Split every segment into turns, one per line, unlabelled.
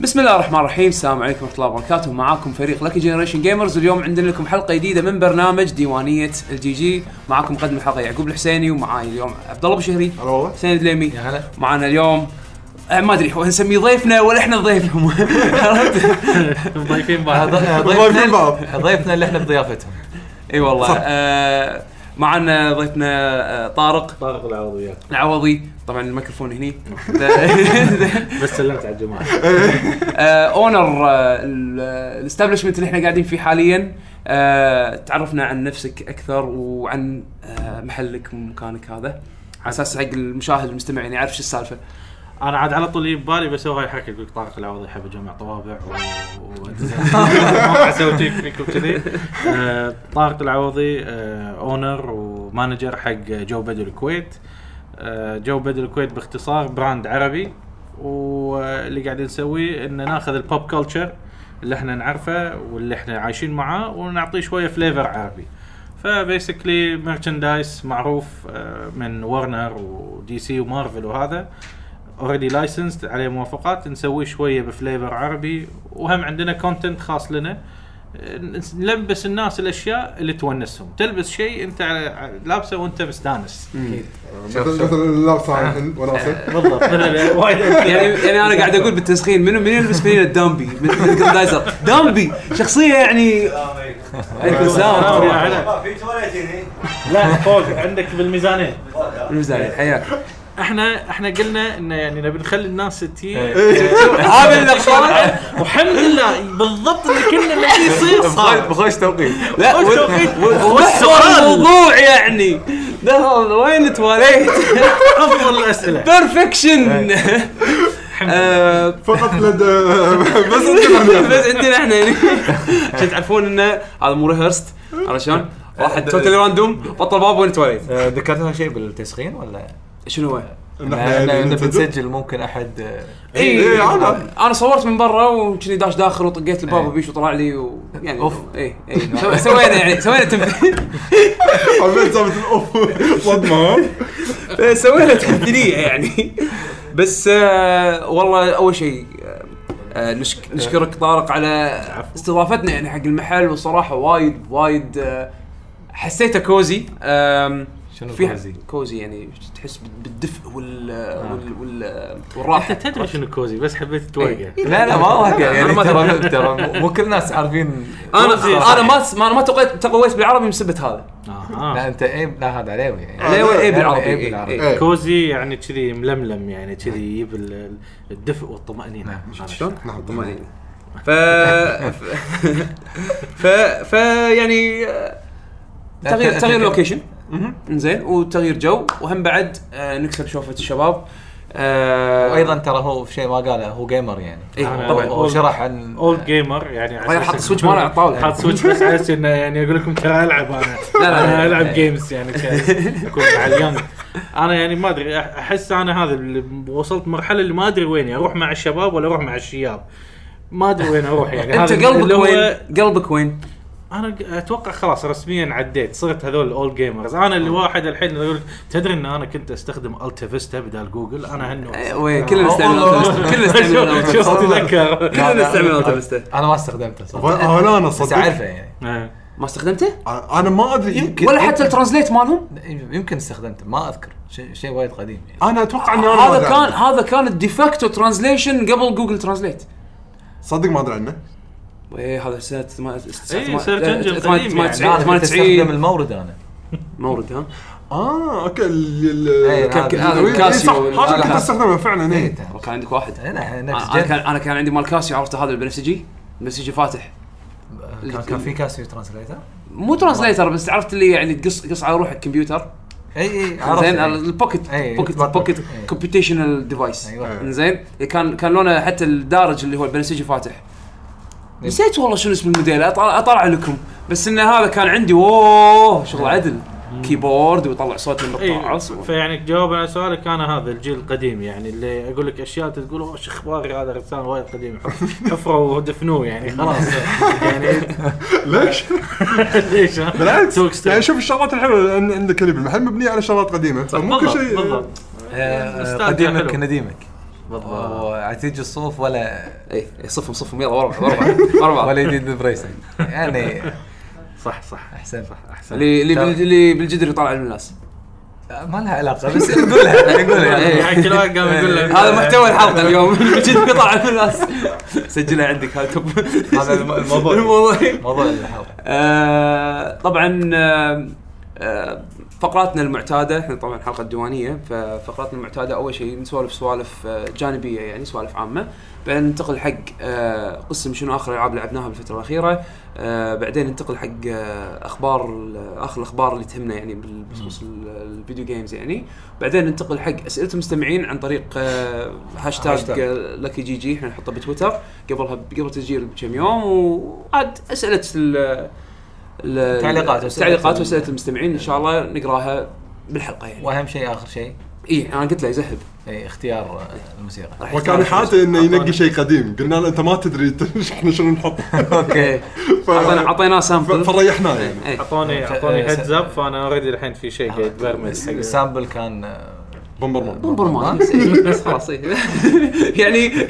بسم الله الرحمن الرحيم السلام عليكم ورحمه الله وبركاته معاكم فريق لكي جنريشن جيمرز اليوم عندنا لكم حلقه جديده من برنامج ديوانيه الجي جي معاكم مقدم الحلقه يعقوب الحسيني ومعاي اليوم عبد الله بشهري
هلا والله
حسين الدليمي
يا هلا.
معنا اليوم آه، ما ادري هو نسميه ضيفنا ولا احنا ضيفهم عرفت؟
مضيفين بعض
ضايفين بعض
ضيفنا اللي احنا بضيافته
اي والله آه، معنا ضيفنا آه، طارق
طارق العرضيات
العوضي طبعا الميكروفون هني
بس سلمت على الجماعه
آه، اونر آه، ال- آه، الاستابلشمنت اللي احنا قاعدين فيه حاليا آه، تعرفنا عن نفسك اكثر وعن آه، محلك ومكانك هذا على اساس حق المشاهد المستمع يعني يعرف شو السالفه
انا عاد على طول يجي ببالي بس هو يحكي يقول لك طارق العوضي يحب يجمع طوابع و و- ما اسوي تيك فيك وكذي آه، طارق العوضي آه، اونر ومانجر حق جو بدل الكويت آه، جو بدل الكويت باختصار براند عربي واللي قاعدين نسويه ان ناخذ البوب كلتشر اللي احنا نعرفه واللي احنا عايشين معاه ونعطيه شويه فليفر عربي فبيسكلي مرشندايز معروف آه، من ورنر ودي سي ومارفل وهذا اوريدي لايسنسد عليه موافقات نسويه شويه بفليفر عربي وهم عندنا كونتنت خاص لنا آه، نلبس الناس الاشياء اللي تونسهم تلبس شيء انت على- على- لابسه وانت مستانس
مثل مثل اللابسه عن الحين وناسه
بالضبط وايد
يعني يعني انا قاعد اقول بالتسخين منو من يلبس فينا الدامبي من الجراندايزر دامبي شخصيه يعني عليكم السلام ورحمه الله
في تواليت هنا
لا فوق عندك بالميزانيه
المزاري، حياك
احنا احنا قلنا انه يعني نبي نخلي الناس تي
إيه. هذا اللي أقصده.
والحمد لله بالضبط اللي كنا نبي يصير صار
بخش توقيت
لا
وش
وال-
توقيت؟
وال-
والسؤال.
وال- الموضوع يعني دخل وين تواليت
افضل الاسئله
بيرفكشن إيه. آه،
فقط لدى بس
بس عندنا احنا يعني عشان تعرفون انه هذا مو ريهرست عرفت شلون؟ واحد توتالي راندوم بطل باب وين تواليت
آه، ذكرت لنا شيء بالتسخين ولا؟
شنو هو؟
نحن
إحنا- إحنا
ننتدب.
بنسجل ممكن آه، احد
اي
إي، عادة.
انا إيه، صورت من برا وكني داش داخل وطقيت الباب وبيش وطلع لي ويعني اوف اي اي سو- سوينا يعني سوينا تمثيل
حبيت سالفه الاوف صدمه ها؟
سوينا تمثيليه يعني بس آه، والله اول شيء آه، آه، نشك- نشكرك طارق على استضافتنا يعني حق المحل وصراحه وايد وايد آه، حسيته كوزي آم،
شنو
في-
كوزي؟
كوزي يعني تحس بال- بالدفء وال وال, وال والراحه
انت تدري شنو كوزي بس حبيت توقع
إيه.
لا لا ما واقع يعني
ما
ترى ترى مو- مو كل الناس عارفين
انا انا ما ما- انا ما توقيت تقويت بالعربي بسبب هذا
لا
اها
انت ايه لا هذا عليوي يعني
عليوي اي
عليوي
بالعربي
إيه
إي،
بالعربي.
إي.
إيه.
كوزي يعني كذي ململم يعني كذي
نعم.
يجيب ال- ال- الدفء والطمأنينة
شلون؟
نعم.
طمأنينة. ف ف ف يعني آه،
لا،
تغيير
أنت-
تغيير
أنت-
لوكيشن زين وتغيير جو وهم بعد آه، نكسب شوفة الشباب آه،
وايضا ترى هو في شيء ما قاله هو جيمر يعني
إي،
أنا-
طبعا
هو شرح عن
اولد جيمر يعني على
غير
أساس
حاط
إنه-
السويتش ماله على الطاوله
حاط سويتش بس على اساس انه يعني اقول لكم ترى العب انا
لا، لا.
انا العب جيمز يعني ك- اكون مع اليونج انا يعني ما ادري أح- احس انا هذا اللي وصلت مرحله اللي ما ادري وين اروح مع الشباب ولا اروح مع الشياب ما ادري وين اروح يعني
انت
هذا اللي
قلبك
هو-
وين؟ قلبك وين؟
انا ق- اتوقع خلاص رسميا عديت صرت هذول الاولد جيمرز انا
آه.
اللي واحد الحين يقول لك، تدري ان انا كنت استخدم التا فيستا بدال جوجل انا
آه،
هالنوع
وين؟ كلنا نستعمل أوتوبيست. كلنا نستعمل
شوف- شوف
أوتوبيست.
تذكر
كلنا نستعمل اوتوبيستا
انا ما استخدمته
وأنا-
صراحه
ولا انا
بس
صدق
اعرفه يعني
ما استخدمته؟
انا ما ادري يمكن
ولا حتى الترانزليت مالهم؟
يمكن استخدمته ما اذكر شيء شيء وايد قديم يعني
انا اتوقع اني انا ما
هذا
أدري
كان
عنه.
هذا كان الديفاكتو ترانزليشن قبل جوجل ترانزليت
صدق ما ادري عنه
ايه هذا سنه ثما-
إيه، سيرش إنجن قديم
لا، أنا كنت
98
استخدم المورد انا
مورد ها
اه اوكي ال- ال-
إيه،
ال-
كان- كان- إيه. هذا
إيه، صح،
الكاسيو
هذا اللي كنت
هذا-
استخدمه فعلا ايه
كان عندك واحد
انا
انا
نفس
أنا كان
جن
انا كان عندي مال كاسيو عرفته هذا البنفسجي بنفسجي فاتح
كان كان في كاسيو ترانسليتر
مو ترانسليتر بس عرفت اللي يعني تقص قص على روحك كمبيوتر
اي اي عرفت
زين
يعني.
البوكيت
إيه،
بوكيت
يتبطل.
بوكيت
إيه.
كومبيوتيشنال ديفايس
ايوه
زين إيه، كان كان لونه حتى الدارج اللي هو البنفسجي فاتح
إيه.
نسيت والله شنو اسم الموديل أطلع اطلع لكم بس ان هذا كان عندي اوه
إيه.
شغل عدل كيبورد ويطلع صوت من
اي
الطاعه
إيه. فيعني جواب على سؤالك انا هذا الجيل القديم يعني اللي اقول لك اشياء أنت تقول اوه شو اخباري هذا رسام وايد قديم حفره ودفنوه يعني خلاص يعني
ليش؟
ليش ها؟
بالعكس
سوق ستيل.
يعني شوف الشغلات الحلوه اللي عن- عندك اللي بالمحل مبنيه على شغلات قديمه فممكن
بالضبط
شيء
بالضبط
آه،
نوستالجيا
قديمك
حلو.
نديمك
بالضبط
وعتيج الصوف ولا
اي إي، إيه، صفهم صفهم يلا ورا بعض، ورا بعض، ورا بعض.
ولا يديد بريسنج يعني
صح صح
احسن
صح احسن
اللي اللي بال- اللي بالجدر يطالع الناس
طيب. آه، ما لها علاقه بس نقولها نقولها
إيه.
يعني كل واحد قام يقول لك
هذا محتوى الحلقه اليوم الجدر يطالع الناس سجلها عندك هذا
هذا الم- الموضوع.
الموضوع
موضوع الحلقه
آه، طبعا آه، آه، فقراتنا المعتاده احنا طبعا حلقه ديوانيه ففقراتنا المعتاده اول شيء نسولف سوالف آه، جانبيه يعني سوالف عامه بعدين ننتقل حق آه، قسم شنو اخر العاب لعبناها بالفتره الاخيره آه، بعدين ننتقل حق آه، اخبار ال- اخر الاخبار اللي تهمنا يعني بال- بخصوص ال- الفيديو جيمز يعني بعدين ننتقل حق اسئله المستمعين عن طريق آه، هاشتاج
هاشتاج.
آه، لكي جي جي احنا نحطه بتويتر قبلها قبل التسجيل بكم يوم وعاد اسئله ال- ال-
تعليقات وأسئلة
التعليقات
ال-
واسئله المستمعين ان شاء الله نقراها بالحلقه يعني
واهم شيء اخر شيء
اي انا قلت له يزهد
إيه، اختيار آه، الموسيقى
راح
وكان
يختار.
حاته انه ينقي شيء قديم قلنا له انت ما تدري إنت- احنا شنو نحط
اوكي عطينا عطيناه
ف-
سامبل
فريحناه يعني
إيه.
اعطوني اعطوني
آه،
هيدز
س-
اب فانا اوريدي الحين في شيء قاعد برمج حق
السامبل كان آه،
بومبر مان
بومبر مان بس- إيه، بس خلاص إيه. يعني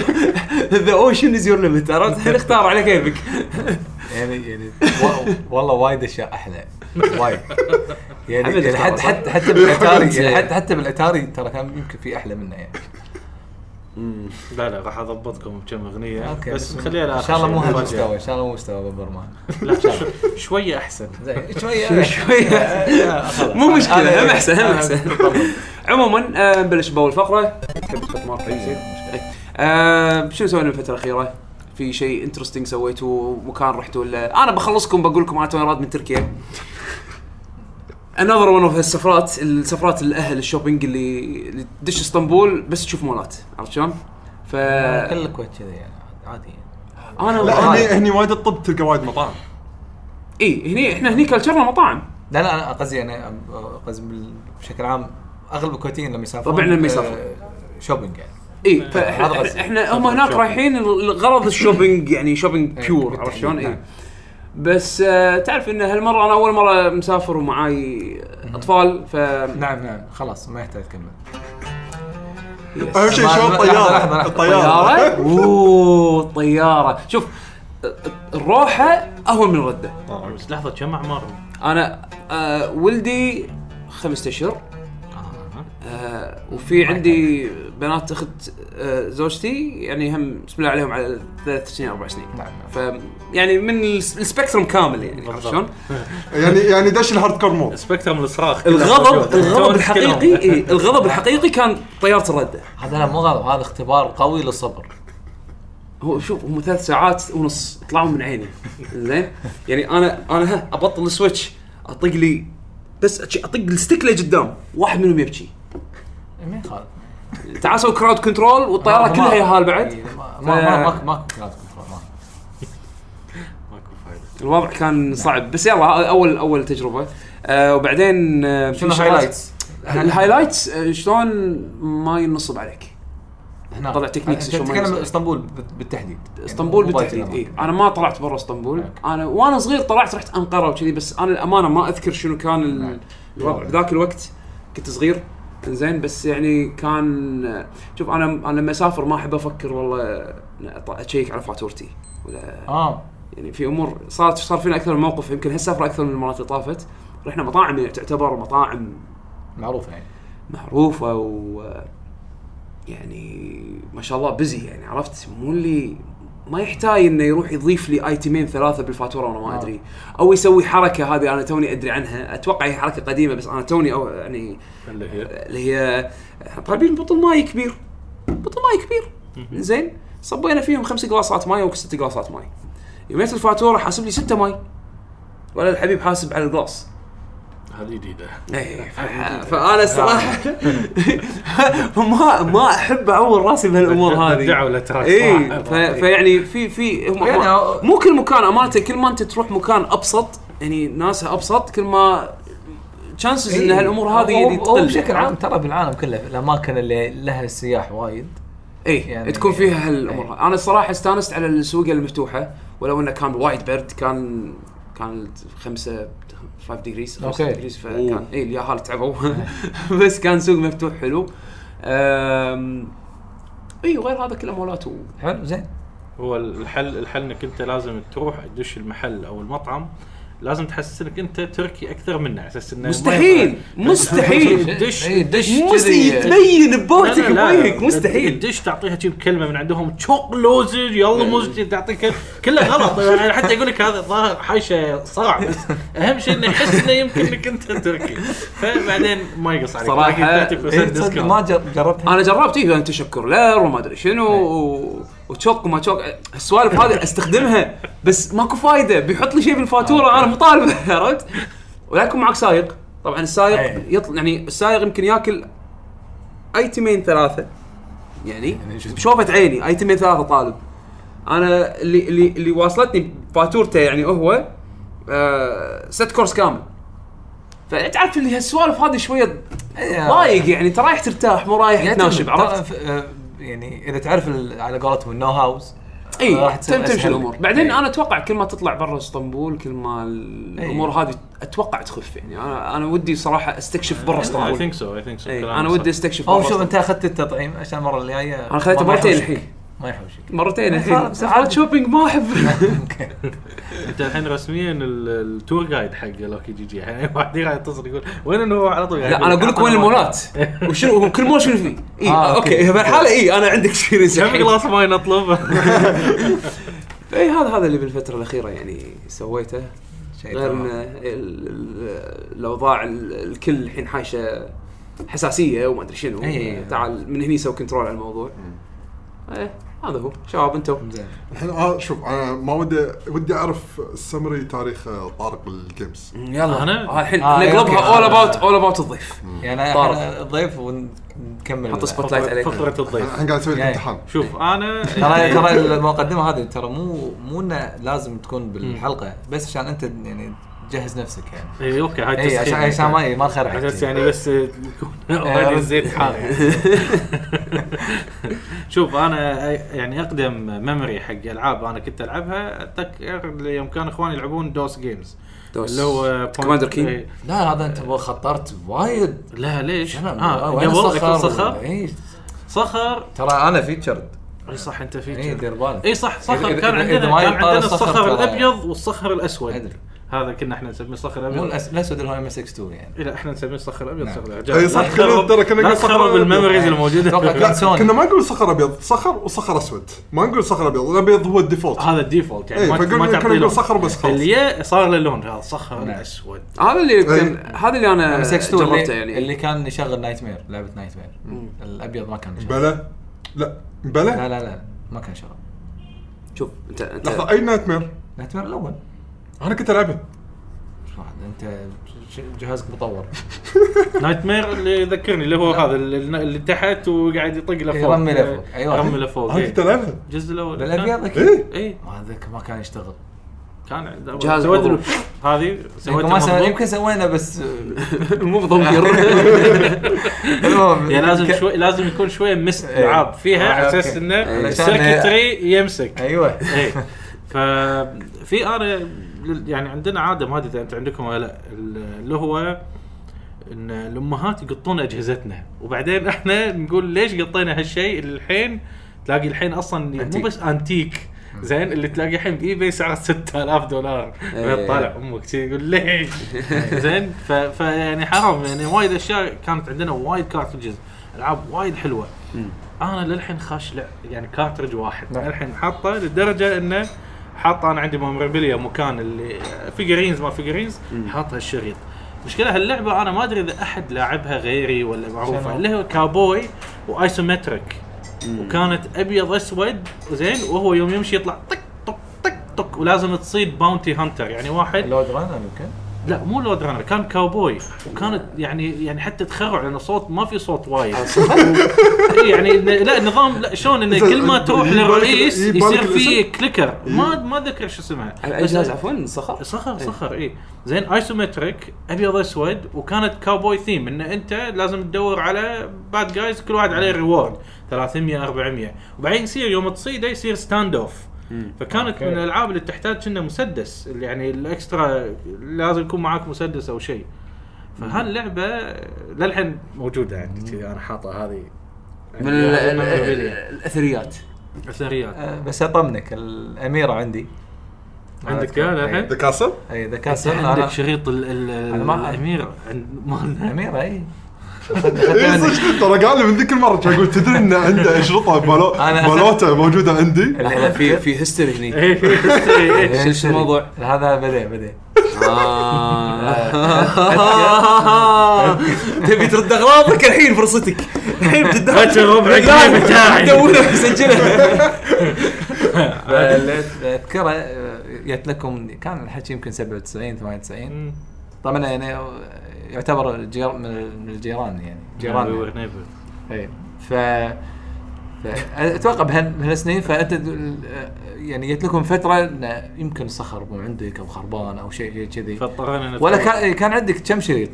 ذا اوشن از يور ليمت عرفت الحين اختار على كيفك
يعني يعني و- والله وايد اشياء احلى وايد يعني
حمد
يعني
اختار
حتى
صح؟
حتى حتى بالاتاري يعني
زين.
حتى حتى بالاتاري ترى كان يمكن في احلى منه يعني
لا لا راح اضبطكم بكم اغنيه
اوكي
بس نخليها لاخر
ان شاء الله
شيء.
مو
نفاجأ.
هالمستوى ان شاء الله مو مستوى ببرمان
لا شو- شويه احسن
زين آه، شويه
شوية. مو مشكله هم احسن هم احسن عموما آه، نبلش باول فقره تحب تحط مارك زين آه، شنو سوينا بالفتره الاخيره؟ في شيء انترستنج سويتوه مكان رحتوا ولا انا بخلصكم بقول لكم انا توني راد من تركيا انذر ون اوف السفرات السفرات الاهل الشوبينج اللي اللي تدش اسطنبول بس تشوف مولات عرفت شلون؟ ف
كل الكويت كذا يعني عادي يعني.
انا
لا هني هني وايد الطب تلقى وايد مطاعم
اي إيه، هني احنا هني كلتشرنا مطاعم
لا لا انا قصدي انا أم- قصدي بال- بشكل عام اغلب الكويتيين لما يسافرون
طبعاً لما
آه،
يسافرون.
شوبينج يعني
اي
هذا
فاحنا
غزة.
احنا إيه، هم هناك
شوبينج.
رايحين الغرض الشوبينج يعني شوبينج
إيه،
بيور عرفت
بالتأكيد،
شلون؟
نعم.
اي بس آه، تعرف ان هالمره انا اول مره مسافر ومعاي اطفال ف
نعم نعم خلاص ما يحتاج تكمل
اهم شيء
لحظة،
شو
لحظة، لحظة،
الطياره
لحظة.
الطياره
طياره اوه طياره شوف الروحه اهون من الرده
بس لحظه كم اعمارهم؟
انا آه، ولدي خمسة اشهر آه، وفي عندي بنات اخت آه، زوجتي يعني هم بسم الله عليهم على ثلاث سنين اربع سنين
نعم نعم
ف يعني من الس- السبكترم كامل يعني عرفت
بالضبط.
شلون؟
يعني يعني دش الهارد كور مود
سبكترم الصراخ كله موجود.
الغضب
تونس
الغضب الحقيقي
كلهم.
إيه الغضب الحقيقي كان طياره الرده
هذا لا مو غلط هذا اختبار قوي للصبر
هو شوف هم ثلاث ساعات ونص طلعوا من عيني زين يعني انا انا ها ابطل السويتش اطق لي بس أتش- اطق الستيك لقدام واحد منهم يبكي
إيه،
ما يخالف
تعاسوا كراود كنترول والطياره
ما-
كلها
آه، ما-
يهال بعد
إيه، ما ما-
ف-
ماكو ماكو كلاس كنترول ماكو
ماكو فايدة.
الوضع كان صعب بس يلا اول اول تجربه آه وبعدين آه، في
شنو
شغلات-
هايلايتس؟
الهايلايتس آه، شلون ما ينصب عليك
هنا
طلع تكنيكس شو ما
تتكلم
يصير.
اسطنبول بال- بالتحديد
اسطنبول
يعني مو
بالتحديد إيه.
بايتنا.
اي انا ما طلعت برا اسطنبول
أوكي.
انا وانا صغير طلعت رحت انقره وكذي بس انا الامانه ما اذكر شنو كان ال-
نعم.
الوضع بذاك الوقت كنت صغير زين بس يعني كان شوف انا انا لما اسافر ما احب افكر والله أط- اشيك على فاتورتي ولا
اه
يعني في امور صارت صار فينا اكثر من موقف يمكن هالسفره اكثر من المرات اللي طافت رحنا مطاعم يعني تعتبر مطاعم
معروف يعني
معروفه و يعني ما شاء الله بزي يعني عرفت مو اللي ما يحتاج انه يروح يضيف لي ايتمين ثلاثه بالفاتوره وانا
نعم.
ما
آه.
ادري او يسوي حركه هذه انا توني ادري عنها اتوقع هي حركه قديمه بس انا توني أو يعني
اللي هي
اللي هي طالبين بطل ماي كبير بطل ماي كبير زين صبينا فيهم خمس قلاصات ماي او ست قلاصات ماي يوميت الفاتوره حاسب لي ستة ماي ولا الحبيب حاسب على القلاص
هذه جديده
إيه، ف- فانا الصراحه ما ما احب اعور راسي بهالامور هذه إيه.
دعوه لتراك
اي فيعني في في هم-
يعني
ما- مو كل مكان امانه كل ما انت تروح مكان ابسط يعني ناسها ابسط كل ما تشانسز ان
إيه.
هالامور هذه
هو-
يعني
هو
تقل
بشكل عام ترى بالعالم كله الاماكن اللي لها سياح وايد
اي يعني
يعني-
تكون فيها هالامور انا الصراحه استانست على السوق المفتوحه ولو انه كان وايد برد كان كان خمسة 5 ديجريز 5
أوكي.
ديجريز فكان إيه، اي الياهال تعبوا بس كان سوق مفتوح حلو أم، اي وغير هذا كله مولات و...
حلو زين
هو الحل الحل انك انت لازم تروح تدش المحل او المطعم لازم تحس انك انت تركي اكثر منه على اساس انه ما
مستحيل
يفرق.
مستحيل إيه،
دش-
إي، إيه، دش
مست-
كذي.
تبين
لا،
ببوتك
لا، لا.
بوجهك مستحيل
تدش تعطيها شي كلمه من عندهم تشوك لوزج يلا موزج تعطيك كله غلط يعني حتى يقول لك هذا ظاهر حاشه صرع بس اهم شيء انه يحس انه يمكن انك انت تركي فبعدين ما يقص عليك
صراحة، إيه،
لكن 30%
إي، إيه، تصدق
discount.
ما جر- جربتها
انا جربت إيه، يعني تشكر لير وما ادري شنو و... وتشوك وما تشوك السوالف هذه استخدمها بس ماكو فايده بيحط لي شيء بالفاتوره انا مطالبه عرفت ولكن معك سايق طبعا السايق
إيه.
يطل يعني السايق يمكن ياكل ايتمين ثلاثه يعني بشوفه عيني ايتمين ثلاثه طالب انا اللي اللي اللي واصلتني فاتورته يعني هو آه ست كورس كامل فتعرف اللي هالسوالف هذه شويه
إي،
ضايق يعني انت رايح ترتاح مو رايح
يعني
تناشب
تعرف-
عرفت؟
آه، يعني اذا تعرف ال- على قولتهم النو هاوس
اي
راح تصير
تم تمشي
أسهل.
الامور بعدين
إي.
انا اتوقع كل ما تطلع برا اسطنبول كل ما الامور هذه اتوقع تخف يعني انا انا ودي صراحه استكشف برا
I
اسطنبول
think so I think so
إي،
كلامك
انا إيه، ودي
صح.
استكشف
او
برا
شوف
اسطنبول
انت اخذت التطعيم عشان المره الجايه
انا خذيته
ما- ما
مرتين
يحوشك.
الحين
ما يحوشك
مرتين الحين
خلاص.
سفرات شوبينج ما احب
انت الحين رسميا ال- التور جايد حق لوكي جي جي يعني واحد قاعد يتصل يقول وين انه هو على طول يعني
لا انا اقول لك وين المولات وشنو وكل مول شنو فيه اي
آه، أوكي.
اوكي بالحاله اي انا عندك اكسبيرينس
كم جلاس ماي نطلبه
اي هذا هذا اللي بالفتره الاخيره يعني سويته
شيء
غير ان
تمام.
ال- ال- الاوضاع ال- الكل الحين حاشه حساسيه وما ادري شنو
إي.
تعال من هني سوي كنترول على الموضوع ايه هذا هو شباب انتم
زين
الحين آه شوف انا ما ودي ودي اعرف السمري تاريخ آه، طارق الجيمز
يلا
أنا؟
آه، الحين
آه،
نقلبها
أوكي.
اول اباوت اول اباوت الضيف
يعني
طارق.
احنا الضيف ونكمل
حط سبوت لايت عليك
فقره الضيف
الحين قاعد اسوي لك
يعني.
امتحان
شوف انا
ترى
إيه.
ترى المقدمه هذه ترى مو مو انه لازم تكون بالحلقه بس عشان انت يعني تجهز نفسك يعني
اي اوكي إيه، هاي
إيه،
اي عشان
تسخين.
عشان ما ما نخرع
على اساس يعني بس تكون
آه.
اوريدي زيت حار شوف انا يعني اقدم ميموري حق العاب انا كنت العبها اتذكر يوم كان اخواني يلعبون دوس جيمز
دوس.
اللي هو
Commander King.
إيه.
لا هذا انت بو- خطرت وايد
لا ليش؟
أنا-
آه
وين
قبل
الصخر؟
أكل صخر
إي،
صخر
إيه، ترى انا فيتشرد
اي صح انت
اي
فيك
دير بالك
اي صح صخر
إذا-
كان
إذا-
عندنا
إذا ما
كان
يطلع
عندنا
الصخر
الصخر
ترى-
الابيض والصخر الاسود
أدري.
هذا كنا احنا نسميه الصخر
مو
الابيض
الأس- الاسود اللي هو ام اس اكس 2 يعني
إيه، لا احنا نسميه الصخر الابيض
نعم.
صخر
إي، صح، كنا- ترى كنا
لا
نقول صخر
تخرب
أبيض.
الميموريز
أتوقع
الموجوده
كان
لا
سوني.
كنا ما نقول صخر ابيض صخر وصخر اسود ما نقول صخر ابيض الابيض هو الديفولت
هذا الديفولت يعني
إيه،
ما
فقلنا
ما
كنا
تعطي
نقول
لون
صخر بس خلاص.
اللي جاء صار له لون هذا صخر
نعم.
اسود
هذا اللي كان هذا اللي انا
ام اس اكس 2
آه، جربته
اللي,
يعني
اللي كان يشغل نايت مير لعبه نايت مير الابيض ما كان يشغل
بلا لا بلا
لا لا لا ما كان يشغل
شوف انت انت
لحظه اي نايت مير
نايت مير الاول
انا كنت العبها
شو واحد انت ش- جهازك مطور
نايت مير اللي يذكرني اللي هو هذا اللي اللي تحت وقاعد يطق له فوق
يرمي نعم. له فوق. أيوة.
يرمي له فوق
انا
إيه.
كنت العبها
الجزء الاول
بالابيض اكيد
ايه
اي
ما ذاك ما كان يشتغل
إيه، كان
جهاز
سويت
مضروب.
له- هذه
يمكن ما سوينا
سويت
يمكن سوينا بس
مو بضمير
المهم
يعني لازم
ك-
شوي لازم يكون شويه مست
إيه.
العاب فيها
آه،
على اساس
أوكي.
انه
علشان-
السيركتري يمسك
ايوه
ايه ففي انا لل- يعني عندنا عاده ما ادري اذا انت عندكم ولا لا ال- اللي هو ان الامهات يقطون اجهزتنا وبعدين احنا نقول ليش قطينا هالشيء اللي الحين تلاقي الحين اصلا مو
أنتيك.
بس انتيك زين اللي تلاقي الحين باي باي سعره 6000 دولار
إيه.
طالع امك شي يقول ليش زين ف- فيعني حرام يعني وايد اشياء كانت عندنا وايد كارترجز العاب وايد حلوه انا للحين خاش لع... يعني كارترج واحد
نعم.
للحين حاطه لدرجه انه حاط انا عندي ممربيليا مكان اللي فيجرينز ما فيجرينز حاطها الشريط مشكلة هاللعبة انا ما ادري اذا احد لاعبها غيري ولا معروفة
شنو؟
اللي هو كابوي وايسومتريك وكانت ابيض اسود زين وهو يوم يمشي يطلع طق طق طق طق ولازم تصيد باونتي هانتر يعني واحد
لود ران يمكن
لا مو لود رانر كان كاوبوي وكانت يعني يعني حتى تخرع لانه صوت ما في صوت وايد
آه،
إيه يعني إن- لا النظام لا شلون انه كل ما تروح
يبالك-
للرئيس
يبالك
يصير في
الاسم؟ إيه.
كليكر ما ما اتذكر شو اسمها
على اي
بس-
جهاز عفوا صخر
صخر صخر اي إيه. زين ايسومتريك ابيض اسود وكانت كاوبوي ثيم ان انت لازم تدور على باد جايز كل واحد عليه ريورد 300 400 وبعدين يصير يوم تصيده يصير ستاند اوف فكانت
أوكي.
من الالعاب اللي تحتاج كنا مسدس اللي يعني الاكسترا لازم يكون معاك مسدس او شيء فهاللعبه للحين موجوده عندي كذي انا حاطها هذه
من ال- ال-
memorabilia.
الاثريات
اثريات
آه، بس اطمنك الاميره عندي
عندك يا للحين؟
ذا كاسل
اي ذا كاسل
عندك
انا
شريط ال- ال-
أنا ما-
الامير عند- مالنا
اميره اي
اي صدق ترى قال لي من ذيك المره كان اقول تدري ان عنده اشرطه بالو-
أنا-
بالوته موجوده عندي
اللحظة،
في في هيستوري هني
إيه، إيه.
شو اسم الموضوع؟
هذا بدا بدا
آه. تبي ترد اغراضك الحين فرصتك الحين بتدخل
رجل ربع جنيه متاعي.
تدورها مسجلها
اذكره آه، جت لكم كان الحكي يمكن 97 98
مم.
طبعا يعني يعتبر الجير من من الجيران يعني
We
جيران
were neighbors.
اي ف ف- اتوقع بهال- بهالسنين فانت د- يعني جت لكم فتره انه يمكن صخر مو عندك او خربان او شيء كذي
فاضطرينا
ولا
نتفرج.
كان كان عندك كم شريط؟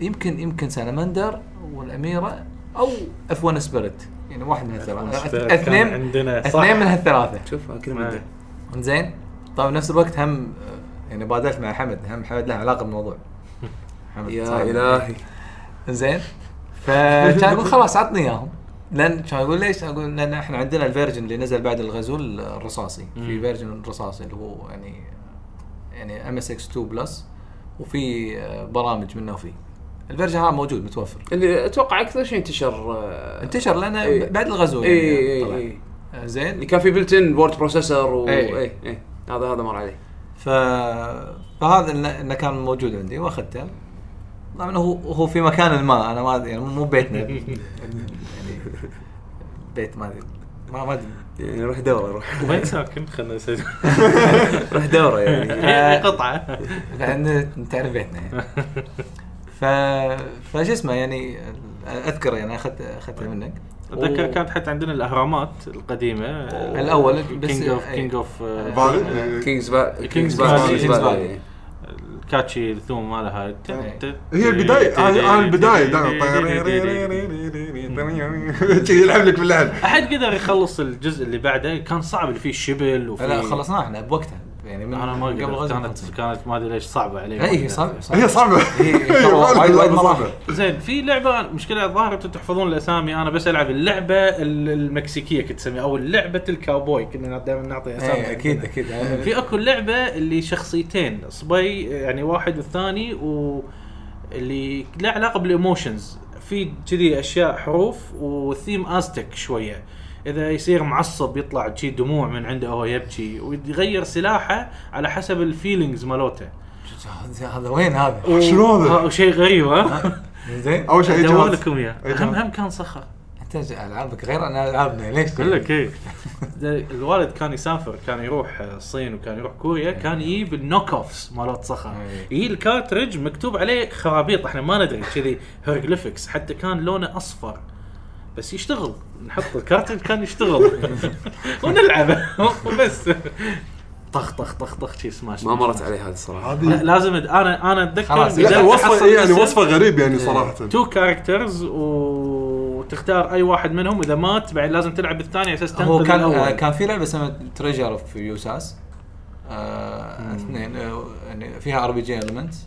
يمكن يمكن سالمندر والاميره او اف 1 سبيريت يعني واحد من
F1
هالثلاثه
Spirit
اثنين
كان عندنا، صح.
اثنين من هالثلاثه
شوف كل
إيه.
من
زين طبعا بنفس الوقت هم آه، يعني بادلت مع حمد هم حمد له علاقه بالموضوع حمد
يا
صاحب.
الهي
زين فكان اقول خلاص عطني اياهم لان كان اقول ليش؟ اقول لان احنا عندنا الفيرجن اللي نزل بعد الغزول الرصاصي في
مم.
فيرجن رصاصي اللي هو يعني يعني ام اس اكس 2 بلس وفي آه، برامج منه وفيه الفيرجن هذا موجود متوفر
اللي اتوقع اكثر شيء انتشر آه،
انتشر لنا
إيه.
بعد الغزول
اي
يعني
اي
طلع.
اي
آه،
اللي
زين
كان في بلت ان وورد بروسيسور و
إيه.
اي اي هذا هذا مر عليه
ف فهذا انه إنه كان موجود عندي واخذته طبعا هو هو في مكان ما انا ما أدري، يعني مو بيتنا يعني بيت ما ادري ما ما ادري
يعني روح دوره روح
وين ساكن خلنا نسجل
روح دوره يعني
إيه، قطعه
بعدين آه، تعرف بيتنا يعني ف فشو اسمه يعني اذكر يعني اخذت اخذتها منك
اتذكر كانت حتى عندنا الاهرامات القديمه
الأول، بس-
كينج اوف
إيه.
كينج اوف
فالي
كينجز با
Kings Valley.
كينجز
Kings
بالي
Valley.
الكاتشي الثوم ماله هاي
هي البدايه انا أنا البدايه دائما يلعب لك باللعب
احد قدر يخلص الجزء اللي بعده كان صعب اللي فيه شبل وفي
لا خلصناه احنا بوقتها يعني من
انا ما
قبل
قبل
غزوة
كانت
خلصنا. إيه،
كانت ما ادري ليش صعبه علي
لا هي صعب
هي
طيب.
صعبه
إيه،
هي- هي
هي
وايد-
فعلاً
وايد
صعبة.
مراحل.
زين في لعبه مشكله الظاهر انتم تحفظون الاسامي انا بس العب اللعبه ال- المكسيكيه كنت اسميها او لعبه الكاوبوي كنا دائما نعطي اسامي
إيه، اكيد اكيد يعني
في اكو لعبه اللي شخصيتين صبي يعني واحد والثاني واللي له علاقه بالايموشنز في كذي اشياء حروف والثيم ازتك شويه اذا يصير معصب يطلع شي دموع من عنده وهو يبكي ويغير سلاحه على حسب الفيلينجز مالوته
هذا- هذا وين هذا؟
شنو هذا؟
شيء غريب ها
زين
اول شيء
ادور
جهاز
لكم اياه
أي
هم
جهاز.
هم كان صخر
انت العابك غير انا العابنا ليش؟
اقول لك ايه الوالد كان يسافر كان يروح الصين وكان يروح كوريا كان يجيب النوك اوفز مالت صخر
إيه.
يجي الكارترج مكتوب عليه خرابيط احنا ما ندري كذي هيروغليفكس حتى كان لونه اصفر بس يشتغل نحط الكارترج كان يشتغل ونلعبه وبس طخ طخ طخ طخ شي سماش
ما مرت علي هذه الصراحه
لا،
هذه
لازم أد- انا انا اتذكر
خلاص. لا،
لا
بدأت
وصفه
أحصل
إيه، يعني
اسم.
وصفه غريب يعني صراحه
تو كاركترز وتختار اي واحد منهم اذا مات بعد لازم تلعب الثاني على اساس
هو
تنقذ
كان آه،
الاول
كان في لعبه اسمها تريجر اوف يوساس آه، اثنين آه، يعني فيها ار بي جي المنتس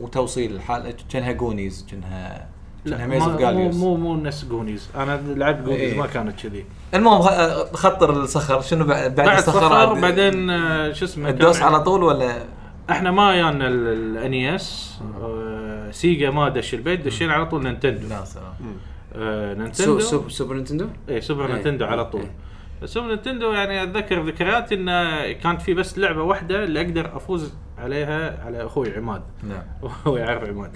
وتوصيل الحال كانها جونيز كانها كانها
لا
ميز اوف
ما- مو
جاليوس
مو مو نفس جونيز انا لعبت جونيز
إيه.
ما كانت كذي
المهم آه، خطر الصخر شنو بعد بعد
بعد صخر
الصخر
بعدين آه، شو اسمه كان
الدوس
عندنا-
على طول ولا
احنا ما يانا الاني اس E آه، سيجا ما دش البيت دشينا على طول نينتندو
لا سلام
آه،
سو-
نينتندو
سو- سوبر نينتندو
اي سوبر
إيه.
نينتندو على طول
إيه.
بس سوبر نينتندو يعني اتذكر ذكرياتي انه كانت في بس لعبه واحده اللي اقدر افوز عليها على اخوي عماد
نعم
هو يعرف عماد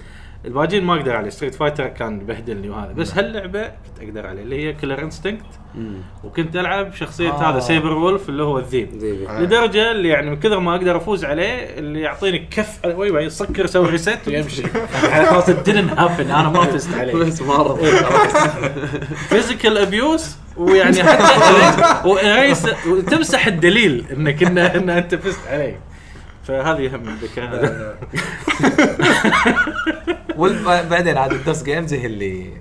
الباجين ما اقدر عليه ستريت فايتر كان بهدلني وهذا بس هاللعبه كنت اقدر عليه اللي هي كلر انستنكت وكنت العب شخصيه
آه.
هذا سيبر وولف اللي هو الذيب
زين
آه.
لدرجه اللي يعني من كثر ما اقدر افوز عليه اللي يعطيني كف على وجهي بعدين يسكر يسوي ريست ويمشي يعني خلاص دينت هابن انا ما فزت عليه
بس مرض
فيزيكال ابيوس ويعني حتى وإريس- وتمسح الدليل انك إن, ان انت فزت عليه فهذه هم الذكريات
آه،
وبعدين عاد الدوس جيم زي اللي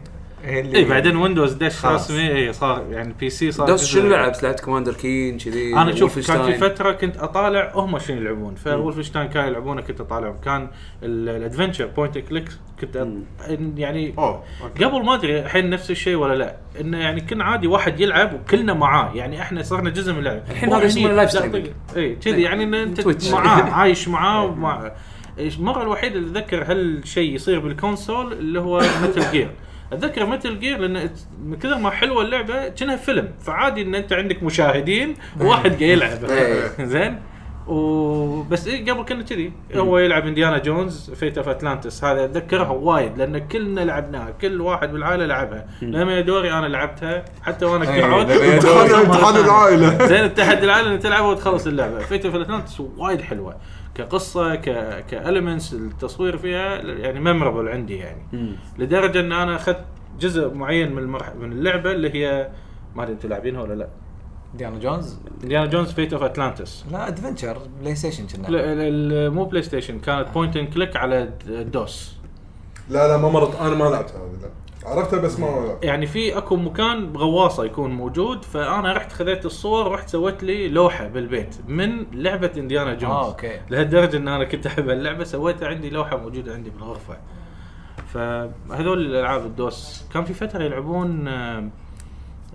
هي اللي
اي إيه، بعدين ويندوز دش
خلاص.
رسمي اي صار يعني بي سي صار
دوس
جزء-
شنو لعب سلاحة كوماندر كين كذي
انا شوف كان
وولفنشتاين.
في فتره كنت اطالع هم شنو يلعبون فولفنشتاين كانوا يلعبونه كنت اطالعهم كان ال- الادفنشر بوينت كليك كنت
مم.
أط... يعني
اوه أوكي.
قبل ما ادري الحين نفس الشيء ولا لا انه يعني كنا عادي واحد يلعب وكلنا معاه يعني احنا صرنا جزء من يعني اللعبه
الحين هذا اسمه لايف ستريمينج.
اي كذي يعني إن
تويتش.
انت معاه عايش معاه ومع إيش- المره الوحيده اللي اتذكر هالشيء يصير بالكونسول اللي هو متل جير اتذكر متل جير لان من كثر ما حلوه اللعبه كأنها فيلم فعادي ان انت عندك مشاهدين وواحد قاعد يلعب
إيه.
زين وبس إيه قبل كنا كذي هو يلعب انديانا جونز فيت اوف اتلانتس هذا اتذكرها وايد لان كلنا لعبناها كل واحد بالعائله لعبها لما يا دوري انا لعبتها حتى وانا
إيه،
كعود
لما يا دوري.
امتحان امتحان العائله
زين التحدي العالمي اللي تلعبه وتخلص اللعبه فيت اوف اتلانتس وايد حلوه كقصه ك كالمنتس التصوير فيها يعني ميموربل عندي يعني لدرجه ان انا اخذت جزء معين من المرح... من اللعبه اللي هي ما ادري انتم لاعبينها ولا لا
ديانا جونز
انديانا جونز فيت اوف اتلانتس
لا ادفنشر بلاي ستيشن كنا
لا- لا- لا، مو بلاي ستيشن كانت بوينت اند كليك على الدوس
لا لا ما مرت انا ما لعبتها هذه لا عرفتها بس ما لعبتها
يعني في اكو مكان بغواصه يكون موجود فانا رحت خذيت الصور رحت سويت لي لوحه بالبيت من لعبه انديانا جونز
آه،
اه اوكي
لهالدرجه ان انا كنت احب اللعبه سويتها عندي لوحه موجوده عندي بالغرفه فهذول الالعاب الدوس كان في فتره يلعبون آه،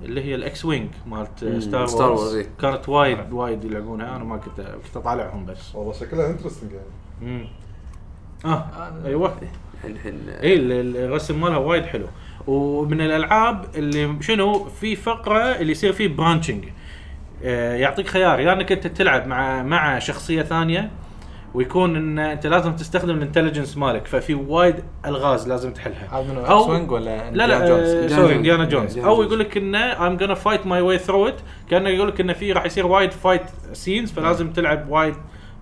اللي هي الاكس وينج مالت آه،
مم،
ستار
ستار
وورز
وورز، إيه.
كانت وايد وايد يلعبونها انا ما كنت كنت اطالعهم بس
والله شكلها انترستنج يعني
مم. اه
آه،
ايوه
الحين الحين
اي إيه، ال- ال- الرسم مالها وايد حلو ومن الالعاب اللي شنو في فقره اللي يصير فيه برانشنج يعطيك خيار يا يعني انك انت تلعب مع مع شخصيه ثانيه ويكون ان انت لازم تستخدم الانتليجنس مالك ففي وايد الغاز لازم تحلها
هذا منو
أو-
اكس وينج ولا
لا لا
إنديانا
آه،
جونز؟
سوري
جونز.
انديانا جونز
إنديانا
او
جونز.
يقول لك انه ام gonna فايت ماي واي ثرو ات كانه يقول لك انه في راح يصير وايد فايت سينز فلازم تلعب وايد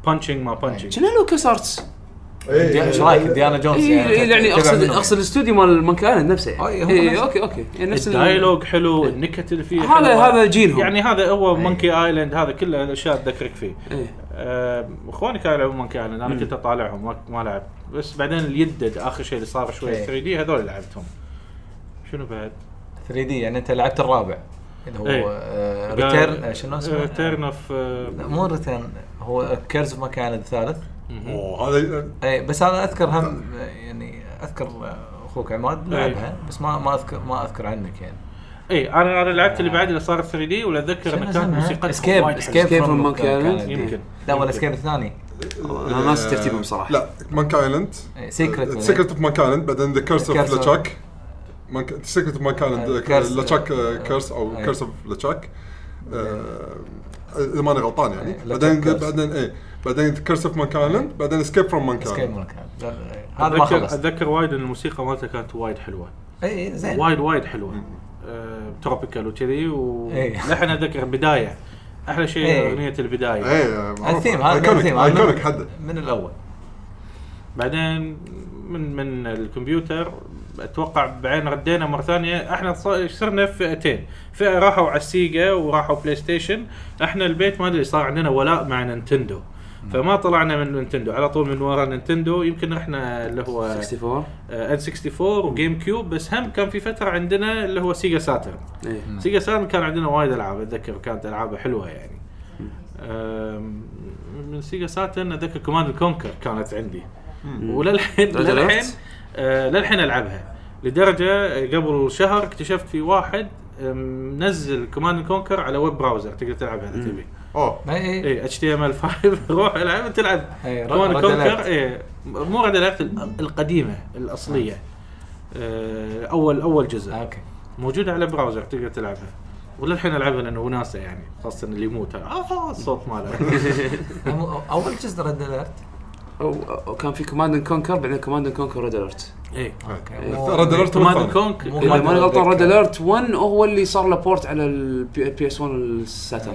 بانشنج ما بانشنج
نعم. شنو لوكاس ارتس؟
إيه،
ايش رايك
إيه،
ديانا جونز
إيه، يعني
تتبع
اقصد
منهم.
اقصد الاستوديو مال مونكي ايلاند نفسه يعني.
أي، هم
إيه،
نفسه.
اوكي اوكي يعني نفس ال- إيه.
الدايلوج حلو النكت اللي فيه
هذا
حلوة.
هذا جيلهم
يعني هذا هو
أي.
مونكي ايلاند هذا كله الاشياء تذكرك فيه
إيه.
آه، اخواني كانوا يلعبون مونكي ايلاند انا
مم.
كنت اطالعهم ما- ما لعبت بس بعدين اليدد اخر شيء اللي صار شوي
أي.
3 دي هذول لعبتهم شنو بعد؟
3 دي يعني انت لعبت الرابع اللي
إيه.
هو آه، ريتيرن آه، شنو اسمه؟
ريتيرن اوف
لا، مو ريتيرن هو كيرز ما كان الثالث
اوه هذا
اي إيه، بس انا اذكر هم آه، يعني اذكر آه، اخوك عماد
إيه.
لعبها بس ما ما اذكر ما اذكر عنك يعني
اي انا انا إيه، لعبت اللي بعد اللي صار 3 دي ولا اتذكر انه كان موسيقى
اسكيب
Escape
اسكيب
from
فروم
Monkey Island.
يمكن
لا ولا
يمكن.
اسكيب الثاني
آه،
انا ناس ترتيبهم صراحه
لا مانك ايلاند
إيه، Secret.
سيكرت اوف مانك ايلاند بعدين ذا كيرس اوف
Curse of- Uh,
لاتشاك سيكرت اوف مانك ايلاند
uh,
Curse-
لاتشاك كيرس او
أي.
كيرس اوف لاتشاك آه،
Uh,
اذا ماني غلطان يعني
أي،
بعدين
LeChuck Curse.
بعدين
eh,
اي بعدين كيرس اوف مانك ايلاند بعدين اسكيب فروم مانك
اسكيب
ايلاند
مونك آيلاند. لا، لا، لا، هذا ما
اتذكر
خلصت
اتذكر وايد ان الموسيقى مالته كانت وايد حلوه
اي إي، إيه، زين
وايد وايد حلوه آه، تروبيكال وكذي
إيه.
ولحن اتذكر بدايه احلى شيء
إيه.
اغنيه البدايه
Eh,
اي
الثيم هذا من
ايكونيك
الثيم هذا من-
ايكونيك حده
من الاول
بعدين من من الكمبيوتر اتوقع بعدين ردينا مره ثانيه احنا ص- صرنا فئتين فئه راحوا على السيجا وراحوا بلاي ستيشن احنا البيت ما ادري صار عندنا ولاء مع نينتندو فما طلعنا من نينتندو على طول من ورا نينتندو يمكن احنا اللي هو آه،
64
ان 64 وجيم كيوب بس هم كان في فتره عندنا اللي هو سيجا ساترن
إيه.
سيجا سان كان عندنا وايد العاب اتذكر كانت العابها حلوه يعني أم، من سيجا ساتن اتذكر كمان الكونكر كانت عندي وللحين
لعبت؟
للحين آه، للحين العبها لدرجه آه، قبل شهر اكتشفت في واحد آه، منزل كوماند كونكر على ويب براوزر تقدر تلعبها اذا تبي
Oh,
اوه
اي إي.
اي اتش تي ام ال 5 روح العب تلعب
إي، ر-
كوماند
Red
كونكر
إيه، Alert.
اي إيه، مو رد العبت القديمه الاصليه آه، اول اول جزء
اوكي
موجوده على براوزر تقدر تلعبها وللحين العبها لانه وناسه يعني خاصه اللي يموت آه الصوت ماله
هم- اول جزء ريد اليرت
أو- أو كان في كوماند اند كونكر بعدين كوماند اند كونكر ريد الرت
اي
إيه،
رد الارت
كوماند
والثاني
كونك
مو-
اذا ماني
Command
غلطان
Conquer. إيه،
إيه.
ريد الرت 1 هو اللي صار له بورت على البي اس 1 الساتر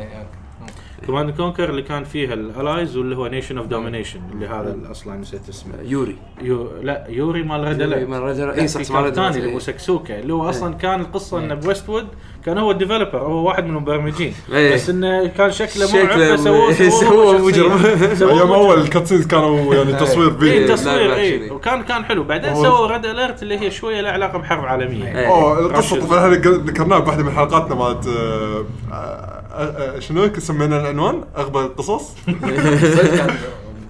كوماند كونكر اللي كان فيها الالايز واللي هو نيشن اوف دومينيشن اللي هذا اللي اصلا نسيت اسمه
يوري
يو لا يوري مال ريد
يوري
اليرت.
مال ريد اليرت.
لا،
إي صح،
في
مال إيه.
كان
ريد
ثاني
اليرت،
اللي
إي.
ابو سكسوكه اللي هو
إيه.
اصلا كان القصه انه بويست وود كان هو الديفلوبر هو واحد من المبرمجين
إيه.
بس انه كان شكله
شكله إيه،
مرعب فسووه
سووه
سووه
مجرم. إيه،
مجرم
ايام اول الكاتسينز كانوا يعني تصوير
إيه،
اي
فيديو
لايف
إيه، تصوير اي
أكشن.
وكان كان حلو بعدين سووا ريد اليرت اللي هي شويه لها علاقه بحرب عالميه
إيه.
اوه القصه
راشد.
طبعا احنا ذكرناها بواحده من حلقاتنا مالت آه، آه، آه، شنو سمينا العنوان اغبى القصص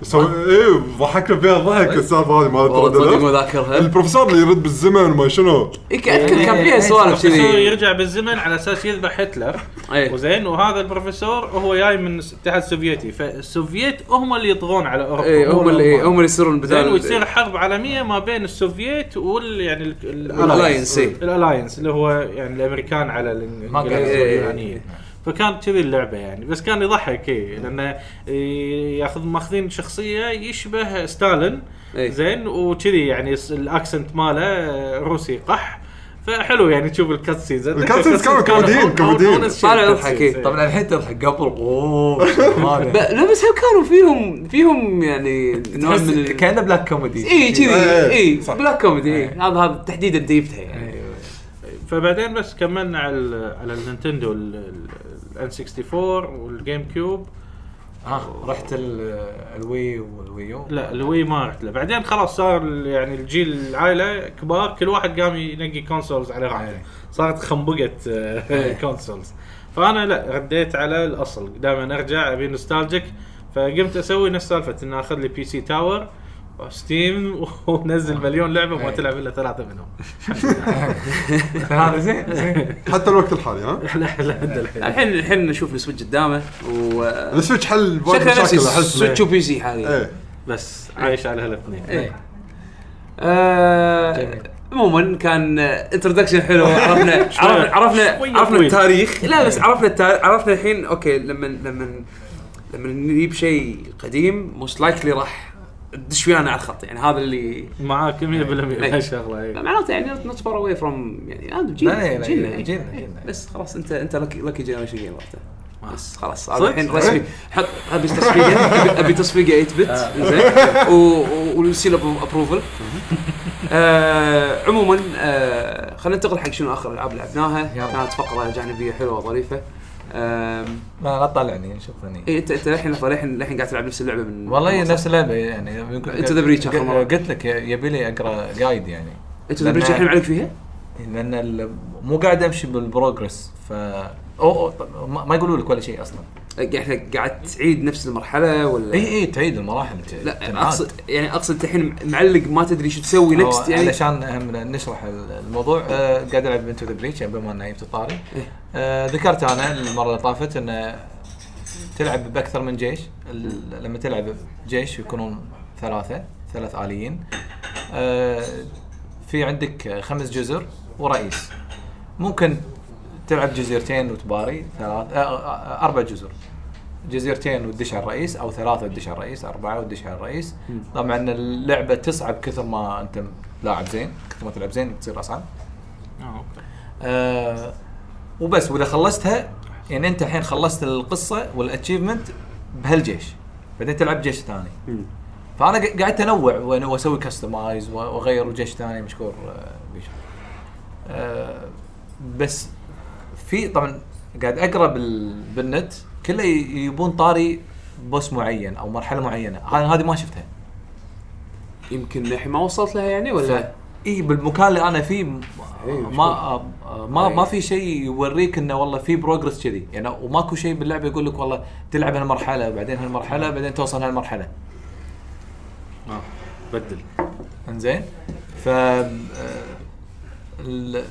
سو ايه ضحكنا فيها ضحك السالفه هذه مالت
والله
رد
تصدق ما
الأرض.
ذاكرها
البروفيسور اللي يرد بالزمن وما شنو
اي ك- اذكر إيه، كان
إيه،
فيها سوالف
البروفيسور
كذي
يرجع بالزمن على اساس يذبح هتلر
إيه.
وزين وهذا البروفيسور هو جاي من الاتحاد السوفيتي فالسوفيت هم اللي يطغون على اوروبا
اي إيه، هم اللي هم اللي يصيرون
زين
بدال
وتصير حرب عالميه ما بين السوفيت وال يعني ال- ال-
الألاينس، إي.
الالاينس اللي هو يعني الامريكان على
ما كان
الانجليز
إي، إي، إي.
واليونانيين فكانت كذي اللعبه يعني بس كان يضحك اي لانه إي، ياخذ ماخذين شخصيه يشبه ستالين
إي.
زين وكذي يعني الس- الاكسنت ماله آه، روسي قح فحلو يعني تشوف الكات سينز
الكات سينز كانوا كوميديين، كوميديين.
طالع
إيه.
إيه،
يضحك، إي.
طبعا
طبعا الحين تضحك قبل اوه
ب-
هذا
لا بس هم كانوا فيهم فيهم يعني نوع من
تحس
ال-
كانه بلاك كوميدي
اي كذي
إيه،
اي
إيه، صح. إيه.
بلاك كوميدي إي. هذا هذا تحديدا جبتها يعني
أيوة.
فبعدين بس كملنا على ال- على النينتندو الان 64 والجيم كيوب
ها آه، رحت ال- الوي والويو
لا الوي ما رحت له بعدين خلاص صار ال- يعني الجيل العائله كبار كل واحد قام ينقي كونسولز على راحته
أي.
صارت خنبقه آه، كونسولز فانا لا رديت على الاصل دائما ارجع ابي نوستالجيك فقمت اسوي نفس سالفه ان اخذ لي بي سي تاور ستيم ونزل مليون لعبه وما
أي.
تلعب الا ثلاثه منهم
هذا زين زين
حتى الوقت الحالي ها
لا لا عند الحين
إيه.
الحين الحين نشوف السويتش قدامه و
السويتش حل وايد
شكله نفس
مشاكل احس
السويتش وبي سي حاليا
ايه
بس عايش على هالاثنين
إيه. آه،
جميل.
عموما كان انتروداكشن حلو عرفنا
شوية.
عرفنا
شوية
عرفنا, عرفنا
طويل.
التاريخ
إيه.
لا بس عرفنا التاريخ عرفنا الحين اوكي لما لما لما نجيب شيء قديم موست لايكلي راح تدش ويانا على الخط يعني هذا اللي
معاك 100% هالشغله إيه.
معناته يعني نوت فار اواي فروم يعني هذا
لا،
جيلنا
لا،
جيلنا
لا،
يعني.
جيلنا، جيلنا.
بس خلاص انت انت لكي لكي جنريشن جيم وقتها بس خلاص هذا
صدق؟
الحين رسمي حط ابي تصفيقه أبي- ابي تصفيقه 8
آه.
بت زين و- و- والسيل ابروفل آه عموما آه خلينا ننتقل حق شنو اخر العاب لعبناها
يلا.
كانت فقره جانبيه حلوه وظريفه آم،
لا لا تطلعني شوفني
إيه، انت انت الحين لحظه الحين الحين قاعد تلعب نفس اللعبه من
والله
من
نفس اللعبه يعني يمكن-
Into the Breach آخر مرة.
قلت لك يبي لي اقرا جايد يعني
انت
لأن-
البريتش الحين معلق فيها؟
لان ال- مو قاعد امشي بالبروجرس ف أو أو ما ما يقولوا لك ولا شيء اصلا
يعني احنا قاعد تعيد نفس المرحله ولا
اي اي إيه، تعيد المراحل ت- تنعاد.
لا اقصد يعني اقصد أنت الحين معلق ما تدري شو تسوي نكست
أو
يعني
علشان هم نشرح ال- الموضوع آه، قاعد العب انتو ذا بريتش يعني بما انه جبت طاري آه، ذكرت انا المره اللي طافت انه تلعب باكثر من جيش ال- لما تلعب جيش يكونون ثلاثه ثلاث اليين آه، في عندك خمس جزر ورئيس ممكن تلعب جزيرتين وتباري ثلاث آه، آه، اربع جزر جزيرتين وتدش على الرئيس او ثلاثه تدش على الرئيس اربعه وتدش على الرئيس طبعا اللعبه تصعب كثر ما انت لاعب زين كثر ما تلعب زين تصير اصعب
آه، أوكي.
آه وبس واذا خلصتها يعني انت الحين خلصت القصه والاتشيفمنت بهالجيش بعدين تلعب جيش ثاني فانا ق- قعدت انوع وأنا- واسوي كستمايز واغير جيش ثاني مشكور آه، بيشو. آه بس في طبعا قاعد اقرا بال- بالنت كله ي- يبون طاري بوس معين او مرحله معينه هذه هذه ما شفتها
يمكن للحين ما وصلت لها يعني ولا
اي بالمكان اللي انا فيه م-
إي، مشكور.
ما ما
إي.
ما في شيء يوريك انه والله في بروجرس كذي يعني وماكو شيء باللعبه يقول لك والله تلعب هالمرحله بعدين هالمرحله بعدين توصل هالمرحله
آه، بدل
انزين ف آه، ال-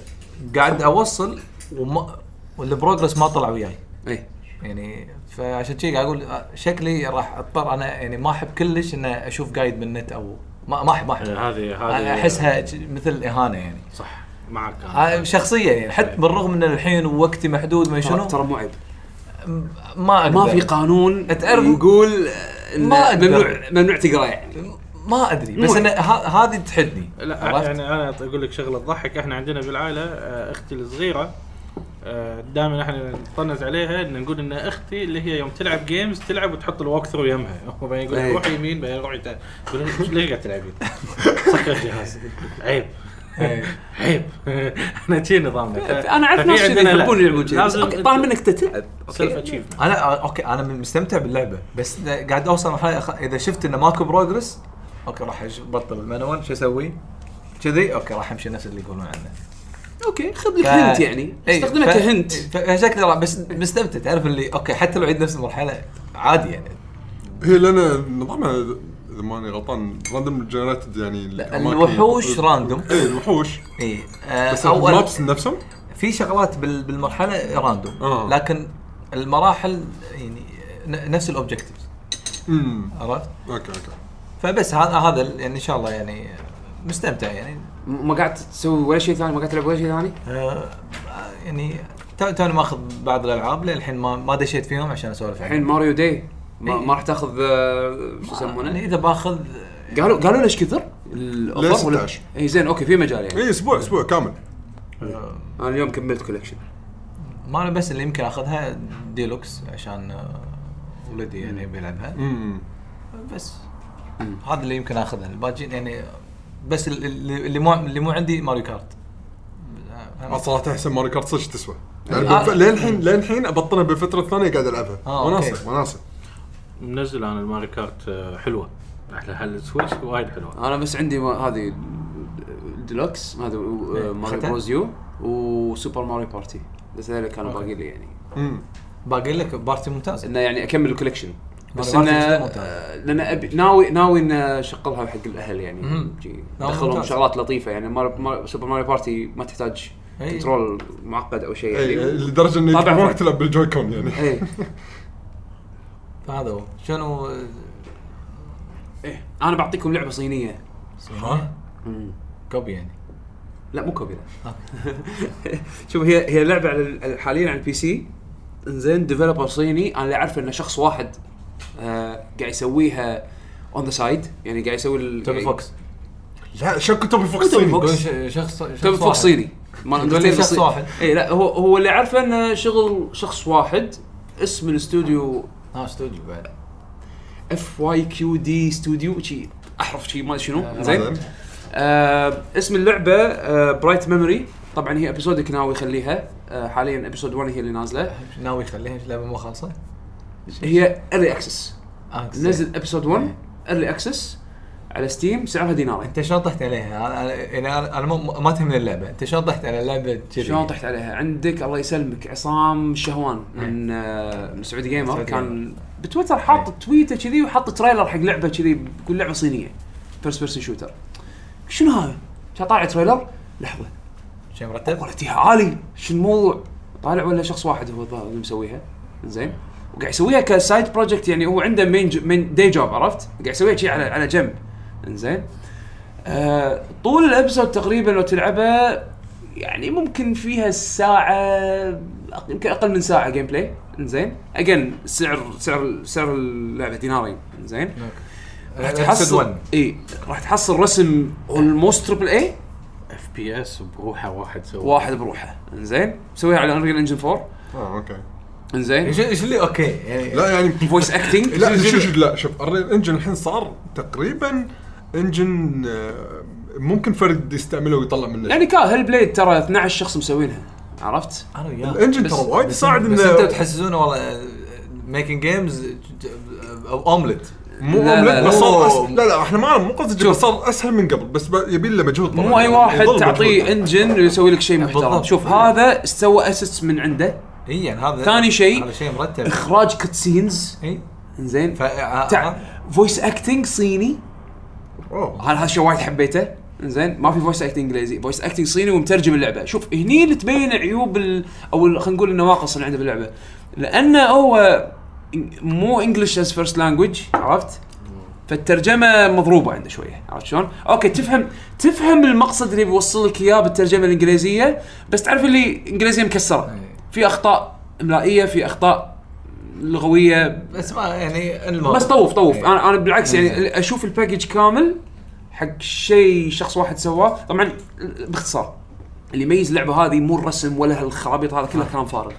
قاعد اوصل وما والبروجرس ما طلع وياي
ايه
يعني فعشان كذي قاعد اقول آه، شكلي راح اضطر انا يعني ما احب كلش ان اشوف جايد بالنت او ما ما احب ما احب
آه، هذه هذه
احسها مثل اهانه يعني
صح معك انا
آه، شخصيا يعني
إيه.
حتى بالرغم من الحين وقتي محدود ما
ترى
إيه، شنو
ترى مو عيب
ما اقدر
ما في قانون
تعرف-
يقول آه، إن
ما أقدر.
ممنوع ممنوع تقرا يعني
ما ادري بس
مو-
انا ه- هذه تحدني
لا
عرفت؟
يعني انا اقول لك شغله تضحك احنا عندنا بالعائله آه، اختي الصغيره آه، دائما احنا نطنز عليها ان نقول ان اختي اللي هي يوم تلعب جيمز تلعب وتحط الوك ثرو يمها وبعدين يقول لك
إيه.
روح يمين بعدين روح يمين يقول لك ليش قاعد تلعبين؟ سكر الجهاز عيب عيب احنا شي نظامنا
انا اعرف
ففي
ناس كذي
عندنا لا.
يحبون يلعبون كذي بس
لازم
أوكي، طيب. طالما انك تلعب
سيلف
اوكي
اتشيفمنت
انا اوكي انا آه، من- مستمتع باللعبه بس إذا قاعد اوصل مرحله أخ- اذا شفت انه ماكو بروجرس اوكي راح أش- بطل المانوال شو اسوي؟ كذي اوكي راح امشي نفس اللي يقولون عنه
اوكي خذ لك هنت يعني
إيه،
استخدمها كهنت
شكله بس مستمتع تعرف اللي اوكي حتى لو عيد نفس المرحله عادي يعني
هي لان نظامها اذا ماني غلطان راندوم جنريتد يعني
لا،
الأماكن-
الوحوش راندوم
اي الوحوش
اي آه،
بس المابس نفسهم
في شغلات بال- بالمرحله راندوم
آه.
لكن المراحل يعني ن- نفس الاوبجكتيفز
امم
عرفت؟
اوكي اوكي
فبس هذا هذا ال- يعني ان شاء الله يعني مستمتع يعني
م- ما قاعد تسوي ولا شيء ثاني ما قاعد تلعب ولا شيء ثاني
آه، يعني تو- توني ماخذ بعض الالعاب للحين ما ما دشيت فيهم عشان اسولف عنهم.
الحين ماريو داي ما,
إيه.
ما راح تاخذ آه، شو
يعني
يسمونه
اذا باخذ
قالوا قالوا ليش كثر؟ الاوفر
ليه
ولا-
16.
اي زين اوكي في مجال يعني
اي اسبوع اسبوع إيه، كامل
آه،
انا اليوم كملت كوليكشن
ما انا بس اللي يمكن اخذها ديلوكس عشان آه، ولدي يعني يبي يلعبها
امم
بس هذا اللي يمكن اخذه الباقيين يعني بس ال- ال- اللي مو اللي مو عندي ماريو كارت
أنا صراحه احسن ماري كارت صدق تسوى يعني
آه.
بالف- للحين للحين ابطلها بالفتره الثانيه قاعد العبها
آه،
وناسه
أوكي.
وناسه
منزل انا الماري كارت آه، حلوه احلى حل السويتش وايد حلوه
انا بس عندي ما- هذه ديلوكس هذا و- آه، ماريو
ختم؟
بروز يو وسوبر ماريو بارتي بس هذول كانوا باقي لي يعني
امم
باقي لك بارتي ممتاز
انه يعني اكمل الكوليكشن بس
ماريو
انه
بارتي ممتاز.
آه، لان ابي ناوي ناوي ان اشغلها حق الاهل يعني
مم.
جي-
نعم،
دخلهم
ممتاز.
شغلات لطيفه يعني مار- مار- سوبر ماريو بارتي ما تحتاج
أي.
كنترول معقد او شيء
اي
يعني
لدرجه اني
طبعاً.
ما تلعب بالجوي كون يعني
ايه
فهذا هو شنو آه،
ايه انا بعطيكم لعبه صينيه
ها كوبي يعني
لا مو كوبي لا شوف هي هي لعبه على ال- حاليا على البي سي زين ديفلوبر صيني انا اللي اعرفه انه شخص واحد آه قاعد يسويها اون ذا سايد يعني قاعد يسوي ال-
توبي فوكس
لا شكو توبي فوكس
توبي
صيني.
فوكس.
يقول ش- شخص شخص
توبي فوكس
واحد.
صيني مال
يقول لي
Undertale
شخص
الصيني.
واحد.
اي لا هو هو اللي اعرفه انه شغل شخص واحد اسم الاستوديو
ها استوديو بعد
اف واي كيو دي استوديو شي احرف شي ما ادري شنو زين
زين
آه اسم آه، اللعبه برايت ميموري طبعا هي ابيسودك ناوي يخليها آه حاليا ابيسود 1 هي اللي نازله
ناوي يخليها لعبه مو خالصه
هي ايرلي اكسس
آه،
نزل ابيسود 1 ايرلي اكسس على ستيم سعرها دينارين
انت شلون طحت عليها؟ أنا- أنا- يعني انا أنا مو- ما تهمني اللعبه، انت شلون طحت على اللعبه كذي؟
شلون طحت عليها؟ عندك الله يسلمك عصام الشهوان من آه، من سعودي جيمر
سعودي
كان بتويتر حاط تويته كذي وحاط تريلر حق لعبه كذي بكل لعبه صينيه فيرست بيرسن شوتر شنو هذا؟ كان طالع تريلر لحظه
شيء مرتب؟
كواليتيها عالي شو الموضوع؟ طالع ولا شخص واحد هو الظاهر اللي مسويها زين وقاعد يسويها كسايد بروجكت يعني هو عنده مين جو مين دي جوب عرفت؟ قاعد يسويها شي على على جنب زين آه طول الابسود تقريبا لو تلعبها يعني ممكن فيها ساعة يمكن اقل من ساعة جيم بلاي زين اجين سعر سعر سعر اللعبة دينارين زين راح تحصل اي راح تحصل رسم اولموست تربل اي
اف بي اس بروحه واحد سوى
واحد بروحه انزين مسويها على انريل انجن 4
اه اوكي
انزين
ايش ايش اللي اوكي يعني
لا يعني
فويس اكتنج
لا شوف شوف لا شوف الريل انجن الحين صار تقريبا انجن آه، ممكن فرد يستعمله ويطلع منه
يعني كا هيل بليد ترى 12 شخص مسوينها عرفت؟
انا وياك
الانجن
بس-
ترى وايد يساعد
بس انتم
انه
تحسسونه والله آه، ميكينج جيمز او اوملت
مو
لا، لا،
أوملت، بس
لا.
صار
أوه.
أس- لا لا احنا ما مو قصدي بس صار اسهل من قبل بس ب- يبي له مجهود طبعاً.
مو اي واحد
يظل
تعطيه
مجهود.
انجن ويسوي لك شيء محترم
بالضبط.
شوف هذا سوى اسيتس من عنده
اي يعني هذا
ثاني شيء
هذا شيء مرتب
اخراج كتسينز
اي
انزين
ف آه،
تع...
آه،
فويس اكتنج صيني
أوه.
هذا هذا الشيء وايد حبيته انزين ما في فويس اكتنج انجليزي فويس اكتنج صيني ومترجم اللعبه شوف هني اللي تبين عيوب ال... او ال- خلينا نقول النواقص اللي عنده باللعبه لانه هو إن- مو انجلش از فيرست لانجوج عرفت فالترجمه مضروبه عنده شويه عرفت شلون؟ اوكي تفهم تفهم المقصد اللي بيوصل لك اياه بالترجمه الانجليزيه بس تعرف اللي انجليزيه مكسره في اخطاء املائيه في اخطاء لغويه
بس ما يعني المهم
بس طوف طوف
إي.
انا انا بالعكس يعني اشوف الباكج كامل حق شيء شخص واحد سواه طبعا باختصار اللي يميز اللعبه هذه مو الرسم ولا هالخرابيط هذا كله كلام فارغ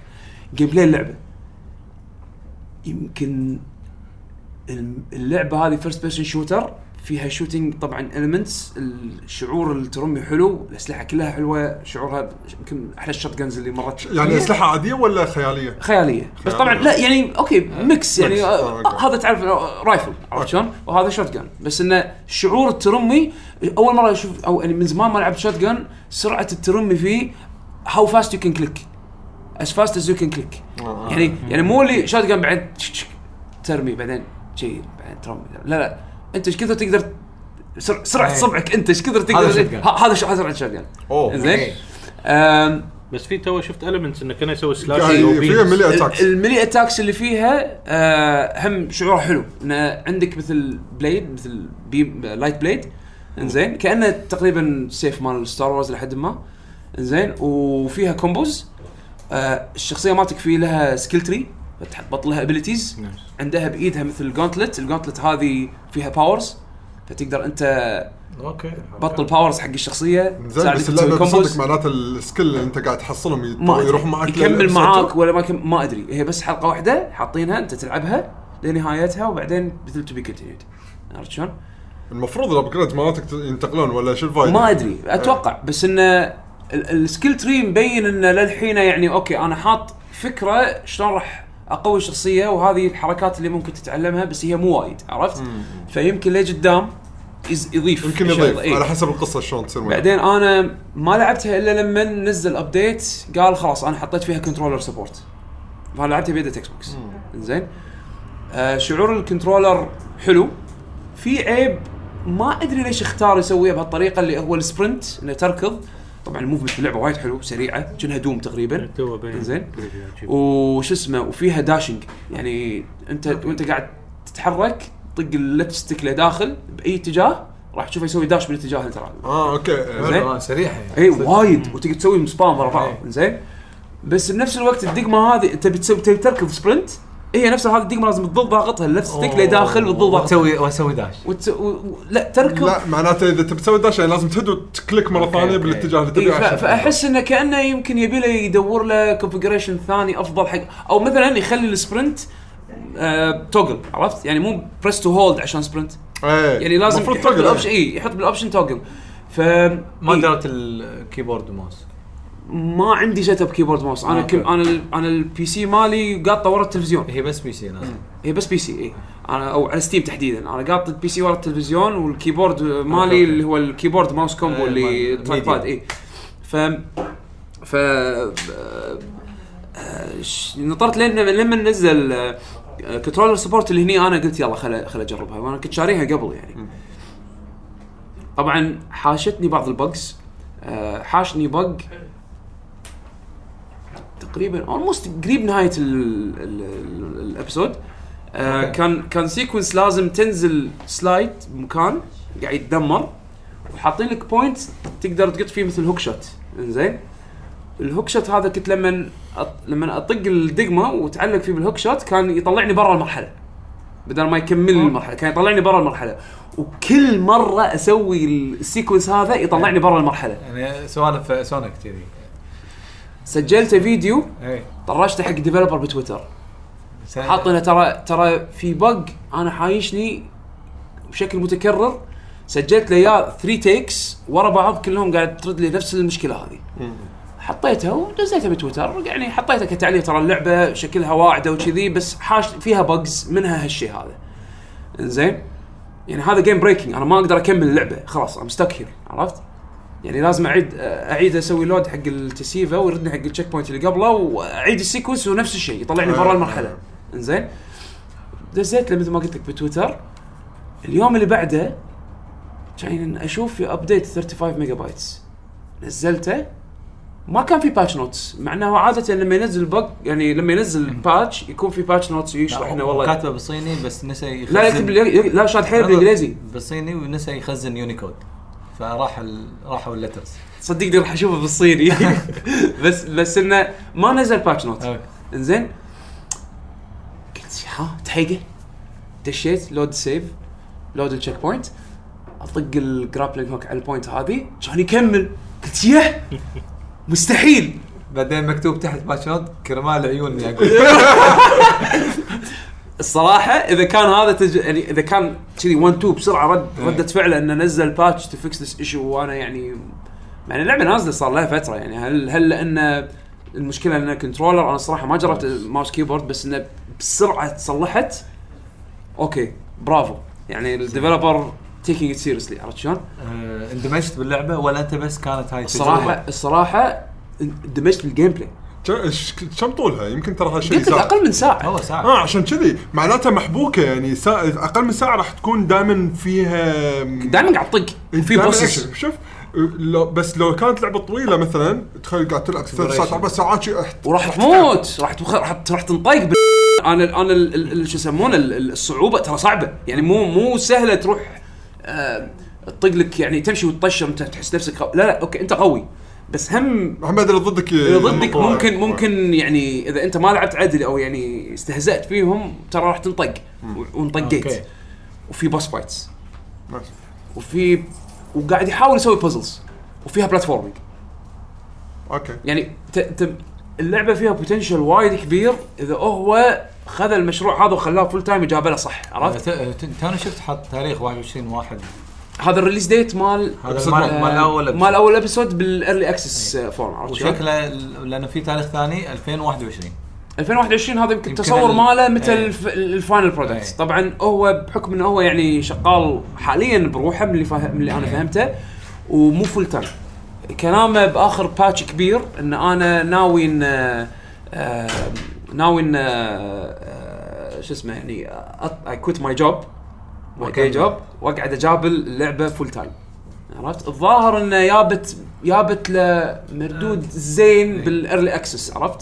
جيم بلاي اللعبه يمكن الم- اللعبه هذه فيرست بيرسون شوتر فيها شوتنج طبعا المنتس الشعور الترمي حلو الاسلحه كلها حلوه شعورها يمكن احلى الشوت جنز اللي مرت إيه.
يعني اسلحه عاديه ولا خياليه؟
خياليه بس طبعا لا يعني اوكي ميكس يعني
ميكس.
آه،
أوكي.
هذا تعرف آه، رايفل عرفت شلون؟ وهذا شوت جان بس انه شعور الترمي اول مره اشوف او يعني من زمان ما لعبت شوت جان سرعه الترمي فيه هاو فاست يو كان كليك as fast as you can click
آه.
يعني يعني مو اللي شوت جان بعدين تش- تش- ترمي بعدين شيء بعدين ترمي لا لا انت ايش كثر تقدر سر- سرعه
أي.
صبعك انت ايش كثر
إيه. هذا
تقدر
shotgun.
ه- هذا شو- هذا سرعه شوت جان
اوه
زين
بس في تو شفت المنتس انه كان يسوي
يعني
سلاش
فيها
وبينز.
ملي اتاكس
الميلي اتاكس اللي فيها آه هم شعورها حلو انه عندك مثل بليد مثل آه، بيم لايت بليد انزين كانه تقريبا سيف مال ستار وورز لحد ما انزين وفيها كومبوز آه الشخصيه مالتك في لها سكيل تري فتحط لها ابيلتيز
نعم.
عندها بايدها مثل الجونتلت الجونتلت هذه فيها باورز فتقدر انت
اوكي
بطل باورز حق الشخصيه
زين
تساعدك
بس
تسوي
اللعبه
combos.
صدق معناته السكيل اللي انت قاعد تحصلهم يت-
ما أدري.
يروح طيب، معك
يكمل
لل-
معاك ولا ما يكمل ما ادري هي بس حلقه واحده حاطينها انت تلعبها لنهايتها وبعدين مثل تو بي كونتينيود عرفت شلون؟
المفروض الابجريد مالتك ينتقلون ولا شو الفايده؟
ما ادري اتوقع بس انه السكيل تري مبين انه للحين يعني اوكي انا حاط فكره شلون راح اقوي الشخصيه وهذه الحركات اللي ممكن تتعلمها بس هي مو وايد عرفت؟ فيمكن لقدام يز- يضيف
يمكن
أشياء-
يضيف
إيه.
على حسب القصه شلون تصير وياك.
بعدين انا ما لعبتها الا لما نزل ابديت قال خلاص انا حطيت فيها كنترولر سبورت فانا لعبتها بيد اكس بوكس زين آه شعور الكنترولر حلو في عيب ما ادري ليش اختار يسويها بهالطريقه اللي هو السبرنت انه تركض طبعا الموفمنت في اللعبه وايد حلو سريعه كأنها دوم تقريبا
تو بين
زين. وش اسمه وفيها داشنج يعني انت وانت قاعد تتحرك طق اللفت ستيك لداخل باي اتجاه راح تشوفه يسوي داش بالاتجاه اللي انت رايح له.
اه اوكي
زين.
آه، سريعه يعني.
اي إيه، وايد وتقدر تسوي سبام ورا بعض
إيه.
زين بس بنفس الوقت الدقمه هذه انت بتسوي تبي تركض سبرنت هي نفسها هذه الدقمه لازم تظل ضاغطها اللفت ستيك لداخل وتظل ضاغطها
واسوي واسوي داش
وت... و... و... لا إيه، تركض
لا معناته اذا تبي تسوي داش يعني لازم تهد وتكليك مره ثانيه
أوكي.
بالاتجاه اللي
إيه
تبيه
ف...
عشان-
فاحس انه كانه يمكن يبي له يدور له كونفجريشن ثاني افضل حق او مثلا يخلي السبرنت آه... توجل عرفت يعني مو بريس تو هولد عشان سبرنت
إيه.
يعني لازم
المفروض
يحط
تقدر.
بالاوبشن اي يحط بالاوبشن توجل ف
إيه. ما
إيه.
درت الكيبورد وماوس
ما عندي سيت اب كيبورد ماوس انا
أوكي.
كم انا ال- انا البي سي مالي قاطه ورا التلفزيون
هي بس بي سي نازل.
هي بس بي سي اي انا او على ستيم تحديدا انا قاط البي سي ورا التلفزيون والكيبورد مالي
أوكي.
اللي هو الكيبورد ماوس كومبو
إيه،
اللي
مال-
التراك باد
ميديا.
اي ف ف ش- eh, نطرت لين لما نزل كنترولر سبورت اللي هني انا قلت يلا خل خل اجربها وانا كنت شاريها قبل يعني طبعا حاشتني بعض البجز حاشني بج تقريبا اولموست قريب نهايه ال- ال- الابسود آه،
أوكي.
كان كان سيكونس لازم تنزل سلايد بمكان قاعد يتدمر وحاطين لك بوينت تقدر تقط فيه مثل هوك شوت انزين الهوك شوت هذا كنت لما أط... لما اطق الدقمه وتعلق فيه بالهوك شوت كان يطلعني برا المرحله بدل ما يكمل لي المرحله كان يطلعني برا المرحله وكل مره اسوي السيكونس هذا يطلعني برا المرحله
يعني سوالف سونيك كذي
سجلت فيديو
اي
طرشته حق ديفلوبر بتويتر
س-
حاطينه ترى ترى في بق انا حايشني بشكل متكرر سجلت لي اياه 3 تيكس ورا بعض كلهم قاعد ترد لي نفس المشكله هذه حطيتها ونزلتها بتويتر يعني حطيتها كتعليق ترى اللعبه شكلها واعده وكذي بس حاش فيها بجز منها هالشيء هذا زين يعني هذا جيم بريكنج انا ما اقدر اكمل اللعبه خلاص ام ستك هير عرفت يعني لازم اعيد اعيد اسوي لود حق التسيفا ويردني حق التشيك بوينت اللي قبله واعيد السيكونس ونفس الشيء يطلعني
آه.
برا المرحله انزين دزيت له مثل ما قلت لك بتويتر اليوم اللي بعده كان اشوف في ابديت 35 ميجا بايتس نزلته ما كان في باتش نوتس مع انه عاده لما ينزل بق يعني لما ينزل باتش يكون في باتش نوتس
لا،
ويشرح انه
هو
والله
كاتبه بالصيني بس نسى يخزن
لا لا يكتب بالإنج- لا شاد حيله بالانجليزي
بالصيني ونسى يخزن يونيكود فراح ال... راحوا اللترز
صدقني راح اشوفه بالصيني بس بس انه ما نزل باتش نوت انزين قلت ها تحيقه دشيت لود سيف لود التشيك بوينت اطق الجرابلينج هوك على البوينت هذه كان يكمل قلت ياه مستحيل
بعدين مكتوب تحت باتش نوت كرمال عيون يعقوب
الصراحه اذا كان هذا تج... يعني اذا كان كذي 1 2 بسرعه رد رده فعله انه نزل باتش تو فيكس ذس ايشو وانا يعني يعني اللعبه نازله صار لها فتره يعني هل هل لان المشكله ان كنترولر انا الصراحه ما جربت ماوس كيبورد بس انه بسرعه تصلحت اوكي برافو يعني الديفلوبر تيكينج ات سيريسلي عرفت شلون؟
آه، اندمجت باللعبه ولا انت بس كانت هاي
الصراحه الصراحه اندمجت بالجيم بلاي
كم- ش- كم طولها يمكن ترى هالشيء
قلت لك
ساعة.
اقل من ساعه
هو ساعه
اه عشان كذي معناتها محبوكه يعني سا... اقل من ساعه راح تكون دائما فيها
دائما قاعد طق في
دائماً
بوسس
أكشن. شوف لو بس لو كانت لعبه طويله مثلا تخيل قاعد تلعب ثلاث ساعات اربع ساعات شي أحت-
وراح تموت راح تخ... راح راح تنطيق بال... انا انا ال- ال- ال- شو يسمونه ال- ال- الصعوبه ترى صعبه يعني مو مو سهله تروح آه، تطق لك يعني تمشي وتطشر انت تحس نفسك قو- لا لا اوكي انت قوي بس هم
محمد اللي ضدك
اللي ضدك ممكن ممكن يعني اذا انت ما لعبت عدل او يعني استهزأت فيهم ترى راح تنطق و-
أوكي.
وانطقيت وفي بوس فايتس وفي وقاعد يحاول يسوي بازلز وفيها بلاتفورمينج
اوكي
يعني ت... ت... اللعبه فيها بوتنشل وايد كبير اذا هو خذ المشروع هذا وخلاه فول تايم وجابه له صح عرفت؟
آه، توني شفت حط تاريخ 21 واحد
هذا الريليز ديت مال
هذا مال مال أيوة. اول
مال اول ابيسود بالايرلي اكسس فورم عرفت شلون؟
وشكله ال- لانه في تاريخ ثاني 2021
2021 هذا يمكن
يمكن
التصور
ال-
ماله مثل
إيه.
الف... الفاينل برودكت
إيه.
طبعا هو بحكم انه هو يعني شغال حاليا بروحه من اللي فاهم من اللي انا
إيه.
فهمته ومو فول تايم كلامه باخر باتش كبير ان انا ناوي ان آه، آه، ناوي ان آه، شو اسمه يعني اي كويت ماي جوب ماي داي
وأكمل.
جوب واقعد اجابل اللعبه فول تايم عرفت الظاهر انه يابت يابت له
آه.
مردود زين
إيه.
بالايرلي اكسس عرفت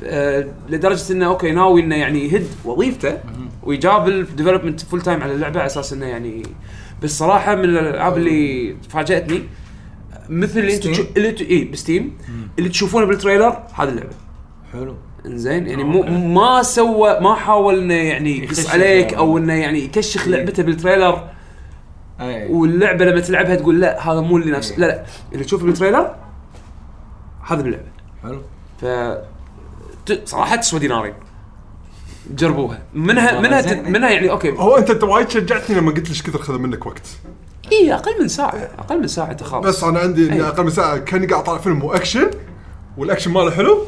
ف- آه، لدرجه انه اوكي ناوي انه يعني يهد وظيفته ويجاب الديفلوبمنت فول تايم على اللعبه على اساس انه يعني بس صراحه من الالعاب اللي فاجاتني مثل اللي انتم
بستيم؟
اللي انتم اي بستيم اللي تشوفونه بالتريلر هذه اللعبه
حلو
انزين يعني مو ما سوى ما حاول انه يعني يقص
يكشف
عليك
يعني.
او انه يعني يكشخ لعبته بالتريلر
اي
واللعبه لما تلعبها تقول لا هذا مو اللي نفس
إيه.
لا لا اللي تشوفه بالتريلر هذا باللعبه
حلو
ف ت- صراحه تسوى دينارين جربوها منها منها
زين.
تت- منها يعني اوكي
هو انت انت وايد شجعتني لما قلت لي ايش كثر خذ منك وقت
اي اقل من ساعه اقل من ساعه انت خالص
بس انا عندي اني
أي.
اقل من ساعه كاني قاعد اطالع فيلم واكشن والاكشن ماله حلو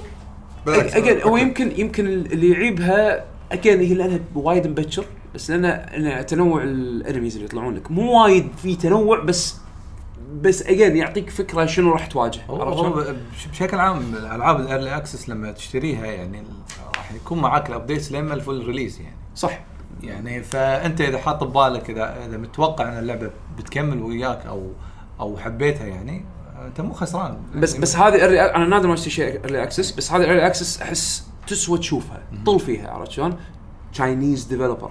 بالعكس
اجين هو يمكن يمكن اللي يعيبها اجين هي لانها وايد مبكر بس لانها لأن تنوع الانميز اللي يطلعون لك مو وايد في تنوع بس بس اجين يعطيك فكره شنو راح تواجه
هو
عرفت
هو
شلون؟
بش- بشكل عام الالعاب الايرلي اكسس لما تشتريها يعني ال- راح يكون معاك الابديتس لما الفول ريليز يعني
صح
يعني فانت اذا حاط ببالك اذا اذا متوقع ان اللعبه بتكمل وياك او او حبيتها يعني انت مو خسران
بس
يعني
بس هذه early- انا نادر ما اشتري شيء ايرلي اكسس بس هذه ايرلي اكسس احس تسوى تشوفها طل فيها عرفت شلون؟ تشاينيز ديفلوبر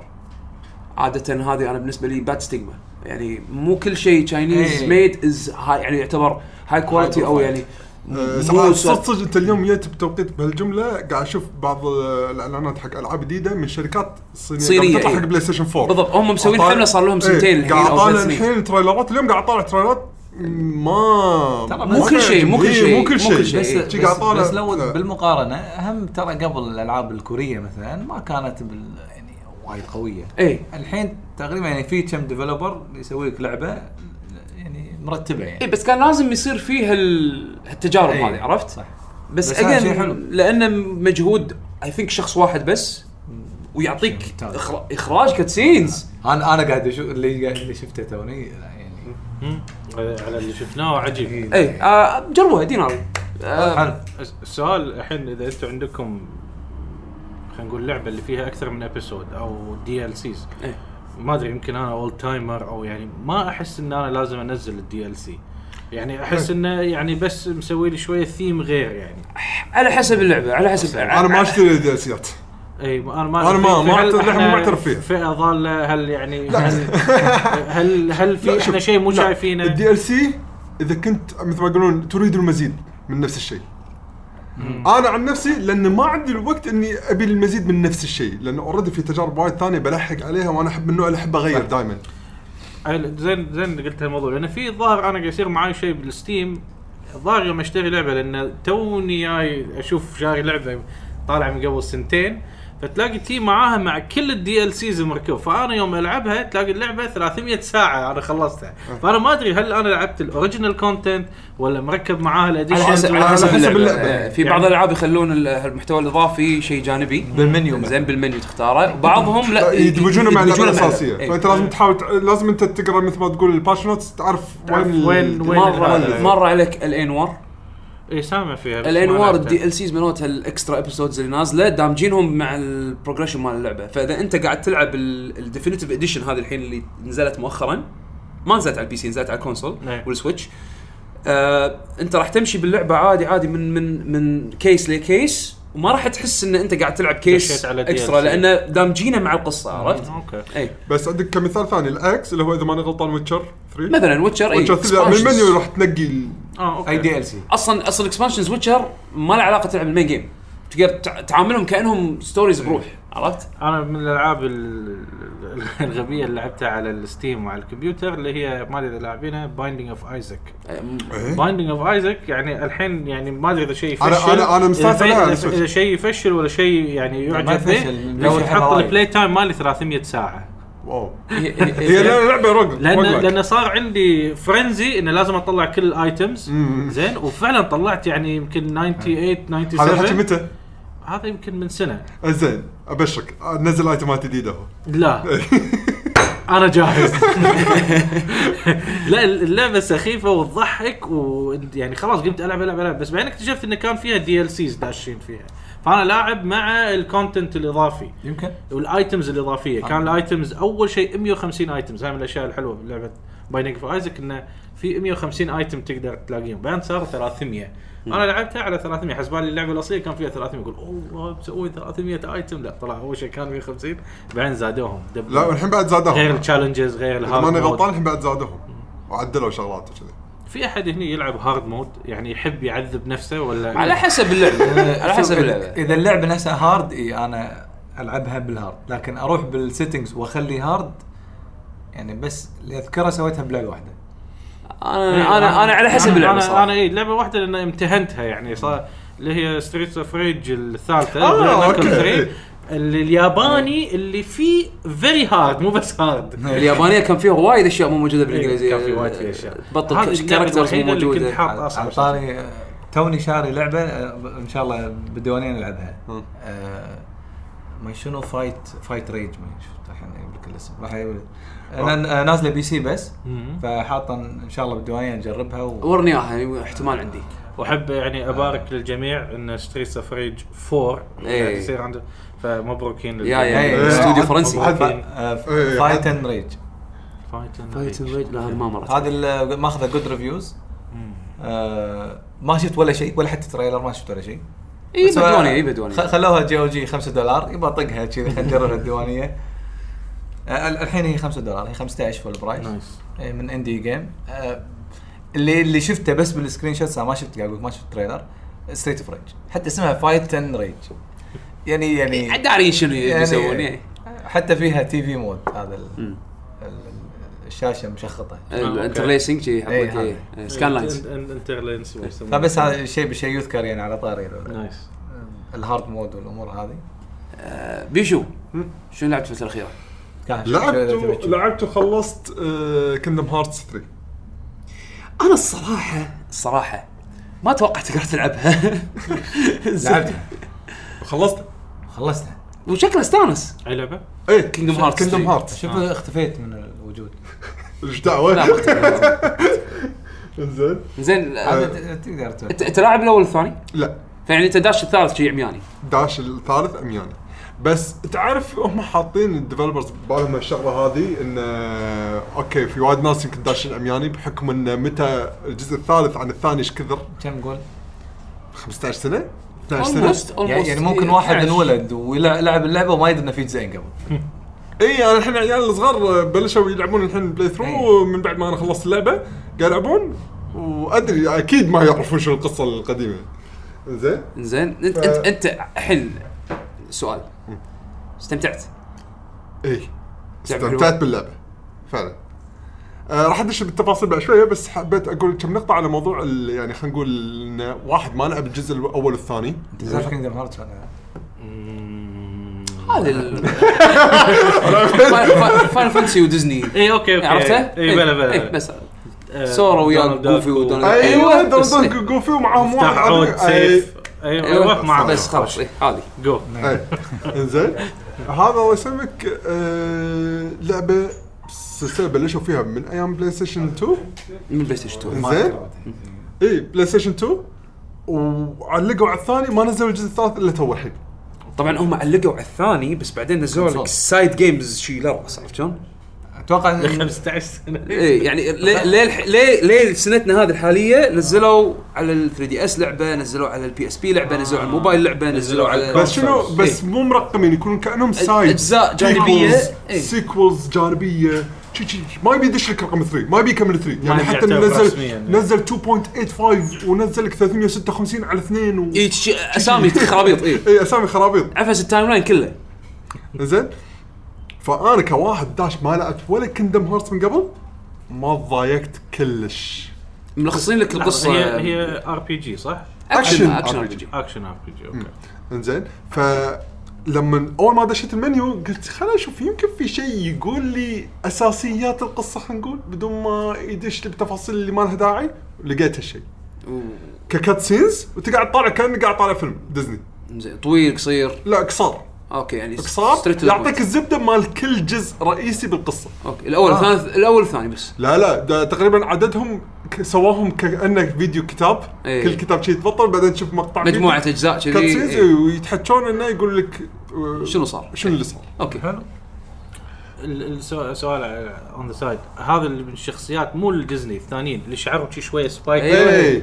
عاده هذه انا بالنسبه لي باد ستيغما يعني مو كل شيء تشاينيز
إيه.
ميد از يعني يعتبر هاي كواليتي او
profile. أه،
يعني
آه،
مو
صراحة
سوالف-
صدق صدق انت اليوم جيت بتوقيت بهالجمله قاعد اشوف بعض آه، الاعلانات حق العاب جديده من شركات صينيه
صينية،
قاعد تطلع
إيه.
حق بلاي ستيشن 4
بالضبط هم مسوين
أطالع-
حمله صار لهم
إيه،
سنتين الحين
قاعد
او ثلاث
اطالع
سنين
الحين تريلرات اليوم قاعد اطالع تريلرات ما
ترى
مو كل شيء مو كل شيء
مو كل شيء
بس,
إيه.
شي قاعد
بس,
طالع-
بس لو
لا.
بالمقارنه هم ترى قبل الالعاب الكوريه مثلا ما كانت بال يعني وايد قويه
إيه.
اي
الحين تقريبا يعني في كم ديفلوبر يسوي لك لعبه يعني مرتبه
اي
إيه،
يعني
إيه، بس كان لازم يصير فيها ال- هالتجارب
إيه.
هذه عرفت؟
صح
بس,
بس
بس
هذا شيء حلو.
اجين لانه مجهود اي ثينك شخص واحد بس ويعطيك
شيء ممتاز.
إخر- اخراج كاتسينز
انا انا قاعد اشوف اللي اللي شفته توني يعني
مم. على اللي شفناه عجيب
إيه.
اي آه جربوها دينار آه
حلو
الس- السؤال الحين اذا انتم عندكم خلينا نقول لعبه اللي فيها اكثر من ابيسود او دي ال سيز
إيه.
ما ادري يمكن انا اول تايمر او يعني ما احس ان انا لازم انزل الدي ال سي يعني احس انه يعني بس مسوي لي شويه ثيم غير يعني
على حسب اللعبه على حسب
انا ما اشتري دي سيات
اي انا ما
أنا ما- ما
فهل
أعترف-
إحنا
ما أعترف فيها.
فئه ضاله هل يعني هل هل هل في احنا شيء مو شايفينه
الدي ال سي اذا كنت مثل ما يقولون تريد المزيد من نفس الشيء انا عن نفسي لان ما عندي الوقت اني ابي المزيد من نفس الشيء لان اوريدي في تجارب وايد ثانيه بلحق عليها وانا احب من النوع اللي احب اغير دائما
هل- زين زين قلت هالموضوع لان في ظاهر انا قاعد يصير معي شيء بالستيم الظاهر يوم اشتري لعبه لان توني جاي اشوف شاري لعبه طالعه من قبل سنتين فتلاقي تي معاها مع كل الدي ال سيز المركوب فانا يوم العبها تلاقي اللعبه 300 ساعه انا خلصتها
أه.
فانا ما ادري هل انا لعبت الاوريجنال كونتنت ولا مركب معاها
على حسب
الاديشن
على حسب اللعبه آه، في بعض
يعني-
الالعاب يخلون ال- المحتوى الاضافي شيء جانبي
بالمنيو مثلاً.
زين بالمنيو تختاره بعضهم لا
يدمجونه مع اللعبه
يدمجونه مع-
الاساسيه
إيه.
فانت لازم تحاول تع- لازم انت تقرا مثل ما تقول الباش نوتس تعرف
تعرف
وين
وين-
ال-
وين
مره
الرابع.
مره عليك الانوار
اي سامع فيها بس ما
الانوار
لعبتها.
الدي ال سيز مالتها الاكسترا ابيسودز اللي نازله دامجينهم مع البروجريشن مال اللعبه فاذا انت قاعد تلعب الديفينيتيف اديشن هذه الحين اللي نزلت مؤخرا ما نزلت على البي سي نزلت على الكونسول
نعم.
والسويتش آه، انت راح تمشي باللعبه عادي عادي من من من كيس لكيس وما راح تحس ان انت قاعد تلعب كيس
دشيت على
اكسترا
DLC.
لانه دامجينه مع القصه عرفت؟ إيه.
اوكي
اي
بس عندك كمثال ثاني الاكس اللي هو اذا ماني غلطان ويتشر 3
مثلا ويتشر اي
ويتشر 3 من
إيه.
المنيو راح تنقي ال-
اه اوكي
اي دي ال سي
اصلا اصلا اكسبانشنز ويتشر ما له علاقه تلعب المين جيم تقدر تع- تعاملهم كانهم ستوريز بروح عرفت؟
انا من الالعاب ال- ال- الغبيه اللي لعبتها على الستيم وعلى الكمبيوتر اللي هي ما ادري اذا لاعبينها بايندينج اوف ايزك بايندينج اوف ايزك يعني الحين يعني ما ادري اذا شيء يفشل
إيه. أنا- أنا- أنا مستانس
إذا-
عليها على
إذا-
السويتش.
اذا شيء يفشل ولا شيء يعني
ما
يعجب
يفشل،
به لو
بيفشل
تحط
حوالي.
البلاي تايم مالي 300 ساعه
واو
هي- هي-
هي
هي-
لعبه رقم
لان لان صار عندي فرنزي انه لازم اطلع كل الايتمز
مم.
زين وفعلا طلعت يعني يمكن 98
هذا الحكي
97
متى؟
هذا يمكن من سنه
آه، زين ابشرك آه، نزل ايتمات جديده اهو
لا انا جاهز لا اللعبه سخيفه وتضحك ويعني خلاص قمت العب العب العب بس بعدين اكتشفت انه كان فيها دي ال سيز داشين فيها فانا لاعب مع الكونتنت الاضافي
يمكن
والايتمز الاضافيه
آه.
كان الايتمز اول شيء 150 ايتمز هاي من الاشياء الحلوه بلعبه بايننج اوف ايزك انه في 150 ايتم تقدر تلاقيهم بعدين صار 300 انا لعبتها على 300 حسب بالي اللعبه الاصليه كان فيها 300 يقول اوه مسوين 300 ايتم لا طلع اول شيء كان 150 بعدين زادوهم دب-
لا الحين بعد
غير
زادوهم
التشالنجز غير
اذا
الهارد
ماني
مود.
غلطان الحين بعد زادوهم وعدلوا شغلات وكذي
في احد هنا يلعب هارد مود يعني يحب يعذب نفسه ولا
على حسب اللعبه آه، على
شوف،
حسب اللعبه
اذا اللعبه نفسها هارد اي انا العبها بالهارد لكن اروح بالسيتنجز واخلي هارد يعني بس اللي اذكره سويتها بلعبه واحده
انا انا انا على حسب اللعبه
انا انا
صراحه
اي لعبه واحده لان امتهنتها يعني صار اللي هي ستريتس اوف ريج الثالثه
آه،
Black Knuckle
أوكي.
3. اللي الياباني اللي فيه فيري هارد مو بس هارد
اليابانيه كان فيها وايد اشياء مو موجوده بالانجليزيه
كان في وايد في اشياء
بطل
هذه
ك-
اللعبة
كاركترز مو
الوحيدة اللي كنت
موجوده
حاط
على
اصلا
طاري آه، توني شاري لعبه آه، ب- ان شاء الله بالديوانيه نلعبها آه، ما شنو فايت فايت ريج ما شفت الحين يجيب لك الاسم راح يجيب لك. أنا- آه، نازله بي سي بس
مم.
فحاطه ان شاء الله بالديوانيه نجربها و...
ورني اياها احتمال عندي
واحب يعني ابارك للجميع ان ستريتس اوف ريج 4
إيه.
قاعد يصير عنده فمبروكين
يا
إيه.
يا استوديو
آه،
فرنسي
آه،
آه،
إيه،
فايت اند ريج
فايت
فايتن
ريج لا هذه ما مرت
هذه اللي ماخذه جود ريفيوز آه، ما شفت ولا شيء ولا حتى تريلر ما شفت ولا شيء
اي
بس، آه،
إيه، بدوني اي
خ-
بدوني
خلوها جي او جي 5 دولار يبا طقها كذي خلينا نجربها الديوانيه آه، ال- الحين هي 5 دولار هي 15 فول برايس
نايس
آه، من اندي جيم آه، اللي اللي شفته بس بالسكرين شوتس أنا ما شفت قاعد اقول ما شفت تريلر ستريت اوف ريج حتى اسمها فايت ان ريج يعني يعني
داري شنو بيسوون
يعني
يعني.
حتى فيها تي في مود هذا ال-
مم.
ال- ال- الشاشه مشخطه
أوكي.
الانترليسنج شي يحط
إيه،
لك
هذا.
إيه، سكان لاينز
انترلينس
فبس هذا الشيء بشيء يذكر يعني على طاري ال-
نايس
الهارد مود والامور هذه إيه.
آه، بيشو شنو لعبت الفتره الاخيره؟
كان
لعبت
شوي- شوي-
و- لعبت وخلصت كندم هارتس 3
انا الصراحه الصراحه ما توقعت تقدر تلعبها
لعبتها
خلصت
خلصتها
وشكله استانس
اي لعبه؟
ايه
Kingdom Hearts
كندم
3.
هارتس
شوف اختفيت من الوجود
آه. لا
ايش دعوه
مختلف.
زين
زين آه،
هذا ت- تقدر
انت
تقول
أنت لاعب الاول والثاني
لا
فيعني انت داش الثالث شي عمياني
داش الثالث امياني بس تعرف هم حاطين الديفلوبرز ببالهم الشغله هذه ان آه، اوكي في وايد ناس يمكن داشين امياني بحكم ان متى الجزء الثالث عن الثاني ايش كثر؟
كم قول
15 سنه؟ 12 سنه؟
Almost-
يعني
almost.
يعني ممكن
إيه،
واحد
12.
انولد ولعب اللعبه وما يدري انه في جزئين قبل
اي انا الحين عيال الصغار بلشوا يلعبون الحين بلاي
إيه.
ثرو من بعد ما انا خلصت اللعبه قاعد يلعبون وادري اكيد ما يعرفون شو القصه القديمه زين
زين انت انت انت الحين سؤال استمتعت
اي
لعبة
يعني
استمتعت باللعبه فعلا آه، راح ادش بالتفاصيل بعد شويه بس حبيت اقول كم نقطه على موضوع ال- يعني خلينا نقول إن واحد ما لعب الجزء الاول والثاني
زين كينجدم هارت ولا
هذه فاينل فانتسي وديزني
اي اوكي اوكي
عرفته؟
اي بلا بلا
إيه،
بلا
بس
آه،
سورا ويا جوفي ودونالد
ايوه
أيوة، بس-
دردون جوفي ومعاهم
مفتاح عود
واحد أي-
سيف ايوه روح معك
بس خلاص إيه، هذه
جو
إيه. انزين هذا الله يسلمك آه، لعبه سلسله بلشوا فيها من ايام بلاي ستيشن 2
من بلاي ستيشن 2
انزين اي بلاي ستيشن 2 إيه، وعلقوا على الثاني ما نزلوا الجزء الثالث الا تو الحين
طبعا هم علقوا على الثاني بس بعدين نزلوا لك
كونسول.
سايد جيمز شي لرأس عرفت شلون؟
اتوقع إن-
15 سنه
ايه يعني ليه ليه- ليه ليه سنتنا هذه الحاليه نزلوا على ال 3 دي اس لعبه نزلوا على البي اس بي لعبه نزلوا على الموبايل لعبه نزلوا على
بس شنو بس
إيه.
مو مرقمين يكونون كانهم سايد
أجزاء جانبية. إيه.
سيكولز جانبيه شي شي ما يبي يدش لك رقم 3 ما يبي يكمل 3 يعني
يبي
حتى
يعتبر
نزل
رسمياً. إيه.
نزل 2.85 ونزل لك 356 على اثنين و...
إيه، شي- اسامي خرابيط ايه
اي اسامي خرابيط
عفس التايم لاين كله
زين فانا كواحد داش ما لعبت ولا كندم هارت من قبل ما تضايقت كلش
ملخصين لك القصه
يعني.
هي هي ار بي جي صح؟
اكشن
أكشن.
اكشن
RPG.
RPG.
اكشن ار بي جي اوكي
انزين ف لما اول ما دشيت المنيو قلت خليني اشوف يمكن في شيء يقول لي اساسيات القصه خلينا نقول بدون ما يدش لي بتفاصيل اللي ما لها داعي لقيت هالشيء ككات سينز وانت قاعد طالع كانك قاعد طالع فيلم ديزني
زين طويل قصير
لا قصار
اوكي يعني
قصار
straight to the
يعطيك
point.
الزبده مال كل جزء رئيسي بالقصه
اوكي الاول الثاني الاول الثاني بس
لا لا ده تقريبا عددهم ك- سواهم كانه فيديو كتاب
إيه.
كل كتاب شيء يتبطل بعدين تشوف مقطع فيديو.
مجموعه اجزاء
كات سينز
كذي إيه.
ويتحكون انه يقول لك آه،
شنو صار؟
شنو اللي صار
اوكي
حلو
ال- السو- سؤال اون ذا سايد هذا اللي من الشخصيات مو الديزني الثانيين اللي شعرهم شي شويه سبايك
أيوة.
إيه.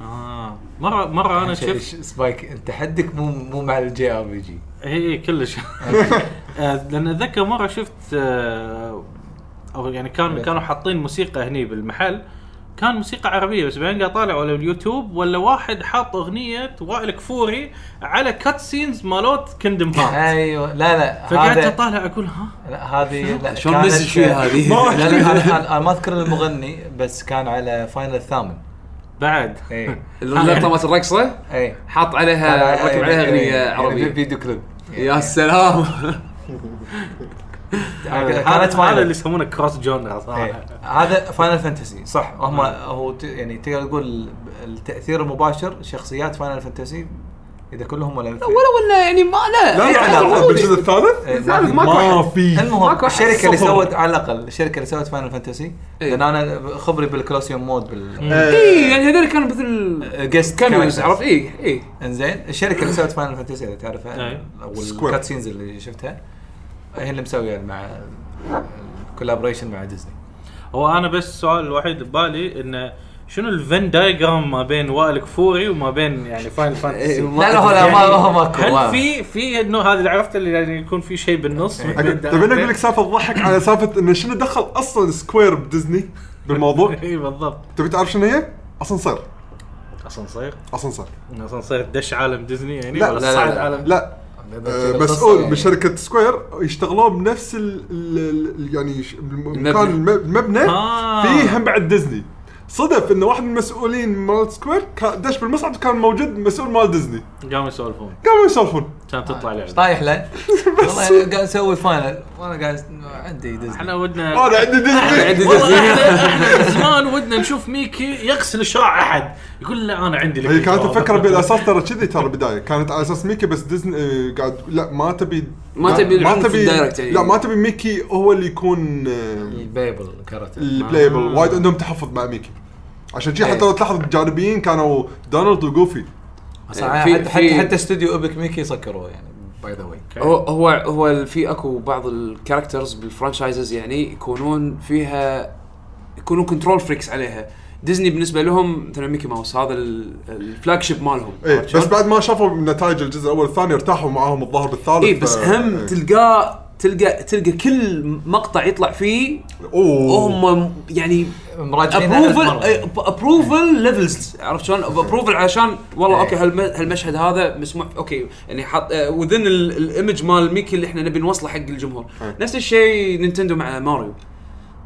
اه مره مره انا
شيء-
شفت
ش- سبايك انت حدك مو مو مع الجي ار بي جي
اي اي إيه، كلش آه، لان اتذكر مره شفت آه، او يعني كان كانوا حاطين موسيقى هني بالمحل كان موسيقى عربيه بس بعدين قاعد طالع ولا اليوتيوب ولا واحد حاط اغنيه وائل كفوري على كات سينز مالوت كندم هارت
ايوه لا لا
فقعدت
هذا-
اطالع اقول ها
لا هذه لا
شلون
كانت-
نزل فيها هذه؟
لا، لا، انا أنا- انا ما اذكر المغني بس كان على إيه. فاينل الثامن
بعد
اي
اللقطه مالت الرقصه
اي
حاط عليها ركب عليها اغنيه عربيه
إيه، يعني فيديو كليب
يا سلام
هذا
كانت
هذا اللي
فاينل
يسمونه كروس جونر صراحه
إيه. هذا فاينل فانتسي صح هم هو ت- يعني تقدر تقول ال- التاثير المباشر شخصيات فاينل فانتسي اذا كلهم ولا الفئة.
ولو انه يعني ما لا
لا
يعني
لا
عادي.
علاقه بالجزء الثالث
إيه،
الثالث ماكو
ما
أحد.
في
المهم
ماكو أحد
الشركه اللي
صفر.
سوت على الاقل الشركه اللي سوت فاينل فانتسي
إيه.
لان انا خبري بالكلوسيوم مود بال
إيه.
اي يعني هذول كانوا مثل إيه،
جست
كاميوز عرفت اي اي
انزين الشركه اللي سوت فاينل فانتسي اذا تعرفها
أي.
Square.
والكات سينز اللي شفتها هي اللي مسويه مع الكولابريشن مع ديزني
هو انا بس السؤال الوحيد ببالي انه شنو الفن دايجرام ما بين وائل كفوري وما بين يعني فاينل فانتسي
إيه. ما
لا لا هو لا
يعني
ما هو ماكو ما-
هل في في انه هذا اللي عرفت اللي يعني يكون في شيء بالنص
تبي اقول طيب، لك سالفه تضحك على سالفه انه شنو دخل اصلا سكوير بديزني بالموضوع
اي بالضبط
تبي تعرف شنو هي؟ اسانسير
اصلا صير
اسانسير
اصلا صير دش عالم ديزني يعني
لا،
ولا
لا، لا،
صعد
لا.
عالم
لا آه، مسؤول
يعني.
من شركه سكوير يشتغلون بنفس ال ال- ال- يعني ش- المكان الم- المبنى
آه.
فيه هم بعد ديزني صدف انه واحد من المسؤولين مال سكوير كان- دش بالمصعد وكان موجود مسؤول مال ديزني
قاموا يسولفون
قاموا يسولفون
كانت تطلع
طيب.
لعبه
طايح له والله أنا قاعد اسوي فاينل وانا قاعد عندي
احنا
ديزني
ودنا
انا عندي ديزني
والله احنا احنا من زمان ودنا نشوف ميكي يغسل شراع احد يقول لا انا عندي
هي
آه.
كانت الفكره بالاساس ترى كذي ترى البدايه كانت على اساس ميكي بس ديزني آه، قاعد لا ما تبي
ما
لا،
تبي
ما
العنف
تبي
الدايركت يعني.
لا ما تبي ميكي هو اللي يكون آه،
البيبل كارت
البلايبل وايد عندهم تحفظ مع ميكي عشان شي حتى لو تلاحظ الجانبيين كانوا دونالد وجوفي
في-
حتى
في-
حتى حتى استوديو ابك ميكي سكروه يعني باي ذا واي
هو هو هو في اكو بعض الكاركترز بالفرانشايزز يعني يكونون فيها يكونون كنترول فريكس عليها ديزني بالنسبه لهم مثلا ميكي ماوس هذا الفلاج شيب مالهم
ايه
عرفت شلون؟
بس بعد ما شافوا نتائج الجزء الاول والثاني ارتاحوا معاهم الظاهر بالثالث
اي بس
ف-
هم
إيه.
تلقاه تلقى تلقى كل مقطع يطلع فيه
اوه
هم يعني
مراجعين
ابروفل ابروفل ليفلز عرفت شلون؟ ابروفل عشان والله
إيه.
اوكي هالم- هالمشهد هذا مسموح اوكي يعني حط وذن
إيه.
الايمج مال ميكي اللي احنا نبي نوصله حق الجمهور نفس الشيء نينتندو مع ماريو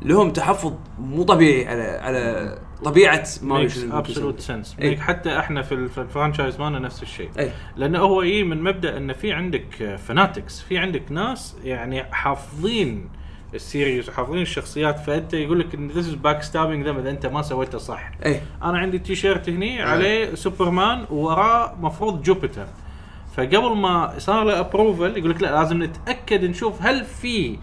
لهم تحفظ مو طبيعي على على طبيعه ما
ابسولوت سنس
إيه.
حتى احنا في الف- الفرانشايز مالنا نفس الشيء
اي
لانه هو ايه من مبدا ان في عندك فاناتكس في عندك ناس يعني حافظين السيريز وحافظين الشخصيات فانت يقول لك ان ذيس از باك ستابينج اذا انت ما سويته صح
اي
انا عندي تي شيرت
إيه.
هني عليه سوبرمان ووراه مفروض جوبيتر فقبل ما صار له ابروفل يقول لك لا لازم نتاكد نشوف هل في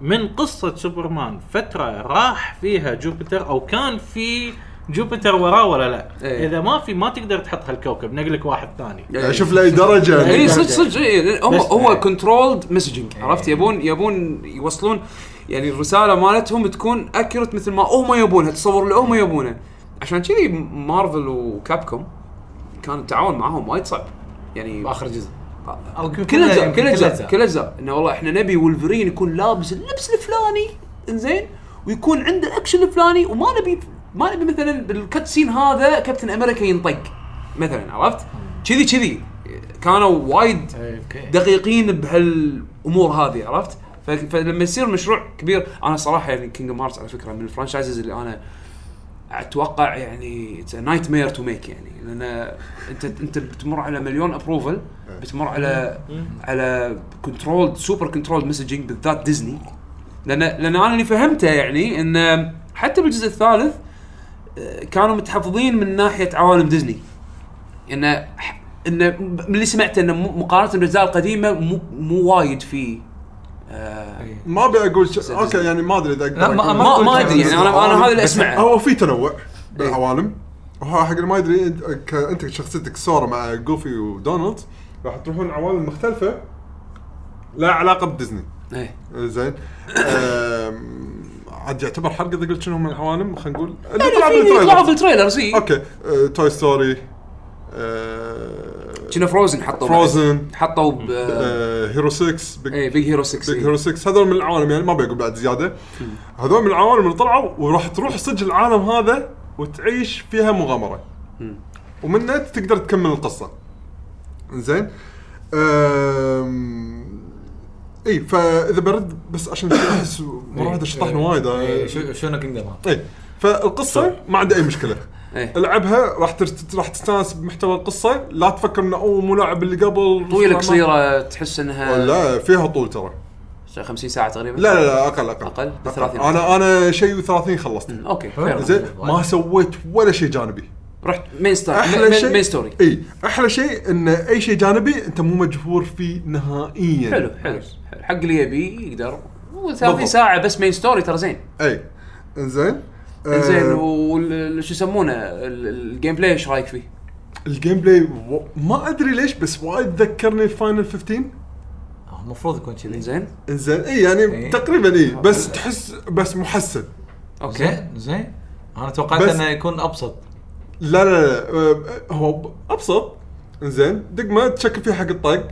من قصه سوبرمان فتره راح فيها جوبيتر او كان في جوبيتر وراه ولا لا
إيه.
اذا ما في ما تقدر تحط هالكوكب نقلك واحد ثاني
يعني شوف لاي درجه
اي إيه، صدق
يعني
صدق اي هو
بس-
هو
إيه.
كنترولد مسجنج عرفت يبون يبون يوصلون يعني الرساله مالتهم تكون اكيوريت مثل ما هم يبونها تصور اللي هم يبونه عشان كذي مارفل وكابكوم كان التعاون معاهم وايد صعب يعني
باخر جزء
كل اجزاء كل اجزاء كل اجزاء انه والله احنا نبي ولفرين يكون لابس اللبس الفلاني انزين ويكون عنده الاكشن الفلاني وما نبي ما نبي مثلا بالكت سين هذا كابتن امريكا ينطق مثلا عرفت؟ كذي كذي كانوا وايد
اوكي
دقيقين بهالامور هذه عرفت؟ ف- فلما يصير مشروع كبير انا صراحه يعني كينجدم هارتس على فكره من الفرانشايزز اللي انا اتوقع يعني نايت مير تو ميك يعني لان انت انت بتمر على مليون ابروفل بتمر على على كنترول سوبر كنترول مسجنج بالذات ديزني لان لان انا اللي فهمته يعني ان حتى بالجزء الثالث آه، كانوا متحفظين من ناحيه عوالم ديزني انه انه من اللي سمعته انه م- مقارنه بالاجزاء القديمه مو مو وايد في آه
ما ابي اقول ش... اوكي يعني ما ادري اذا اقدر
لا، ما-
أقول-
ما-
ما ما
قلت
ادري يعني انا انا هذا اللي
بس
اسمعه
هو في تنوع بالعوالم وهو حق اللي ما يدري انت ك- انت شخصيتك سورا مع جوفي ودونالد راح تروحون عوالم مختلفه لا علاقه بديزني
إيه.
زين آم، عاد يعتبر حرق اذا قلت شنو هم العوالم خلينا نقول اللي طلع
يعني في- طلعوا في
بالتريلر آه،
التريلرز اي
اوكي توي ستوري آه،
كنا فروزن حطوا
فروزن
حطوا ب
إيه. هيرو 6 بيج
اي بيج هيرو 6
بيج
آه. إيه.
هيرو 6 هذول من العوالم يعني ما بقول بعد زياده هذول من العوالم اللي طلعوا وراح تروح صدق العالم هذا وتعيش فيها مغامره ومنها تقدر تكمل القصه زين أم... اي فاذا برد بس عشان احس مره واحده شطحنا وايد آه.
إيه، شو- شنو كينجدم هارت
اي فالقصه ما عندي اي مشكله
إيه.
العبها راح ترت... راح تستانس بمحتوى القصه لا تفكر انه اوه مو لاعب اللي قبل
طويله قصيره تحس انها
لا فيها طول ترى
50 ساعه تقريبا
لا لا لا اقل اقل
أقل؟ بثلاثين.
انا انا شيء و30 خلصت
اوكي fair enough.
زين ما سويت ولا شيء جانبي
رحت مين ستوري
احلى شيء إيه.
مين ستوري
اي احلى شيء ان اي شيء جانبي انت مو مجبور فيه نهائيا
حلو حلو حلو. حق اللي يبي يقدر و30
بالضبط.
ساعه بس مين ستوري ترى زين
اي انزين آه،
زين وشو يسمونه ال- الجيم بلاي ايش رايك فيه؟
الجيم بلاي و... ما ادري ليش بس وايد ذكرني فاينل 15
آه، المفروض يكون كذي
زين
انزين اي يعني
إي.
تقريبا اي بس تحس بس محسن
اوكي
زين زين انا توقعت
بس-
انه يكون ابسط
لا لا لا آه، هو ب- ابسط انزين دقمه تشكل فيه حق الطق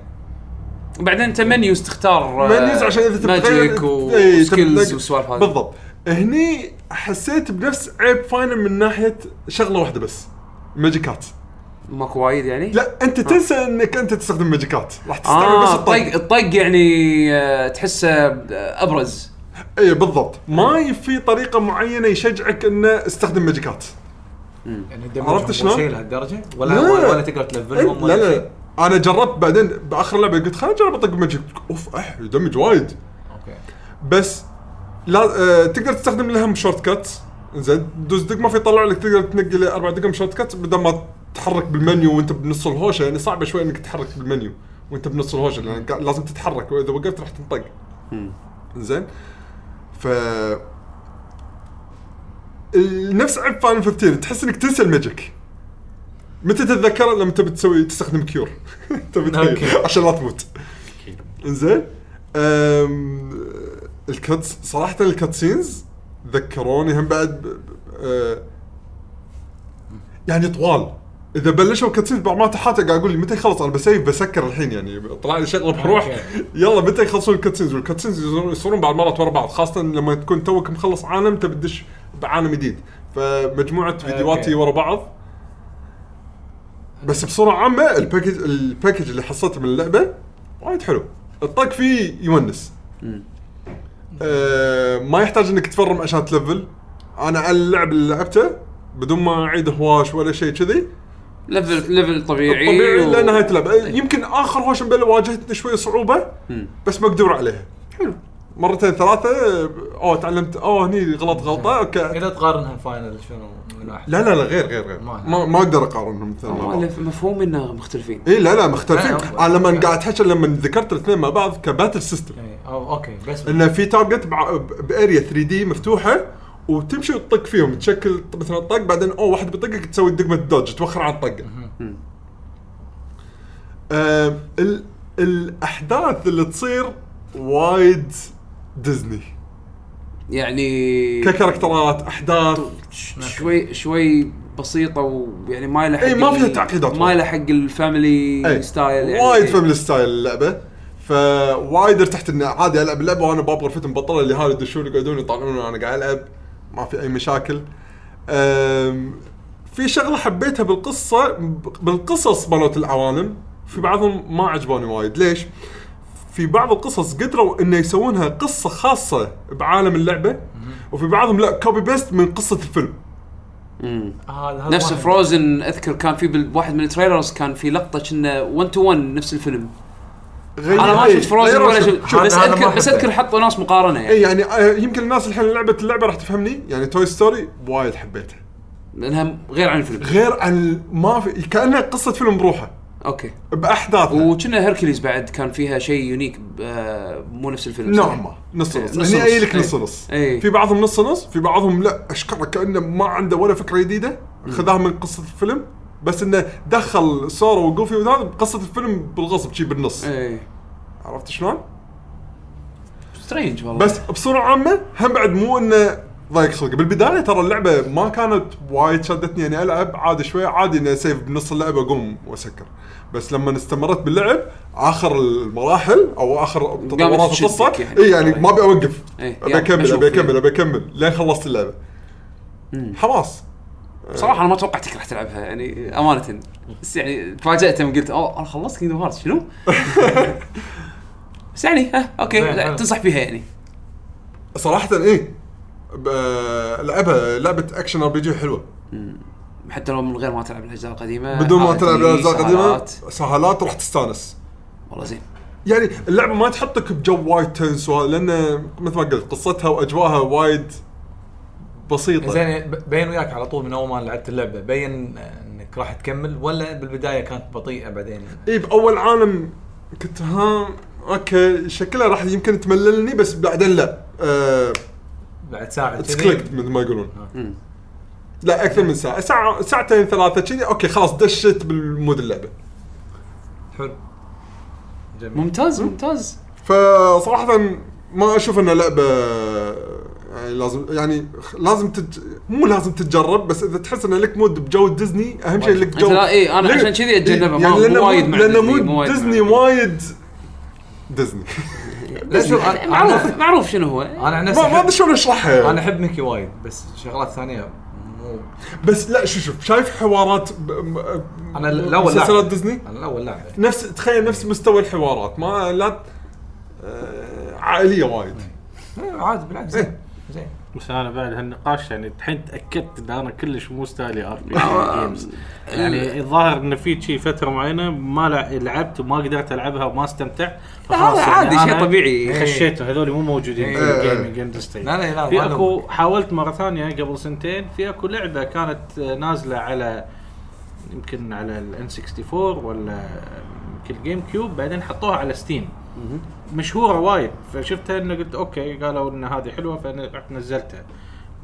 وبعدين انت منيوز تختار آه،
منيوز عشان اذا تبغى-
ماجيك و-
إي،
وسكيلز
تبغى-
والسوالف هذه
بالضبط هني حسيت بنفس عيب فاينل من ناحيه شغله واحده بس ماجيكات
ماكو وايد يعني؟
لا انت تنسى انك انت تستخدم ماجيكات راح تستعمل بس
اه الطق
الطق
الطق يعني آه، تحسه آه، ابرز
اي إيه، بالضبط
آه.
ما في طريقه معينه يشجعك انه استخدم ماجيكات
يعني
عرفت شلون؟
شيء لهالدرجه ولا
لا. إيه،
ولا, ولا تقدر تلفلهم
لا
ولا
لا
شيء
انا جربت بعدين باخر لعبه قلت خليني اجرب اطق ماجيك اوف اح يدمج وايد
اوكي
بس لا آه تقدر تستخدم لهم شورت كات زين دوس دقمه فيطلع لك تقدر تنقي لي اربع دقم شورت كات بدل ما تتحرك بالمنيو وانت بنص الهوشه يعني صعبه شوي انك تتحرك بالمنيو وانت بنص الهوشه لان قا- لازم تتحرك واذا وقفت راح تنطق زين ف ال- نفس عيب فاينل 15 تحس انك تنسى الماجيك متى تتذكره لما تبي تسوي تستخدم كيور تبي تخيل
أوكي.
عشان لا تموت زين أم، الكاتس صراحه الكاتسينز ذكروني هم بعد ب- ب- أه، يعني طوال اذا بلشوا كاتسينز بعض مرات حتى قاعد اقول لي متى يخلص انا بسيف بسكر الحين يعني طلع لي شغله بروح
أوكي.
يلا متى يخلصون الكاتسينز والكاتسينز يصيرون- يصيرون بعض مرات ورا بعض خاصه لما تكون توك مخلص عالم تبي تدش بعالم جديد فمجموعه فيديوهاتي ورا بعض بس بصوره عامه الباكج الباكج اللي حصلته من اللعبه وايد حلو الطق فيه يونس آه، ما يحتاج انك تفرم عشان تلفل انا على اللعب اللي لعبته بدون ما اعيد هواش ولا شيء كذي
ليفل ليفل طبيعي
طبيعي
و- طيب.
لنهايه اللعب آه، يمكن اخر هوش مبل واجهتني شوي صعوبه
مم.
بس مقدور عليها حلو مرتين ثلاثه آه، اوه تعلمت اوه هني غلط غلطه اوكي
اذا تقارنها فاينل شنو من واحد
لا لا لا غير غير غير
ما-
ما, ما اقدر اقارنهم مثل ما بعض.
والله مفهوم انه مختلفين
اي لا لا
لا،
مختلفين
لا.
انا لما قاعد احكي لما ذكرت الاثنين مع بعض كباتل سيستم
إيه، أو اوكي بس
انه في تارجت بع- ب- باريا 3 دي مفتوحه وتمشي وتطق فيهم تشكل ط- مثلا طق بعدين اوه واحد بيطقك تسوي دقمه الدوج توخر عن طقه. آه ال- الاحداث اللي تصير وايد ديزني
يعني
ككاركترات احداث
شوي شوي بسيطه ويعني ما لها حق
إي، إيه، ما
ال-
فيها تعقيدات
ما لها حق الفاميلي
إي،
ستايل يعني
إيه. وايد
إي.
فاميلي ستايل اللعبه فوايد ارتحت اني عادي العب اللعبه وانا باب غرفتي مبطله اللي هاي يدشون يقعدون يطالعون وانا قاعد العب ما في اي مشاكل أم، في شغله حبيتها بالقصه بالقصص مالت العوالم في بعضهم ما عجبوني وايد ليش؟ في بعض القصص قدروا انه يسوونها قصه خاصه بعالم اللعبه وفي بعضهم لا كوبي بيست من قصه الفيلم
مم.
هذا هذا
نفس
واحد.
فروزن اذكر كان في بواحد من التريلرز كان في لقطه كنا 1 تو 1 نفس الفيلم
غير
انا ما شفت فروزن ولا شفت
هذا-
بس
هذا ما
اذكر بس
حبيته.
اذكر حطوا ناس مقارنه يعني
اي يعني آه، يمكن الناس الحين لعبت اللعبه راح تفهمني يعني توي ستوري وايد حبيتها
لانها غير عن الفيلم
غير عن ما في كانها قصه فيلم بروحه
اوكي
باحداثها
وكنا هيركليز بعد كان فيها شيء يونيك ب- آه، مو نفس الفيلم صح؟
نوعا ما نص
إيه،
نص
نص
هني اي
نص.
لك نص
إيه.
نص
إيه.
يعني في بعضهم نص نص في بعضهم لا اشكره كانه ما عنده ولا فكره جديده خذاها من قصه الفيلم بس انه دخل سورو وجوفي وهذا بقصه الفيلم بالغصب شي بالنص
ايه
عرفت شلون؟
سترينج والله
بس بصوره عامه هم بعد مو انه ضايق خلقي بالبدايه ترى اللعبه ما كانت وايد شدتني اني العب عادي شوي عادي اني اسيف بنص اللعبه اقوم واسكر بس لما استمرت باللعب اخر المراحل او اخر تطورات
تشدك
القصه
يعني.
اي يعني ما ابي اوقف
إيه،
ابي
يلا،
اكمل
بشوف
ابي اكمل
يعني.
ابي اكمل لين خلصت اللعبه خلاص
بصراحه انا ما توقعتك راح تلعبها يعني امانه بس يعني تفاجات لما قلت اوه انا خلصت كينجدم هارتس شنو؟ بس يعني ها اوكي
زين،
لا
حلو.
تنصح فيها يعني
صراحه ايه ب- لعبها لعبه اكشن ار بي جي حلوه
حتى لو من غير ما تلعب الاجزاء القديمه
بدون ما
عادي،
تلعب الاجزاء القديمه
آه، سهالات.
سهالات راح تستانس
والله زين
يعني اللعبه ما تحطك بجو وايد تنس وه- لان مثل ما قلت قصتها واجواها وايد بسيطه
زين ب- بين وياك على طول من اول ما لعبت اللعبه بين انك راح تكمل ولا بالبدايه كانت بطيئه بعدين
اي باول عالم كنت ها اوكي شكلها راح يمكن تمللني بس بعدين لا
بعد ساعه
اتس
كذي؟
كليك مثل ما يقولون
مم.
لا اكثر من ساعه ساعه ساعتين ثلاثه كذي اوكي خلاص دشت بالمود اللعبه
حلو جميل
ممتاز ممتاز
فصراحه ما اشوف انها لعبه يعني لازم يعني خ- لازم تج... مو لازم تتجرب بس اذا تحس ان لك مود بجو ديزني اهم شيء لك جو
أنت لا- إيه، أنا
لك-
عشان كذي أتجنبها، ما- مو
لأن
وايد مع
لان
ديزني،
مود
مو وايد مع
ديزني
ديزني.
وايد ديزني
لا شوف أنا-
معروف
انا
معروف شنو هو
انا عن نفسي
ما ما ادري
أحب-
شلون اشرحها
انا
يعني.
احب ميكي وايد بس شغلات ثانيه مو
بس لا شوف شوف شايف حوارات ب... م...
أنا الأول
مسلسلات
لاعب.
ديزني
انا الاول لعبه
نفس تخيل نفس مستوى الحوارات ما لا ت- آه، عائليه وايد
إيه، عادي بالعكس زين زين
بس انا بعد هالنقاش يعني الحين تاكدت ان انا كلش مو ستايلي ار بي جيمز يعني الظاهر ان في شي فتره معينه ما لع- لعبت وما قدرت العبها وما استمتعت فخلاص يعني
هذا عادي،
أنا
شيء طبيعي.
خشيتهم هذول مو موجودين في
إيه.
الجيمنج اندستري
لا لا لا
في
ما
اكو حاولت مره ثانيه قبل سنتين في اكو لعبه كانت نازله على يمكن على الان 64 ولا يمكن جيم كيوب بعدين حطوها على ستيم مشهوره وايد فشفتها انه قلت اوكي قالوا ان هذه حلوه فرحت نزلتها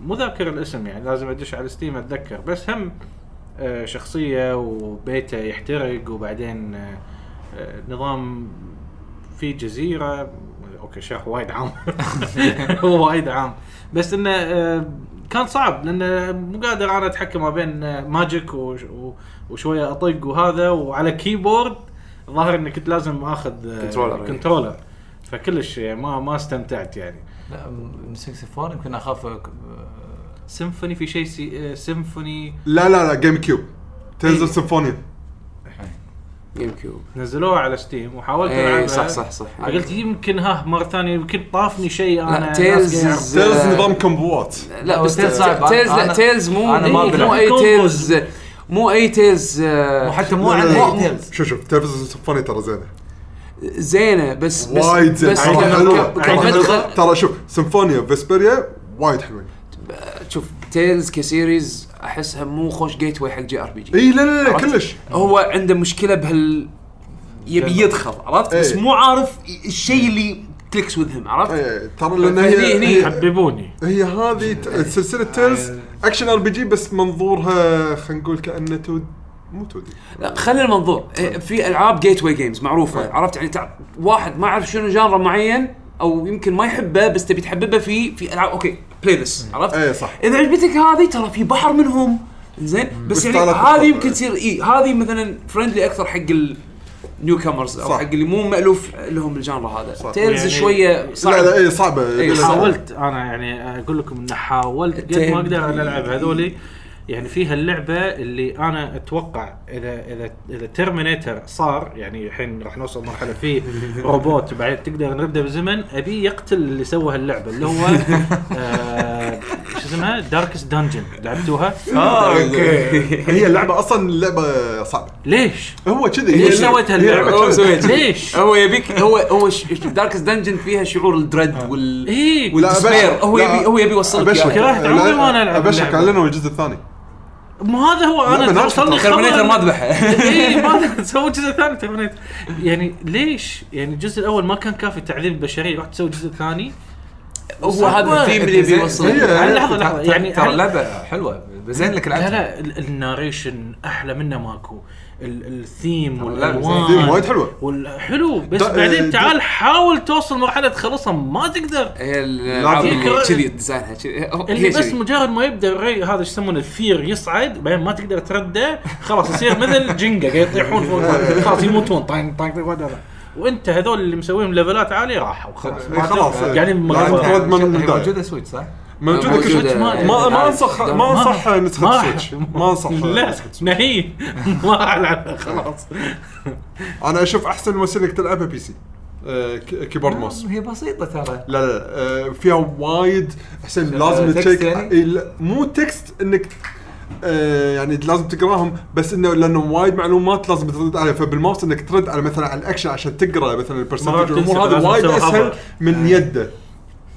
مو ذاكر الاسم يعني لازم ادش على ستيم اتذكر بس هم آه، شخصيه وبيته يحترق وبعدين آه، آه، نظام في جزيره اوكي شرح وايد عام هو وايد عام بس انه آه، كان صعب لان مو قادر انا اتحكم ما بين آه، ماجيك وش- و- وشويه اطق وهذا وعلى كيبورد ظاهر اني كنت لازم اخذ آه،
كنترولر، إيه.
كنترولر فكلش يعني ما ما استمتعت يعني
لا م- 64 يمكن اخاف آه،
سيمفوني في شيء سي... آه، سيمفوني
لا لا لا جيم كيوب تنزل
إيه.
سيمفونيا
جيم كيوب
نزلوها على ستيم وحاولت
اي
العبها
إيه،
إيه؟
صح صح صح
قلت يمكن ها مره ثانيه يمكن طافني شيء انا
لا،
ناس
تيلز.
قاعد-
تيلز
آه.
نظام كمبوات
لا بس
تيلز
تيلز
صعب.
تيلز لا
أنا-
تيلز مو
أنا ما
مو-
بلعب.
مو اي
كومبوز.
تيلز مو اي تيز آه،
وحتى مو
لا،
على
لا.
أي تيلز
شوف شوف تيلز سيمفوني ترى زينه
زينه بس بس
وايد زينه
بس
ترى
ك-
حلوة.
ك-
ترى-
كمدخل-
ترى شوف سيمفونيا فيسبيريا وايد حلوين
شوف تيلز كسيريز احسها مو خوش جيت واي حق جي ار بي جي
اي لا لا لا
عرفت؟
إيه، كلش
هو عنده مشكله بهال يبي يدخل عرفت بس
إيه.
مو عارف الشيء اللي كليكس وذ هيم عرفت
إيه، ترى لان
هني- هني.
هي هي-
حببوني
هي هذه ت- سلسله تيلز اكشن ار بي جي بس منظورها خلينا نقول كانه تود مو تودي
لا خلي المنظور إيه، في العاب جيت واي جيمز معروفه
طيب.
عرفت يعني تع... واحد ما يعرف شنو جانرا معين او يمكن ما يحبه بس تبي تحببه في في العاب اوكي بلاي ذس عرفت
اي إيه، صح
اذا عجبتك هذه ترى في بحر منهم زين بس
بس
يعني
تعال
هذه
تفضل.
يمكن تصير اي هذه مثلا فرندلي اكثر حق النيو كامرز او
صح.
حق اللي مو مالوف لهم الجانرا هذا
صح.
تيلز
يعني-
شويه صعب
لا لا اي صعبه
إيه،
لا، لا.
حاولت انا يعني اقول لكم ان حاولت قد
التيم.
ما اقدر أن العب هذولي يعني فيها اللعبه اللي انا اتوقع اذا اذا اذا ترمينيتر صار يعني الحين راح نوصل مرحله فيه روبوت بعدين تقدر نرده بالزمن ابي يقتل اللي سوى هاللعبه اللي هو آه، شو اسمها داركست دنجن لعبتوها
آه.
اه اوكي
هي اللعبه اصلا اللعبه صعبه
ليش؟
هو كذي
ليش سويت هاللعبه؟
هو إيه، سويت كذي.
ليش؟
هو يبيك هو هو داركس دنجن فيها شعور
آه.
الدريد وال
ايه
والديسبير هو يبي هو يبي يوصلك يعني.
ابشرك
إياها.
كرهت عمري وأنا ألعب
ابشرك
اللعبة.
اعلنوا الجزء الثاني
مو هذا هو
لا،
انا
بالعكس،
وصلني خبر
ترمينيتر ما ذبحه
اي ما سووا جزء ثاني ترمينيتر يعني ليش؟ يعني الجزء الاول ما كان كافي تعذيب البشريه رحت تسوي جزء ثاني
هو هذا الثيم
إيه،
اللي يبي يوصلك
هي-
هل- لحظه لحظه يعني
ترى
هل-
اللعبه حلوه زين لك
لا
لعبتها
لا ال- الناريشن احلى منه ماكو ال- الثيم
اللعبة زين.
الثيم وايد
والالوان
حلوه
والحلو بس
دا-
بعدين
دا-
تعال حاول توصل مرحله تخلصها ما تقدر
هي الالعاب
لا،
اللي
كرهت.
كذي ديزاينها كذي هو-
اللي
هي
بس
كذي
مجرد ما يبدا الري هذا ايش يسمونه الثير يصعد بعدين ما تقدر ترده خلاص يصير مثل جنجا قاعد يطيحون فوق بعض. خلاص يموتون طانك طانك طانك، whatever. وانت هذول اللي مسويهم ليفلات عاليه راحوا خلاص يعني
إيه، خلاص إيه.
قاعدين
لا،
بمقهى.
أنت من
هي
البداية.
موجوده سويتش صح؟
موجوده كل
موجودة.
شيء
ما-
ما ما
آه،
انصح
ما-
ما انصح نسخه سويتش ما انصح
لا
نسخة سويتش.
نهي ما العبها خلاص
انا اشوف احسن وسيله إنك تلعبها بي سي آه، ك- كيبورد ماوس
هي بسيطه ترى
لا لا آه، فيها وايد حسين لازم
تكست
تشيك
يعني؟
إيه، لا، مو تكست انك آه، يعني لازم تقراهم بس انه لانه وايد معلومات لازم ترد عليها فبالماوس انك ترد على مثلا على الاكشن عشان تقرا مثلا
مرات
البرسنتج
تنسى،
والامور هذه
لازم
وايد
تسوي
اسهل
hover.
من يده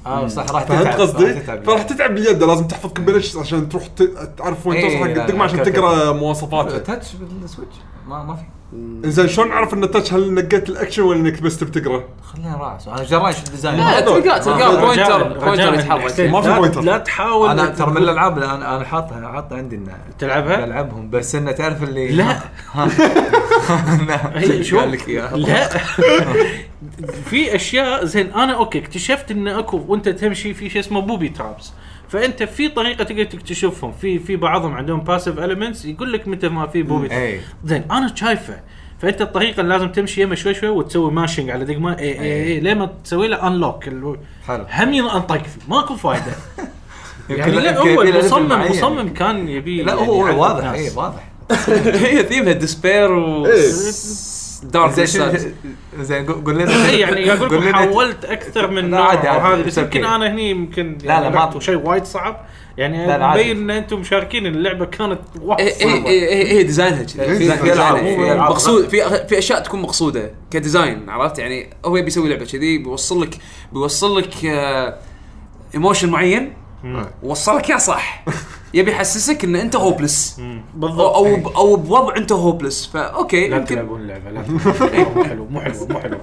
اه صح راح تتعب
فهمت قصدي؟
راح تتعب.
فراح تتعب باليد لازم تحفظ كبلش عشان تروح ت- تعرف وين
إيه،
توصل حق
لا، لا،
الدقمه عشان
أوكي،
تقرا مواصفاته
تاتش آه، بالسويتش ما ما في
انزين شلون اعرف ان التاتش هل نقيت الاكشن ولا انك بس تبتقرا؟
خلينا راس انا جراي شو الديزاين
لا
آه،
تلقاه تلقاه بوينتر بوينتر
حسين،
Oh, يتحرك
ما في
لا-
بوينتر.
لا تحاول
انا
أن
ترى من
تقول-
الالعاب اللي انا انا حاطها حاطها عندي انه
تلعبها؟
بلعبهم بس انه تعرف اللي
لا. هي شوف
قال لك إياها.
إيه، لا في اشياء زين انا اوكي اكتشفت ان اكو وانت تمشي في شيء اسمه بوبي ترابس فانت في طريقه تقدر تكتشفهم في في بعضهم عندهم باسيف المنتس يقول لك متى ما في بوبي ترابس
اي
زين انا شايفه فانت الطريقه اللي لازم تمشي يمه شوي شوي وتسوي ماشينج على إيه، دقمه اي اي اي لين ما تسوي له انلوك
إيه. حلو
هم ينطق فيه ماكو فايده يعني
يمكن-
لا
يمكن
هو
يبي له ليفل
المصمم
معين.
مصمم كان يبي
لا
يعني
هو
يعذب
واضح إيه،
ناس.
اي واضح
هي ثيمها ديسبير و
إيه.
دارك
زين شنو
سايد.
زين قول قول لنا
إي يعني اقول
قول
لكم
لنا-
حاولت اكثر من
لا،
نوع
عادي، عادي،
وهذا بس
it's
يمكن
okay.
انا هني يمكن
لا، لا، ما-
رحتوا شيء وايد صعب يعني
لا، لا، عادي.
مبين ان انتم مشاركين إن اللعبه كانت وايد
إيه- إيه-
صعبه
إيه- إيه- هي ديزاينها كذي في-
ديزاين.
في ألعاب-
في
في
ألعاب.
مقصود في في اشياء تكون مقصوده كديزاين عرفت يعني هو يبي يسوي لعبه كذي بيوصل لك بيوصل لك ايموشن معين وصلك اياه صح يبي يحسسك ان انت هوبلس او
بالضبط
او ب- او بوضع انت هوبلس فاوكي
لا
يمكن
تلعبون اللعبه لا تلعبون. مو حلو مو حلو مو حلو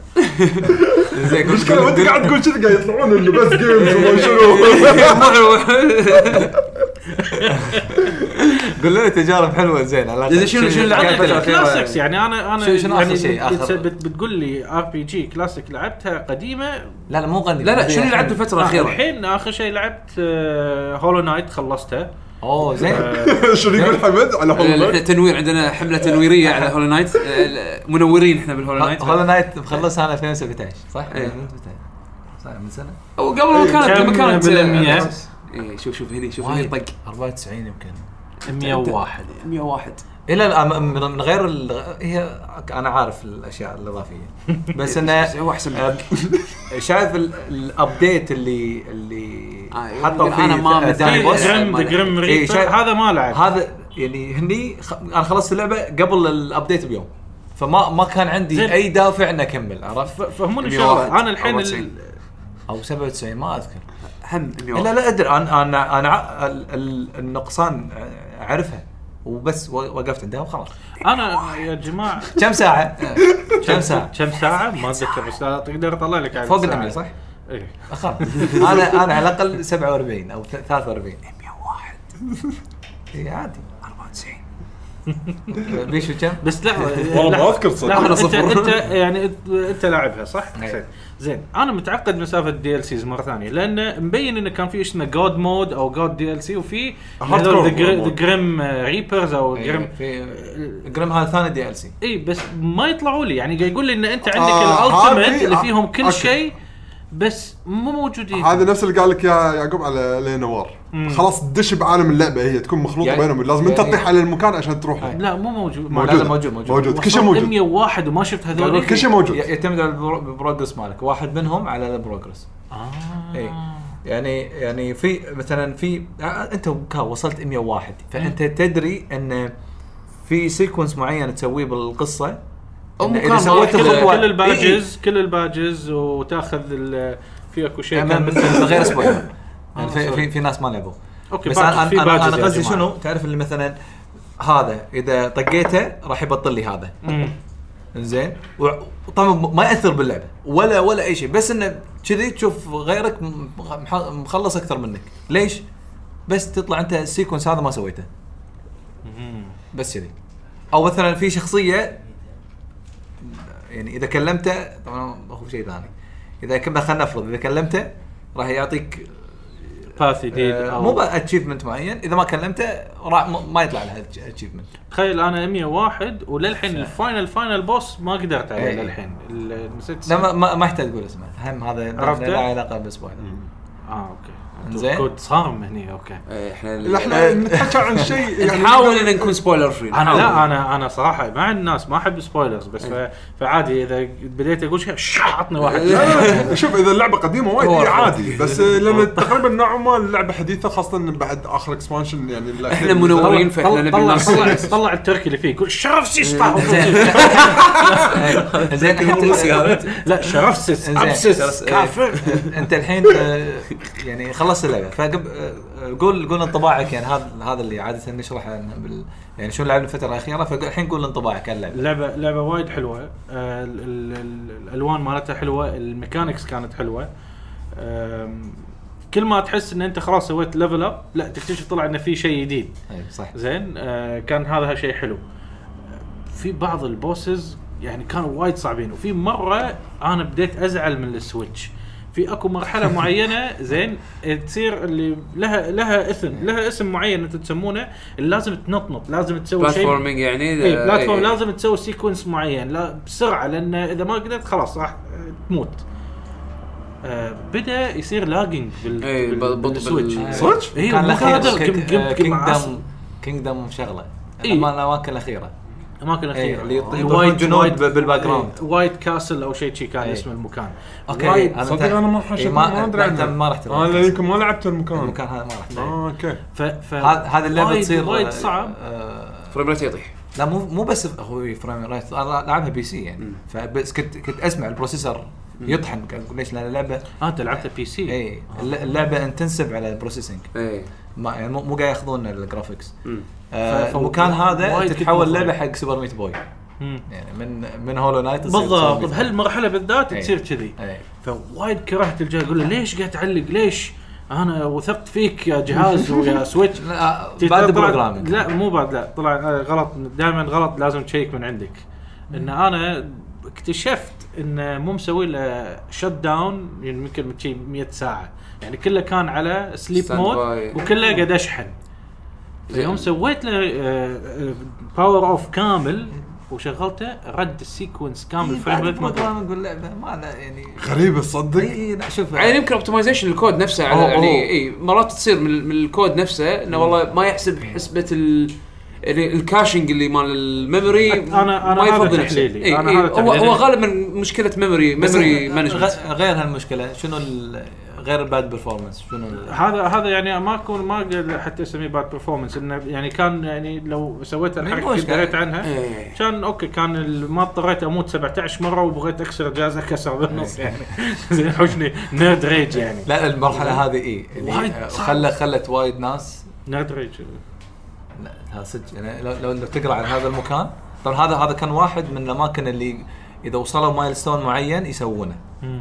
زين قول-
المشكله وانت
قول-
قاعد تقول كذا قاعد يطلعون انه بس جيمز
إيه.
وما شنو
قول لنا تجارب حلوه زين على الأقل.
زين، شنو- شنو اللعبة
كانت الأخيرة؟
كلاسيكس يعني انا انا
شنو- شنو آخر
يعني
شيء؟
بت-
آخر-
بت- بتقول لي ار بي جي كلاسيك لعبتها قديمه
لا لا مو غني
لا لا شنو اللي لعبته الفتره الاخيره؟
آه، الحين اخر شيء لعبت هولو نايت خلصتها
اوه زين
آه،
شنو يقول حمد على
احنا
والله
تنوير عندنا حمله تنويريه على هولو نايت آه، منورين احنا بالهولو نايت
هولو نايت مخلصها انا 2017 صح؟
إيه.
2017 صح من سنه
او قبل ما كانت
كم
لما كانت
بالمية؟
آه، إيه، شوف شوف هني شوف هني طق
94 يمكن
101
101
إيه لا لا من من غير ال- هي انا عارف الاشياء الاضافيه
بس
بس
آه،
انه
هو احسن
أب- شايف ال- الابديت اللي اللي
آه،
حطوا
يقول
فيه
أنا ما
ث- ثاني
مدري.
بوس
إيه،
جرم جرم
إيه، شايف-
هذا ما لعب
هذا يعني هني خ... انا خلصت اللعبه قبل الابديت بيوم فما ما كان عندي
زين.
اي دافع اني اكمل عرفت
ف- فهموني
101
شغله انا الحين
أو
ال-
90.
او 97 ما اذكر
هم
لا
101
لا ادري انا انا انا ع- ال- ال- النقصان اعرفها وبس و- وقفت عندها وخلاص
انا يا جماعه
كم ساعه كم ساعه
كم ساعه ما اتذكر بس تقدر اطلع لك عدد
فوق
ساعات.
100 صح
إيه.
أخاف. انا انا على الاقل 47 او 43 101 اي عادي 94 بيشو كم؟
بس لحظه
والله ما
لحظة.
أذكر صدق.
لحظة،
أنا
انت
صفر.
انت يعني إيه. أنت- انت لاعبها صح؟
أي.
زين. زين انا متعقد من سالفه الدي ال سيز مره ثانيه لان مبين انه كان في اسمه جود مود او جود دي ال سي وفي
Hardcore
ذا
mode.
جريم ريبرز او
جرم
جريم
في جرم هذا ثاني دي ال سي
اي إيه، بس ما يطلعوا لي يعني قاعد يقول لي ان انت عندك
آه،
الالتيميت
هذه-
اللي
آه،
فيهم كل
أوكي.
شيء بس مو موجودين
هذا نفس اللي قال لك يا يعقوب على لينوار خلاص دش بعالم اللعبه هي تكون مخلوطه
يعني-
بينهم لازم انت
يعني-
تطيح على المكان عشان تروح له.
لا مو
موجود.
موجود لا،
موجودة.
لا،
موجود، موجود.
موجود كل شيء
وصلت
موجود
101 وما شفت هذول
كل شيء موجود
يعتمد على البرو- البروجرس مالك واحد منهم على البروجرس اي
اه
يعني يعني في مثلا في آه، انت وكا وصلت 101 فانت تدري ان في سيكونس معين تسويه بالقصه
أو
إن
مكان
اذا
ما
سويت إيه.
كل-
الخطوه
كل
إي، إي.
الباجز كل الباجز وتاخذ ال- في اكو شيء
من
كان
من غير سبويلر يعني في,
سوري.
في في ناس ما لعبوا
اوكي
بس
باجز-
انا
في
انا
باجز
أنا- أنا
يا
قصدي
جماعة.
شنو تعرف اللي مثلا هذا اذا طقيته راح يبطل لي هذا
مم.
زين طبعا ما ياثر باللعبه ولا ولا اي شيء بس انه كذي تشوف غيرك م- مح- مخلص اكثر منك ليش؟ بس تطلع انت السيكونس هذا ما سويته بس كذي او مثلا في شخصيه يعني اذا كلمته طبعا هو شيء ثاني اذا كنا خلينا نفرض اذا كلمته راح يعطيك
باث جديد
آه، مو
او
اتشيفمنت معين اذا ما كلمته راح ما- ما يطلع لها اتشيفمنت
تخيل انا 101 وللحين الفاينل فاينل بوس ما قدرت عليه
إي.
للحين ال- نسيت
لا ما- ما ما يحتاج تقول اسمه هم هذا
عرفته؟
لا علاقه بالسبويلر
اه اوكي
زين.
كود صارم هني اوكي
احنا
إيه.
احنا نتحكى عن شيء يعني
إيه، نحاول ان نكون سبويلر فري
انا لا انا انا صراحه مع الناس ما احب سبويلرز بس
إيه.
ف- فعادي اذا بديت اقول شيء شع، عطني واحد
لا، لا، شوف اذا اللعبه قديمه وايد
هو
إيه
أحلى.
عادي بس آه، لان تقريبا نوعا ما اللعبه حديثه خاصه إن بعد اخر اكسبانشن يعني الأخير.
احنا منورين فاحنا
طلع
نبي
طلع
الناس
طلع, طلع التركي اللي فيه يقول شرف سيستا
إيه. زين
روسي
حتى
هذا
لا شرف سيس
إنزين.
ابسس كافر
إيه. انت الحين آه، يعني خلصت اللعبه فقب آه، قول قول انطباعك يعني هذا هذا اللي عاده نشرحه عن بال يعني شو لعبنا الفتره الاخيره فالحين قول انطباعك عن اللعبه
لعبه لعبه وايد حلوه آه، ال- ال- ال- الالوان مالتها حلوه الميكانكس كانت حلوه آم، كل ما تحس ان انت خلاص سويت ليفل اب لا تكتشف طلع انه في شيء جديد
اي طيب، صح
زين آه، كان هذا شيء حلو في بعض البوسز يعني كانوا وايد صعبين وفي مره انا بديت ازعل من السويتش في اكو مرحله معينه زين تصير اللي لها لها اسم لها اسم معين انتم تسمونه اللي لازم تنطنط لازم تسوي شيء
بلاتفورمينج يعني
اي بلاتفورم
إيه.
لازم تسوي سيكونس معين لا بسرعه لان اذا ما قدرت خلاص راح تموت آه بدا يصير لاجنج بال,
إيه،
بال,
بال- بال-
بالسويتش
بال-
صدق؟
إيه،
كان آه،
مو قادر. كم- كم-
الاخير
كم عصب.
كينجدم كينجدم شغله
إيه.
الأما- الاماكن الاخيره
اماكن
إيه،
اخيره
اللي يطيح
وايد-
جنود
وايد-
بالباك جراوند.
إيه، وايد كاسل او شيء شي كان
إيه.
اسم المكان
اوكي
وايد.
هذا
صدق
انت-
أنا ما
إيه،
حشيت- ما أدري
ما أنت
عنه.
ما رحت
انا
المكان
يمكن ما لعبت المكان
هذا ما رحت له.
اه اوكي
ف ف
هذا هذا اللعبه
آه. وايد-
تصير
وايد
آه،
صعب
آه،
فريم ريت يطيح
لا مو مو بس هو فريم ريت انا لعبها بي سي يعني فبس كنت كنت اسمع البروسيسور يطحن قاعد اقول ليش إيه، لان اللعبه
آه، انت لعبتها بي سي
اي الل- اللعبه انتنسف على البروسيسنج
ايه
ما يعني مو مو قاعد ياخذون الجرافكس
مم.
آه،
ف- ف-
المكان هذا
وايد
تتحول
كنت
لعبه
متضايق.
حق سوبر ميت بوي
مم.
يعني من من هولو نايت تصير سوبر
بالضبط
ميت بوي.
بهالمرحله بالذات
إيه.
تصير كذي
إيه.
فوايد كرهت الجهاز اقول له ليش قاعد تعلق ليش انا وثقت فيك يا جهاز ويا سويتش
لا، آه، بعد
طلع-
programming.
لا مو بعد لا طلع آه، غلط دائما غلط لازم تشيك من عندك ان انا اكتشفت انه مو مسوي له شت داون يمكن شي 100 ساعه يعني كله كان على سليب
Stand
مود
by.
وكله قاعد اشحن يوم سويت له آه، باور اوف كامل وشغلته رد السيكونس كامل
إيه، بعد
فريم ريت ما قدرت.
programming واللعبه ما لا يعني
غريبه تصدق
اي لا شوف
يعني يمكن اوبتمايزيشن الكود نفسه على
أوه،
يعني
أوه.
اي مرات تصير من, من الكود نفسه انه والله ما يحسب حسبه ال يعني الكاشنج اللي مال الميموري
أنا- أنا
ما
هذا
يفضل نفسه
تحليلي.
إي،
أنا
إي،
هذا
هو
تحليلي.
هو غالبا مشكله ميموري ميموري مانجمنت
غ- غير هالمشكله شنو ال- غير الباد برفورمانس شنو ال-
هذا هذا يعني ما اكون ما اقدر حتى اسميه باد برفورمانس انه يعني كان يعني لو سويت الحركه
مو
اللي
مشكلة.
دريت عنها
إيه.
كان اوكي كان ال- ما اضطريت اموت 17 مره وبغيت اكسر الجهاز اكسر بالنص يعني زين حوشني نيرد ريج يعني
لا المرحله هذه اي
وايد
اللي
صعب.
خلت خلت وايد ناس
نيرد ريج
لا ها صدق يعني لو- لو لو تقرا عن هذا المكان طبعا هذا هذا كان واحد من الاماكن اللي اذا وصلوا مايلستون معين يسوونه
مم.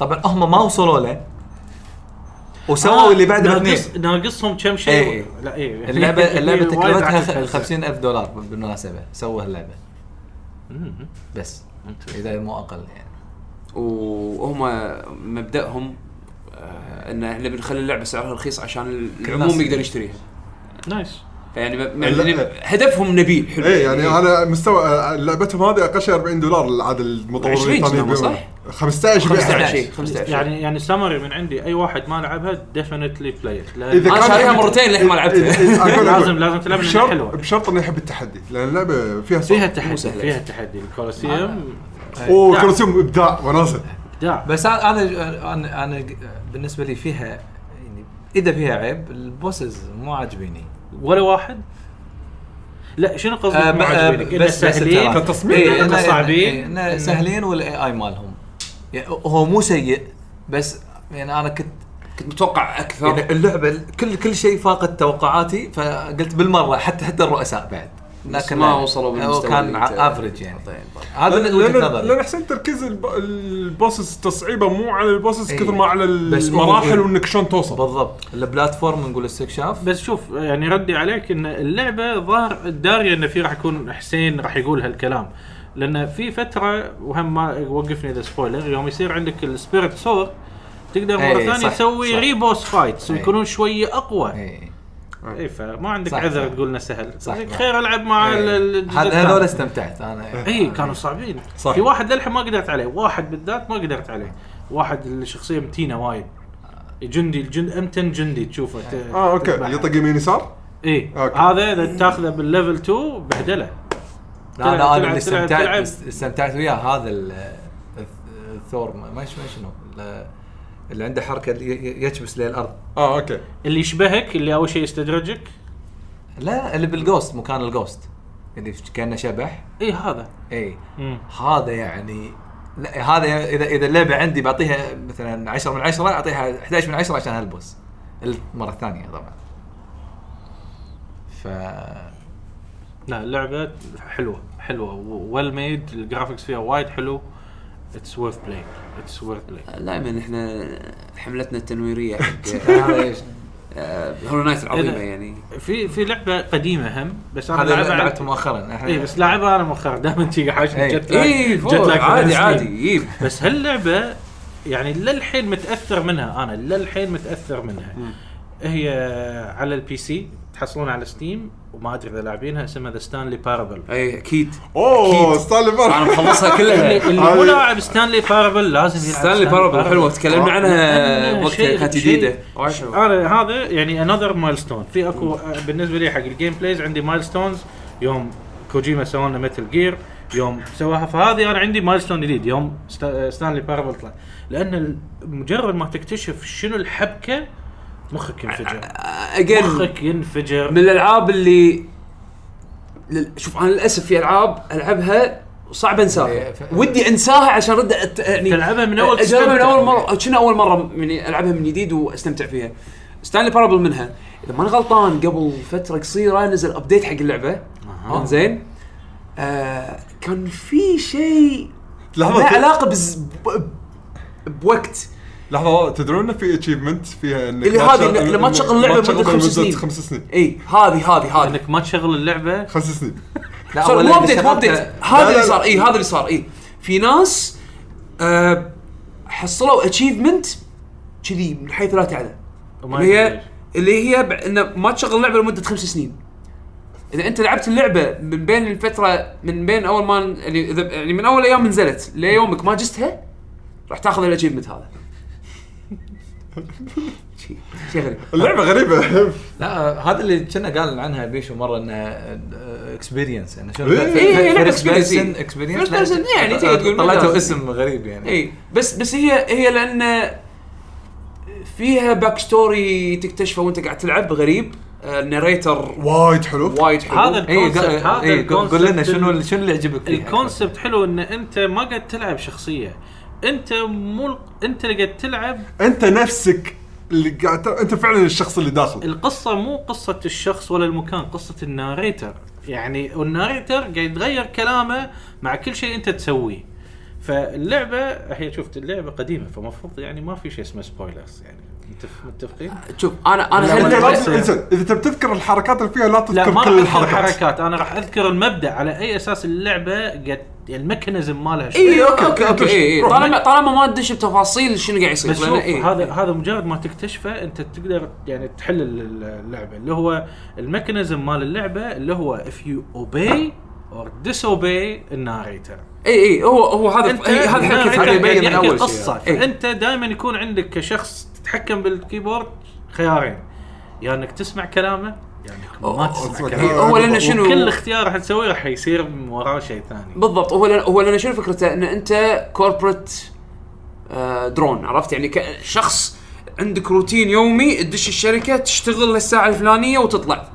طبعا هم ما وصلوا له
آه،
وسووا اللي بعده باثنين
ناقص ناقصهم كم
إيه.
شيء لا ايه
اللعبه اللعبه
وايد عكس
تكلفتها
هذا.
50000 دولار بالمناسبه سووا اللعبه
مم.
بس اذا مو اقل يعني
وهم مبداهم آه، ان احنا بنخلي اللعبه سعرها رخيص عشان
الناس.
العموم يقدر يشتريها
نايس
يعني ب-
لا.
يعني هدفهم نبيل حلو
إيه،
إيه.
ايه يعني انا مستوى آه، لعبتهم هذه اقل شيء 40 دولار العاده المطورين
20
الثانيين
كنا،
بيبيعون.
صح؟
15 بيع
15 15 يعني
يعني يعني سمري من عندي اي واحد ما لعبها ديفنتلي بلاي
إذا
انا
كان-
شاريها مرتين للحين ما لعبتها
لازم لازم تلعب لأنها
بشرط
حلوه
بشرط انه يحب التحدي لان اللعبه فيها صعوبة.
فيها
مو
تحدي
سهلة.
فيها تحدي الكولوسيوم
اوه كولوسيوم ابداع وناسه
ابداع
بس انا انا انا, أنا بالنسبه لي فيها يعني اذا فيها عيب البوسز مو عاجبيني
ولا واحد لا شنو قصدك
آه،
مو
آه،
عاجبينك؟ إنه سهلين
التراك.
كتصميم
إيه،
إنه
إنه-
صعبين
إنه
إنه-
سهلين والاي اي مالهم يعني هو مو سيء بس يعني انا كنت
كنت متوقع
يعني
اكثر
اللعبه كل كل شيء فاقد توقعاتي فقلت بالمره حتى حتى الرؤساء بعد
بس ما
لا،
وصلوا
هو
بالمستوى
كان
اللي أنت-
افرج يعني
طيب، طيب.
هذا من وجهه
لان لأن
نظري
احسن تركيز الب- البوسس تصعيبه مو على البوسس
إيه.
كثر ما على
بس مو-
المراحل وانك شلون توصل
بالضبط البلاتفورم نقول استكشاف
بس شوف يعني ردي عليك ان اللعبه ظاهر داريه ان في راح يكون حسين راح يقول هالكلام لان في فتره وهم ما وقفني اذا سبويلر يوم يصير عندك السبيريت سور تقدر مره
إيه،
ثانيه
صح، صح.
تسوي ريبوس فايتس
إيه.
ويكونون شويه اقوى
إيه.
اي فما عندك
صح،
عذر
صح.
تقول انه سهل
صح،
صح
صح.
خير العب مع ال- ال- الجزء
هذا
الثاني.
هذول استمتعت انا
اي كانوا صعبين
صح.
في واحد للحين ما قدرت عليه واحد بالذات ما قدرت عليه واحد الشخصيه متينه وايد جندي الجند امتن جندي تشوفه ت-
اه اوكي
تذبحه.
يطق يمين يسار
اي
أوكي.
هذا اذا تاخذه بالليفل 2 بهدله
لا
تلعب-
انا انا
تلعب-
اللي
تلعب-
استمتعت
تلعب.
استمتعت وياه هذا ال- الث- الثور ما ما شنو- ما شنو ال- اللي عنده حركه اللي ي- ي- يكبس للارض
اه اوكي
اللي يشبهك اللي اول شيء يستدرجك
لا اللي بالجوست مكان الجوست اللي كانه شبح
اي هذا
اي
مم.
هذا يعني لا هذا اذا اذا اللعبه عندي بعطيها مثلا 10 من 10 اعطيها 11 من 10 عشان هالبوس المره الثانيه طبعا ف
لا اللعبه حلوه حلوه ويل ميد الجرافكس فيها وايد حلو اتس ورث بلاي اتس ورث بلاي
دائما احنا حملتنا التنويريه حق آه،
هذا ايش
هولو نايت العظيمه
إذا-
يعني
في في لعبه قديمه هم بس انا
هذا
لعبها
لعبته
على-
مؤخرا
آه.
اي إيه، بس لاعبها انا مؤخرا دائما تجي حاشني
إي.
جت لاج-
اي
جت
فوق،
لاج
إيه. عادي
بالستريم.
عادي إيه. يجيب
بس هاللعبه يعني للحين متاثر منها انا للحين متاثر منها هي على البي سي تحصلون على ستيم وما ادري اذا لاعبينها اسمها ذا ستانلي بارابل
اي اكيد
اوه
إيه، أكيد.
ستانلي
انا
بار
مخلصها
اللي
كلها
اللي مو لاعب ستانلي بارابل لازم يلعب
ستانلي بارابل
بارابل.
حلوه تكلمنا عنها
لأنه
وقتها
شيء-
كانت
شيء-
جديده وايد حلوة.
انا هذا يعني انذر مايلستون في اكو بالنسبه لي حق الجيم بلايز عندي مايلستونز يوم كوجيما سوى لنا متل جير يوم سواها فهذه انا عندي مايلستون جديد يوم آه، ستا- ستانلي بارابل طلع لان ال- مجرد ما تكتشف شنو الحبكه مخك ينفجر
اجين
مخك ينفجر
من الالعاب اللي لل- شوف انا للاسف في العاب العبها صعب انساها
إيه، ف-
ودي انساها عشان ارد أت... يعني
تلعبها من أول
اجربها من
تستمتع.
اول مره كنا اول مره يعني العبها من جديد واستمتع فيها ستانلي بارابل منها اذا ماني غلطان قبل فتره قصيره نزل ابديت حق اللعبه زين آه كان في شيء
لحظة،
له
في-
علاقه بز... ب... بوقت
لحظه تدرون انه في اتشيفمنت فيها انك
اللي
ما
هذه
تشغل-
إن- لما تشغل لعبة
ما تشغل
مدة خمس
لمدة
سنين. إيه.
خمس سنين
اي هذه هذه هذه
انك ما تشغل اللعبه
خمس سنين
لا
صار
أول
مو
اللي
ابديت مو ابديت
شغلته-
هذا
لا،
اللي
لا.
صار اي هذا اللي صار اي في ناس آه حصلوا اتشيفمنت كذي من حيث لا تعلم
وما
اللي
يدري
هي
ليش.
اللي هي ب... انه ما تشغل اللعبه لمده خمس سنين اذا انت لعبت اللعبه من بين الفتره من بين اول ما ن- يعني اذا يعني من اول ايام نزلت ليومك ما جستها راح تاخذ الاتشيفمنت هذا شيء شيء غريب
اللعبه غريبه
لا آه، هذا اللي كنا قال عنها بيشو مره انها اكسبيرينس يعني شنو
إيه،
إيه، إيه، لعبة experience.
اكسبيرينس
First person، يعني تقدر تقول
طلعته
مجاز.
اسم غريب يعني
اي إيه، بس بس هي هي لان فيها باك ستوري تكتشفه وانت قاعد تلعب غريب آه، الناريتر
وايد حلو
وايد حلو
هذا
إيه،
اي
الكونسبت- هذا
قول لنا
الكونسبت
شنو
ال-
شنو اللي عجبك فيها
الكونسبت حلو ان انت ما قاعد تلعب شخصيه انت مو انت اللي قاعد تلعب
انت نفسك اللي قاعد تل- انت فعلا الشخص اللي داخل
القصه مو قصه الشخص ولا المكان قصه الناريتر يعني والناريتر قاعد يتغير كلامه مع كل شيء انت تسويه فاللعبه هي شفت اللعبه قديمه فمفروض يعني ما في شيء اسمه سبويلرز يعني متف- متفقين؟
شوف انا انا
لا،
انت
هل-
ولا-
لازم انسان اذا تبي تذكر الحركات اللي فيها لا
لا ما
تذكر
راح
كل
اذكر
الحركات
الحركات انا راح اذكر المبدا على اي اساس اللعبه قد الميكانيزم مالها شو.
اي اوكي اوكي اوكي إيه،
روح.
طالما طالما ما تدش بتفاصيل شنو قاعد يصير
بس شوف
لأن إيه.
هذا هذا مجرد ما تكتشفه انت تقدر يعني تحل ال- اللعبه اللي هو الميكانيزم مال اللعبه اللي هو اف يو اوبي اور اوبي الناريتر
اي اي هو إيه، هو هذا
انت
طيب، هذا حكيت
الناريتر
عليه
قاعد
يبين من
يحكي
اول
قصه
شيء إيه.
فانت دائما يكون عندك كشخص تتحكم بالكيبورد خيارين يا انك تسمع كلامه يا انك ما
أوه،
تسمع
أوه،
إيه،
كلامه
هو لانه شنو
وكل اختيار راح تسويه راح يصير من وراه شيء ثاني
بالضبط هو لأن هو لان شنو فكرته ان انت كوربريت درون عرفت يعني ك- شخص عندك روتين يومي تدش الشركه تشتغل للساعه الفلانيه وتطلع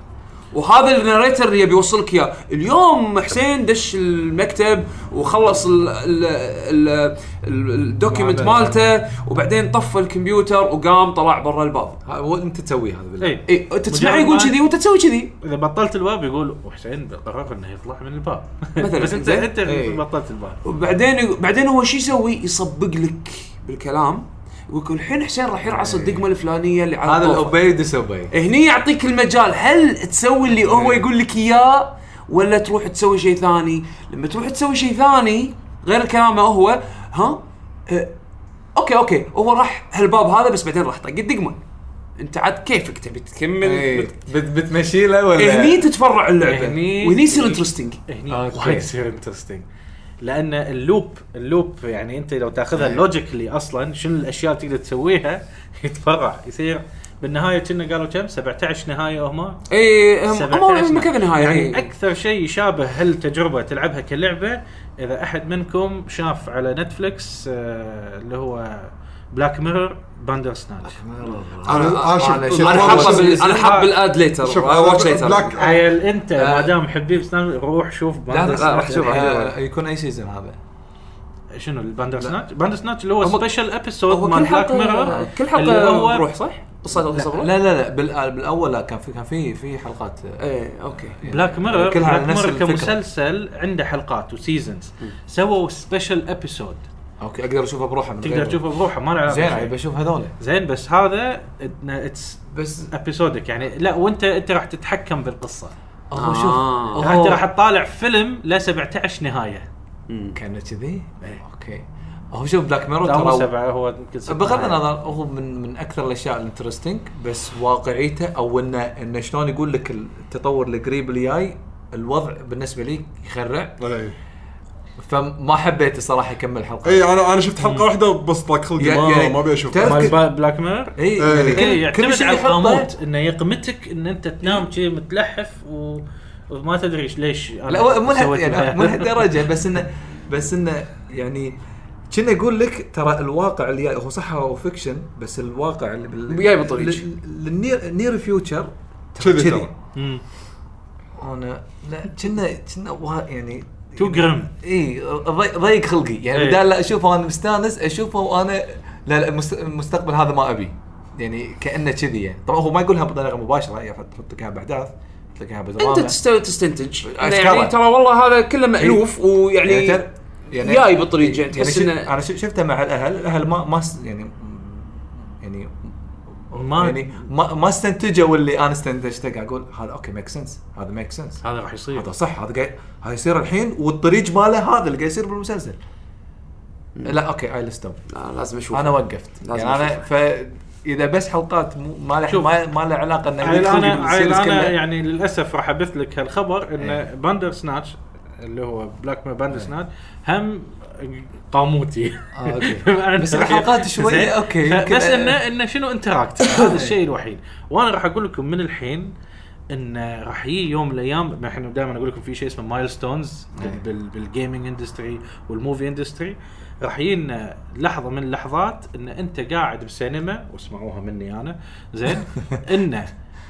وهذا الناريتر اللي يبي يوصلك اياه اليوم حسين دش المكتب وخلص ال- ال- ال- ال- الدوكيمنت
معبد.
مالته وبعدين طفى الكمبيوتر وقام طلع برا الباب
ها، هو انت تسوي هذا بالله
اي
اي انت تسمعه
مجرد
يقول
ما-
كذي وانت تسوي كذي
اذا إيه. بطلت الباب يقول وحسين قرر انه يطلع من الباب
مثلاً،
بس انت
زين.
انت
إيه.
بطلت الباب
وبعدين بعدين هو شو يسوي؟ يصبق لك بالكلام ويقول الحين حسين راح يرعص الدقمه الفلانيه اللي على
هذا
الطوفة."
الاوبي ديسوبي
هني يعطيك المجال هل تسوي اللي هو يقول لك اياه ولا تروح تسوي شيء ثاني؟ لما تروح تسوي شيء ثاني غير كلامه هو ها؟ أه، اوكي اوكي هو راح هالباب هذا بس بعدين راح طق الدقمه. انت عاد كيفك تبي تكمل
بتمشي له إيه، ولا
إيه، هني تتفرع اللعبه
هني-
وهني يصير انترستنج
هني
أوكي.
وايد يعني يصير انترستنج لان اللوب اللوب يعني انت لو تاخذها
إيه.
لوجيكلي اصلا شنو الاشياء اللي تقدر تسويها يتفرع يصير بالنهايه كنا قالوا كم 17 نهايه هما
اي إيه. هم هم-
17
هم كذا نهايه
يعني
يعني
اكثر شيء يشابه هالتجربه تلعبها كلعبه اذا احد منكم شاف على نتفلكس آه، اللي هو بلاك ميرور باندر سناتش
انا
أنا شفت-
انا حاطه
شفت-
بال- انا حاط بالاد ليتر
شوف،
واتش ليتر
بلاك-
عيل انت
آه.
ما دام حبيب سناتش روح شوف
لا،
باندر
لا، راح
سناتش
أشوفه.
آه، يكون اي سيزون هذا
شنو الباندر سناتش؟ باندر سناتش اللي هو
هم-
سبيشل
هو
ابيسود مال
كل
بلاك ميرور
حلقه كل
اللي
حلقه
هو
بروح صح؟ قصه قصه بروح؟
لا لا لا بال- بالاول لا كان في كان في في حلقات آه،
ايه اوكي
يعني
بلاك ميرور
كلها على
بلاك
نفس
ميرور
الفكرة.
كمسلسل عنده حلقات وسيزونز سووا سبيشل ابيسود
اوكي اقدر اشوفه بروحه من
تقدر
غيره.
تشوفه بروحه ما له علاقه
زين
بشيء.
ابي اشوف هذول
زين بس هذا اتس
بس
ابيسودك يعني لا وانت انت راح تتحكم بالقصه
هو شوف
آه.
هو-
انت راح تطالع فيلم له 17 نهايه
كان كذي اوكي هو شوف بلاك ميرور
لا مو
ترى
سبعه هو يمكن ست
بغض
نهايات.
النظر هو من من اكثر الاشياء الانترستنج بس واقعيته او انه انه شلون يقول لك التطور القريب اللي جاي الوضع بالنسبه لي يخرع
إيه.
اي
فما حبيت الصراحه اكمل حلقه
اي انا انا شفت حلقه واحده بس طلق خلقي
يا-
ما
يا-
يعني
ما ابي اشوف
تعرف-
مال با- بلاك ميرور
اي
إيه.
يعني
كل
كل كل
يعتمد
شيء
على
يحطه إيه.
القاموت انه يقمتك ان انت تنام كذي متلحف و... وما تدري إيش- ليش أنا
لا هو مو لها-
سويت
يعني
معاه.
مو لهالدرجه بس انه بس انه يعني كنا اقول لك ترى الواقع اللي جاي- هو صح هو فيكشن بس الواقع اللي بال
جاي بالطريق.
للنير نير فيوتشر
كذي ترى.
مم.
انا لا كنا كنا وا- يعني
تو جرم
اي ضي- ضيق خلقي يعني
إيه.
بدال لا اشوفه وانا مستانس اشوفه وانا لا لا المست- المستقبل هذا ما ابي يعني كانه كذي يعني طبعا هو ما يقولها بطريقه مباشره يحط- يحط لك اياها باحداث يحط لك اياها بدراما
انت تستوي تستنتج
أشكره.
يعني ترى والله هذا كله مالوف ويعني
يعني تر- يعني
جاي بالطريق يعني
يعني
تحس
شف-
انه
انا ش- شفته مع الاهل الاهل ما ما س- يعني يعني
ما-
يعني ما ما استنتجوا اللي انا استنتجته قاعد اقول هذا اوكي ميك سنس هذا ميك سنس
هذا راح يصير
هذا صح هذا قاعد هذا يصير الحين والطريق ماله هذا اللي قاعد يصير بالمسلسل لا اوكي اي ستوب
آه، لازم اشوف
انا وقفت
لازم
يعني انا ف اذا بس حلقات مو- ما له
شوف.
ما ما له علاقه انه
عيل
يعني
يعني
يدخل
انا
بالسيريز
عيل انا
كله. إيه.
يعني للاسف راح ابث لك هالخبر ان باندر سناتش اللي هو بلاك باندسنات هم قاموتي
آه، أوكي.
معنى
بس الحلقات شوي،
زين.
أوكي،
ف-
يمكن-
بس انه انه شنو انتراكت هذا الشيء الوحيد وانا راح اقول لكم من الحين انه راح يجي يوم من الايام احنا دائما اقول لكم في شيء اسمه مايل ستونز بالجيمنج اندستري والموفي اندستري راح يجينا لحظه من اللحظات ان انت قاعد بسينما واسمعوها مني انا زين انه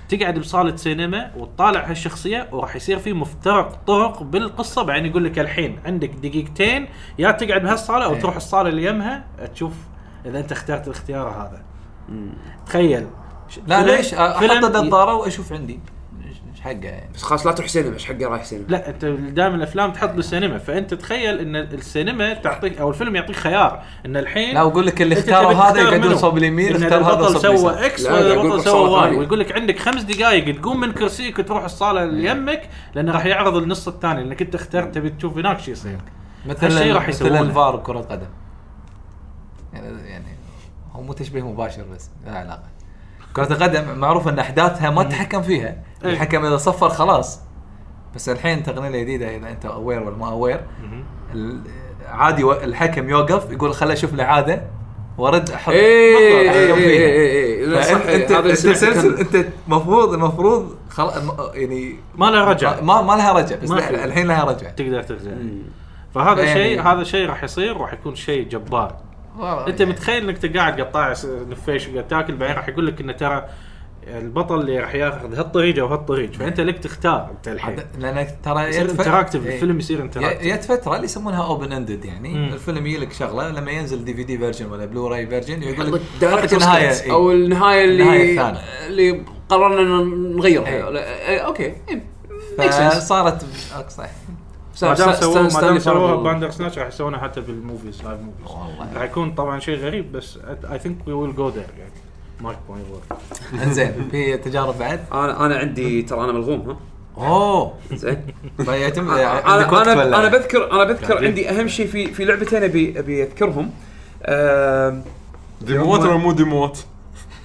تقعد بصاله سينما وتطالع هالشخصيه وراح يصير في مفترق طرق بالقصه بعدين يقول لك الحين عندك دقيقتين يا تقعد بهالصاله او
إيه.
تروح الصاله اللي يمها تشوف اذا انت اخترت الاختيار هذا تخيل
لا
فيلم-
ليش
فيلم
احط
ي-
النظاره واشوف عندي إيش- ايش حقه يعني
بس خلاص لا تروح سينما ايش حقه رايح سينما
لا انت دائما الافلام تحط بالسينما فانت تخيل ان السينما تعطيك او الفيلم يعطيك خيار ان الحين
لا واقول لك اللي
أنت
اختاروا
تبي
هذا
تختار
يقعدون
منو؟
صوب اليمين
إن
اختار هذا
البطل
صوب
سوى إيه؟
اليسار
اكس
لا، قاعد يقول
والبطل
لك
سوى
صورة
واي
ثانية.
ويقول لك عندك خمس دقائق تقوم من كرسيك وتروح الصاله اللي يمك لانه راح يعرض النص الثاني لانك انت اخترت تبي تشوف هناك شو يصير
مثل
هالشيء راح
مثل
يسوونه.
الفار بكره القدم يعني يعني هو مو تشبيه مباشر بس لا علاقه كرة القدم معروف ان احداثها ما تحكم فيها
إيه.
الحكم اذا صفر خلاص بس الحين تقنيه جديده اذا انت اوير ولا ما اوير ال- عادي و- الحكم يوقف يقول خله اشوف له عاده وارد احط
ايه
أحكم
ايه
فيها.
ايه ايه
فأنت- انت
هذا
انت
السلسل
السلسل- انت المفروض المفروض خلاص يعني
ما له رجع
ما ما لها رجع بس
ما
لا،
في.
الحين لها رجع
تقدر ترجع فهذا
يعني-
شيء هذا شيء راح يصير راح يكون شيء جبار انت متخيل انك أنت قاعد قطاع س- نفيش وقاعد تاكل بعدين راح يقول لك انه ترى البطل اللي راح ياخذ هالطريق او هالطريق فانت لك تختار انت الحين
عاد- لانك ترى
يصير
يت-
انتراكتيف
إيه.
الفيلم يصير
ي-
انتراكتيف
جت فتره اللي يسمونها اوبن اندد يعني
مم.
الفيلم يجيلك شغله لما ينزل دي في دي فيرجن ولا بلو راي فيرجن يقول لك حط
دايركت
النهايه
او
إيه.
النهايه
النهاية
اللي
الثانية.
اللي قررنا إن نغيرها
إيه.
لا، إيه، اوكي إيه، makes sense.
فصارت اقصى
ما دام
ستان- ستان-
سووها ما دام
ستانلي
سووها
فاربل.
باندر سناتش راح يسوونها حتى بالموفيز لايف موفيز
والله.
راح يكون طبعا شيء غريب بس اي ثينك وي ويل جو ذير يعني ماي بوينت
زين في تجارب بعد
انا انا عندي ترى انا ملغوم ها
اوه
زين
يتم
انا انا انا بذكر انا بذكر عندي اهم شيء في في لعبتين ابي ابي اذكرهم آم،
ديموات ولا مو ديموات؟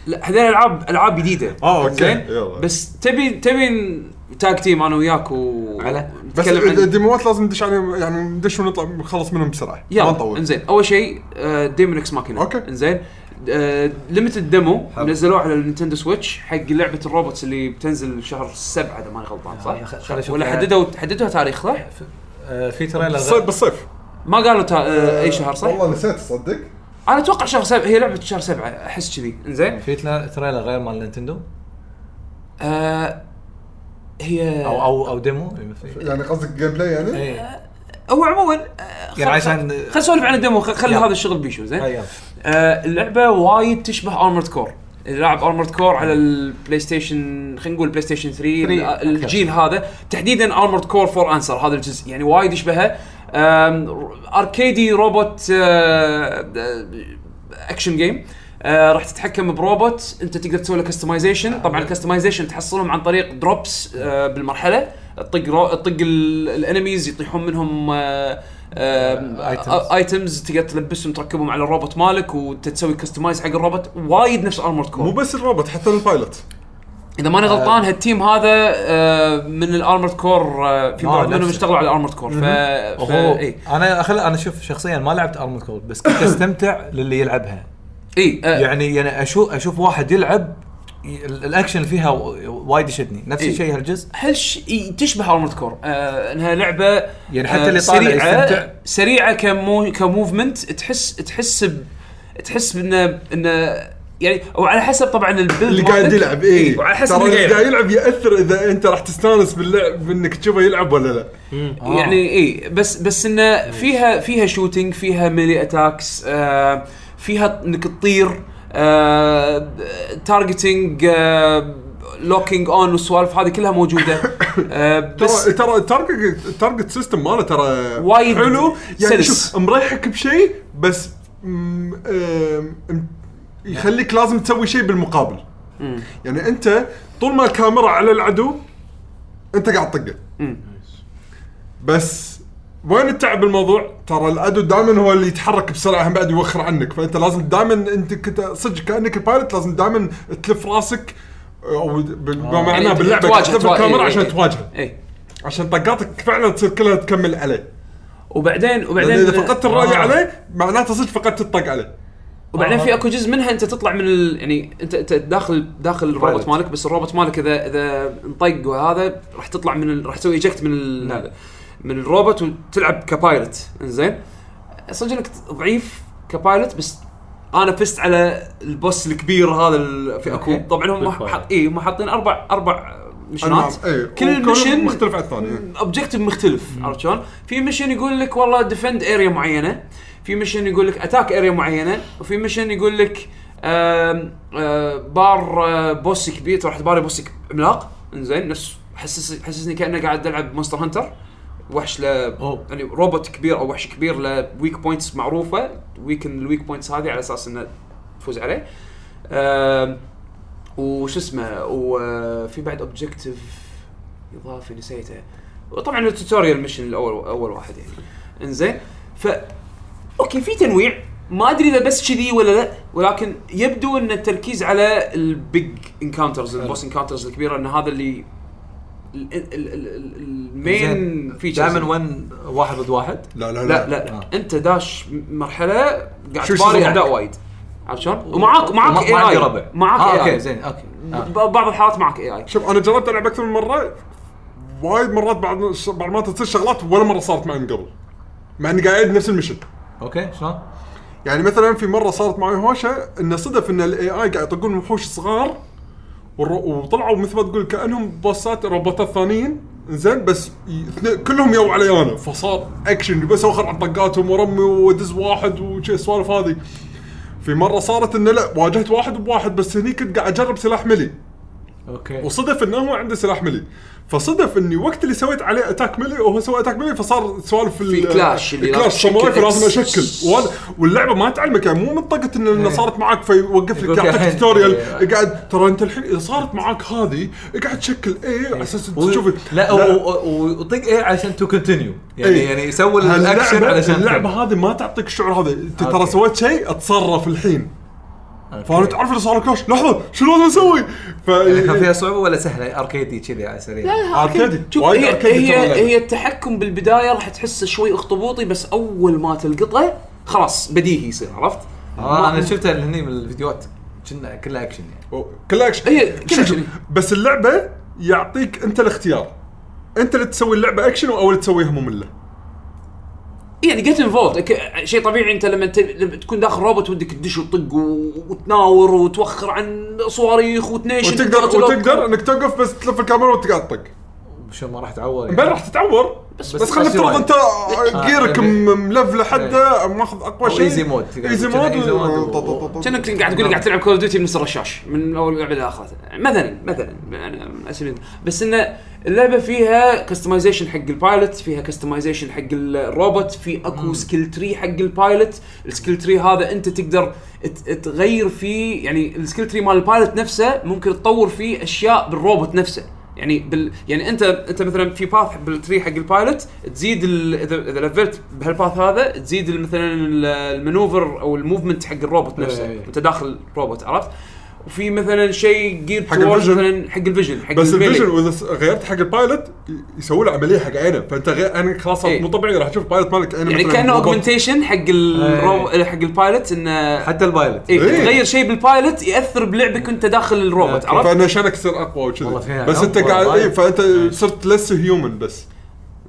لا هذول العاب العاب جديده
آه، أوكي.
زين
يلا.
بس تبي تبي تاك تيم انا وياك و
على.
بس
نتكلم عن-
الديموات لازم ندش عليهم يعني ندش ونطلع نخلص منهم بسرعه ما
يلا
نطول
انزين اول شيء آه، ديمون اكس ماكينه
أوكي.
انزين ليمتد ديمو آه، نزلوه على النينتندو سويتش حق لعبه الروبوتس اللي بتنزل شهر سبعة اذا ماني غلطان
آه، خ-
صح؟
خل أشوف
ولا
لها.
حددوا حددوا تاريخ صح؟
آه، في تريلر
بالصيف
غير
بالصيف
ما قالوا تا... آه، اي شهر صح؟
والله نسيت تصدق
انا اتوقع شهر سبعة هي لعبه شهر سبعة احس كذي انزين
في تلا- تريلر غير مال نينتندو
آه هي
او او او ديمو إيه،
يعني قصدك جيم بلاي يعني؟
ايه
هو عموما
يعني عشان أيوه.
خل نسولف عن الديمو خل خلي
يلا.
هذا الشغل بيشو زين
هيا.
آه اللعبه وايد تشبه ارمورد كور اللي لاعب ارمورد كور على البلاي ستيشن خلينا نقول بلاي ستيشن 3 ال-
أكثر.
الجيل هذا تحديدا ارمورد كور فور انسر هذا الجزء يعني وايد يشبهه آم، ر- اركيدي روبوت آه، آه، اكشن جيم آه، راح تتحكم بروبوت انت تقدر تسوي له كستمايزيشن طبعا الكستمايزيشن تحصلهم عن طريق دروبس آه، بالمرحله تطق رو- تطق ال- الانميز يطيحون منهم آه، آه،
Items.
آه، ايتمز تقدر تلبسهم تركبهم على الروبوت مالك وتسوي كستمايز حق الروبوت وايد نفس ارمورد
مو
كور
بس الروبوت حتى البايلوت
اذا ماني غلطان هالتيم هذا آه، من الارمورد كور آه، في
آه،
بعض منهم
نفسه.
اشتغلوا على الارمورد كور ف ف-
وهو
اي
انا أخل... انا شوف شخصيا ما لعبت ارمود كور بس كنت استمتع للي يلعبها
اي آه،
يعني يعني اشوف اشوف واحد يلعب ي- ال- الاكشن فيها و- وايد يشدني نفس
إيه.
الشيء هالجزء
هالش إي، تشبه ارمورد كور آه انها لعبه
يعني حتى
آه،
اللي طالع يستمتع.
سريعه كمو كموفمنت تحس تحس ب تحس بانه انه يعني وعلى حسب طبعا البيلد
اللي
مالتك.
قاعد يلعب اي
وعلى حسب
ترى
اللي
اللي
قاعد
قاعد يلعب ياثر اذا انت راح تستانس باللعب انك تشوفه يلعب ولا لا
آه.
يعني اي بس بس انه فيها فيها شوتينج فيها ميلي اتاكس آه فيها انك تطير آه تارجتنج آه لوكينج اون والسوالف هذه كلها موجوده آه بس
ترى ترى التارجت التارجت سيستم ماله ترى
وايد
حلو يعني
سلس.
شوف مريحك بشيء بس م- آم، م- يخليك لازم تسوي شيء بالمقابل يعني انت طول ما الكاميرا على العدو انت قاعد تطقه بس وين التعب الموضوع؟ ترى العدو دائما هو اللي يتحرك بسرعه هم بعد يوخر عنك فانت لازم دائما انت كنت صدق كانك البايلوت لازم دائما تلف راسك او بال- بمعنى
يعني
باللعبه
تواجه-
تحتفل
توا-
الكاميرا
إيه،
عشان
إيه.
تواجهه
اي
عشان طقاتك فعلا تصير كلها تكمل عليه
وبعدين
لان
وبعدين
اذا فقدت الراي
آه.
عليه معناته صدق فقدت الطق عليه
وبعدين
آه.
في اكو جزء منها انت تطلع من ال... يعني انت انت داخل داخل الروبوت مالك بس الروبوت مالك اذا اذا انطق وهذا راح تطلع من ال... راح تسوي ايجكت من ال...
نعم.
هذا من الروبوت وتلعب كبايلوت انزين صدق انك ضعيف كبايلوت بس انا فزت على البوس الكبير هذا ال... في اكو
أوكي.
طبعا هم
Big
حاط اي هم حاطين اربع اربع مشنات
أنواع. إيه،
كل
وكلهم
مشن
مختلف عن الثاني
اوبجيكتيف مختلف عرفت شلون؟ في ميشن يقول لك والله ديفند اريا معينه، في ميشن يقول لك اتاك اريا معينه، وفي ميشن يقول لك آم، آه، بار آه، بوس كبير تروح تباري بوس ك- عملاق انزين نفس حسس حسسني كانه قاعد العب مونستر هانتر وحش ل
أوه.
يعني روبوت كبير او وحش كبير لويك بوينتس معروفه ويكن الويك بوينتس هذه على اساس انه تفوز عليه آم، وش اسمه وفي بعد اوبجيكتيف اضافي نسيته وطبعا التوتوريال ميشن الاول اول واحد يعني انزين ف اوكي في تنويع ما ادري اذا بس كذي ولا لا ولكن يبدو ان التركيز على البيج انكاونترز البوس انكاونترز الكبيره ان هذا اللي ال- ال- ال- ال- المين فيتشرز
دائما وين واحد ضد واحد
لا لا
لا لا
آه.
انت داش مرحله قاعد
شو
تباري
يصير
اعداء
معك؟
وايد عرفت شلون؟ ومعاك معاك
وما-
اي
ما عندي
اي
ربع
معاك
آه،
اي
اوكي
اي
زين اوكي آه.
بعض الحالات معك اي اي
شوف انا جربت العب اكثر من مره وايد مرات بعد بعد ما تصير شغلات ولا مره صارت معي من قبل مع اني قاعد نفس المشن
اوكي شلون؟
يعني مثلا في مره صارت معي هوشه انه صدف ان الاي اي قاعد يطقون وحوش صغار والر- وطلعوا مثل ما تقول كانهم بوسات روبوتات ثانيين زين بس ي- اثنين- كلهم يو علي انا فصار اكشن بس اوخر على طقاتهم ورمي وادز واحد وشي السوالف هذه في مره صارت انه لا واجهت واحد بواحد بس هني كنت قاعد اجرب سلاح ملي
اوكي
وصدف انه هو عنده سلاح ملي فصدف اني وقت اللي سويت عليه اتاك ملي وهو سوى اتاك ملي فصار سوالف
في كلاش اللي
اللي
لازم
كلاش ساموراي
تشكل
فلازم
إكس.
اشكل وأنا- واللعبه ما تعلمك يعني مو منطقه ان إنه صارت معك فيوقف لك
يقولك
يعطيك
الحين-
توتوريال
إيه.
قاعد ترى انت الحين اذا صارت معك هذه قاعد تشكل اي على اساس تشوف
إيه. لا و- و- وطق ايه عشان تو كونتينيو يعني
إيه.
يعني يسوي الاكشن
هاللعبة-
علشان
اللعبه هذه ما تعطيك الشعور هذا انت ترى
أوكي.
سويت شيء اتصرف الحين فانا
فانا
تعرف اللي صار كلاش لحظه شنو لازم اسوي؟ ف
يعني فيها صعوبه ولا سهله اركيدي كذي على السريع
اركيدي
شوف
وايد
هي
أركيدي ترى
هي
اللعبة.
هي التحكم بالبدايه راح تحسه شوي اخطبوطي بس اول ما تلقطه خلاص بديهي يصير عرفت؟
آه
ما-
انا شفتها هني بالفيديوهات كنا كلها اكشن يعني
أو- كلها اكشن
هي كلها
شوف-
أكشن.
بس اللعبه يعطيك انت الاختيار انت اللي تسوي اللعبه اكشن او اللي تسويها ممله
يعني جيت انفولد شيء طبيعي انت لما, ت... لما تكون داخل روبوت ودك تدش وتطق و... وتناور وتوخر عن صواريخ وتنيشن
وتقدر
وتقتل
وتقدر انك توقف بس تلف الكاميرا وتقطق
شو ما راح تعور
بعدين
يعني.
راح تتعور بس,
بس
بس خلينا
بس
نفترض
وايد.
انت جيرك
يعني-
م- ملف لحده ماخذ اقوى شيء
ايزي مود.
ايزي
كذا
مود
ايزي
و-
مود و-
طط- طط- طط.
كأنك قاعد تقول قاعد تلعب كول اوف ديوتي من نص الرشاش من اول لعبه لاخرها مثلا مثلا أنا من أسبيل- يعني بس انه اللعبه فيها كستمايزيشن حق البايلوت فيها كستمايزيشن حق الروبوت في اكو سكيل تري حق البايلوت السكيل تري هذا انت تقدر ت- تغير فيه يعني السكيل تري مال البايلوت نفسه ممكن تطور فيه اشياء بالروبوت نفسه يعني بال يعني انت انت مثلا في باث بالتري حق البايلوت تزيد ال... اذا اذا لفلت بهالباث هذا تزيد ال- مثلا ال- المانوفر او الموفمنت حق الروبوت نفسه
إيه.
انت داخل روبوت عرفت وفي مثلا شيء جير
حق
towards
الفيجن.
مثلا حق الفيجن حق
بس
الميلي.
الفيجن واذا س- غيرت حق البايلوت ي- يسوي له عمليه حق عينه فانت غير عينك خلاص صارت
إيه.
مو طبيعي راح تشوف بايلوت مالك عينه
يعني
مثلاً
كانه
روبوت.
اوجمنتيشن حق الرو... حق البايلوت انه
حتى البايلوت
إيه
إيه.
تغير شيء بالبايلوت ياثر بلعبك وانت داخل الروبوت
أوكي.
عرفت؟
فانا شانك تصير اقوى
والله
وكذا
فيها
بس انت
عمق
قاعد
والله. إيه.
اي فانت صرت لس هيومن بس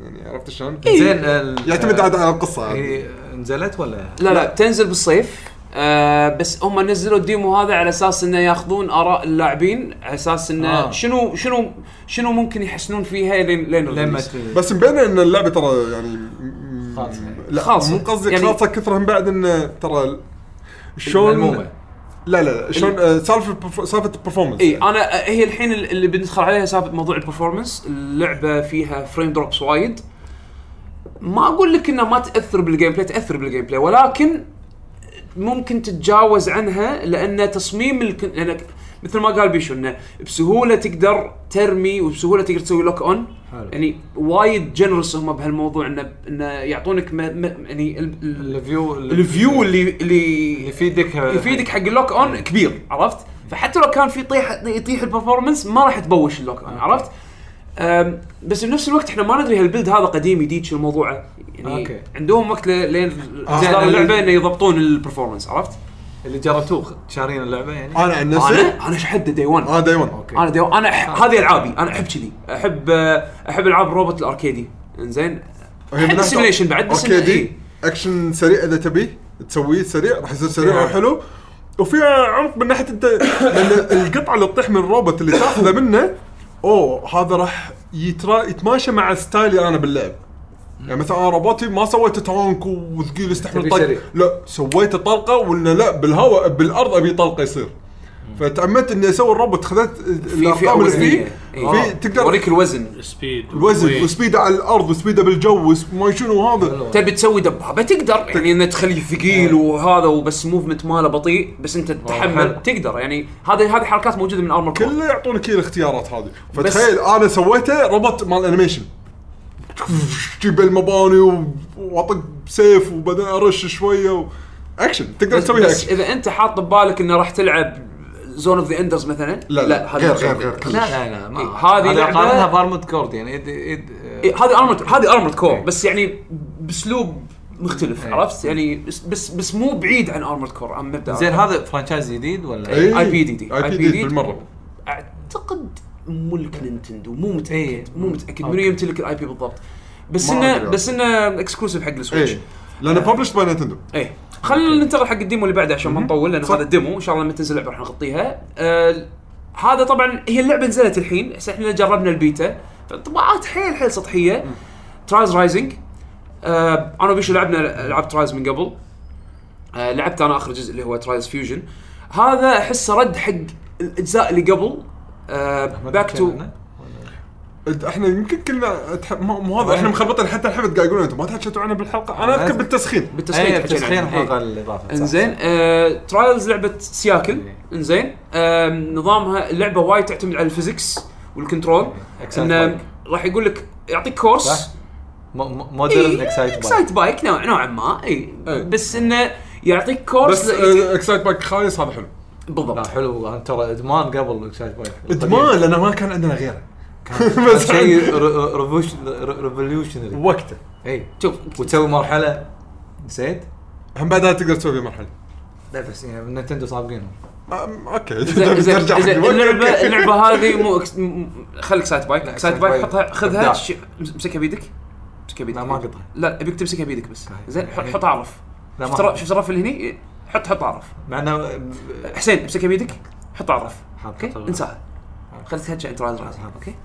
يعني عرفت شلون؟
زين ال-
يعتمد عاد على القصه يعني.
هي نزلت ولا
لا لا بتنزل بالصيف آه بس هم نزلوا الديمو هذا على اساس انه ياخذون اراء اللاعبين على اساس انه
آه.
شنو شنو شنو ممكن يحسنون فيها لين لين
لما
الريليز.
ت-
بس مبين ان اللعبه ترى يعني م-
خالصة.
لا
خالصة.
مو قصدي
يعني-
خالصه كثر من بعد ان ترى شلون
ملمومه
لا لا لا شلون آه، سالفه البرف- سالفه البرفورمنس
إيه.
اي انا آه، هي الحين ال- اللي بندخل عليها سالفه موضوع البرفورمنس اللعبه فيها فريم دروبس وايد ما اقول لك انها ما تاثر بالجيم بلاي تاثر بالجيم بلاي ولكن ممكن تتجاوز عنها لان تصميم الكن... لأن مثل ما قال بيشو انه بسهوله تقدر ترمي وبسهوله تقدر تسوي لوك اون
حلو.
يعني وايد جنرس هم بهالموضوع انه انه يعطونك ما... ما... يعني ال... ال...
الفيو
الفيو اللي اللي
يفيدك
يفيدك حق اللوك اون كبير عرفت؟ فحتى لو كان في طيح يطيح البرفورمنس ما راح تبوش اللوك اون عرفت؟ أم، بس بنفس الوقت احنا ما ندري هالبلد هذا قديم جديد شو الموضوع يعني
أوكي.
عندهم وقت ل- لين
آه،
اصدار
يعني-
اللعبه انه يضبطون البرفورمانس عرفت؟
اللي جربتوه شارين اللعبه يعني
انا عن نفسي
انا انا شحد دي 1
انا دايما
اوكي
انا ديو... انا
آه.
أح... هذه العابي انا احب كذي احب احب العاب روبوت الاركيدي انزين احب السيميليشن بعد بس إنه-
اوكي دي
إيه.
اكشن سريع اذا تبي تسويه سريع راح يصير سريع وحلو وفيها عمق من ناحيه انت لان القطعه اللي تطيح من الروبوت اللي تاخذه منه اوه هذا راح يترا يتماشى مع ستايلي انا باللعب يعني مثلا انا روبوتي ما سويته تانك وثقيل يستحمل
تبي
طق
سريع.
لا سويته طلقه وانه لا بالهواء بالارض ابي طلقه يصير فتعمدت اني اسوي الروبوت خذت
في إيه. في
الارقام اللي فيه
اوزانيه
في تقدر
اوريك الوزن
سبيد
الوزن وسبيده على الارض وسبيده بالجو وس- ما شنو وهذا
حلو.
تبي تسوي دبابه تقدر يعني انه تخليه ثقيل وهذا وبس موفمنت ماله بطيء بس انت تتحمل
حلو.
تقدر يعني هذه هذه حركات موجوده من ارمر كور
كله يعطونك هي الاختيارات هذه
بس-
فتخيل انا سويته روبوت مال انيميشن جيب المباني و- واطق سيف وبعدين ارش شويه و... اكشن تقدر
بس,
تسويها
بس إيه؟
اكشن
اذا انت حاط ببالك انه راح تلعب زون اوف ذا اندرز مثلا
لا،
هذه
غير-
مش
غير-
Zone of
غير
the Enders.
كلش.
لا لا لا ما
إيه، هذه
هذا
لعبة-
قارنها بارمود كورد يعني يد يد
إيه، هذه ارمر هذه ارمر كور بس يعني باسلوب مختلف
إيه.
عرفت يعني بس بس, بس مو بعيد عن ارمر كور عن مبدا
زين هذا فرانشايز جديد ولا
إيه.
اي بي دي دي
اي بي دي بالمره
اعتقد ملك نينتندو مو
إيه.
متاكد مو متاكد منو
أوكي.
يمتلك الاي بي بالضبط بس
ما
انه
أدري.
بس انه اكسكلوسيف حق السويتش
ايه لانه
آه.
ببلشت باي نتندو
ايه خلينا ننتظر حق الديمو اللي بعده عشان ما نطول لان
صح.
هذا الديمو ان شاء الله لما تنزل اللعبه راح نغطيها آه هذا طبعا هي اللعبه نزلت الحين بس احنا جربنا البيتا فانطباعات حيل حيل سطحيه ترايز رايزنج آه انا وبيشو لعبنا العاب ترايز من قبل آه لعبت انا اخر جزء اللي هو ترايز فيوجن هذا احسه رد حق الاجزاء اللي قبل آه، باك تو
انت- احنا يمكن كلنا أتح... ما- مو هذا احنا مخربطين حتى الحين قاعد يقولون انتم ما تحكيتوا عنه بالحلقه انا اذكر بالتسخين
بالتسخين
اي
حكينا
تسخين
عنه. إيه.
الحلقه الاضافه
انزين آه، ترايلز لعبه سياكل
إيه.
انزين آم، نظامها اللعبه وايد تعتمد على الفيزكس والكنترول انه راح يقول لك يعطيك كورس
إيه. صح؟ مودرن اكسايت بايك
اكسايت بايك نوع نوعا ما اي
إيه.
بس انه يعطيك كورس
بس
ل-
آه، اكسايت باك خايس هذا حلو
لا
بالضبط
حلو انا ترى ادمان قبل اكسايت بايك
ادمان لانه ما كان عندنا غيره
بس شيء
يعني
ريفوليوشنري
وقته
اي
شوف
إيه. وتسوي مرحله نسيت؟
هم بعدها تقدر تسوي فيه مرحله
لا بس يعني نتندو سابقينهم
أم، اوكي
زين زين
نرجع حق
زين،
الوقت.
اللعبه اللعبه هذه مو أكس- م- م- خليك سايت بايك
لا،
سايت
Excite
بايك
Bike.
حطها خذها
إبداع.
ش- امسكها بيدك امسكها بيدك
لا ما قطع
لا ابيك تمسكها بيدك بس
طيب.
زين ح- حط اعرف
لا
شفت
ما
ر- شفت الرف اللي هني حط حط اعرف
مع انه
حسين امسكها بيدك حط اعرف اوكي
حاطه
انساها خلت تهجع انت راز راز اوكي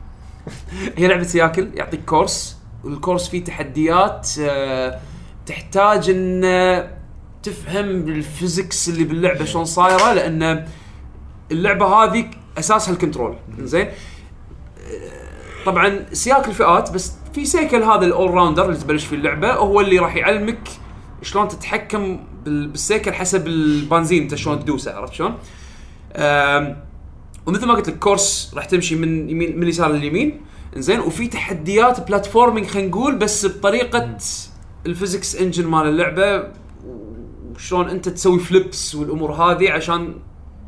هي لعبه سياكل يعطيك كورس والكورس فيه تحديات آه، تحتاج ان آه، تفهم الفيزكس اللي باللعبه شلون صايره لان اللعبه هذه اساسها الكنترول زين طبعا سياق الفئات بس في سيكل هذا الاول راوندر اللي تبلش في اللعبه هو اللي راح يعلمك شلون تتحكم بال- بالسيكل حسب البنزين انت شلون تدوسه عرفت شلون؟ أم، ومثل ما قلت لك كورس راح تمشي من يمين من اليسار لليمين زين وفي تحديات بلاتفورمينج خلينا نقول بس بطريقه الفيزكس انجن مال اللعبه وشلون انت تسوي فليبس والامور هذه عشان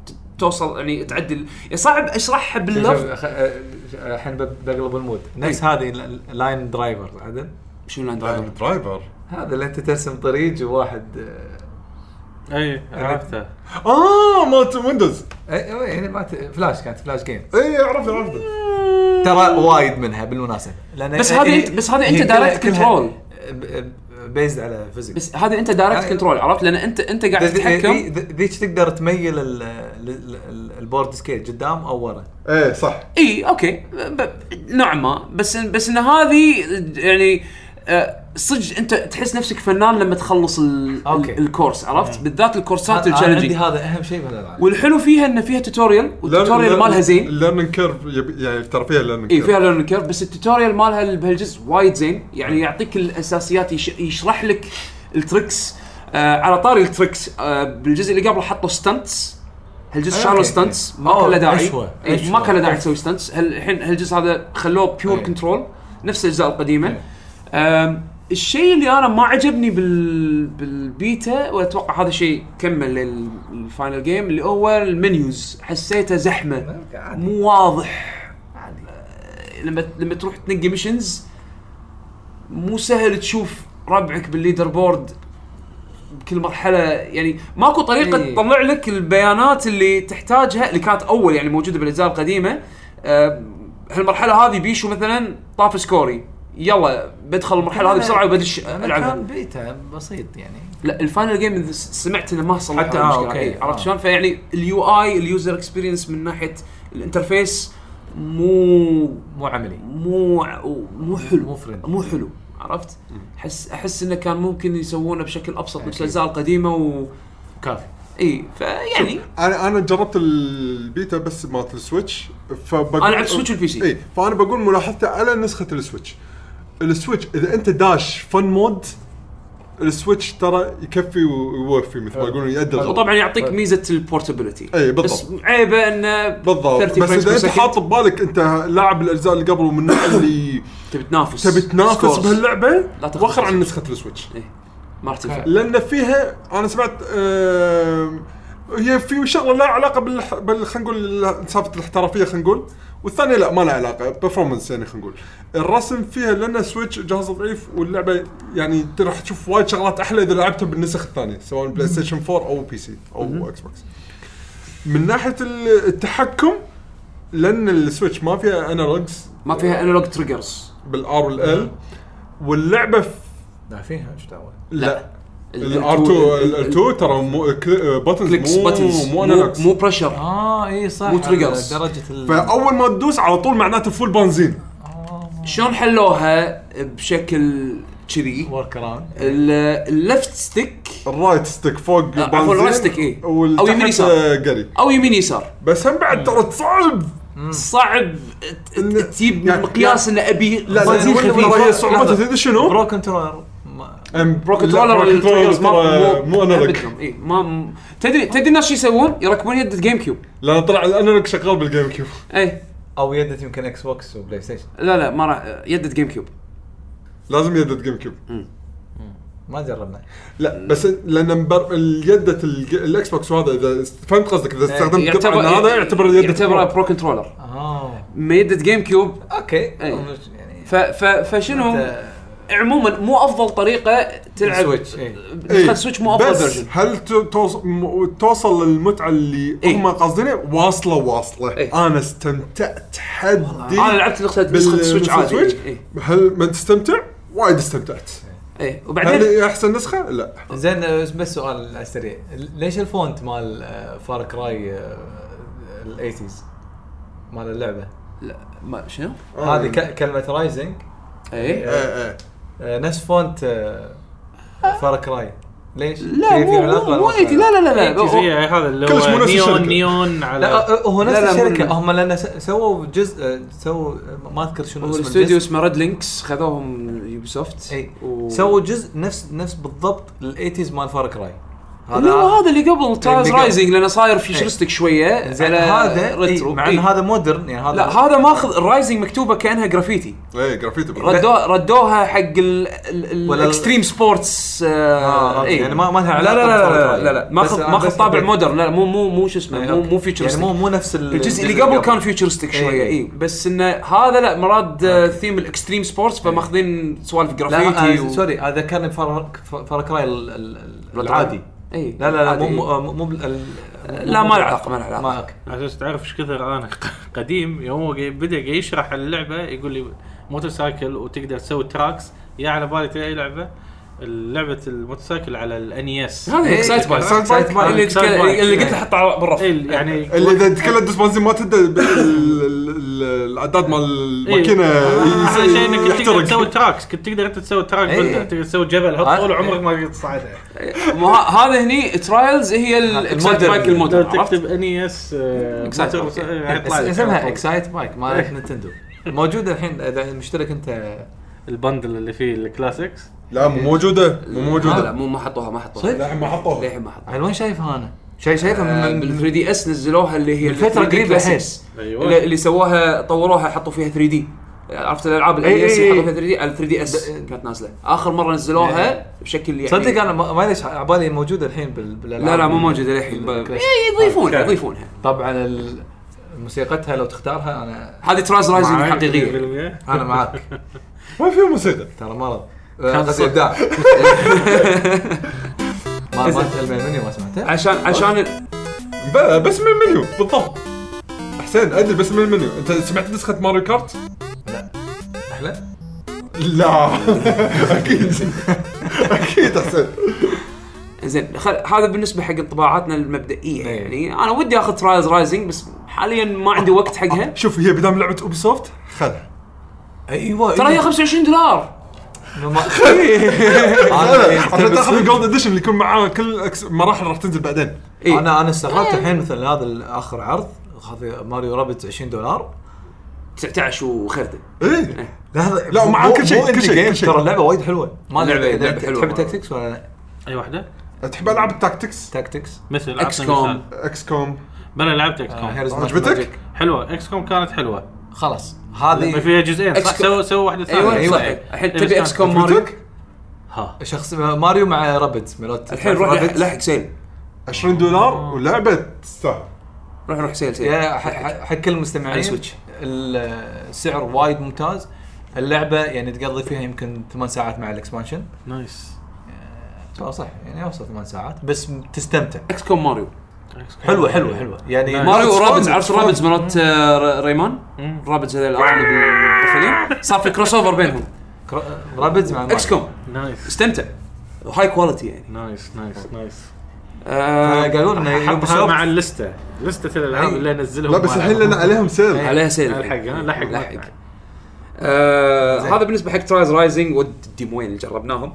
ت- توصل يعني تعدل يعني صعب اشرحها باللفظ
شوف، خ- آه، الحين ب- بقلب المود نفس هذه ال- لاين درايفر عدل
شنو لاند درايفر؟
درايفر
هذا اللي انت ترسم طريق وواحد آه،
اي إيه، عرفته
اه مالت ويندوز
أي- أي- يعني ما ت- فلاش كانت فلاش جيم
اي إيه، عرفت عرفت
ترى وايد منها بالمناسبه لأن
بس
هي-
هذه
هي-
أنت- بس هذه
هي
أنت
كلها-
direct
كلها
control.
ب- ب- based على فيزيكس
بس هذا انت دايركت
آه.
كنترول عرفت لان انت انت قاعد تتحكم
ذيك تقدر تميل ال- ال- ال- البورد سكيل قدام او ورا
ايه صح
اي اوكي ب... نوعا ما بس بس ان هذه يعني آه، صدق انت تحس نفسك فنان لما تخلص ال...
أوكي.
ال- الكورس عرفت بالذات الكورسات
أنا- أنا عندي
التشالنجينج
هذا اهم شيء بالالعاب
والحلو فيها ان فيها توتوريال والتوتوريال مالها زين
ليرنينج كيرف يعني ترى فيها ليرنينج
اي إيه، فيها ليرن كيرف بس التوتوريال مالها بهالجزء وايد زين يعني يعطيك الاساسيات يش... يشرح لك التريكس آه على طاري التريكس آه بالجزء اللي قبله حطوا ستانتس هالجزء
أي
شالوا
آه، أوكي.
ستانتس ما
أوه،
كان له داعي
عشوة،
إيه،
عشوة. إيه.
ما كان له داعي تسوي ستانتس هل- الحين هالجزء هذا خلوه بيور
أي.
كنترول نفس الاجزاء
إيه.
القديمه آم، الشيء اللي انا ما عجبني بال بالبيتا واتوقع هذا الشيء كمل للفاينل جيم اللي هو المنيوز حسيته زحمه مو واضح آه، لما لما تروح تنقي ميشنز مو سهل تشوف ربعك بالليدر بورد بكل مرحله يعني ماكو طريقه
إي.
تطلع لك البيانات اللي تحتاجها اللي كانت اول يعني موجوده بالاجزاء القديمه آه، هالمرحله هذه بيشو مثلا طاف سكوري يلا بدخل المرحله هذه بسرعه وبدش العبها
كان بيتا بسيط يعني
لا الفاينل جيم إذا س- سمعت انه ما صلحوا
حتى-
هاي
آه،
المشكلة.
أوكي.
إيه، عرفت
آه.
شلون؟ فيعني اليو اي اليوزر اكسبيرينس من ناحيه الانترفيس مو
مو عملي
مو مو حلو
مو friendly.
مو حلو عرفت؟ احس احس انه كان ممكن يسوونه بشكل ابسط مثل الاجزاء القديمه و يعني
كافي
اي فيعني
انا انا جربت البيتا بس مالت السويتش فبقول
انا لعبت سويتش والبي سي
اي فانا بقول ملاحظتي على نسخه السويتش السويتش اذا انت داش فن مود السويتش ترى يكفي ويوفي مثل
أه.
ما يقولون يأدي الغرض
وطبعا يعطيك ميزه البورتابيلتي
إي، بالضبط.
بس عيبه انه
بالضبط
30
بس
frames
اذا
per
انت
second.
حاط ببالك انت لاعب الاجزاء اللي قبل ومن النوع اللي
تبي تنافس
تبي تنافس
scores.
بهاللعبه
لا تخسر.
وخر عن نسخه السويتش
ما راح تنفع
لان فيها انا سمعت آم، هي في شغله لها علاقه بالح... بال خلينا نقول ال- سالفه الاحترافيه خلينا نقول والثانيه لا ما لها علاقه برفورمانس يعني خلينا نقول الرسم فيها لان سويتش جهاز ضعيف واللعبه يعني ت- راح تشوف وايد شغلات احلى اذا لعبتها بالنسخ الثانيه سواء بلاي ستيشن 4 او بي سي او اكس بوكس من ناحيه ال- التحكم لان السويتش ما فيها انالوجز
ما فيها انالوج تريجرز
بالار والال واللعبه ف...
لا فيها ايش دعوه
لا. الار 2 الار 2 ترى مو باتنز
كليكس باتنز
مو مو انالوجز
مو بريشر
اه اي صح
مو triggers.
على درجه ال
فاول ما تدوس على طول معناته فول بنزين
شلون حلوها بشكل كذي
ورك اراوند
ال- اللفت ستيك
الرايت ستيك فوق آه،
لا، عفوا، الرايت ستيك، إيه. أو يمين يسار.
قري
او يمين يسار
بس هم بعد ترى صعب
صعب ت- ت-
إن-
تجيب
يعني-
مقياس ان ابي
لا لا
بنزين خفيف.
ترى هي صعوبته
لحظة.
تدري شنو؟
برو كنترولر
أم،
برو كنترولر
لا، برو
التريجرز ما-
ترى مو انالوج
أبدهم، إيه، ما م- تدري تدري الناس شو يسوون؟ يركبون يد الجيم كيوب
لان طلع الانالوج شغال بالجيم كيوب
اي
او يدت يمكن اكس بوكس وبلاي ستيشن
لا لا ما راح يد جيم كيوب
لازم يدة جيم كيوب
ما جربنا
لا بس لان مبر... يدة الج- الاكس بوكس وهذا اذا فهمت قصدك اذا استخدمت قطعه من هذا إيه، يعتبر يدة
يعتبر
كيوب.
برو كنترولر
اه
ما يد جيم كيوب
اوكي
إي.
يعني
ف ف فشنو عموما مو افضل طريقه تلعب
سويتش اي
نسخه سويتش مو افضل
إيه. بس
فيرجن
هل تو- توص- م- توصل للمتعه اللي
إيه.
هم قاصدينها واصله واصله
إيه.
انا استمتعت حدي
انا لعبت نسخه نسخه سويتش عادي اي
هل ما تستمتع؟ وايد استمتعت
اي
هل
وبعدين
هي احسن نسخه؟ لا
زين بس بس سؤال على السريع ليش الفونت مال آه، فار كراي الايتيز مال اللعبه
لا ما شنو؟
هذه
آه،
ك- كلمه رايزنج آه،
اي
ايه ايه
نفس فونت آه، فار كراي ليش؟
لا
في- في
مو
علاقة
مو-
ولا
مو
ما في
ايتي لا لا لا لا
هي
هو-
هذا اللي
كلش مو
هو
نفس الشركة.
نيون نيون
لا
على
أه، هو نفس
لا، لا، مو-
الشركه هم لان س- سووا جزء أه، سووا أه، ما اذكر شنو
هو
اسم
الاستوديو
الجزء
اسمه إيه. ريد لينكس خذوهم يوبي سوفت
اي
و-
سووا جزء نفس نفس بالضبط الايتيز مال فار كراي
اللي هو هذا اللي قبل تايلز
إيه، قبل. إيه.
رايزنج لانه صاير فيوتشرستك شويه
زين
على
يعني هذا
ريترو
إي، مع
إي.
ان هذا مودرن يعني هذا
لا هذا ماخذ الرايزنج مكتوبه كانها جرافيتي
ايه جرافيتي بالرأي.
ردوها ردوها حق
ولا-
الاكستريم سبورتس
آه، أوكي. يعني ما- ما لها
إيه. لا
علاقة
لا لا
بالفرق
لا
يعني.
لا, لا.
بس
ماخذ
أنا
ماخذ
بس
طابع
أدري.
مودرن لا مو مو مو شو اسمه مو مو فيوتشرستك
يعني مو مو نفس ال-
الجزء اللي قبل كان فيوتشرستك شويه
إي.
اي بس انه هذا لا مراد آه، ثيم الاكستريم سبورتس فماخذين سوالف
إيه. لا
جرافيتي
آه، سوري هذا كان فار فار كراي ال- ال- ال- العادي
اي
لا لا لا
إيه.
مو آه،
عادي.
مو- مو مو بال- ال-
لا ما له علاقه ما له علاقه
ما اوكي
على اساس تعرف ايش كثر انا قديم يوم هو جاي- بدا جاي يشرح اللعبه يقول لي موتوسايكل وتقدر تسوي تراكس يا على بالي تلاقي أي لعبه لعبه الموتوسايكل على E الان اس
إيه،
هذا سايد باي
سايد بايك.
اللي
سايد
تك-
بايك.
اللي قلت له حطه على- بالرف
يعني
اللي اذا تكلم دش بنزين ما تدري ب- ال- ال- ال- العداد مال
إيه.
الماكينه
آه،
آه،
احلى شيء انك كنت يعني تقدر تسوي
يحترق
تراكس كنت تقدر انت تسوي تراك
إيه.
بلدر تقدر تسوي جبل
آه.
هالطول وعمرك ما
إيه.
تقدر تصعده
مو ه- هذا هني ترايلز هي الاكسايت
المودرن.
بايك
لو
المودرن عرفت؟
تكتب E اني اس
Excite Bike.
يعني طيب،
اسمها اكسايت بايك مالت نينتندو موجوده الحين اذا مشترك انت
البندل اللي فيه الكلاسيكس
لا مو موجوده مو
آه.
لا لا
موجوده
مو ما حطوها ما حطوها
صدق؟
للحين ما حطوها
للحين ما حطوها
على وين شايفها انا؟ شايف شايفها
آه،
من-
بال
من
3 دي اس نزلوها اللي هي
من فترة
3D
قريبة
Classics.
أيوة.
اللي, اللي سووها طوروها حطوا فيها 3 دي عرفت الالعاب
أي
الاي اس
أي
اللي حطوا
أي.
فيها 3 دي 3 دي اس
إيه، ب- إيه.
كانت نازله اخر مره نزلوها بشكل يعني
تصدق انا ما- معليش على بالي موجوده الحين بال- بالالعاب
لا لا مو موجوده للحين ب-
الكلاسيك.
إيه، يضيفونها يضيفونها
طبعا ال- موسيقتها لو تختارها انا
هذه تراز رايزنج
معاي
حقيقيه
100%
انا معاك
ما في موسيقى
ترى أه، مرض
كان
قصدي
صدق.
ابداع ما ما المنيو ما سمعته
عشان عشان ال-
بلى بس من المنيو بالضبط حسين ادري بس من المنيو انت سمعت نسخه ماريو كارت؟
احلى
لا اكيد اكيد حسين
زين خل... هذا بالنسبه حق انطباعاتنا المبدئيه
إيه.
يعني انا ودي اخذ ترايز رايزنج بس حاليا ما عندي وقت
أه.
حقها
شوف هي بدام لعبه اوبي سوفت خذها
ايوه
ترى هي 25 دولار
عشان تاخذ الجولد اديشن اللي يكون معاه كل الأكس- مراحل راح تنزل بعدين
إيه.
انا انا استغربت الحين مثل هذا اخر عرض هذا ماريو رابط 20 دولار
19 وخرده
ايه
لحظه
لا، ومعاه كل شيء، كل شيء، كل شيء.
ترى اللعبه وايد حلوه ما
لعبة-
ادري اذا
لعبة
أنت
حلوة
تحب
مرة.
تاكتكس ولا لا
اي واحده
تحب العاب التاكتكس
تاكتكس
مثل
إكس
عطني
كوم.
مثال.
اكس كوم
بلا لعبت اكس
آه،
كوم
Heroes of
عجبتك؟
Magic.
حلوه اكس كوم كانت حلوه
خلاص
ما
هذه
فيها جزئين
إكس
صح
كوم.
سووا سووا واحده ثانيه
ايوه
أيوة.
صح
إيه.
الحين
إيه،
تبي
بس
اكس كوم ماريو
ها
شخص ماريو مع رابط ملوت
الحين روح لح- لحق سيل
20 دولار ولعبه تستاهل
روح روح سيل سيل
يا ح- ح- حق كل المستمعين
على سويتش.
ال- السعر وايد ممتاز اللعبه يعني تقضي فيها يمكن ثمان ساعات مع الاكسبانشن
نايس
آه، صح يعني اوصل ثمان ساعات بس م- تستمتع
اكس كوم ماريو
إكس كوم.
حلوه حلوه حلوه يعني
نعم.
ماريو
It's
ورابدز
fun,
عرفت
it's
رابدز
fun.
مرات آه، ريمان
مم.
رابدز هذول الأربعة اللي بالمدخلين صار في كروس اوفر بينهم
كر- رابدز مع
اكس
ماريو.
كوم
نايس
استمتع هاي كواليتي يعني
نايس نايس نايس
آه،
فقالوا لنا
حطها
أيوة، Ubisoft-
مع اللسته لسته الالعاب اللي انزلهم
لا بس
مع-
الحين لان عليهم سيل
عليها سيل
الحق، ها؟ لحق.
لحق
لحق.
آه،
زين.
هذا بالنسبه حق ترايز رايزنج والديموين اللي جربناهم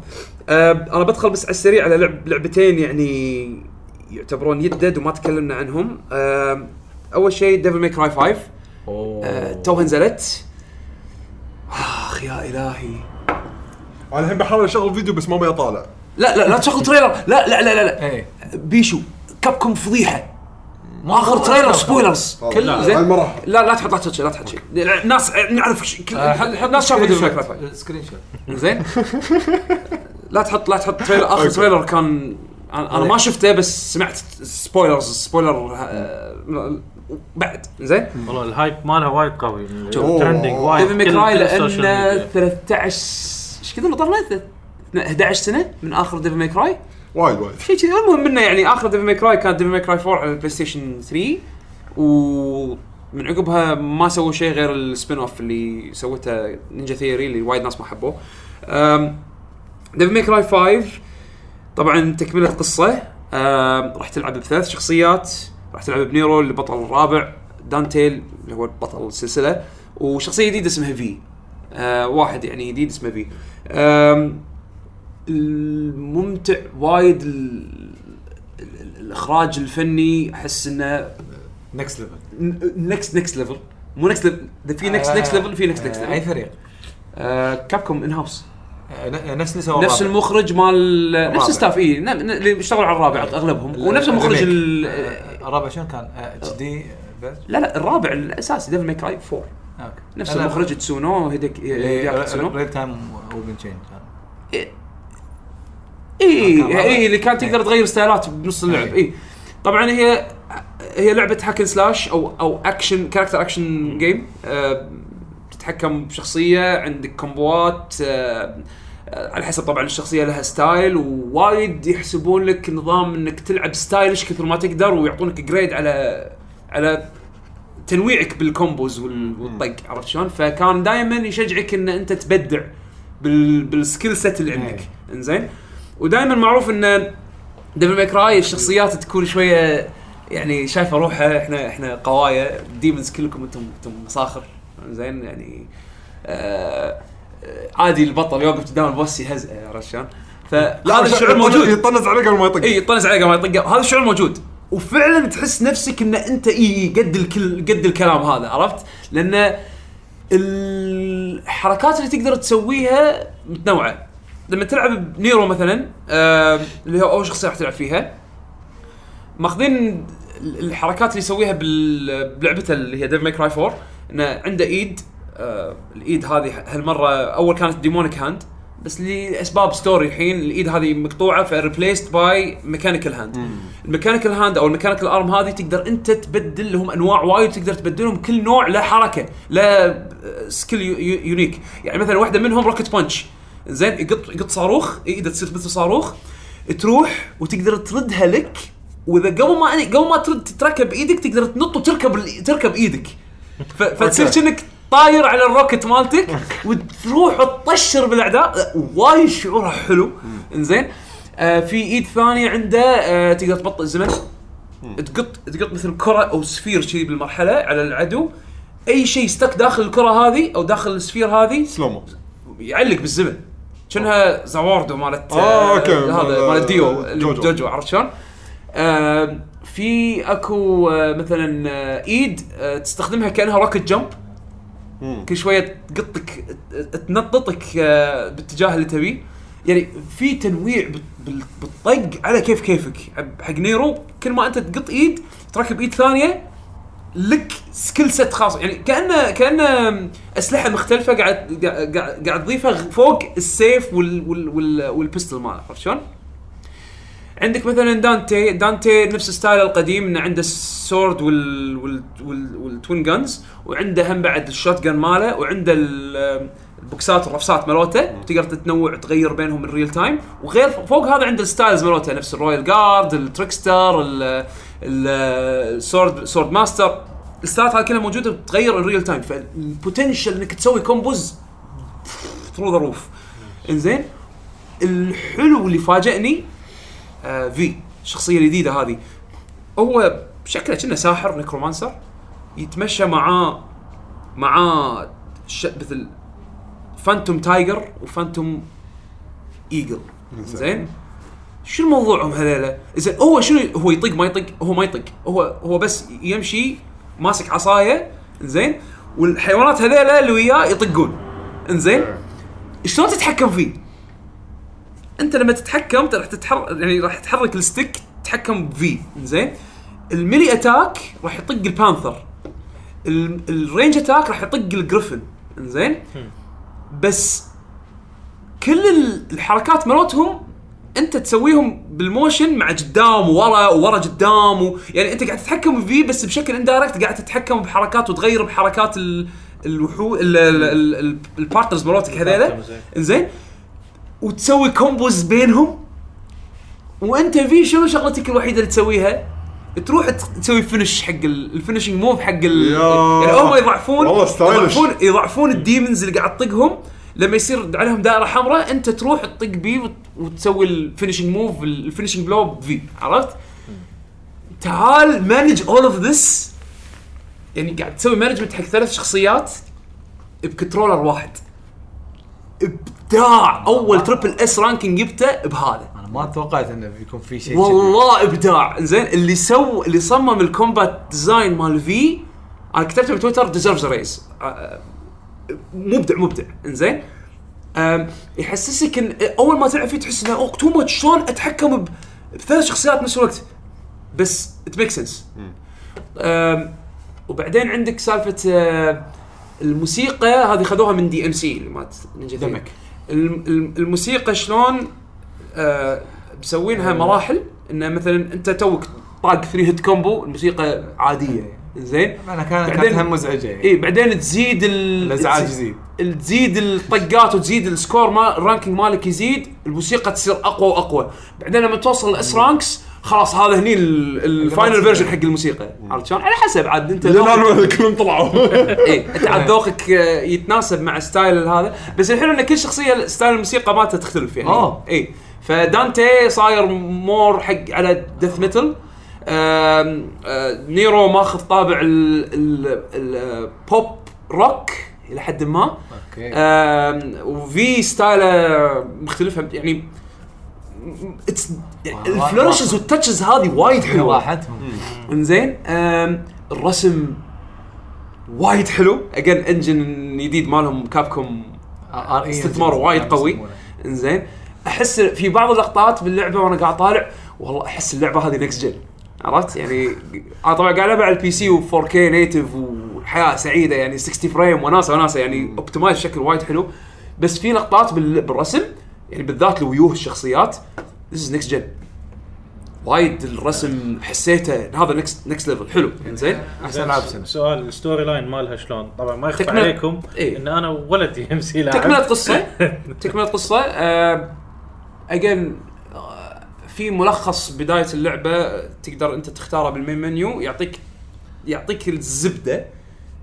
آه، انا بدخل بس على السريع على لعب لعبتين يعني يعتبرون يدد وما تكلمنا عنهم آه، اول شيء ديفل ميك راي 5
أوه.
آه، توها نزلت اخ يا الهي
انا الحين بحاول اشغل فيديو بس ما ابي اطالع
لا لا لا تشغل تريلر لا لا لا لا, لا.
ايه
بيشو كابكم فضيحه اخر تريلر سبويلرز
خلاص.
كل
لا،
زين
هاي المراحل.
لا لا تحط لا تحط شيء لا تحط شيء الناس نعرف ش- كل
آه،
الناس شافوا ديفل ماي كراي
سكرين شوت
زين لا تحط لا تحط تريلر اخر تريلر كان انا أنا ما شفته بس سمعت سبويلرز سبويلر آه، بعد زين
والله الهايب مالها وايد قوي
أوه.
ترندنج وايد
ديفل ماي كراي
كل- كل السوشيال
لانه
ميديا.
13 ايش كذا اللي طلع له؟ 11 سنه من اخر ديفل ماي كراي
وايد وايد
شيء كذي المهم انه يعني اخر ديفل ماي كراي كانت ديفل ماي كراي 4 على البلاي ستيشن 3 ومن عقبها ما سووا شيء غير السبين اوف اللي سوته نينجا ثيري اللي وايد ناس ما حبوه ديفل ماي كراي 5 طبعا تكمله قصه أم، راح تلعب بثلاث شخصيات راح تلعب بنيرو اللي بطل الرابع دانتيل اللي هو بطل السلسله وشخصيه جديده اسمها في أه، واحد يعني جديد اسمه في أم، الممتع وايد ال... ال- ال- الاخراج الفني احس انه
نكست ليفل
نكست نكست ليفل مو نكست ليفل في نكست نكست ليفل في نكست نكست
اي
ليفل
آه، فريق
كابكوم ان هاوس
آه، ن- نفس اللي سوى
نفس
الرابع.
المخرج مال نفس
الرابع.
الستاف اي ن- ن- اللي اشتغلوا على الرابع اغلبهم
ال-
ونفس المخرج ال...
الريميك. آه، الرابع شنو كان؟ اتش دي بس
لا لا الرابع الاساسي ديفل ماي كراي 4
اوكي
نفس
لا، لا.
المخرج تسونو هيديك هيدياكي تسونو
ريل تايم وبن تشينج
اي
آه، كان رابع.
اي اللي كان تقدر
إيه.
تغير ستايلات بنص اللعب
إيه.
اي طبعا هي هي لعبه هاكن سلاش او او اكشن كاركتر اكشن جيم آه، تتحكم بشخصيه عندك كومبوات آه، آه، على حسب طبعا الشخصيه لها ستايل ووايد يحسبون لك نظام انك تلعب ستايلش كثر ما تقدر ويعطونك جريد على على تنويعك بالكومبوز وال- والطق عرفت شلون؟ فكان دائما يشجعك ان انت تبدع بال بالسكيل سيت اللي عندك انزين ودائما معروف ان ديفل ماي كراي الشخصيات تكون شويه يعني شايفه روحها احنا احنا قوايا ديمونز كلكم انتم انتم مصاخر زين يعني آه آه، عادي البطل يوقف قدام البوس يهزئه عرفت شلون؟ فهذا الشعور موجود إيه.
يطنز عليه قبل ما يطق
اي طنز عليه قبل ما يطق هذا الشعور موجود وفعلا تحس نفسك ان انت اي قد الكل قد الكلام هذا عرفت؟ لان الحركات اللي تقدر تسويها متنوعه لما تلعب بنيرو مثلا آه اللي هو اول شخصيه راح تلعب فيها ماخذين ال- الحركات اللي يسويها بال- بلعبته اللي هي ديف ميك راي 4 انه عنده ايد آه الايد هذه هالمره اول كانت ديمونيك هاند بس لاسباب ستوري الحين الايد هذه مقطوعه فريبليست باي ميكانيكال هاند الميكانيكال هاند او الميكانيكال ارم هذه تقدر انت تبدل لهم انواع وايد تقدر تبدلهم كل نوع له حركه له آه، سكيل يونيك يعني مثلا واحده منهم روكت بانش زين يقط يقط صاروخ ايده تصير مثل صاروخ تروح وتقدر تردها لك واذا قبل ما يعني قبل ما ترد تركب بايدك تقدر تنط وتركب ال- تركب ايدك ف- فتصير كأنك طاير على الروكت مالتك وتروح وتطشر بالاعداء لا، وايد شعورها حلو انزين آه في ايد ثانيه عنده آه تقدر تبطئ الزمن تقط تقط مثل كره او سفير كذي بالمرحله على العدو اي شيء استك داخل الكره هذه او داخل السفير هذه
سلومو
يعلق بالزمن شنها زواردو مالت
آه، أوكي.
هذا مالت ديو
آه،
جوجو,
جوجو.
جوجو عرفت شلون؟ آم، في اكو آه، مثلا آه، ايد آه، تستخدمها كانها روكت جمب كل شويه تقطك ت- تنططك آه، بالاتجاه اللي تبيه يعني في تنويع بال- بال- بالطق على كيف كيفك حق نيرو كل ما انت تقط ايد تركب ايد ثانيه لك سكيل سيت خاص يعني كانه كانه اسلحه مختلفه قاعد قاعد- قاعد قاعد تضيفها غ- فوق السيف وال وال وال والبستل ماله عرفت شلون؟ عندك مثلا دانتي دانتي نفس ستايل القديم انه عنده السورد وال وال وال والتوين جنز وعنده هم بعد الشوت جن ماله وعنده ال- البوكسات والرفسات مالوته تقدر تتنوع تغير بينهم الريل تايم وغير فوق هذا عنده الستايلز مالوته نفس الرويال جارد التريكستر ال- آه، ال- السورد سورد ماستر الستايلات هذه كلها موجوده بتغير الريل تايم فالبوتنشل انك تسوي كومبوز ثرو ذا روف انزين الحلو اللي فاجئني آه، في الشخصيه الجديده هذه هو شكله كأنه ساحر نكرومانسر يتمشى معاه معاه ش... مثل فانتوم تايجر وفانتوم ايجل زين شو موضوعهم هذيلا؟ زين هو شنو هو يطق ما يطق هو ما يطق هو هو بس يمشي ماسك عصايه زين والحيوانات هذيلا اللي وياه يطقون انزين شلون تتحكم فيه؟ انت لما تتحكم راح تتحرك يعني راح تحرك الستيك تتحكم بفي زين الميلي اتاك راح يطق البانثر ال- الرينج اتاك راح يطق الجريفن زين بس كل ال- الحركات مالتهم انت تسويهم بالموشن مع قدام وورا وورا قدام و... يعني انت قاعد تتحكم فيه بس بشكل اندايركت قاعد تتحكم بحركات وتغير بحركات ال... الوحو ال- ال- ال- ال- البارتنرز مالتك هذيلا
Partners،
زين وتسوي كومبوز بينهم وانت في شنو شغلتك الوحيده اللي تسويها؟ تروح ت- تسوي فينش حق ال- الفينشنج موف حق ال...
يا.
يعني هم يضعفون
والله stylish.
يضعفون يضعفون الديمونز اللي قاعد تطقهم لما يصير عليهم دائره حمراء انت تروح تطق بي وت- وتسوي الفينشنج موف الفينشنج بلو بفي عرفت؟ تعال مانج اول اوف ذس يعني قاعد تسوي مانجمنت حق ثلاث شخصيات بكنترولر واحد ابداع اول تربل اس رانكينج جبته بهذا
انا ما توقعت انه بيكون في شيء
والله ابداع زين اللي سو اللي صمم الكومبات ديزاين مال في انا كتبته بتويتر ديزيرفز ريز مبدع مبدع زين يحسسك ان اول ما تلعب فيه تحس انه اوه تو ماتش شلون اتحكم ب- بثلاث شخصيات بنفس الوقت بس ات ميك سنس وبعدين عندك سالفه آه، الموسيقى هذه خذوها من دي ام سي اللي مالت نينجا ثيري.
دمك.
الم- الم- الموسيقى شلون آه، مسوينها مراحل انه مثلا انت توك طاق 3 هيت كومبو الموسيقى عاديه يعني زين
انا كانت
بعدين-
كانت هم مزعجه يعني
اي بعدين تزيد ال-
الازعاج
تزيد-
يزيد
ال- تزيد الطقات وتزيد السكور ما الرانكينج مالك يزيد الموسيقى تصير اقوى واقوى بعدين لما توصل الاس رانكس خلاص هذا هني الفاينل فيرجن حق الموسيقى عرفت شلون؟ على حسب عاد انت
للان كلهم طلعوا
اي انت عاد إيه، ذوقك آه، يتناسب مع ستايل هذا بس الحلو ان كل شخصيه ستايل الموسيقى مالتها تختلف يعني
آه.
اي فدانتي صاير مور حق على ديث ميتل آم، آه، نيرو ماخذ طابع البوب روك الى حد ما
اوكي
آم، وفي ستايله مختلفه يعني اتس
والله
الفلورشز والتاتشز هذه وايد حلوه
راحتهم
انزين أم، الرسم وايد حلو اجين انجن جديد مالهم كابكوم
آه، إيه،
استثمار وايد
يعني
قوي انزين احس في بعض اللقطات باللعبه وانا قاعد طالع والله احس اللعبه هذه نكست جن عرفت يعني انا طبعا قاعد العبها على البي سي و4 كي نيتف وحياه سعيده يعني 60 فريم وناسه وناسه يعني اوبتمايز بشكل وايد حلو بس في لقطات بال- بالرسم يعني بالذات لوجوه الشخصيات ذيس نكست جن وايد الرسم حسيته هذا نكست نكست ليفل حلو زين
احسن العاب سنه
سؤال الستوري لاين مالها شلون؟ طبعا ما يخفى
تكملة-
عليكم
إيه.
ان انا ولدي ام سي لاعب
تكملة قصة تكملة قصة اجين في ملخص بداية اللعبة آه، تقدر انت تختاره بالمين منيو يعطيك يعطيك الزبدة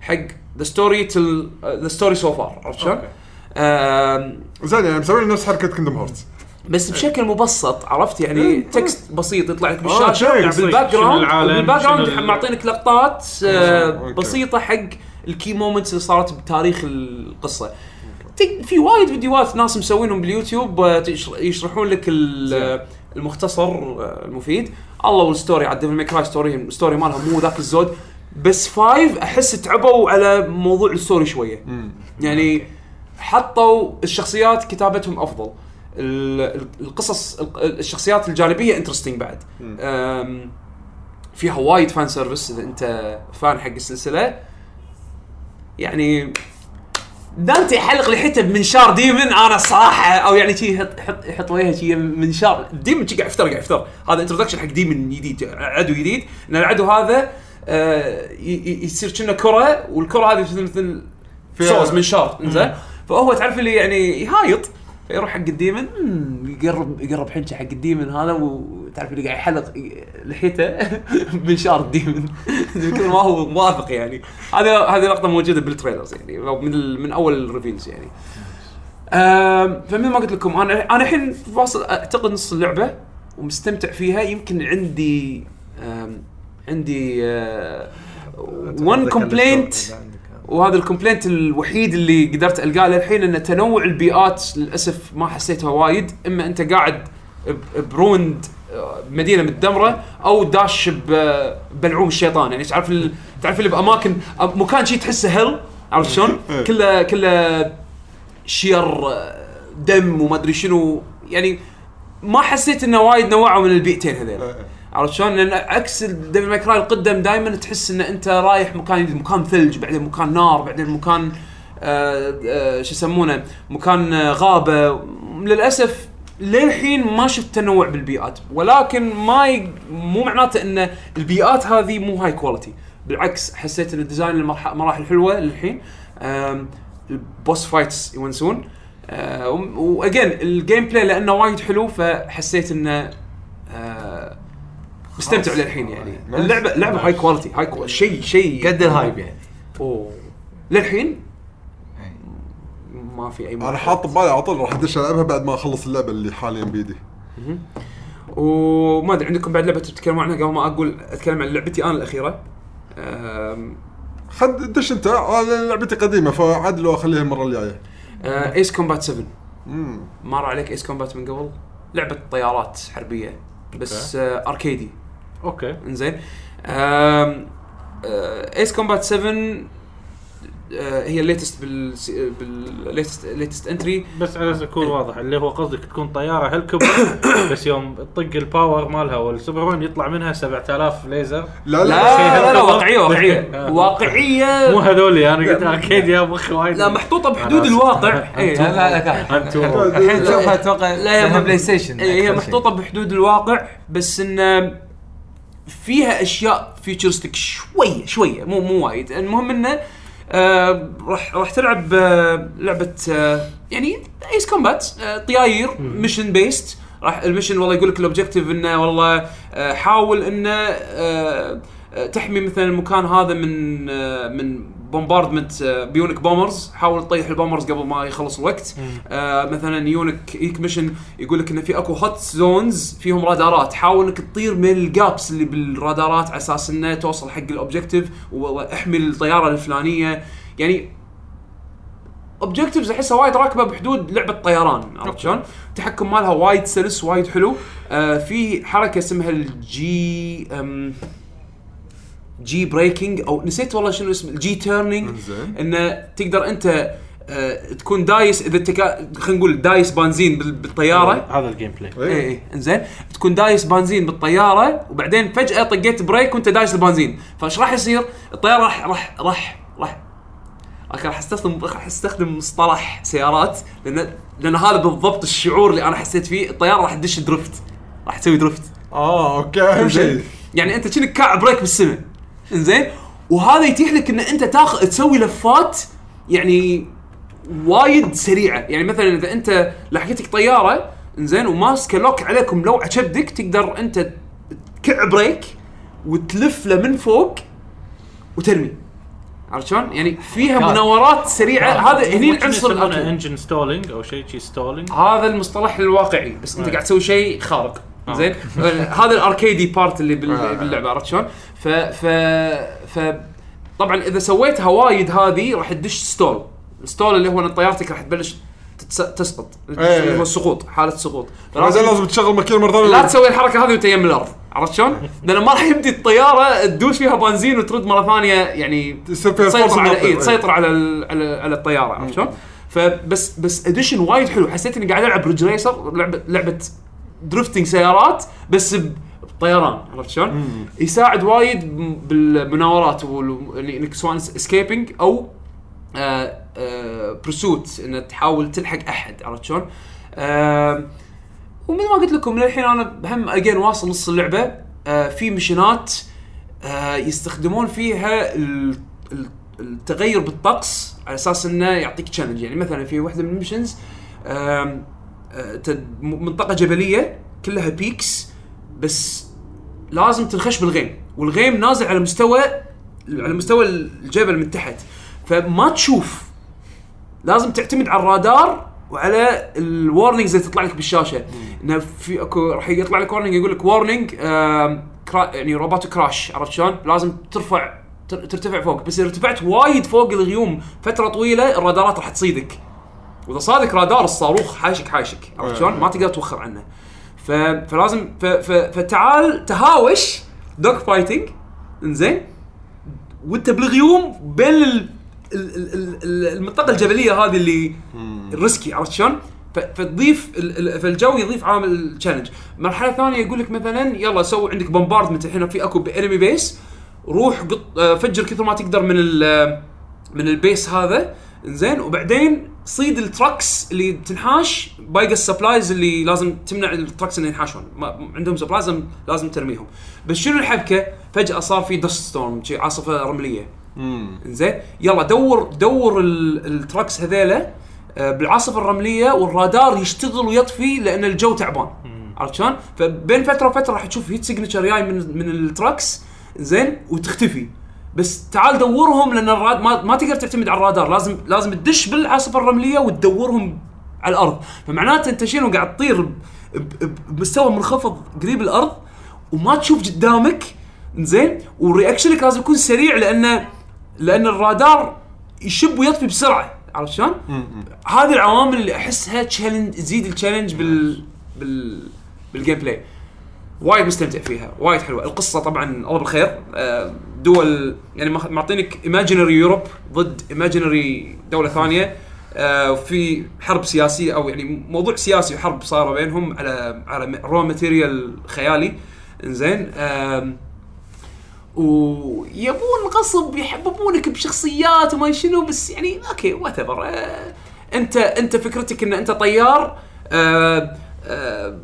حق ذا ستوري تل ذا ستوري سو فار عرفت شلون؟
أوكي.
آم،
زين يعني مسوي لي نفس حركه كندم هارتس
بس بشكل مبسط عرفت يعني تكست بسيط يطلع لك يعني
آه،
بالشاشه
شيء
بسيط.
بالباك
إيه. شنو
جراوند
العالم،
بالباك
شنو
جراوند
ال-
معطينك لقطات آه،
أوكي.
بسيطه حق الكي مومنتس اللي صارت بتاريخ القصه تك- في وايد فيديوهات ناس مسوينهم باليوتيوب آه، تشر- يشرحون لك ال- المختصر آه، المفيد الله والستوري على ديفل ميكراي ستوري الستوري مالها مو ذاك الزود بس فايف احس تعبوا على موضوع الستوري شويه يعني حطوا الشخصيات كتابتهم افضل ال- ال- القصص ال- الشخصيات الجانبيه انترستنج بعد أم، فيها وايد فان سيرفيس اذا انت فان حق السلسله يعني دانتي يحلق لحيته بمنشار ديمن انا الصراحه او يعني شي يحط يحط يحط وجهه شي منشار ديمن شي قاعد يفتر قاعد يفتر هذا انتروداكشن حق ديمن جديد عدو جديد ان العدو هذا آه، ي- ي- يصير كنا كره والكره هذه مثل مثل
فيها-
سوز منشار زين فهو تعرف اللي يعني يهايط فيروح حق الديمن مم، يقرب يقرب حنشه حق الديمن هذا وتعرف اللي قاعد يحلق لحيته بمنشار الديمن من كثر ما هو موافق يعني هذا هذه لقطه موجوده بالتريلرز يعني أو من ال- من اول الريفيلز يعني أم، فمثل ما قلت لكم انا انا الحين واصل اعتقد نص اللعبه ومستمتع فيها يمكن عندي أم، عندي آه، وان كومبلينت وهذا الكومبلينت الوحيد اللي قدرت القاه للحين ان تنوع البيئات للاسف ما حسيتها وايد اما انت قاعد ب- بروند آه، مدينه متدمره او داش ب- بلعوم الشيطان يعني تعرف ال- تعرف اللي باماكن أب- مكان شي تحسه هل عرفت شلون؟ كله كله شير آه، دم وما ادري شنو يعني ما حسيت انه وايد نوعوا من البيئتين هذول عرفت شلون؟ لان عكس ديفل ماي كراي القدم دائما تحس ان انت رايح مكان جديد، مكان ثلج بعدين مكان نار بعدين مكان آه، آه، شو يسمونه مكان آه، غابه للاسف للحين ما شفت تنوع بالبيئات ولكن ما ي... مو معناته ان البيئات هذه مو هاي كواليتي بالعكس حسيت ان الديزاين المرح- مراحل حلوه للحين آم، البوس فايتس يونسون آه، واجين الجيم بلاي لانه وايد حلو فحسيت انه آه، مستمتع للحين يعني
نايس.
اللعبه لعبه هاي كواليتي هاي كواليتي شيء شيء
قد الهايب يعني
أوه. للحين ما في اي
انا حاط ببالي على طول راح ادش العبها بعد ما اخلص اللعبه اللي حاليا بيدي
وما ادري عندكم بعد لعبه تتكلموا عنها قبل ما اقول اتكلم عن لعبتي انا الاخيره آم،
خد دش انت انا لعبتي قديمه فعاد لو اخليها المره الجايه
آه، ايس كومبات 7
امم
مر عليك ايس كومبات من قبل لعبه طيارات حربيه بس آه، اركيدي
اوكي
انزين آم، آه، ايس كومبات 7 آه، هي الليتست بال بالليتست ليتست انتري
بس على اساس يكون واضح اللي هو قصدك تكون طياره هلكبر بس يوم تطق الباور مالها والسوبر هون يطلع منها 7000 ليزر
لا لا
لا لا,
لا
هالكبر.
واقعيه واقعيه
آه.
واقعيه
مو هذولي انا قلت اكيد يا مخي وايد
لا محطوطه بحدود الواقع إيه.
لا لا لا
انتم
الحين
لا،
تشوفها اتوقع
لا يا
لها
ابن
بلاي ستيشن
إيه، هي
أكثر شيء.
محطوطه بحدود الواقع بس ان فيها اشياء فيوتشرستك شويه شويه مو مو وايد المهم انه آه، راح راح تلعب آه، لعبه آه، يعني ايس كومبات آه، طياير ميشن بيست راح المشن والله يقول لك الاوبجيكتيف انه والله آه، حاول انه آه، آه، تحمي مثلا المكان هذا من آه، من بومباردمنت آه، بيونك بومرز حاول تطيح البومرز قبل ما يخلص الوقت آه، مثلا يونك يك ميشن يقول لك ان في اكو هوت زونز فيهم رادارات حاول انك تطير من الجابس اللي بالرادارات على اساس انه توصل حق الاوبجيكتيف واحمي الطياره الفلانيه يعني اوبجكتيفز احسها وايد راكبه بحدود لعبه طيران عرفت شلون؟ التحكم مالها وايد سلس وايد حلو آه في حركه اسمها الجي أم، جي بريكنج او نسيت والله شنو اسمه الجي تيرنينج
زين.
انه تقدر انت آه تكون دايس اذا انت كا- خلينا نقول دايس بنزين بال- بالطياره
هذا الجيم بلاي
إيه.
اي اي انزين إيه. تكون دايس بنزين بالطياره وبعدين فجاه طقيت بريك وانت دايس البنزين فايش راح يصير؟ الطياره راح راح راح راح أنا راح استخدم راح استخدم مصطلح سيارات لان لان هذا بالضبط الشعور اللي انا حسيت فيه الطياره راح تدش درفت راح تسوي درفت
اه اوكي اهم
زين؟
شيء
يعني انت كأنك كاع بريك بالسماء انزين وهذا يتيح لك ان انت تاخذ تسوي لفات يعني وايد سريعه يعني مثلا اذا انت لحقتك طياره انزين وماسكه لوك عليكم لو على كبدك تقدر انت تكع بريك وتلف له من فوق وترمي عرفت شلون؟ يعني فيها
حركات.
مناورات سريعه هذا هني العنصر
يسمونه
الأقوى.
انجن ستولينج او شيء شي ستولينج
هذا المصطلح الواقعي بس انت
نعم.
أي.
قاعد تسوي شيء خارق
آه.
زين هذا الاركيدي بارت اللي
آه.
بال- باللعبه عرفت شلون؟ ف ف ف طبعا اذا سويتها وايد هذه راح تدش ستول الستول اللي هو ان طيارتك راح تبلش تتس- تسقط
أي.
اللي هو السقوط حاله سقوط
إيه. لازم لازم تشغل ماكينه مره ثانيه
لا تسوي الحركه هذه وانت يم الارض عرفت شلون؟ لان ما راح يمدي الطياره تدوس فيها بنزين وترد مره ثانيه يعني
يصير فيها
تسيطر
فرصة
على
إنها
اي
تطير.
تسيطر على ال- على على الطياره عرفت شلون؟ فبس بس اديشن وايد حلو حسيت اني قاعد العب بريدج ريسر لعبه لعبه درفتنج سيارات بس ب- بطيران عرفت شلون؟ يساعد وايد م- بالمناورات وال- يعني انك سواء اسكيبنج او آه، برسوت ان تحاول تلحق احد عرفت شلون؟ آه، ومثل ما قلت لكم للحين انا هم اجين واصل نص اللعبه آه في مشينات آه يستخدمون فيها ال- ال- التغير بالطقس على اساس انه يعطيك تشالنج يعني مثلا في واحده من المشنز آم، آه تد- م- منطقه جبليه كلها بيكس بس لازم تنخش بالغيم والغيم نازل على مستوى على مستوى الجبل من تحت فما تشوف لازم تعتمد على الرادار وعلى الورنينجز اللي تطلع لك بالشاشه انه في اكو راح يطلع لك ورنينج يقول لك ورنينج يعني روبوت كراش عرفت شلون؟ لازم ترفع تر- ترتفع فوق بس اذا ارتفعت وايد فوق الغيوم فتره طويله الرادارات راح تصيدك واذا صادك رادار الصاروخ حاشك حاشك عرفت شلون؟ ما تقدر توخر عنه ف... فلازم ف... ف... فتعال تهاوش دوك فايتنج انزين وانت بالغيوم بين ال... ال... ال... ال- ال... المنطقه الجبليه هذه اللي الريسكي عرفت شلون؟ ف... فتضيف ال... ال... فالجو يضيف عامل التشالنج، مرحله ثانيه يقول لك مثلا يلا سوي عندك بومباردمنت الحين في اكو انمي بيس روح قط... آه، فجر كثر ما تقدر من ال... من البيس هذا زين وبعدين صيد التراكس اللي تنحاش باقي السبلايز اللي لازم تمنع التراكس انه ينحاشون ما عندهم سبلايز لازم, لازم ترميهم بس شنو الحبكه فجاه صار في دست ستورم شي عاصفه رمليه زين يلا دور دور ال- التراكس هذيله آه، بالعاصفه الرمليه والرادار يشتغل ويطفي لان الجو تعبان عرفت شلون؟ فبين فتره وفتره راح تشوف هيت سيجنتشر جاي من من التراكس زين وتختفي بس تعال دورهم لان الراد ما, ما تقدر تعتمد على الرادار لازم لازم تدش بالعاصفه الرمليه وتدورهم على الارض فمعناته انت شنو قاعد تطير ب- ب- بمستوى منخفض قريب الارض وما تشوف قدامك زين ورياكشنك لازم يكون سريع لانه لان الرادار يشب ويطفي بسرعه عرفت شلون؟ هذه العوامل اللي احسها تشالنج تزيد التشالنج بال بال بالجيم بلاي وايد مستمتع فيها وايد حلوه القصه طبعا الله بالخير آه، دول يعني ماخ- معطينك ايماجينري يوروب ضد ايماجينري دوله ثانيه آه، في حرب سياسيه او يعني موضوع سياسي وحرب صايره بينهم على على رو ماتيريال خيالي انزين آم، ويبون غصب يحببونك بشخصيات وما شنو بس يعني اوكي وات انت انت فكرتك ان انت طيار آه، آه،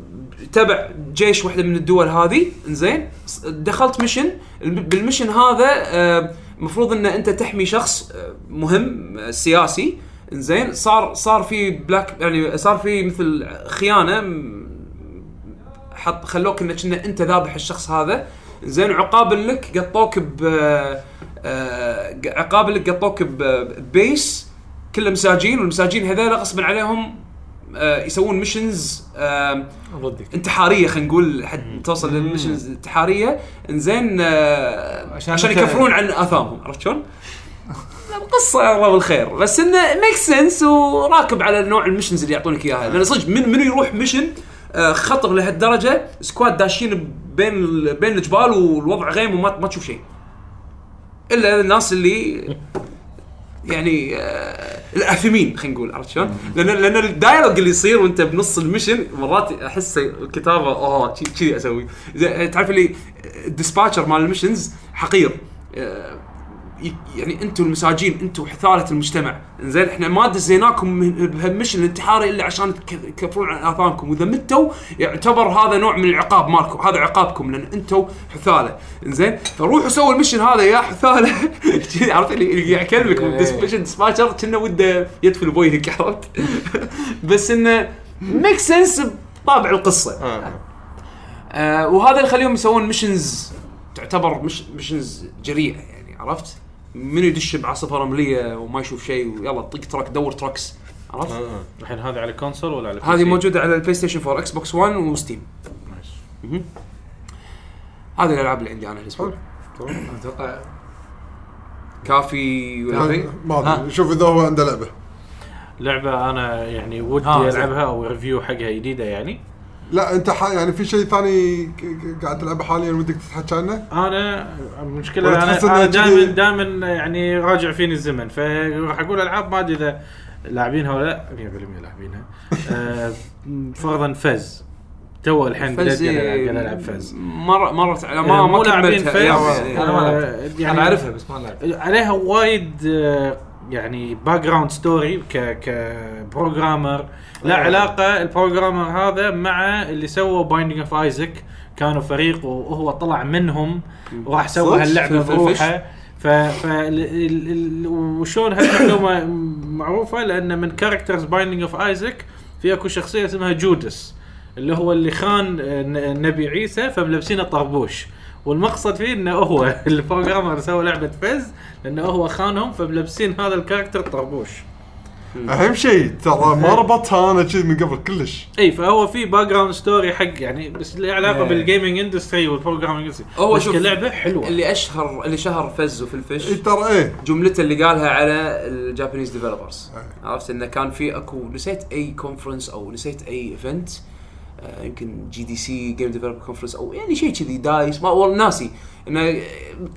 تبع جيش واحده من الدول هذه زين دخلت ميشن الم- بالميشن هذا آه، المفروض ان انت تحمي شخص آه، مهم آه، سياسي زين صار صار في بلاك يعني صار في مثل خيانه م- حط خلوك انك كنا انت ذابح الشخص هذا زين عقابا لك قطوك ب آه، عقابا لك قطوك ب- ببيس كله مساجين والمساجين هذول غصبا عليهم آه، يسوون ميشنز
ضدك
انتحاريه خلينا نقول حد توصل للميشنز الانتحاريه انزين آه،
عشان
عشان
انت-
يكفرون عن اثامهم عرفت شلون؟ قصة الله بالخير بس انه ميك سنس وراكب على نوع المشنز اللي يعطونك اياها لان صدق من منو يروح مشن آه، خطر لهالدرجه سكواد داشين بين ال- بين الجبال والوضع غيم وما ما تشوف شيء الا الناس اللي يعني آه، الاثمين خلينا نقول عرفت شلون؟ لان لان الدايلوج اللي يصير وانت بنص المشن مرات احس الكتابه اوه شي- شي اسوي زي- تعرف اللي الديسباتشر مال المشنز حقير آه، ي- يعني انتم المساجين انتم حثاله المجتمع زين احنا ما دزيناكم من- بهالمشن الانتحاري الا عشان تك- تكفرون عن اثامكم واذا متوا يعتبر هذا نوع من العقاب مالكم هذا عقابكم لان انتم حثاله زين فروحوا سووا المشن هذا يا حثاله عرفت اللي اللي قاعد يكلمك من ديسبشن سباشر كنا وده يدفل بويهك عرفت بس انه ميك سنس بطابع القصه آه وهذا اللي خليهم يسوون ميشنز تعتبر مش ميشنز جريئه يعني عرفت؟ من يدش بعاصفه رمليه وما يشوف شيء ويلا طق تراك دور تراكس عرفت؟
الحين هذه على كونسول ولا على بي
هذه
سي؟
موجوده على البلاي ستيشن 4 اكس بوكس 1 وستيم.
نايس.
مهم. هذه الالعاب اللي عندي انا الاسبوع اتوقع كافي ولا شيء؟
ما ادري شوف اذا هو عنده لعبه
لعبه انا يعني ودي
آه، زين.
العبها او ريفيو حقها جديده يعني
لا انت ح- يعني في شيء ثاني ك- ك- قاعد تلعبه حاليا ودك تتحكى عنه؟
انا المشكله
ولا
انا,
تحس إنها
أنا دائما
جديدة؟
دائما يعني راجع فيني الزمن فراح اقول العاب ما ادري اذا لاعبينها ولا لا 100% لاعبينها آه، فرضا فز تو الحين بديت
فز
قاعد ألعب- قاعد
إيه،
العب فز
مر مرت على
آه،
ما
مو
ما
لاعبين
كملتها
فز
يعني-
أنا ما لعبت.
آه،
يعني انا اعرفها بس ما لعبت
عليها وايد آه، يعني باك جراوند ستوري ك كبروجرامر لا علاقه البروجرامر هذا مع اللي سووا بايندينج اوف ايزك كانوا فريق وهو طلع منهم وراح سوى
صدق؟
هاللعبه
في- في الفش؟
بروحه ف ف ال- ال- ال- وشلون هالمعلومه معروفه لان من كاركترز بايندينج اوف ايزك في اكو شخصيه اسمها جودس اللي هو اللي خان آه، ن- النبي عيسى فملبسينه طربوش والمقصد فيه انه هو البروجرامر سوى لعبه فز لانه هو خانهم فملبسين هذا الكاركتر طربوش
اهم شيء ترى ما ربطها انا كذي من قبل كلش
اي فهو في باك جراوند ستوري حق يعني بس له علاقه
إيه.
بالجيمنج اندستري والبروجرامينج اندستري
هو
بس إيه،
شوف
كلعبه حلوه
اللي اشهر اللي شهر فز في الفش
اي ترى ايه
جملته اللي قالها على الجابانيز ديفلوبرز عرفت انه كان في اكو نسيت اي كونفرنس او نسيت اي ايفنت آه، يمكن جي دي سي جيم ديفلوبر كونفرنس او يعني شيء كذي دايس ما والله ناسي انه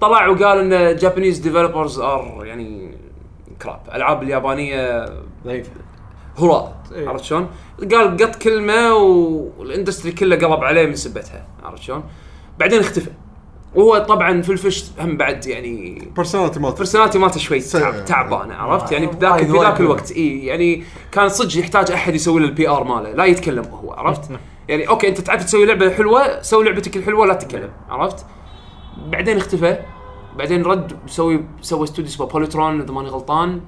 طلع وقال ان جابانيز ديفلوبرز ار يعني كراب العاب اليابانيه
ضعيفه
هراء
إيه.
عرفت شلون؟ قال قط كلمه والاندستري كله قلب عليه من سبتها عرفت شلون؟ بعدين اختفى وهو طبعا في الفش هم بعد يعني
بيرسوناليتي مالته
البرسوناليتي مالته شوي
سيء.
تعب تعبان عرفت يعني
آه. وايد-
بذاك في
وايد
ذاك الوقت اي يعني كان صدق يحتاج احد يسوي له البي ار ماله لا يتكلم هو عرفت
نعم.
يعني اوكي انت تعرف تسوي لعبه حلوه سوي لعبتك الحلوه لا تتكلم
نعم.
عرفت بعدين اختفى بعدين رد سوي سوى استوديو اسمه بوليترون اذا ماني غلطان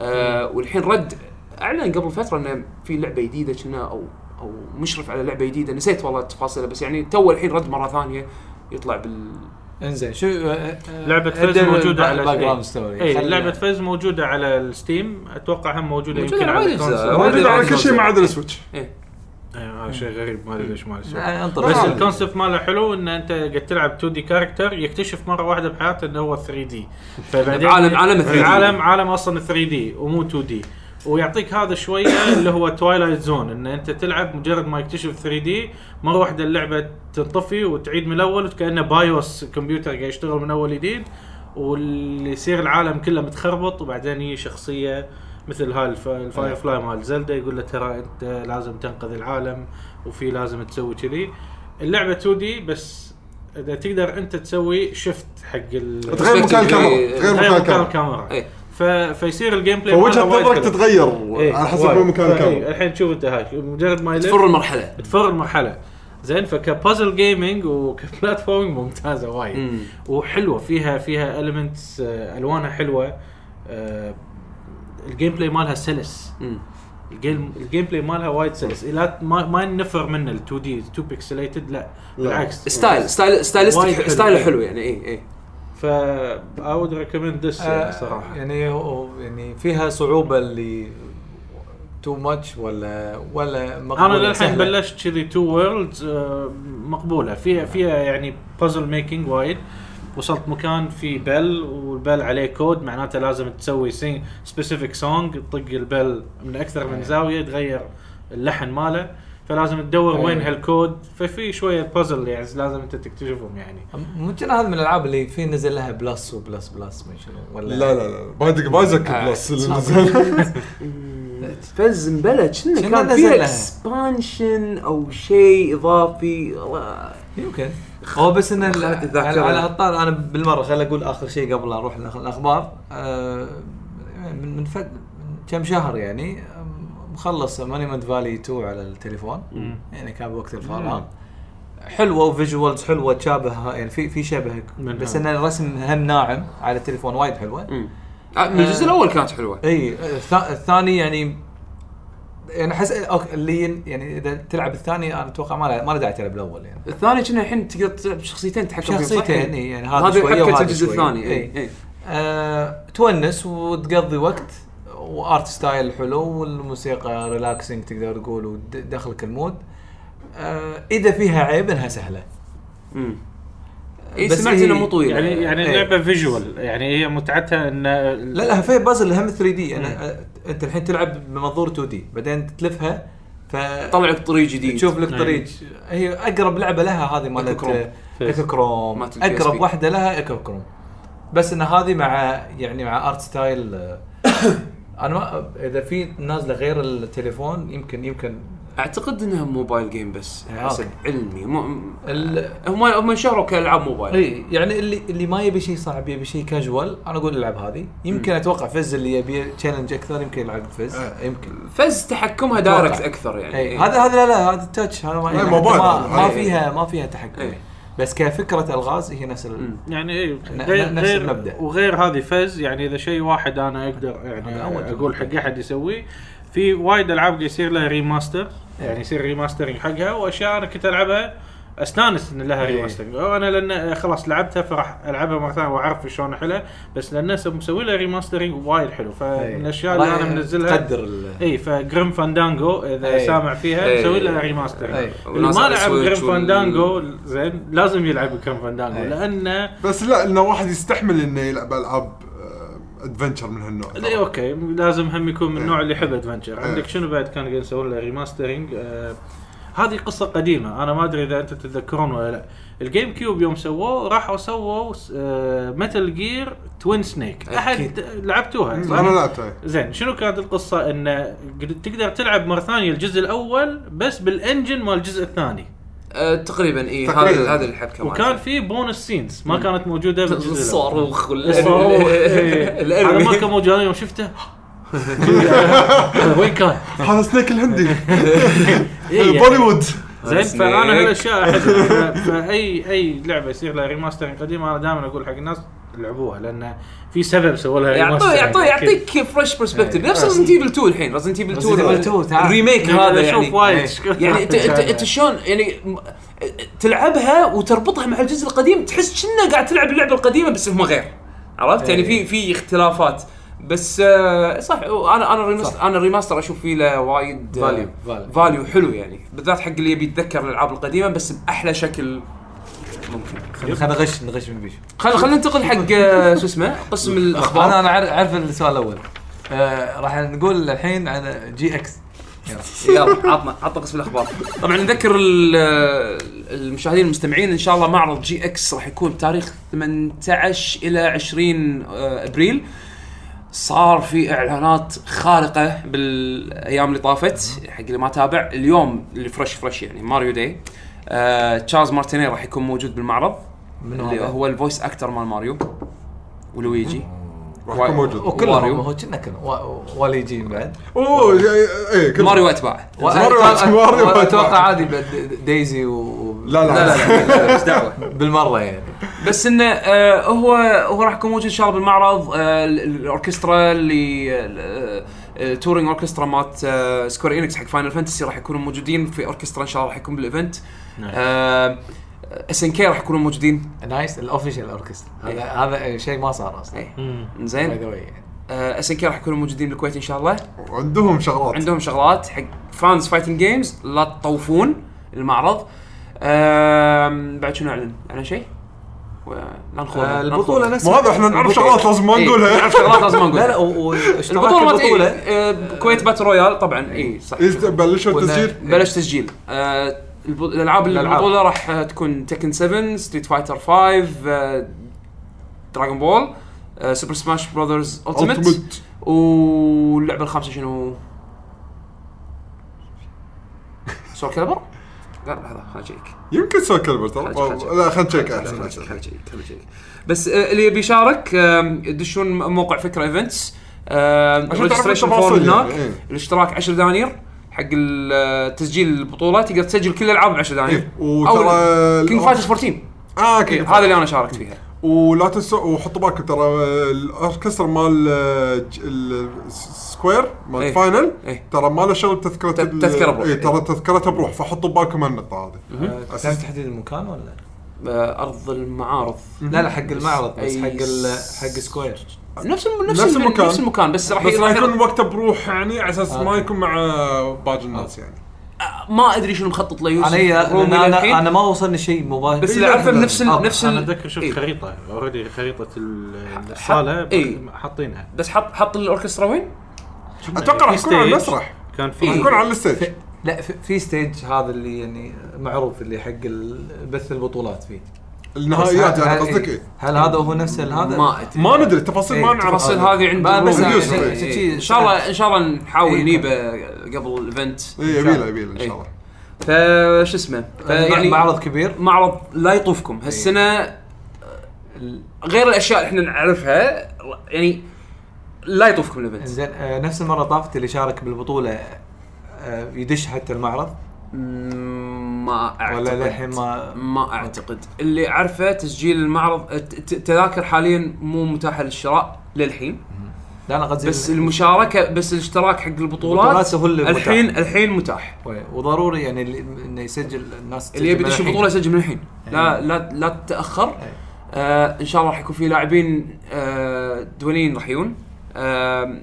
آه
نعم.
والحين رد اعلن قبل فتره انه في لعبه جديده كنا او او مشرف على لعبه جديده نسيت والله تفاصيلها بس يعني تو الحين رد مره ثانيه يطلع بال يعني
انزين شو آه، آه،
لعبة
عدل
فز موجودة
الباك-
على
باك
شيء. إيه،
جراوند ستوري
اي
خل-
لعبه فز موجوده على الستيم اتوقع هم موجوده
موجودة
يمكن
على
على
وايد أجزاء.
الكونسول
وايد
موجود على كل شيء ما عدا السويتش
إيه، هذا شيء غريب ما ادري ليش ما
آه،
له
انطر
بس
طبعاً.
الكونسبت ماله حلو ان انت قاعد تلعب 2 دي كاركتر يكتشف مره واحده بحياته انه هو 3 دي فبعدين
عالم- عالم 3D.
عالم عالم اصلا 3 دي ومو 2 دي ويعطيك هذا شويه اللي هو توايلايت زون ان انت تلعب مجرد ما يكتشف 3 دي مره واحده اللعبه تنطفي وتعيد من الاول وكانه بايوس كمبيوتر قاعد يشتغل من اول جديد واللي يصير العالم كله متخربط وبعدين هي شخصيه مثل هاي الف- الفاير فلاي مال زلدا يقول له ترى انت لازم تنقذ العالم وفي لازم تسوي كذي اللعبه 2 دي بس اذا تقدر انت تسوي شفت حق ال
تغير مكان الكاميرا تغير مكان الكاميرا
الكاميرا
إيه.
ف... فيصير الجيم بلاي
فوجهه
ماله وايد
نظرك
حلو.
تتغير
إيه،
على حسب
وايد.
وين مكان
إيه،
الكاميرا
الحين تشوف انت هاك مجرد ما يلف
تفر المرحله
تفر المرحله زين فكبازل جيمنج وكبلاتفورمينج ممتازه وايد وحلوه فيها فيها المنتس الوانها حلوه آه، الجيم بلاي مالها سلس
مم.
الجيم الجيم بلاي مالها وايد سلس لا ما, ما نفر منه ال 2 دي 2 بيكسليتد لا بالعكس
ستايل ستايل
وايد
ستايلستيك
حلو.
ستايله حلو يعني اي اي
ف I would recommend this يعني
آه،
صراحه
يعني هو- يعني فيها صعوبه اللي تو ماتش ولا ولا
انا
مقبولة،
للحين
سهلة.
بلشت كذي تو وورلدز مقبوله فيها
آه.
فيها يعني بازل ميكنج وايد وصلت مكان في بل والبل عليه كود معناته لازم تسوي سين
آه.
سبيسيفيك سونج تطق البل من اكثر من زاويه يتغير اللحن ماله فلازم تدور وين
أي.
هالكود ففي شويه بازل يعني لازم انت تكتشفهم يعني
ممكن هذا من الالعاب اللي في نزل لها بلس وبلس بلس من شنو ولا آه،
لا لا لا بايدك بايزك
آه،
بلس اللي
صعب.
نزل
فز مبلى كنا
شنو
كان
نزلها؟
فيها اكسبانشن او شيء اضافي الله.
يمكن هو بس ان ال-
خلت الذاكرة.
على على هالطار انا بالمره خل اقول اخر شيء قبل لا اروح لأخ- الاخبار آه، من من فد من كم شهر يعني آم، مخلص مانيمنت فالي 2 على التليفون يعني كان وقت
نعم.
الفراغ حلوه وفيجوالز حلوه تشابه يعني في في شبه
منها.
بس ان الرسم هم ناعم على التليفون وايد حلوه
نعم. مم. آه، من الجزء الاول كانت حلوه
اي الث- الثاني يعني يعني احس أوكي، اللي يعني اذا تلعب الثاني انا اتوقع ما له- ما له داعي تلعب الاول يعني
الثاني كنا الحين تقدر تلعب بشخصيتين تتحكم فيهم، صح؟
شخصيتين إي، يعني هذا
هذه
شوية
حركه
وهذا
الجزء
شوية. إيه.
الثاني إيه،
إي.
اي اي
أه تونس وتقضي وقت وارت ستايل حلو والموسيقى ريلاكسنج تقدر تقول ودخلك المود أه اذا فيها عيب انها سهله
مم. اي
بس
سمعت
هي-
انه مو طويل
يعني يعني
إيه.
اللعبه فيجوال يعني هي متعتها ان
لا لا فيها بازل هم 3 دي يعني انت الحين تلعب بمنظور 2 دي بعدين تلفها ف
طلع لك طريق جديد
تشوف لك
أي.
طريق هي اقرب لعبه لها هذه مالت
إيكو كروم.
ايكو كروم
مالت ال PSP.
اقرب واحده لها ايكو كروم بس ان هذه مع يعني مع ارت ستايل آه، انا ما اذا في نازله غير التليفون يمكن يمكن
اعتقد انها موبايل جيم بس
آه،
حسب علمي مو
ال-
هم هم انشهروا كالعاب موبايل
اي يعني اللي اللي ما يبي شيء صعب يبي شيء كاجوال انا اقول العب هذه يمكن اتوقع فز اللي يبي تشالنج اكثر يمكن يلعب فز
آه.
يمكن
فز تحكمها
أتوقع.
دايركت اكثر يعني
اي
إي.
هذا هذا لا لا هذا التاتش هذا ما
لا،
يعني
موبايل.
ما, ما
أي.
فيها ما فيها تحكم
أي.
بس كفكره الغاز هي نفس ال...
مم.
يعني اي
ن-
غير
نفس
غير
المبدأ.
وغير هذه فز يعني اذا شيء واحد انا اقدر
هذا
يعني
أول
اقول
جزء.
حق احد يسويه في وايد العاب قاعد يصير لها ريماستر
إيه.
يعني يصير ريماسترنج حقها واشياء انا كنت العبها استانس ان لها
إيه.
ريماسترنج انا لان خلاص لعبتها فراح العبها مره ثانيه واعرف شلون احلها بس لان مسوي لها ريماسترنج وايد حلو
إيه.
فمن الاشياء إيه. اللي
والله
انا منزلها إيه،
قدر ال...
اي فجريم فاندانجو اذا
إي.
سامع فيها
إيه.
إي.
مسوي لها ريماستر
إي.
اللي ما لعب
والناس على
جريم
السويتش وال-
فاندانجو زين لازم يلعب جريم فاندانجو
إي.
لانه
بس لا انه واحد يستحمل انه يلعب العاب ادفنشر من هالنوع
إي، اوكي إيه، لازم هم يكون من النوع اللي يحب ادفنشر
إي.
عندك شنو بعد كانوا قاعد يسوون له ريماسترنج آه، هذه قصه قديمه انا ما ادري اذا انتم تتذكرون ولا لا الجيم كيوب يوم سووه راحوا سووا آه، متل جير توين سنيك احد لعبتوها صح؟
انا لعبتها
زين شنو كانت القصه انه قد- تقدر تلعب مره ثانيه الجزء الاول بس بالانجن مال الجزء الثاني
آه، تقريبا اي
تقريباً.
هذا هذا الحبكه
وكان في بونس سينز ما كانت موجوده بالجزء الأول.
الصاروخ وال-
الصاروخ
ال-
إيه. انا ما كان
الانمي
موجود أنا يوم شفته وين كان؟
هذا سنيك الهندي
إيه يعني.
بوليوود
زين
Snake.
فانا هالاشياء احبها ف- فاي اي لعبه يصير لها ريماسترنج قديم انا دائما اقول حق الناس لعبوها لان في سبب سووا لها
يعني يعطوه
ريماسترنج
يعطوه
أكيد.
يعطيك فريش برسبكتيف نفس ريزنت ايفل 2 الحين ريزنت ايفل
Resident Evil 2
2
تعال.
الريميك
أنا
هذا
أشوف
يعني
وايد.
يعني انت انت انت شلون يعني م- تلعبها وتربطها مع الجزء القديم تحس كنا قاعد تلعب اللعبه القديمه بس هم غير عرفت يعني في في اختلافات بس آه، صح انا انا الريماستر انا الريماستر اشوف فيه له وايد
فاليو- فاليو.
فاليو حلو يعني بالذات حق اللي يبي يتذكر الالعاب القديمه بس باحلى شكل ممكن
خلينا نغش نغش من بيشو
خل خلينا ننتقل حق آه، شو اسمه قسم الاخبار
انا انا عارف عارف السؤال الاول آه راح نقول الحين عن جي اكس
يلا عطنا عطنا قسم الاخبار طبعا نذكر ال- المشاهدين المستمعين ان شاء الله معرض جي اكس راح يكون بتاريخ 18 الى 20 ابريل آه، صار في اعلانات خارقه بالايام اللي طافت حق اللي ما تابع اليوم اللي فرش فرش يعني ماريو داي آه، تشارلز مارتيني راح يكون موجود بالمعرض اللي
هذا؟
هو الفويس اكتر مال ماريو ولويجي
راح يكون موجود
وكل
ماريو.
هو كنا كنا و- والي جيم بعد
اوه اي إيه، كل-
ماريو اتباعه
ماريو-
وأتوقع-
ماريو-
واتوقع عادي بعد دايزي و- و
لا
لا
لا
لا لا لا، ايش دعوه
بالمره يعني
بس انه آه هو هو راح يكون موجود ان شاء الله بالمعرض آه ال- الاوركسترا اللي آه، آه، التورينج اوركسترا مالت آه سكوير انكس حق فاينل فانتسي راح يكونوا موجودين في اوركسترا ان شاء الله راح يكون آه، بالايفنت اس ان كي راح يكونوا موجودين
نايس الاوفيشال اوركسترا هذا
إيه.
هذا شيء ما صار اصلا
إيه.
مم.
باي
زين آه،
ذا واي
اس ان كي راح يكونوا موجودين بالكويت ان شاء الله
عندهم شغلات
عندهم شغلات حق فانز فايتنج جيمز لا تطوفون المعرض آم، بعد شنو اعلن؟ اعلن شيء؟ و- لا نخوضها
آه،
لا
البطوله
نخوضها.
نفسها
مو هذا احنا نعرف شغلات لازم ما
إيه،
نقولها
نعرف شغلات لازم ما
لا لا
نقولها
والاشتراك
البطوله مالت
البطوله
إيه، كويت باتل رويال طبعا اي صح
إيه، بلشوا
ولا-
التسجيل
بلش تسجيل آه، الب- الالعاب اللي
الألعاب.
البطوله راح آه، تكون تكن 7 ستريت فايتر 5 آه، دراغون بول آه، سوبر سماش براذرز التيمت
Ultimate.
واللعبه الخامسه شنو؟ سول كالبر؟ لا لحظه خليني اجيك
يمكن سول كالبر ترى
خلنا نشيك.
لا خلنا نشيك
خلنا نشيك،
احسن
خلنا نشيك، خلنا نشيك. بس آه، اللي يبي يشارك آم، يدشون م- موقع فكره ايفنتس
عشان تعرف
ريجستريشن فورم
التفاصيل يعني،
هناك
إيه.
الاشتراك 10 دنانير حق ال- آه، تسجيل البطوله تقدر تسجل كل الالعاب ب 10 دنانير
إيه، وترى ال-
كينج فايترز 14
اه
إيه،
اوكي
هذا اللي انا شاركت فيها
ولا تنسوا وحطوا بالكم ترى الاوركسترا مال آه، السكوير مال
إيه.
الفاينل
إيه.
ترى ما له شغل بتذكره
ت- تذكرة بروح. إيه.
اي ترى تذكرتها بروح فحطوا بالكم هالنقطه هذه
آه، تعرف تحديد المكان ولا؟
آه، ارض المعارض
لا لا حق المعرض بس
أي
حق ال-
س-
حق سكوير
نفس ال- نفس
نفس
ال-
المكان.
نفس المكان بس راح
بس راح
راح-
يكون وقته بروح يعني على
آه،
اساس ما
أوكي.
يكون مع باقي الناس يعني
ما ادري شنو مخطط له يوسف
انا
رومي
انا
للحين.
انا, إيه، أنا ما وصلني شيء مباشر
بس اللي اعرفه بنفس ال-
آه،
نفس ال-
انا اتذكر شفت
إيه.
خريطه اوريدي خريطه ال- الصاله
إيه.
حاطينها
بس حط حط الاوركسترا وين؟
اتوقع راح
في
يكون
stage
على المسرح
كان في
إيه.
راح يكون على الستيج
لا في- في ستيج هذا اللي يعني معروف اللي حق ال- بث البطولات فيه
آه،
النهائيات
بس هل-
يعني
هل-
قصدك
إيه.
ايه
هل هذا هو نفس ال- هذا؟
ما ادري
ما ندري التفاصيل ما
إيه،
نعرف
التفاصيل
هذه.
هذه عند
بقى بس
رومي.
يعني-
إيه،
شي-
إيه. ان شاء الله ان شاء الله نحاول نجيبه قبل الايفنت
اي يبيله يبيله ان
إيه.
شاء الله
فش اسمه ف-
يعني
يعني
معرض كبير
معرض لا يطوفكم هالسنه آه، غير الاشياء اللي احنا نعرفها يعني لا يطوفكم الايفنت
زين آه، نفس المره طافت اللي شارك بالبطوله آه، يدش حتى المعرض
مم، ما اعتقد
ولا للحين ما
ما اعتقد اللي اعرفه تسجيل المعرض الت- الت- التذاكر حاليا مو متاحه للشراء للحين
لا انا قصدي
بس المشاركه بس الاشتراك حق
إيه. البطولات
البطولات
هو اللي متاح.
الحين الحين متاح
و- وضروري يعني اللي- انه يسجل الناس
اللي يبي
تسجل
يدش
الحين.
البطوله يسجل من الحين لا لا لا تتاخر آه ان شاء الله راح يكون في لاعبين آه دوليين راح يجون آه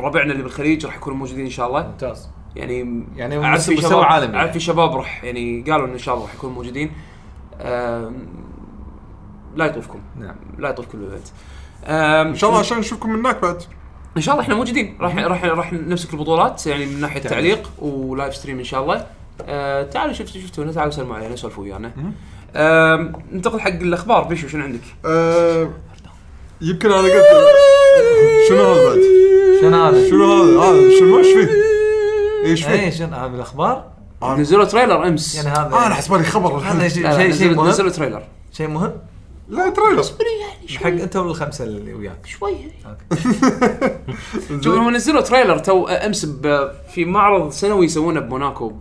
ربعنا اللي بالخليج راح يكونوا موجودين ان شاء الله
ممتاز
يعني
يعني
أعرف
مستوى-
في
مستوى
شباب-
عالمي.
اعرف في شباب راح يعني قالوا ان شاء الله راح يكونوا موجودين آه لا يطوفكم
نعم.
لا يطوفكم الايفنت آم،
ان شاء الله عشان نشوفكم هناك بعد
ان شاء الله احنا موجودين راح راح راح نمسك البطولات يعني من ناحيه
تعليق.
تعليق ولايف ستريم ان شاء الله آه تعالوا شفت شفتونا تعالوا سلموا علينا سولفوا ويانا آم، ننتقل حق الاخبار بيشو شنو عندك؟
آه، يمكن انا قلت شنو هذا بعد؟
شنو هذا؟
شنو هذا؟ هذا شنو ايش فيه؟ ايش فيه؟
اي شنو يعني هذا الاخبار؟
نزلوا تريلر امس
يعني
لا،
هذا
آه، انا حسبالي خبر
هذا
الحين
لا،
شيء شيء
نزلوا-
مهم
نزلوا تريلر
شيء مهم
لا تريلر
حق انت والخمسه اللي وياك
شويه شوف هم نزلوا تريلر تو امس ب- في معرض سنوي يسوونه بموناكو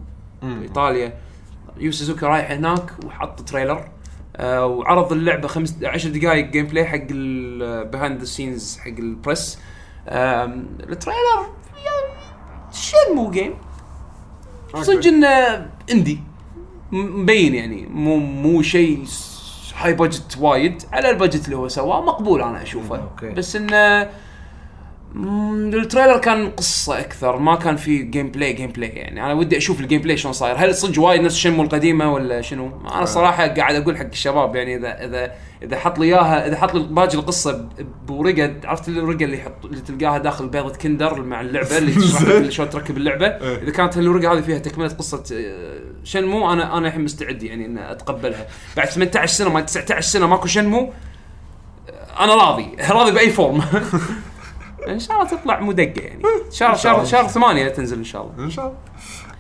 بايطاليا يو سوزوكي رايح هناك وحط تريلر آه وعرض اللعبه خمس 10 دقائق جيم بلاي حق البيهايند ذا سينز حق البريس آم، التريلر شنمو جيم صدق انه اندي م- مبين يعني مو مو شيء س- هاي بادجت وايد على البادجت اللي هو سواه مقبول انا اشوفه
أوكي.
بس انه مم، التريلر كان قصه اكثر ما كان في جيم بلاي جيم بلاي يعني انا ودي اشوف الجيم بلاي شلون صاير هل صدق وايد نفس شنمو القديمه ولا شنو انا صراحه قاعد اقول حق الشباب يعني اذا اذا اذا حط لي اياها اذا حط لي باجي القصه ب- بورقه عرفت الورقه اللي يحط اللي تلقاها داخل بيضه كندر مع اللعبه اللي تشرح لك شلون تركب اللعبه اذا كانت هالورقه هذه فيها تكمله قصه آه، شنمو انا انا الحين مستعد يعني ان اتقبلها بعد 18 سنه ما 19 سنه ماكو شنمو آه، انا راضي راضي باي فورم ان شاء الله تطلع مدقه يعني
إيه،
شهر شهر شهر 8 تنزل ان شاء الله
ان شاء الله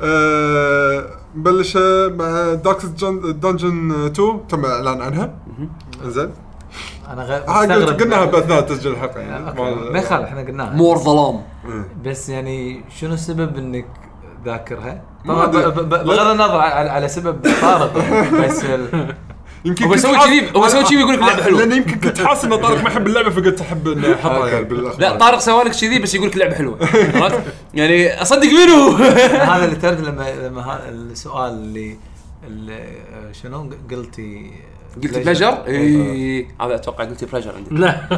آه، نبلش مع دارك دنجن 2 تم الاعلان عنها زين
انا غير
آه، قلت-
مستغرب.
قلناها باثناء تسجيل الحلقه يعني
أوكي. ما يخالف احنا قلناها
مور ظلام
بس يعني شنو السبب انك ذاكرها؟
ما
طبعا ب-
أدري.
ب- ب- بغض النظر على, على سبب طارق يعني بس ال-
يمكن
هو
كنت
يسوي
حاس-
كذي هو يسوي كذي ويقول لك لعبه حلوه
لان يمكن كنت حاسس ان طارق ما يحب اللعبه فقلت احب اني احطها يعني بالاخبار
لا طارق سوالك كذي بس يقول لك لعبه حلوه عرفت؟ يعني اصدق منو؟
هذا اللي تعرف لما لما ها- السؤال اللي ال- شنو قلتي آه، إيه.
قلت بلجر؟ اي هذا اتوقع قلت بلجر عندي
لا
حتى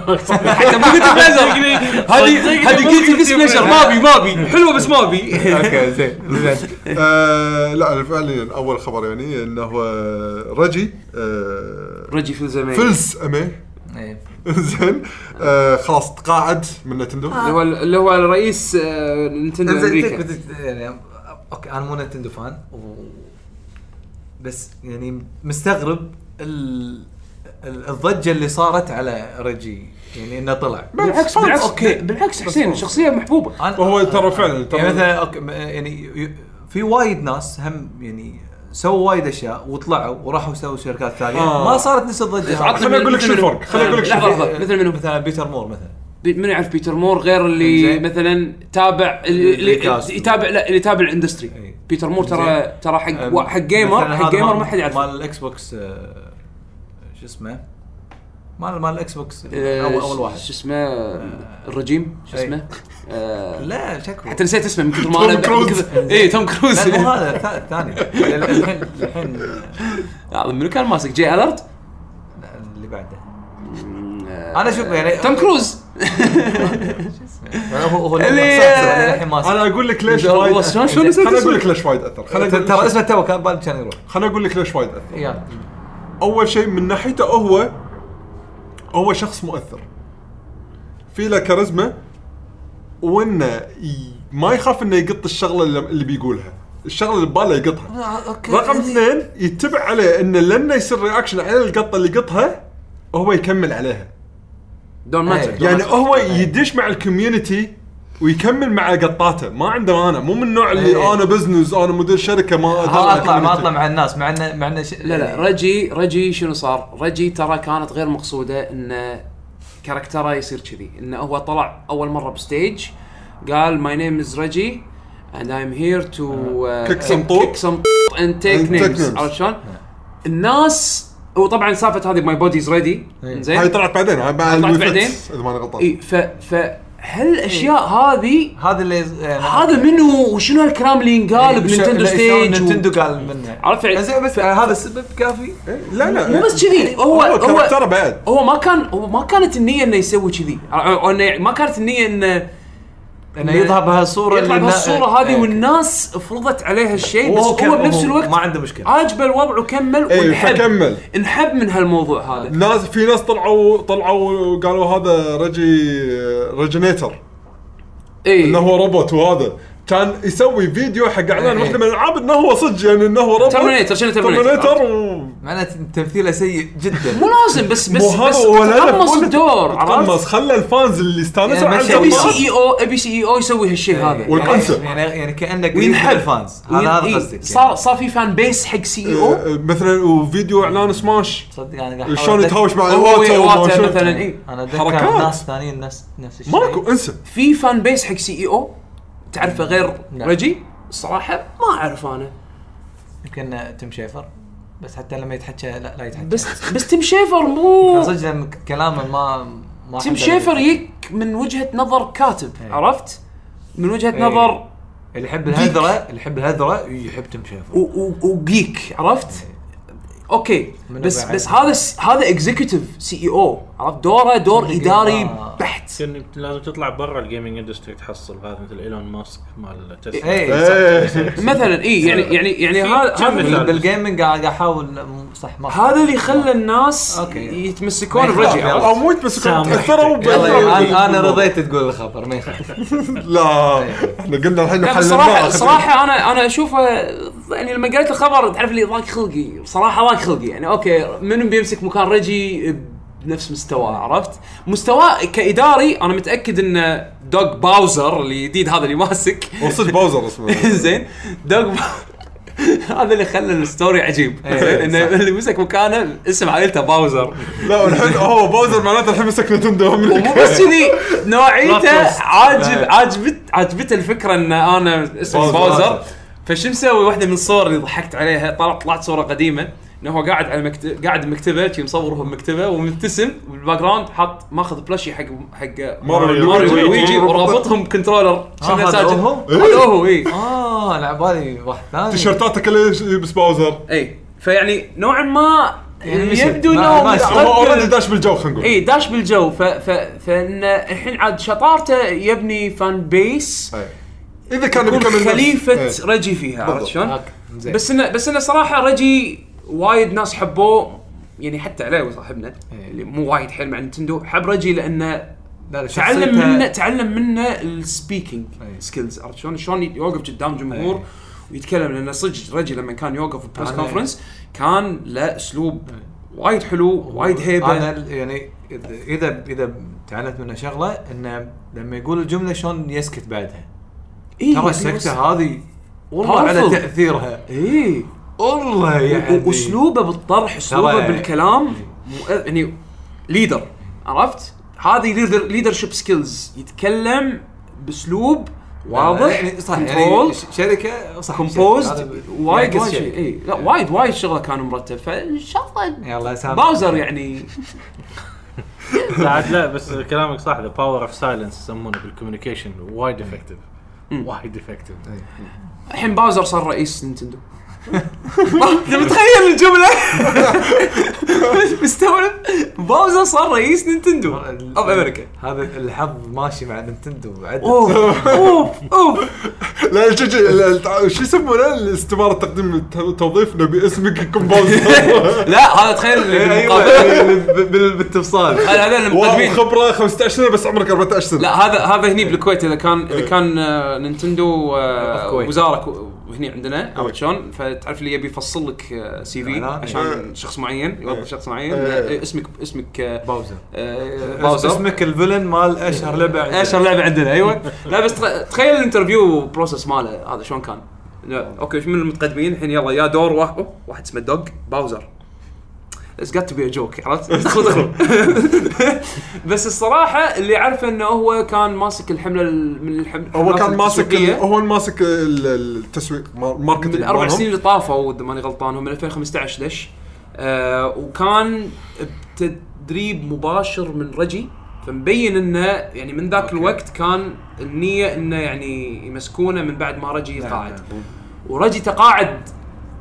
مو قلت بلجر
صدقني-
هذه
صدقني
هذه
مو
قلت بس
قلت
بلجر ما ابي ما ابي حلوه بس ما ابي
اوكي زين زين
آه لا فعليا اول خبر يعني انه آه، رجي آه
رجي في زمان
فلس امي
إيه.
زين آه خلاص تقاعد من نتندو
اللي هو اللي هو الرئيس آه، نينتندو
زين
امريكا
بت- بت- يعني اوكي انا مو نتندو فان و... بس يعني مستغرب ال... ال- الضجه اللي صارت على ريجي يعني انه طلع
بالعكس
فانز،
بالعكس
اوكي.
بالعكس حسين شخصيه محبوبه
أنا-
وهو ترى فعلا
يعني
ترى
مثلا اوكي م- يعني ي- في وايد ناس هم يعني سووا وايد اشياء وطلعوا وراحوا سووا شركات ثانيه
آه.
ما صارت نفس الضجه
عطني
خليني
من-
أقول لك
مثل
شو
منو؟
الفرق، خليني أقول لك شو
لحظه لحظه
مثل
مثل منو
مثلا بيتر مور مثلا
بي- من يعرف بيتر مور غير اللي
زين.
مثلا تابع اللي
اللي
اللي
كاست.
يتابع لا اللي يتابع الاندستري
إي.
بيتر مور ترى
زين.
ترى
أم،
حق وا- حق جيمر
مثلاً
حق
هذا
جيمر
مال-
ما حد يعرفه
مال الاكس بوكس آه، شو اسمه مال مال الاكس بوكس
آه،
اول اول واحد آه.
شو اسمه الرجيم شو
أي.
اسمه آه،
لا شكو
حتى نسيت اسمه من كثر ما
توم
أنا- من
كروز.
كثر- اي توم كروز
لا مو هذا الثا- الثاني ال- الحين الحين
آه، منو كان ماسك جي الرت
لا، آه، اللي بعده انا اشوف يعني
آه، توم كروز
هو هو
اللي-
الحين
انا
ما
اقول لك ليش
إذا
وايد
هو شلون- شلون نسيت
خليني اقول
اسمه؟
لك ليش وايد اثر خليني أقول لك
ترى
ليش-
اسمه تو كان بالي كان يروح
خليني اقول لك ليش وايد اثر
يلا
اول شيء من ناحيته هو هو شخص مؤثر في له كاريزما وانه ي- ما يخاف انه يقط الشغله اللي- اللي بيقولها الشغله اللي بباله يقطها
آه،
اوكي
رقم اثنين يتبع عليه انه لما يصير رياكشن على القطه اللي قطها هو يكمل عليها
دون
أي.
ماتر
يعني هو يدش مع الكوميونتي ويكمل مع قطاته ما عنده مانع مو من النوع
إيه.
اللي انا بزنس انا مدير شركه ما
ما اطلع ما
community.
اطلع مع الناس مع انه مع انه ش-
لا لا
يعني-
رجي رجي شنو صار؟ رجي ترى كانت غير مقصوده انه كاركتره يصير كذي انه هو طلع اول مره بستيج قال ماي نيم از رجي and I'm here to
آه.
uh,
Kick some طوط.
kick some طوط and take
And take
names
names.
عرفت شلون؟
آه.
الناس وطبعا سالفه هذه ماي بوديز
إيه.
ريدي
هاي
زين
طلعت بعدين هاي بعد
طلعت
الويفت،
بعدين؟ إيه.
اذا ماني غلطان
اي ف فهالاشياء
إيه.
هذه
هذا اللي يعني-
هذا منو وشنو الكلام اللي ينقال
وش-
بنينتندو
لا، شلون
ستيج و-
نينتندو قال منه
عرفت يعني؟
زين بس هذا السبب كافي
لا لا
مو بس كذي هو
هو
هو
كاركتره أيوة، بعد
هو ما كان هو ما كانت النيه انه يسوي كذي أو إنه يعني ما كانت النيه انه
انه يظهر بهالصوره
يطلع
اللي-
بهالصوره هذه
إيه.
والناس فرضت عليه هالشيء بس
وهو كان-
هو بنفس
وهو
الوقت
ما عنده مشكله
عاجبه الوضع وكمل
اي
ونحب
إيه، فكمل
انحب من هالموضوع هذا
ناس في ناس طلعوا طلعوا وقالوا هذا رجي ريجنيتر
اي إيه.
انه هو روبوت وهذا كان يسوي فيديو حق اعلان
إيه.
واحده من الالعاب انه هو صدق يعني انه هو روبوت
Terminator، شنو Terminator؟
Terminator
معناته تمثيله سيء
مو
جدا
لازم بس بس
و مو
بس
هذا ولا لا،
تقمص
ولا-
الدور
تقمص
عرفت E
خلى الفانز اللي استانسوا
يعني
على
مشى
ابي
بالضبط.
القطار.
سي اي او ابي سي اي او يسوي هالشيء هذا
والكونسبت.
يعني يعني كانه قريب من
وينحب
الفانز هذا هذا
إي،
قصدك
إيه، صار صار في فان بيس حق E سي اي او
آه، مثلا وفيديو اعلان سماش
صدق انا قاعد
شلون
أحاول أتذكر-
يتهاوش مع
هو
الواتساب وما
واتر
شنو.
مثلا اي
انا
حركات.
اتذكر ناس ثانيين نفس نفس الشيء
ماكو انسى
في فان بيس حق سي اي او تعرفه غير
نعم.
رجي الصراحه ما اعرف انا
يمكن تم شيفر بس حتى لما يتحكى لا لا يتحكى
بس بس تيم شيفر مو
كان صدق لما ك- كلامه ما ما
تيم
حد-
شيفر يك من وجهه نظر كاتب
إيه.
عرفت؟ من وجهه
إيه.
نظر
اللي يحب الهذره اللي يحب الهذره يحب تم شيفر
و- و- وجيك عرفت؟ اوكي
إيه. من
بس
بعد.
بس هذا الس- هذا اكزيكتيف سي اي او عرفت
إيه.
دوره دور
صدق
اداري
ما-
بحت
كان لازم تطلع برا الجيمنج اندستري تحصل هذا مثل ايلون ماسك مال تسلا
إيه.
إيه.
اي
مثلا اي يعني
إيه.
يعني يعني هذا
كم
هذا-
مثال؟
بالجيمنج قاعد قاعد احاول م- صح ما
هذا اللي خلى الناس
أوكي. إيه.
يتمسكون
ما
برجي
يخاف، يلا.
عرفت؟
او مو يتمسكون
سامح.
تاثروا ب-
يلا
تأثروا بال-
انا انا رضيت تقول الخبر ما يخالف
لا احنا قلنا الحين
لا
حل
بصراحة صراحة أنا أنا أشوفه يعني لما قريت الخبر تعرف لي ضاق خلقي بصراحة ضاق خلقي يعني أوكي من بيمسك مكان ريجي بنفس مستواه عرفت؟ مستواه كإداري أنا متأكد إن دوغ باوزر الجديد هذا اللي ماسك
وصدق باوزر اسمه
زين دوغ با- هذا اللي خلى الستوري عجيب زين انه اللي مسك مكانه اسم عائلته باوزر
لا والحين هو باوزر معناته الحين مسك نتندو
ومو بس كذي نوعيته
تويست.
عاجب عاجبت عاجبته الفكره ان انا اسمي
باوزر.
باوزر فش مسوي واحده من الصور اللي ضحكت عليها طلعت طلعت صوره قديمه انه هو قاعد على مكتب قاعد بمكتبه شي مصور هو بمكتبه ومبتسم والباك جراوند حاط ماخذ بلاشي حق حق
ماريو
ماريو
ويويجي.
ويجي ورابطهم بكنترولر
آه، هذا هو؟
هذا هو إيه. اي
اه اه انا على بالي واحد ثاني
تيشيرتاته كلها يلبس باوزر
اي إيه. فيعني نوعا ما
يعني مشت.
يبدو
ما-
انه
ما شفت.
هو اوريدي
متقدر
داش بالجو خلينا نقول
اي داش بالجو ف ف فان الحين عاد شطارته يبني فان بيس
إيه. اذا كان
يكون
بيكمل نفس-
خليفه
إيه.
رجي فيها عرفت
بالضبط.
شلون؟
هاك، آه، زين.
بس انه بس انه صراحه رجي وايد ناس حبوه يعني حتى علاوي صاحبنا
إيه.
اللي مو وايد حيل مع نتندو حب رجي لانه
لا، لا،
تعلم
شخصيته- إيه.
منه تعلم منه السبيكينج
أي.
سكيلز عرفت شلون شلون يوقف قدام جمهور
أي.
ويتكلم لان صدق رجي لما كان يوقف ببريس
إيه. أنا- إيه.
كونفرنس كان له اسلوب وايد حلو وايد هيبه
انا يعني إذا- اذا اذا تعلمت منه شغله انه لما يقول الجمله شلون يسكت بعدها
إيه،
ترى السكته هذه والله
Powerful.
على تاثيرها
اي
والله يعني
واسلوبه بالطرح اسلوبه
ترى- إيه.
بالكلام مو- يعني ليدر عرفت هذه ليدر ليدرشيب سكيلز يتكلم باسلوب واضح
يعني صح يعني
controlled.
ش- شركه صح يعني
كومبوزد
شركة.
وايد
ينقص
وايد شيء اي لا وايد وايد شغله كان مرتب فان شاء الله
يلا سامح
باوزر يعني
لا عاد لا بس كلامك صح ذا باور اوف سايلنس يسمونه بالكوميونيكيشن وايد افكتيف وايد افكتيف
طيب. الحين باوزر صار رئيس نينتندو انت متخيل الجمله مستوعب باوزر صار رئيس نينتندو
ال-
اوف امريكا
هذا الحظ ماشي مع نينتندو عدل
اوف اوف اوف
لا الجي- الجي- ال- التع- شو يسمونه الاستماره تقديم التوظيف نبي اسمك يكون باوزر
لا هذا تخيل
إيه،
أيوة.
بالمقابل.
ايوه بالتفصال
هذا هذا المقدمين
وخبره 15 سنه بس عمرك 14 سنه
لا هذا هذا هني بالكويت اذا كان
إيه.
اذا كان آه، نينتندو آه،
بالكويت.
وزاره كو- هني
إيه.
عندنا عرفت شلون؟ فتعرف اللي يبي يفصل لك آه، سي في
إعلان.
عشان
إيه.
شخص معين يوظف
إيه.
شخص معين
إيه.
آه، اسمك اسمك آه،
باوزر
آه،
باوزر
باوزر
اسمك الفيلن مال اشهر لعبه عندنا.
اشهر لعبه عندنا ايوه لا بس تخ- تخيل الانترفيو بروسس ماله هذا شلون كان لا، اوكي شو من المتقدمين الحين يلا يا دور واحد أوه، واحد اسمه دوج باوزر اتس جات تو بي جوك عرفت؟ دخل دخل بس الصراحه اللي عارفه انه هو كان ماسك الحمله ال- من الحمله
هو كان ماسك ال- هو اللي ماسك ال- ال- التسويق ما- الماركتينج
من الاربع
مالهم.
سنين اللي طافوا اذا ماني غلطان هو من 2015 ليش آه وكان بتدريب مباشر من رجي فمبين انه يعني من ذاك الوقت كان النيه انه يعني يمسكونه من بعد ما رجي يتقاعد ورجي تقاعد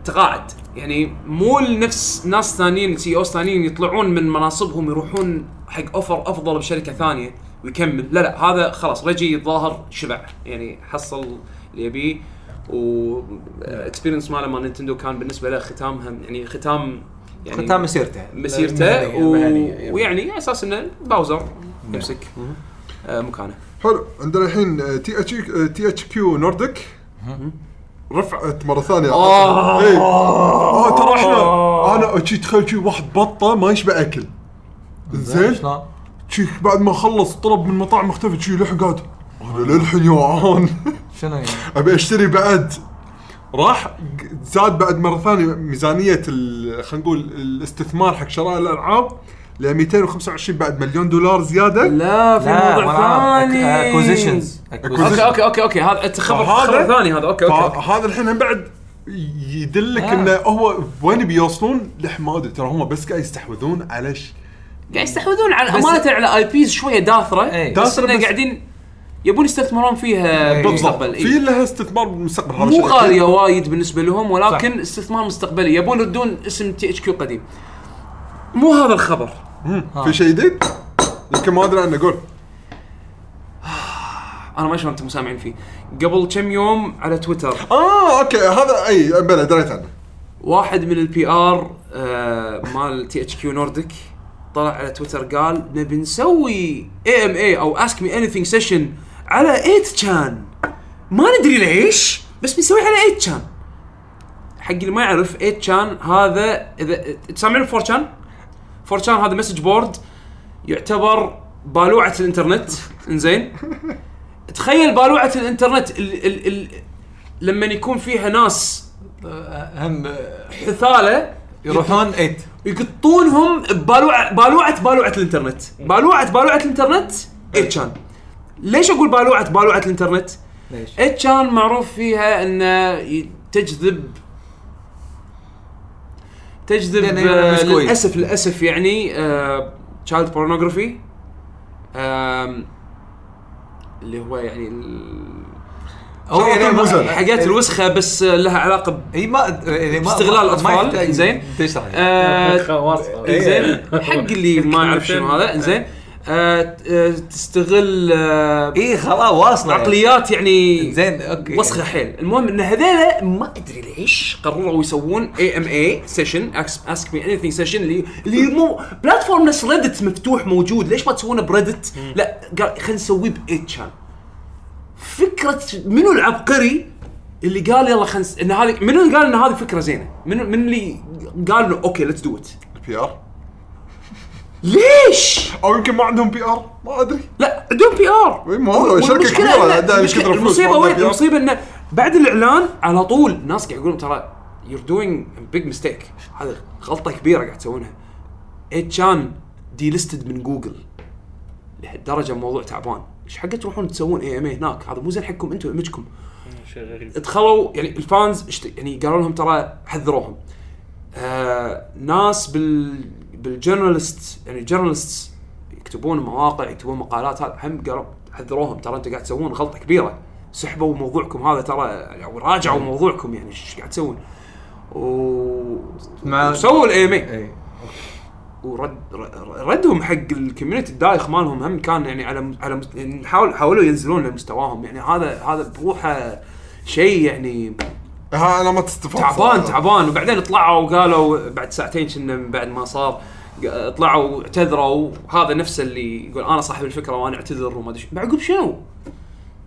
تقاعد يعني مو نفس ناس ثانيين سي اوز ثانيين يطلعون من مناصبهم يروحون حق اوفر افضل بشركه ثانيه ويكمل لا لا هذا خلاص رجي الظاهر شبع يعني حصل اللي يبيه و اكسبيرينس ماله مال نينتندو كان بالنسبه له ختامها يعني ختام يعني
ختام مسيرته
مسيرته و...
مهنية. يعني. نعم.
ويعني على اساس انه باوزر يمسك آه، مكانه
حلو عندنا الحين آه، تي اتش تي اتش كيو نورديك رفعت مره ثانيه
آه.
إيه. اه ترى احنا انا اجي تخيل شي واحد بطه ما يشبع اكل زين
شلون؟
شي بعد ما خلص طلب من مطاعم مختلفه شي لحق قاعد انا للحين جوعان
شنو يعني؟
ابي اشتري بعد راح زاد بعد مره ثانيه ميزانيه ال- خلينا نقول الاستثمار حق شراء الالعاب ل 225 بعد مليون دولار زياده
لا في موضوع ثاني
اكوزيشنز
اوكي اوكي اوكي اوكي هذا أنت خبر
فهذا-
خبر ثاني هذا اوكي اوكي
فهذا الحين هم بعد يدلك
آه.
انه هو وين بيوصلون لح ما ادري ترى هم بس قاعد يستحوذون على ش-
قاعد يستحوذون على
بس-
امانه على اي بيز شويه داثره
إي.
بس
داثرة
انه
بس- إيه.
قاعدين يبون يستثمرون فيها
إي.
بالضبط
بالمستقبل
في
إي.
لها استثمار بالمستقبل هذا
إيه، مو
الشيء.
غاليه وايد بالنسبه لهم ولكن
صح.
استثمار مستقبلي يبون يردون اسم تي اتش كيو قديم مو هذا الخبر آه.
مم. في شيء جديد؟ يمكن ما ادري عنه قول
انا ما شلون انتم سامعين فيه قبل كم يوم على تويتر
اه اوكي هذا اي بلى دريت عنه
واحد من البي ار آه، مال تي اتش كيو نورديك طلع على تويتر قال نبي نسوي اي ام اي او اسك مي اني ثينج سيشن على 8 كان ما ندري ليش بس بنسوي على 8 كان حق اللي ما يعرف 8 كان هذا اذا تسمعون 4 كان 4 كان هذا مسج بورد يعتبر بالوعه الانترنت انزين تخيل بالوعه الانترنت ال ال ال لما يكون فيها ناس
هم آه،
حثاله
يروحون 8
يقطونهم ببالوعه بالوعه بالوعه الانترنت بالوعه بالوعه الانترنت اتشان إيه ليش اقول بالوعه بالوعه الانترنت
ليش؟
اتشان إيه معروف فيها انه ي- تجذب تجذب
لأنه
آه،
مش كويس.
للاسف للاسف يعني تشايلد بورنوغرافي اللي هو يعني ال-
هو
شغلة
يعني ما-
الموزة.
حاجات الوسخه بس لها علاقه ب-
اي ما يعني ما
استغلال
ما- ما
الأطفال،
يحتاج
زين.
تشرح
آه،
خواص
زين حق
إيه.
اللي ما يعرف شنو هذا زين آه، ت- آه، تستغل آه،
اي خلاص واصله
عقليات يعني
زين اوكي
وسخه حيل المهم ان هذيلا ما ادري ليش قرروا يسوون اي ام اي سيشن اسك مي اني ثينج سيشن اللي اللي مو بلاتفورم نفس ريدت مفتوح موجود ليش ما تسوونه بريدت لا قال خلينا نسويه باتشان فكره منو العبقري اللي قال يلا خلينا نس- ان هذه منو اللي قال ان هذه فكره زينه منو من اللي قال له اوكي ليتس دو ات
البي ار
ليش
او يمكن ما عندهم بي ار ما ادري
لا عندهم بي ار
إي، ما هو إيه، شركة كبيرة، عندها كثر فلوس، ما
المصيبه
عندها
وين
PR.
المصيبه انه بعد الاعلان على طول الناس قاعد يقولون ترى يور دوينج بيج ميستيك هذا غلطه كبيره قاعد تسوونها اتشان دي ليستد من جوجل لهالدرجه الموضوع تعبان ايش حق تروحون تسوون اي ام اي هناك هذا مو زين حقكم انتم ايمجكم دخلوا يعني الفانز اشت- يعني قالوا لهم ترى حذروهم آه ناس بال بالجورنالست يعني جورنالست يكتبون مواقع يكتبون مقالات هذا هم قالوا حذروهم ترى انتم قاعد تسوون غلطه كبيره سحبوا موضوعكم هذا ترى او راجعوا موضوعكم يعني ايش قاعد تسوون و
مع-
سووا الاي
اي
E. ورد ر- ردهم حق الكوميونتي الدايخ مالهم هم كان يعني على على مست- يعني حاول حاولوا ينزلون لمستواهم يعني هذا هذا بروحه شيء يعني
ها انا ما تستفاد
تعبان تعبان وبعدين طلعوا وقالوا بعد ساعتين كنا من بعد ما صار ق- طلعوا واعتذروا هذا نفسه اللي يقول انا صاحب الفكره وانا اعتذر وما ادري شو. بعقب شنو؟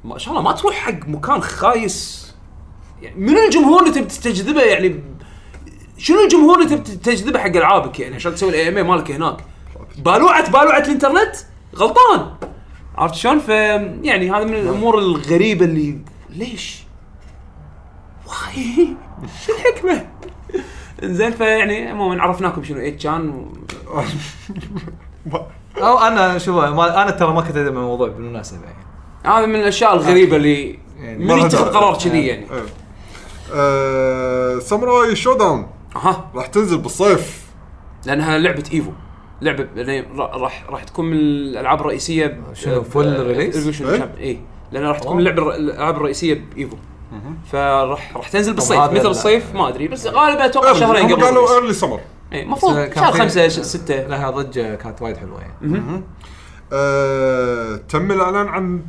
ما ان شاء الله ما تروح حق مكان خايس يعني من الجمهور اللي تبي تستجذبه يعني ب- شنو الجمهور اللي تبي تجذبه حق العابك يعني عشان تسوي الاي ام اي مالك هناك بالوعه بالوعه الانترنت غلطان عرفت شلون؟ ف يعني هذا من الامور الغريبه اللي ليش؟ واي شو الحكمه؟ زين فيعني عموما عرفناكم شنو ايت شان و...
او انا شوف ما- انا ترى ما كنت ادري من الموضوع بالمناسبه يعني
هذا من الاشياء الغريبه اللي
يعني آه.
من
ما
يتخذ
هذا-
قرار كذي يعني
ساموراي شو داون
اها
آه، راح تنزل بالصيف
لانها لعبه ايفو لعبه يعني را- راح راح تكون من الالعاب الرئيسيه
آه، شنو، full
آه،
release؟
إيه؟
اي لان راح تكون اللعبه الر- الالعاب الرئيسيه بايفو فراح راح تنزل بالصيف
هذا
مثل
لا. إيه.
الصيف ما ادري بس غالبا اتوقع شهرين
هم
قبل
قالوا
الريليس.
ايرلي سمر
إي، المفروض
كان
شهر
في- إيه.
خمسه ش- سته
لها ضجه كانت وايد حلوه يعني
آه، تم الاعلان عن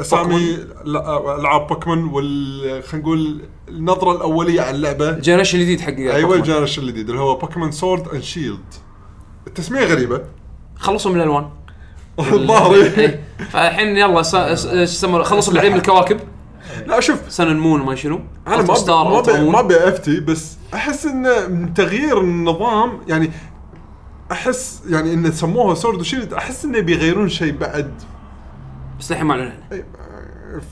اسامي لا، العاب بوكمان وال خلينا نقول النظره الاوليه على اللعبه
الجنريشن الجديد حق
أيوة،
ايوه
بوكيمون.
الجنريشن الجديد اللي هو بوكمان سورد اند شيلد التسميه غريبه
خلصوا من الالوان
ظهري
إيه. فالحين يلا س- س- ايش يسمونه خلصوا العيد من الكواكب
لا شوف
سن أند مون وما شنو
انا
ألترا
ما
ستار،
ما
ألترا
ب-
مون.
ما ابي افتي بس احس انه من تغيير النظام يعني احس يعني انه سموها سورد وشيلد احس انه بيغيرون شيء بعد
بس الحين ما اعلنوا
إيه.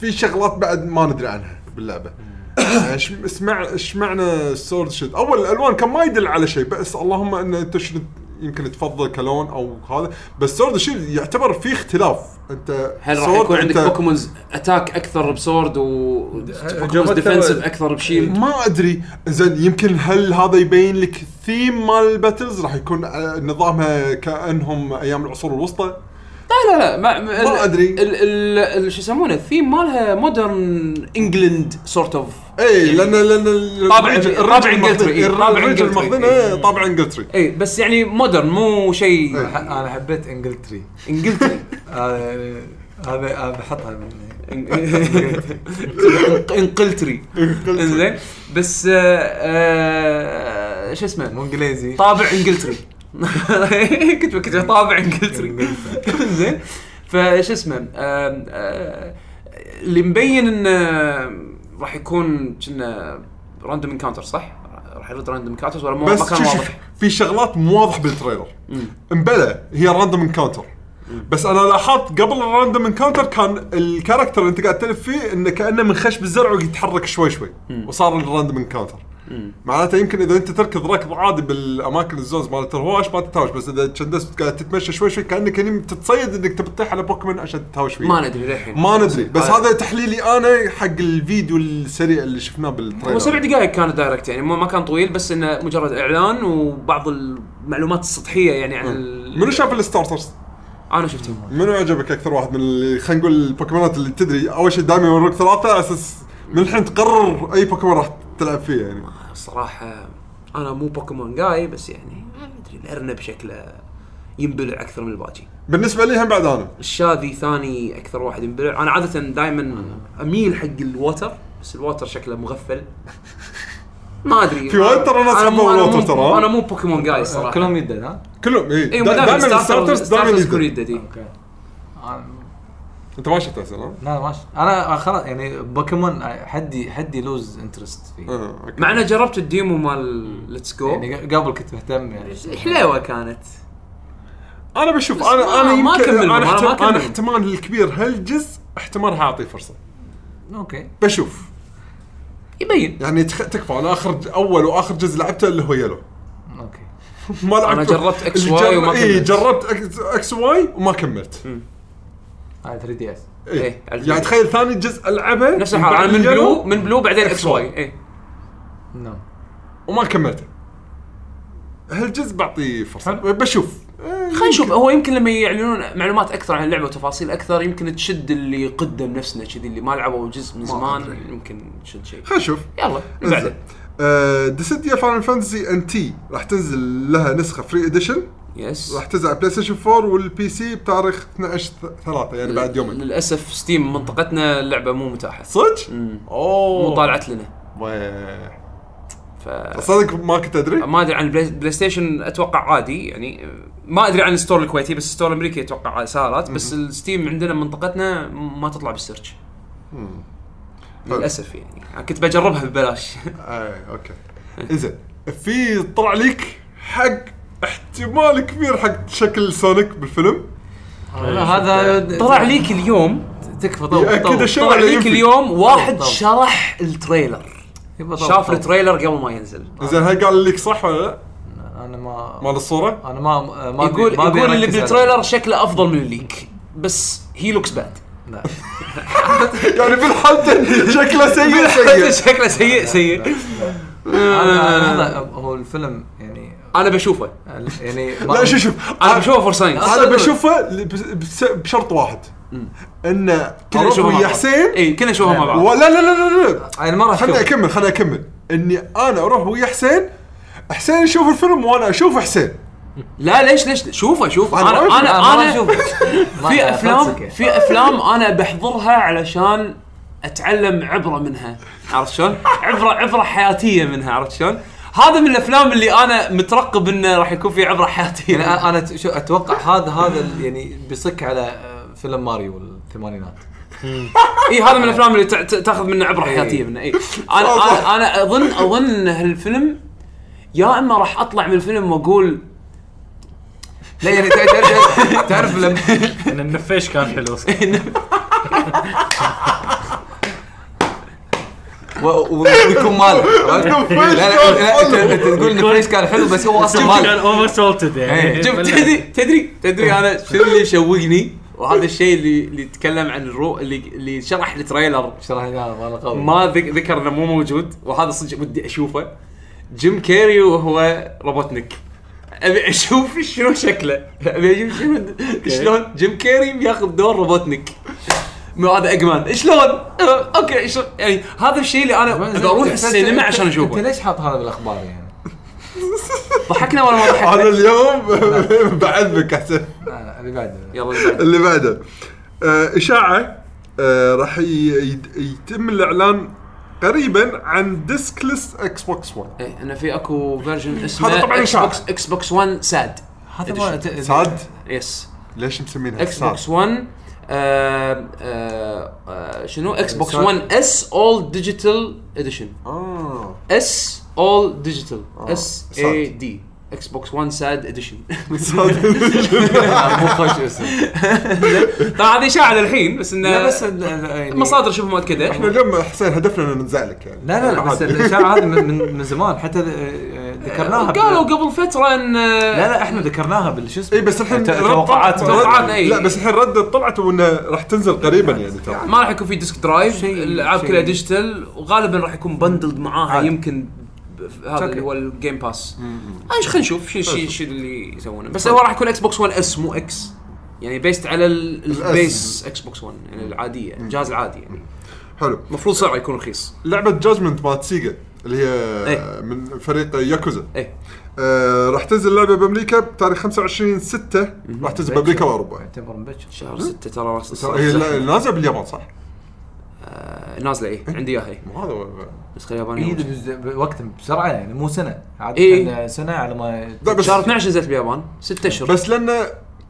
في شغلات بعد ما ندري عنها باللعبه يعني إيش- إيش مع- ايش معنى سورد شيلد اول الالوان كان ما يدل على شيء بس اللهم ان انت شنو يمكن تفضل كلون او هذا بس سورد شيلد يعتبر في اختلاف انت
هل راح
سورد
يكون عندك
أنت-
بوكيمونز اتاك اكثر بسورد و بوكيمونز
جربت
ديفنسيف
تو-
اكثر بشيلد
ما ادري زين يمكن هل هذا يبين لك الثيم مال الباتلز راح يكون آه، نظامها كانهم ايام العصور الوسطى
لا لا لا ما,
ما أدري.
ال- ال- ال- شو يسمونه الثيم مالها مودرن انجلند سورت اوف
اي لان لان ال-
يعني طابع-
الريج-
طابع
الريج
إنجلتري، إيه،
المخضن-
طابع إيه.
الريج
إنجلتري،
المخضنه إيه، طابع انجلتري
اي بس يعني مودرن مو شيء
إيه.
انا حبيت انجلتري
انجلتري
هذا يعني- هذا هذا بحطها من
إن- انقلتري زين بس آه، آه، شو اسمه
مو انجليزي
طابع انجلتري كنت بكتب طابع انجلتري زين فايش اسمه آم، آه، اللي مبين انه راح يكون كنا راندوم انكاونتر صح؟ راح يرد راندوم انكاونترز ولا ما ما
بس
كان
شوف شوف،
واضح؟
في شغلات مو واضح بالتريلر مبلى هي راندوم انكاونتر بس انا لاحظت قبل الراندوم انكاونتر كان الكاركتر اللي انت قاعد تلف فيه انه كانه من خشب الزرع ويتحرك شوي شوي وصار الراندوم انكاونتر معناته يمكن اذا انت تركض ركض عادي بالاماكن الزونز مالت الهواش ما تتهاوش بس اذا كندست قاعد تتمشى شوي شوي كانك يعني تتصيد انك تبي تطيح على بوكيمون عشان تتهاوش فيه
ما ندري آه. للحين
ما ندري بس هذا تحليلي انا حق الفيديو السريع اللي شفناه بالتريلر
هو سبع دقائق كان الدايركت يعني مو- ما كان طويل بس انه مجرد اعلان وبعض المعلومات السطحيه يعني عن ال-
منو شاف الستارترز؟
انا شفتهم وايد.
منو عجبك اكثر واحد من اللي خلينا نقول البوكيمونات اللي تدري اول شيء دائما يوروك ثلاثه على اساس من الحين تقرر اي بوكيمون راح تلعب فيه يعني
الصراحه انا مو بوكيمون جاي بس يعني ما ادري الارنب شكله ينبلع اكثر من الباجي
بالنسبه لي هم بعد انا
الشاذي ثاني اكثر واحد ينبلع انا عاده دائما اميل حق الووتر بس الووتر شكله مغفل ما ادري
في وايد ترى ناس
أنا مو-
يحبون
أنا مو-
الووتر ترى.
انا مو بوكيمون جاي إيه، صراحه
آه، كلهم يدد ها؟
كلهم إيه. اي
اي
دائما الستارترز دائما
يكون
يدري.
يدد إي.
اوكي أنا-
انت ما شفته اصلا
لا ماشي انا خلاص يعني بوكيمون حدي حدي لوز انترست فيه
آه،
مع اني جربت الديمو مال ليتس جو
يعني قبل كنت مهتم يعني
حلوه كانت
انا بشوف
بس
انا
ما-
انا
ما
يمكن
كملهم،
انا
أنا ما
احت- انا
كملهم.
احتمال الكبير هالجزء احتمال هاعطيه فرصه
اوكي
بشوف
يبين
يعني تخ... تكفى انا اخر اول واخر جزء لعبته اللي هو يلو
اوكي
ما لعبت
جربت X Y وما
اي
كملت.
جربت اكس, إكس واي وما كملت
هاي 3 دي اس
اي
إيه، عرفت.
يعني تخيل ثاني جزء العبه
نفس الحال
بعد
أنا من
Yellow
بلو من بلو بعدين إيه. اكس
واي.
واي اي
نعم
وما كملته هالجزء إيه، بعطيه فرصه بشوف
خلينا نشوف هو يمكن لما يعلنون معلومات اكثر عن اللعبه وتفاصيل اكثر يمكن تشد اللي قدم نفسنا كذي اللي ما لعبوا جزء من زمان يمكن تشد شيء
خلينا نشوف
يلا اللي بعده
آه، ديسيديا فاينل فانتسي ان تي راح تنزل لها نسخه فري اديشن
يس
راح تنزل على بلاي ستيشن 4 والبي سي بتاريخ 12 3 يعني بعد يومين
للاسف ستيم منطقتنا اللعبه مو متاحه
صدق؟ اوه
مو طالعت لنا
ويه.
ف
صدق ما كنت ادري
ما ادري عن البلاي بلاي ستيشن اتوقع عادي يعني ما ادري عن الستور الكويتي بس الستور الامريكي اتوقع سهرات بس الستيم عندنا منطقتنا ما تطلع بالسيرش للاسف يعني كنت بجربها ببلاش
اي اوكي انزين آه، في طلع ليك حق احتمال كبير حق شكل سونيك بالفيلم
هذا
طلع ليك اليوم
تكفى طول
يأكد
طول
الشيء.
طلع
اللي
ليك
يمفي.
اليوم واحد
طب.
شرح التريلر
يبا طول-
شاف
طول.
التريلر قبل ما ينزل
زين هل قال ليك صح ولا لا؟
انا ما
مال الصوره؟
انا ما ما أبي-
يقول
ما أبي
يقول اللي
أركز على-
بالتريلر شكله افضل من الليك بس هي لوكس باد
لا
يعني بالحالتين شكله سيء سيء
شكله سيء سيء
أنا-
آه،
أنا- هو الفيلم يعني
انا بشوفه
يعني ما-
لا شوف شوف
انا بشوفه فور ساينس
انا بشوفه ل- بس- بس- بشرط واحد انه
كنا
اروح
نشوفها مع
ويا
بعض
حسين
اي كنا نشوفها إيه، مع بعض
ولا لا لا لا لا
يعني ما راح
خليني
أشوف.
اكمل خليني اكمل اني انا اروح ويا حسين حسين يشوف الفيلم وانا اشوف حسين
لا ليش ليش شوفه شوف
أنا
انا
أنا
ما
انا
ما
انا
أشوفه. ما-
في
لا،
افلام
خلصك.
في افلام انا بحضرها علشان اتعلم عبره منها عرفت شلون؟ عبره عبره حياتيه منها عرفت شلون؟ هذا من الافلام اللي انا مترقب انه راح يكون في عبره حياتيه
يعني أ- انا ت- شو اتوقع هذا هذا ال- يعني بيصك على آه، فيلم ماريو الثمانينات
اي هذا من الافلام اللي تع- ت- تاخذ منه عبره حياتيه منه اي انا انا انا اظن اظن ان هالفيلم يا اما راح اطلع من الفيلم واقول
لا يعني تع- تعرف تعرف لما
ان النفيش كان حلو
و- و- ويكون مالك عرفت؟ لا لا لا، انت انت تقول ان فريش كان حلو بس هو اصلا
كان
مالك
اوفر سولتد يعني
إيه.
شوف تدري تدري تدري انا شنو اللي يشوقني وهذا الشيء اللي اللي يتكلم عن الرو اللي اللي شرح التريلر
شرح لي هذا ماله قوي
ما ذك- ذكر انه مو موجود وهذا صدق ودي اشوفه جيم كيري وهو روبوتنيك ابي اشوف شنو شكله ابي اشوف شنو شلون جيم كيري بياخذ دور روبوتنيك مو هذا اجمان شلون؟ أه، اوكي شلون يعني هذا الشيء اللي انا أبي اروح السينما عشان
انت
اشوفه
ليش حاط هذا بالاخبار يعني؟
ضحكنا ولا ما ضحكنا؟
انا اليوم بعذبك حسين
لا لا آه، اللي بعده
يلا اللي بعده.
اللي بعده آه، اشاعه آه، راح ي- يد- يتم الاعلان قريبا عن ديسكلس اكس بوكس 1
ايه انه في اكو فيرجن اسمه
هذا طبعاً
اكس
إشاعة.
بوكس اكس بوكس 1 ساد
هذا ما ت-
ساد
يس
ليش مسمينها
اكس بوكس 1 آه، آه، آه، شنو
يعني
اكس بوكس
ساد.
1 اس اول ديجيتال اديشن
آه.
آه.
اه
اس اول ديجيتال اس
ساد.
اي دي اكس بوكس 1 ساد اديشن
لا، مو خوش اسم
طبعا هذه اشاعه للحين بس آه.
لا
انه
بس ال- ال- يعني-
مصادر شوف مؤكده
احنا اليوم حسين هدفنا انه نزعلك يعني
لا لا لا بس الاشاعه هذه من- من من زمان حتى ذ- آه، ذكرناها بال-
قالوا قبل آه، فتره ان
لا لا احنا ذكرناها بالشو اسمه
اي إيه، بس الحين
ت-
رد-
توقعات
رد-
توقعات، إي.
لا بس الحين ردت طلعت وانه راح تنزل قريبا يعني ترى
ما راح يكون في ديسك درايف
شيء-
الالعاب
شيء.
كلها ديجيتال وغالبا راح يكون بندلد معاها
آه،
عادي.
يمكن ب- ب- هذا
أوكي.
اللي هو آه، الجيم
طيب.
باس ايش خلينا نشوف شو شو شو اللي يسوونه بس هو راح يكون اكس بوكس 1 اس مو اكس يعني بيست على ال- البيس اكس بوكس 1 يعني العاديه الجهاز العادي يعني
حلو
المفروض سعره يكون رخيص
لعبه جاجمنت مالت سيجا اللي هي
إيه.
من فريق ياكوزا
ايه
آه راح تنزل اللعبه بامريكا بتاريخ 25 6 راح تنزل بامريكا واوروبا
يعتبر مبكر
شهر 6 ترى راس
ترى هي لا- نازله باليابان صح؟
آه، نازله ايه عندي اياها إيه.
مو هذا هو.
النسخه اليابانيه
اي
إيه،
موجودة.
بز- بوقت بسرعه يعني مو سنه عاده
إي.
سنه على ما
لا بس
شهر 12 نزلت باليابان 6 اشهر
بس لانه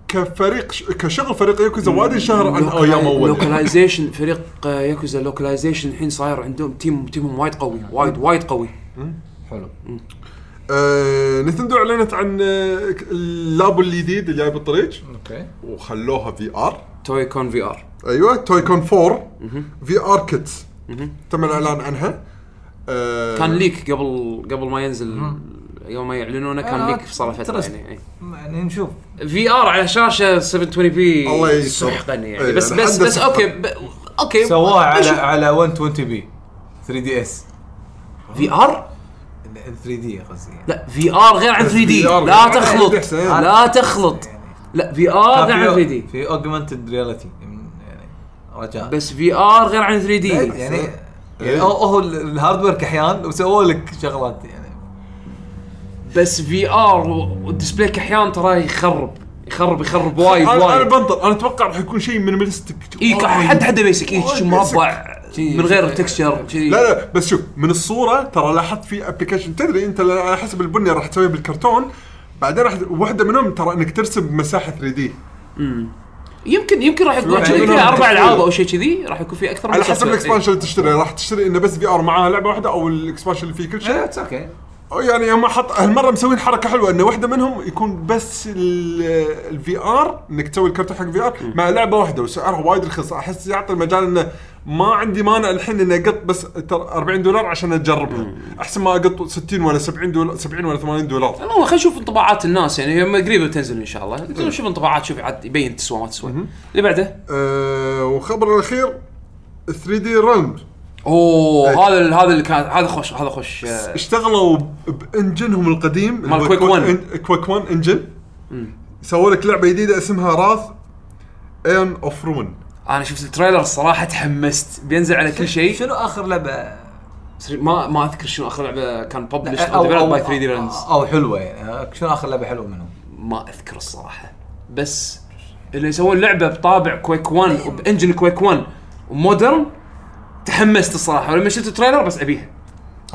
كفريق ش- كشغل فريق ياكوزا وايد انشهر عن
لوكال-
ايام اول
لوكلايزيشن فريق آه، ياكوزا لوكلايزيشن الحين صاير عندهم تيم تيمهم وايد قوي وايد وايد قوي
حلو
آه، نتندو اعلنت عن آه، ك- اللاب الجديد اللي جاي بالطريق
اوكي
وخلوها في ار
توي كون في ار
ايوه توي كون 4 في ار كيت تم الاعلان عنها آه،
كان ليك قبل قبل ما ينزل يوم ما يعلنونه كان
آه،
ليك صار له فتره
ترست.
يعني
يعني نشوف
في ار على شاشه 720
الله
بي
يستر.
سحقا يعني
إيه،
بس
الحد
بس بس
سحقاً.
اوكي ب- اوكي
سواها إيه،
إيه،
على على 120 بي 3 دي اس
في ار
3 دي قصدي يعني.
لا في ار غير عن 3 دي
VR غير
لا
عن
تخلط
3D حسين.
لا تخلط لا في
آه،
ار غير عن 3 دي
في اوجمانتد رياليتي يعني رجاء
بس في ار غير عن 3
إيه،
يعني
دي
يعني يعني هو- هو الهاردوير كحيان وسووا لك شغلات يعني
بس في ار والديسبلاي احيانا ترى يخرب يخرب يخرب وايد
انا انا
وايد
بنطر انا اتوقع راح يكون شيء مينيمالستيك
اي ك- حد حد بيسك اي
وايد
شي مربع من غير تكستشر
لا لا بس شوف من الصوره ترى لاحظت في ابلكيشن تدري انت على حسب البنيه راح تسويها بالكرتون بعدين راح واحده منهم ترى انك ترسم مساحه 3 دي
يمكن يمكن راح يكون
واحد
يمكن
منهم
فيها اربع
تكتير.
العاب او شيء كذي راح يكون في اكثر من
على حسب
software.
الاكسبانشن اللي تشتري راح تشتري انه بس في ار معاها لعبه واحده او الاكسبانشن اللي فيه كل شيء
اتس اوكي
أو يعني هم حط هالمره مسوين حركه حلوه انه واحده منهم يكون بس الفي ار انك تسوي الكرتون حق في ار مع لعبه واحده وسعرها وايد رخيص احس يعطي المجال انه ما عندي مانع الحين اني اقط بس تر- 40 دولار عشان اجربها احسن ما اقط 60 ولا 70 دولار 70 ولا 80 دولار
المهم إيه. خلينا نشوف انطباعات الناس يعني لما قريبه بتنزل ان شاء الله نزل نشوف انطباعات شوف عاد يبين تسوى ما تسوى اللي بعده
أه وخبر الاخير 3 دي رن
اوه هذا ال- هذا اللي كان هذا خوش هذا خوش آه،
اشتغلوا ب- بانجنهم القديم اللي
مال
هو
كويك
كويك
1.
إن- كويك 1 انجن سووا لك لعبه جديده اسمها راث ايرن اوف روين
انا شفت التريلر الصراحه تحمست بينزل على كل شيء
شنو اخر لعبه
ما ما اذكر شنو اخر لعبه كان ببلش
أو- أو-
باي 3 دي رنز
او حلوه يعني شنو اخر لعبه حلوه منهم؟
ما اذكر الصراحه بس اللي يسوون لعبه بطابع كويك 1 وبانجن كويك 1 ومودرن تحمست الصراحه ولما شفت التريلر بس ابيها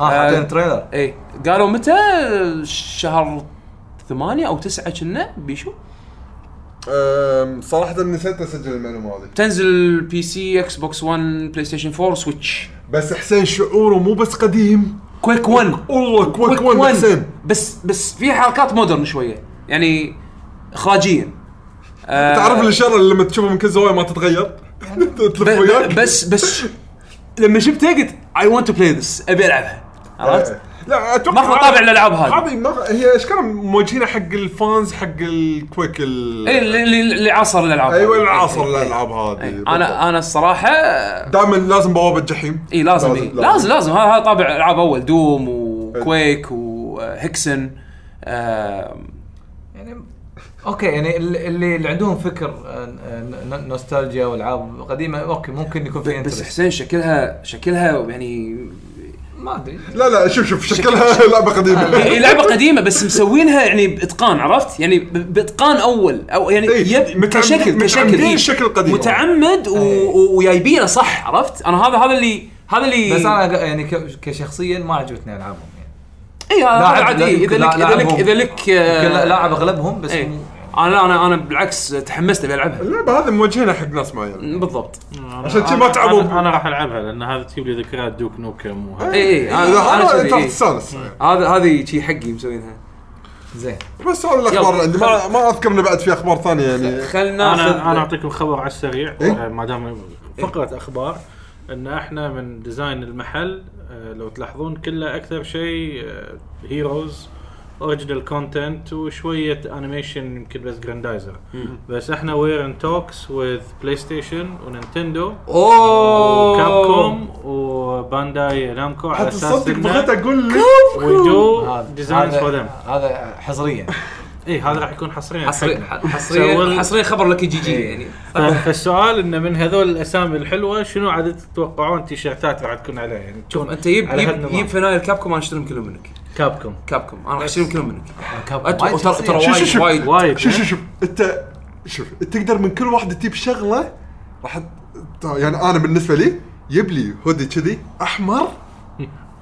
اه
آه.
حاطين تريلر
اي قالوا متى شهر ثمانية او تسعة كنا بيشو
صراحة نسيت اسجل المعلومة هذه
تنزل بي سي اكس بوكس 1 بلاي ستيشن 4 سويتش
بس حسين شعوره مو بس قديم
كويك 1
والله كويك 1 حسين
بس بس في حركات مودرن شويه يعني اخراجيا آه، يعني
تعرف الشر اللي لما تشوفه من كل زوايا ما تتغير تلف
ب-
وياك
ب- بس بس لما شفتها قلت اي ونت تو بلاي ذس ابي العبها عرفت؟
إيه. لا اتوقع
ماخذه طابع الالعاب هذه
هذه مغ... هي اشكال موجهينها حق الفانز حق الكويك ال...
إيه، اللي اللي- اللي عصر الالعاب
ايوه
هذه.
العصر
إيه، إيه،
الالعاب
إيه.
هذه
انا انا الصراحه
دائما لازم بوابه جحيم
اي لازم إيه. لازم لازم هذا هذا طابع العاب اول دوم وكويك وهيكسن آه، آم،
يعني اوكي يعني ال- اللي اللي عندهم فكر آه، ن- ن- نوستالجيا والعاب قديمه اوكي ممكن يكون في
بس
انترست
حسين شكلها شكلها يعني
ما ادري
لا لا شوف شوف شكلها لعبه قديمه
هي لعبه قديمه بس مسوينها يعني باتقان عرفت؟ يعني ب- باتقان اول او يعني
إيه،
يب
متعم-
كشكل كشكل
متعمدين
إيه.
الشكل القديم.
متعمد و-
إيه.
و- وجايبينه صح عرفت؟ انا هذا هذا اللي هذا اللي
بس انا ق- يعني ك- كشخصيا ما عجبتني العابهم يعني
اي هذا
لاعب-
هذا عادي
لا-
اذا لك
لا-
اذا لك
لاعبهم.
اذا لك
يمكن لا-
آه،
لاعب اغلبهم بس
إيه.
مو-
انا لا انا انا بالعكس تحمست ابي العبها
اللعبه هذه موجهينها حق ناس معينه
بالضبط
عشان كذي ما
أنا-
تعبوا.
أنا- انا راح العبها لان هذا تجيب لي ذكريات دوك نوكم وهذا
اي اي
إذا
انا أنا
هذا
شذي، إيه.
انت راح تستانس
هذا هذه شي حقي مسوينها
زين
بس هذا الاخبار
يلا.
اللي عندي ما, ما اذكر انه بعد في اخبار ثانيه يعني
خلنا
انا
ناخذ-
انا اعطيكم خبر على السريع
إيه؟
آه، ما دام فقره اخبار ان احنا من ديزاين المحل آه، لو تلاحظون كله اكثر شيء آه، هيروز اوريجنال كونتنت وشويه انيميشن يمكن بس جراندايزر بس احنا وير ان توكس وذ بلاي ستيشن ونينتندو
اوه
وكابكوم وبانداي نامكو على
حتى
اساس
صدق بغيت
إنه
اقول لك
we do
هذا
designs for them
هذا- هذا حصريا
اي هذا راح يكون حصريا
حصري
حقنا.
حصريا
سوى-
حصريا خبر لك يجي جي يعني
ف- آه، فالسؤال انه من هذول الاسامي الحلوه شنو عاد تتوقعون تيشيرتات راح تكون عليها يعني
شوف انت يب
على
يب
هالنظام.
يب فنايل كابكم انا اشتريهم كلهم منك
كابكم
كابكم انا راح اشتريهم كلهم منك
كاب-
أت- ترى ترى
شو- شو-
وايد
شو-
وايد
وايد
شوف شوف شوف انت شوف تقدر من كل واحده تجيب شغله راح ت- يعني انا بالنسبه لي يجيب لي هودي كذي احمر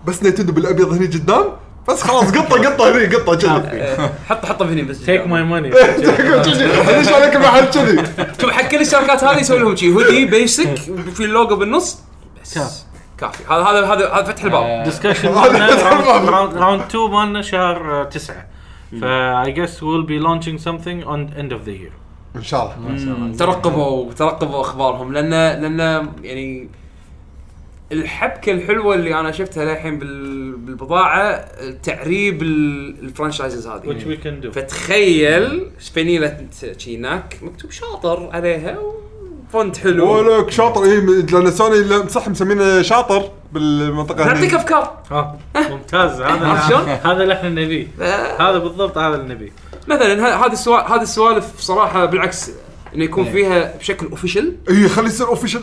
بس نيتندو بالابيض هني قدام بس خلاص قطه قطه هني قطه كذي
نعم. حط حطهم هنا بس
تيك ماي ماني
ليش عليك محل كذي
شوف حق كل الشركات هذه يسوي لهم شي هودي بيسك في اللوجو بالنص بس كافي هذا هذا هذا هذا فتح
آه.
الباب
ديسكشن راوند 2 مالنا شهر 9 فا I guess we'll be launching something on end of the year
ان شاء
نعم.
الله
ترقبوا ترقبوا اخبارهم لان لان يعني الحبكه الحلوه اللي انا شفتها للحين بال- بالبضاعه تعريب ال- الفرانشايزز
which
هذه
we can do
فتخيل شبينيله شيناك مكتوب شاطر عليها فونت حلو
ولك شاطر اي لان سوني لا- صح مسمينه شاطر بالمنطقه
تعطيك
هني.
افكار
ها آه، ممتاز هذا
عرفت شلون؟
هذا اللي احنا نبيه
آه،
هذا بالضبط هذا اللي نبيه
مثلا ه- هذه السوالف هذه السوالف صراحه بالعكس انه يكون فيها بشكل اوفيشل
اي إيه، خلي يصير اوفيشال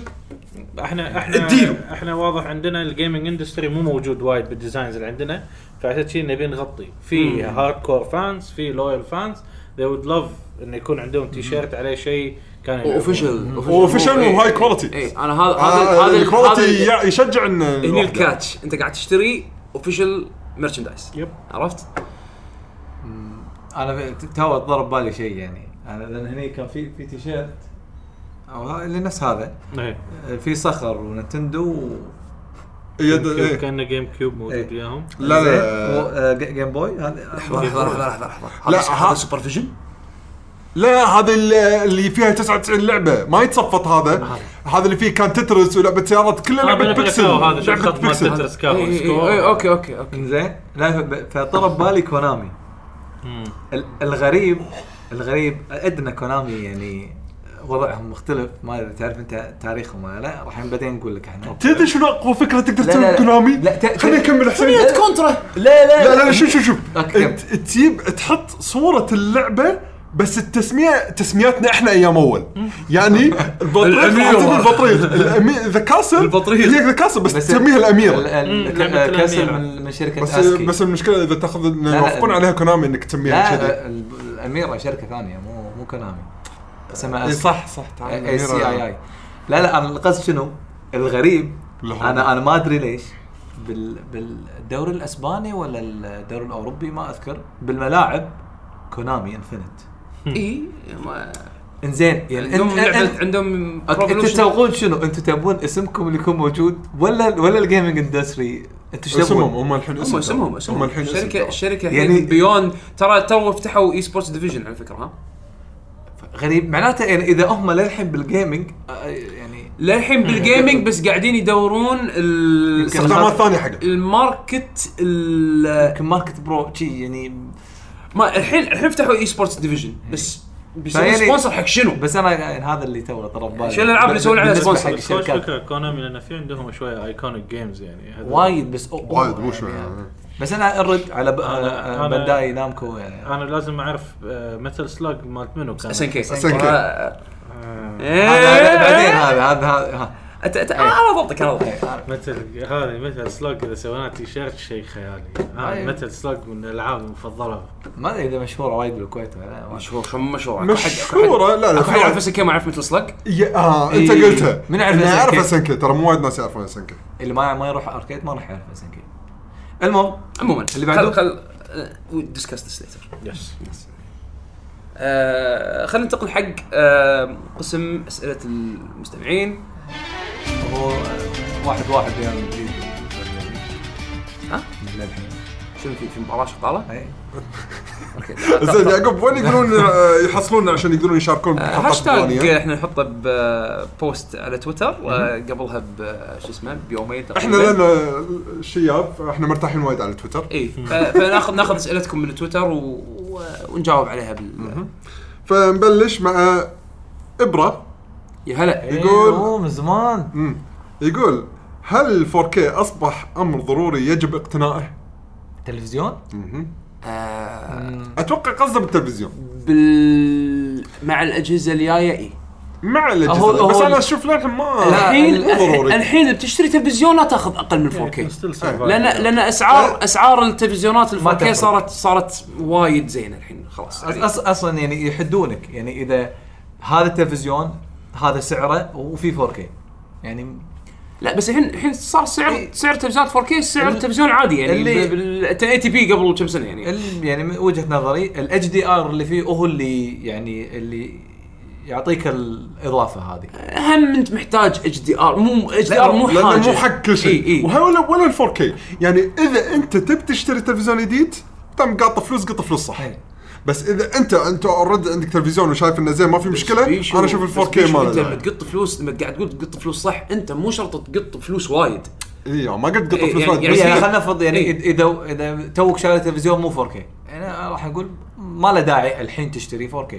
احنا احنا
الديل.
احنا واضح عندنا الجيمنج اندستري مو موجود وايد بالديزاينز اللي عندنا فعشان شي نبي نغطي في هارد كور فانز في لويال فانز they would love انه يكون عندهم تي شيرت عليه شيء كان يلعبون.
اوفيشل
اوفيشال وهاي كواليتي
اي انا إيه. هذا هذا
آه،
هذا
الكواليتي
هذا-
يع- يشجع ان
هني
الواحد يلعب.
الكاتش انت قاعد تشتري اوفيشال مرشندايز
يب
عرفت؟
انا ف- تو ضرب بالي شيء يعني انا لان هني كان في في تيشيرت او ها- اللي نفس هذا
إيه.
آه، في صخر ونتندو و...
يد-
كيوب-
إيه.
كانه جيم كيوب موجود
إيه.
وياهم
لا لا
زين، و...
لا
آه، ج- جيم بوي هذا
لحظه لحظه لحظه لحظه
لا،
هذا-
ها-
هذا سوبر فيجن
لا هذا ال- اللي فيها 99 لعبه ما يتصفط هذا هذا اللي فيه كان تترس ولعبه سيارات كلها لعبه
بلعب
بيكسل
لعبة هذا شو
لعبه
الخط مال
بيكسل
تترس
إيه،
إي- إي- إي- إي،
كابل
اوكي اوكي اوكي
زين لا ف- فطرب بالي كونامي ال- الغريب الغريب ادنى كونامي يعني وضعهم مختلف ما ادري تعرف انت تاريخهم ولا لا راح بعدين نقول لك احنا
تدري شنو اقوى فكره تقدر
لا،
تسوي
لا، لا.
كونامي؟
لا، ت- ت-
خليني اكمل حسين
هي
لا
كونترا
لا لا
لا لا شوف شوف شوف
أوكي.
ت- تجيب تحط صوره اللعبه بس التسميه تسمياتنا احنا ايام اول يعني البطريق
الأمير.
يعتبر البطريق الأمي- ذا كاسل
البطريق.
هي ذا كاسل بس تسميها الاميره
لعبة
الكاسل
الأميرة.
من من شركه
بس
اسكي
بس المشكله اذا تاخذ إن
لا،
يوافقون
لا.
عليها كونامي انك تسميها كذي
لا ال- الاميره شركه ثانيه مو مو كونامي اسمها
إي
اسكي
صح صح تعال
اي
الأميرة.
سي اي اي لا لا انا القصد شنو؟ الغريب
لحظة.
انا انا ما ادري ليش بال بالدوري الاسباني ولا الدوري الاوروبي ما اذكر بالملاعب كونامي انفنت
اي
انزين يعني
إيه، عندهم
انت
لعبه
انت
عندهم
انتوا
Revolution.
تبغون شنو؟ انتوا تبون اسمكم اللي يكون موجود ولا ولا الجيمنج اندستري انتوا ايش
اسمهم
تبون؟
هم الحين
هم اسمهم
هم
اسمهم
الحين اسم
الشركه
ترى.
الشركه
يعني-
يعني بيوند ترى تو فتحوا اي سبورتس ديفيجن على فكره ها
غريب معناته يعني اذا هم للحين بالجيمنج آه، يعني
للحين بالجيمنج بس قاعدين يدورون ال-
يمكن
استخدامات ثانيه حقه
الماركت ال-
يمكن ماركت برو شي يعني
ما الحين الحين فتحوا اي سبورتس ديفيجن بس بيسوي
فيعني-
سبونسر حق شنو؟
بس انا يعني هذا اللي تو طرب بالي
شو الألعاب اللي يسوون عليها
بالنسبة
sponsor؟
حق
بس خوش
الشركات
فكره كونامي لان في عندهم شويه ايكونيك جيمز يعني هذا-
وايد بس أو-
وايد مو
يعني
شوي
بس انا ارد على ب...
أنا-
على
أنا-
بداي نامكو يعني
انا لازم اعرف متل سلاج مالت منو كان
اس ان كي اس
SNK.
إيه.
هذا هذا بعدين هذا هذا هذا
انا ضبطك انا ضبطك
متل هذه متل سلاج اذا سويناها تي شيرت شيء خيالي
أيوه.
أيوة.
متل سلاج من الالعاب المفضله
ما ادري اذا مشهوره وايد بالكويت ولا لا.
مشهور شو مشهور أكو حد- أكو حد-
مشهوره لا لا
اكو حد يعرف
في-
اس ان كي ما يعرف مثل سلج
يا- اه انت
إيه.
قلتها
من يعرف
اللي
SNK؟
يعرف اسنكي ترى مو وايد ناس يعرفون اسنكي
اللي ما ما يروح اركيد ما راح يعرف اس ان كي المهم
عموما
اللي بعده؟
خل uh, خل ديسكاس ذس ليتر
يس
Uh, خلينا ننتقل حق آه، قسم اسئله المستمعين
هو واحد واحد يعني ريال مدريد
ها؟
للحين
شنو في في مباراه شغاله؟
أي.
اوكي
زين يعقوب وين يقدرون آه، يحصلون عشان يقدرون يشاركون
آه،
بالحلقات
هاشتاج
الفلانيه؟
احنا نحطه ببوست على تويتر آه، قبلها ب شو اسمه بيومين تقريبا
احنا لان شياب فاحنا مرتاحين وايد على تويتر
اي إيه، ف- فناخذ ناخذ اسئلتكم من تويتر و... و- ونجاوب عليها بال
فنبلش مع ابره
يا هلا
يقول-
إيه، أوه، من زمان
مم. يقول هل 4K اصبح امر ضروري يجب اقتنائه؟
تلفزيون
مهم.
اتوقع قصده بالتلفزيون
بال مع الاجهزه الجايه اي
مع
هو-
الاجهزه
هو-
بس انا اشوف للحين ما
الحين
مو ضروري
الحين بتشتري تلفزيونات تاخذ اقل
إيه،
من 4K
ستيل سيرفايفل.
لان
يعني
لان اسعار اسعار التلفزيونات ال 4K
تفرق.
صارت صارت وايد زينه الحين خلاص
أص-
يعني
أص- اصلا يعني يحدونك يعني اذا هذا التلفزيون هذا سعره وفي 4K يعني
لا بس الحين الحين صار سعر
إيه.
إي.
سعر تلفزيونات 4K سعر
ال-
تلفزيون عادي يعني
اللي-
بال 1080 بي قبل كم سنه يعني
ال- يعني من وجهه نظري الاتش دي ار اللي فيه هو اللي يعني اللي يعطيك الاضافه هذه
هم انت محتاج اتش دي ار مو اتش دي ار مو إيه، حاجه
لانه مو حق كل شيء
اي اي
ولا ولا ال 4K يعني اذا انت تبي تشتري تلفزيون جديد تم قاطه فلوس قط فلوس صح
إي.
بس اذا انت انت اوريدي عندك تلفزيون وشايف انه زين ما في مشكله
بس بيشو-
انا اشوف ال
بس
4K
بيشو انت لما
ماله يعني.
تقط فلوس لما قاعد تقول تقط فلوس صح انت مو شرط تقط فلوس وايد
اي ما قد قط
إي،
فلوس
يعني-
وايد،
يعني
بس
يعني
هي-
خلينا نفرض يعني
إيه.
إذا- اذا اذا توك شاري تلفزيون مو 4K انا راح اقول ما له داعي الحين تشتري 4K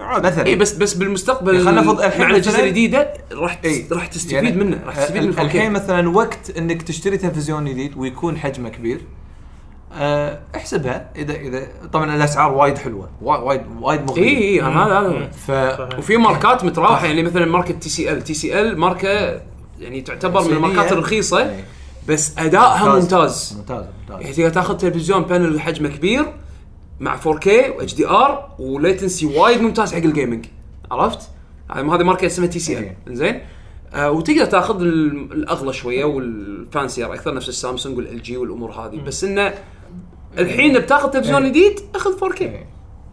عادي
مثلا
اي إيه، بس بس بالمستقبل
يعني خلينا نفرض الحين
مع الاجهزه
مثلاً-
الجديده راح تس-
إي.
راح تستفيد
يعني
منه راح تستفيد من
ال- الحين
4K
مثلا وقت انك تشتري تلفزيون جديد ويكون حجمه كبير أه احسبها اذا اذا طبعا الاسعار وايد حلوه وا- وايد وايد
اي
مغريه
اي انا إيه، هذا هذا
ف
وفي ماركات متراوحه
طيب.
يعني مثلا ماركه تي سي ال تي سي ال ماركه يعني تعتبر من
صينية.
الماركات الرخيصه
إيه.
بس ادائها ممتاز
ممتاز
يعني
ممتاز
تقدر تاخذ تلفزيون بانل حجمه كبير مع 4K و اتش دي ار وليتنسي وايد ممتاز حق الجيمنج عرفت؟ هذه هذه ماركه اسمها تي سي ال
إيه.
زين آه وتقدر تاخذ ال- الاغلى شويه والفانسير اكثر يعني نفس السامسونج والال جي والامور هذه بس انه الحين بتاخذ تلفزيون
إيه.
جديد اخذ 4K
إيه.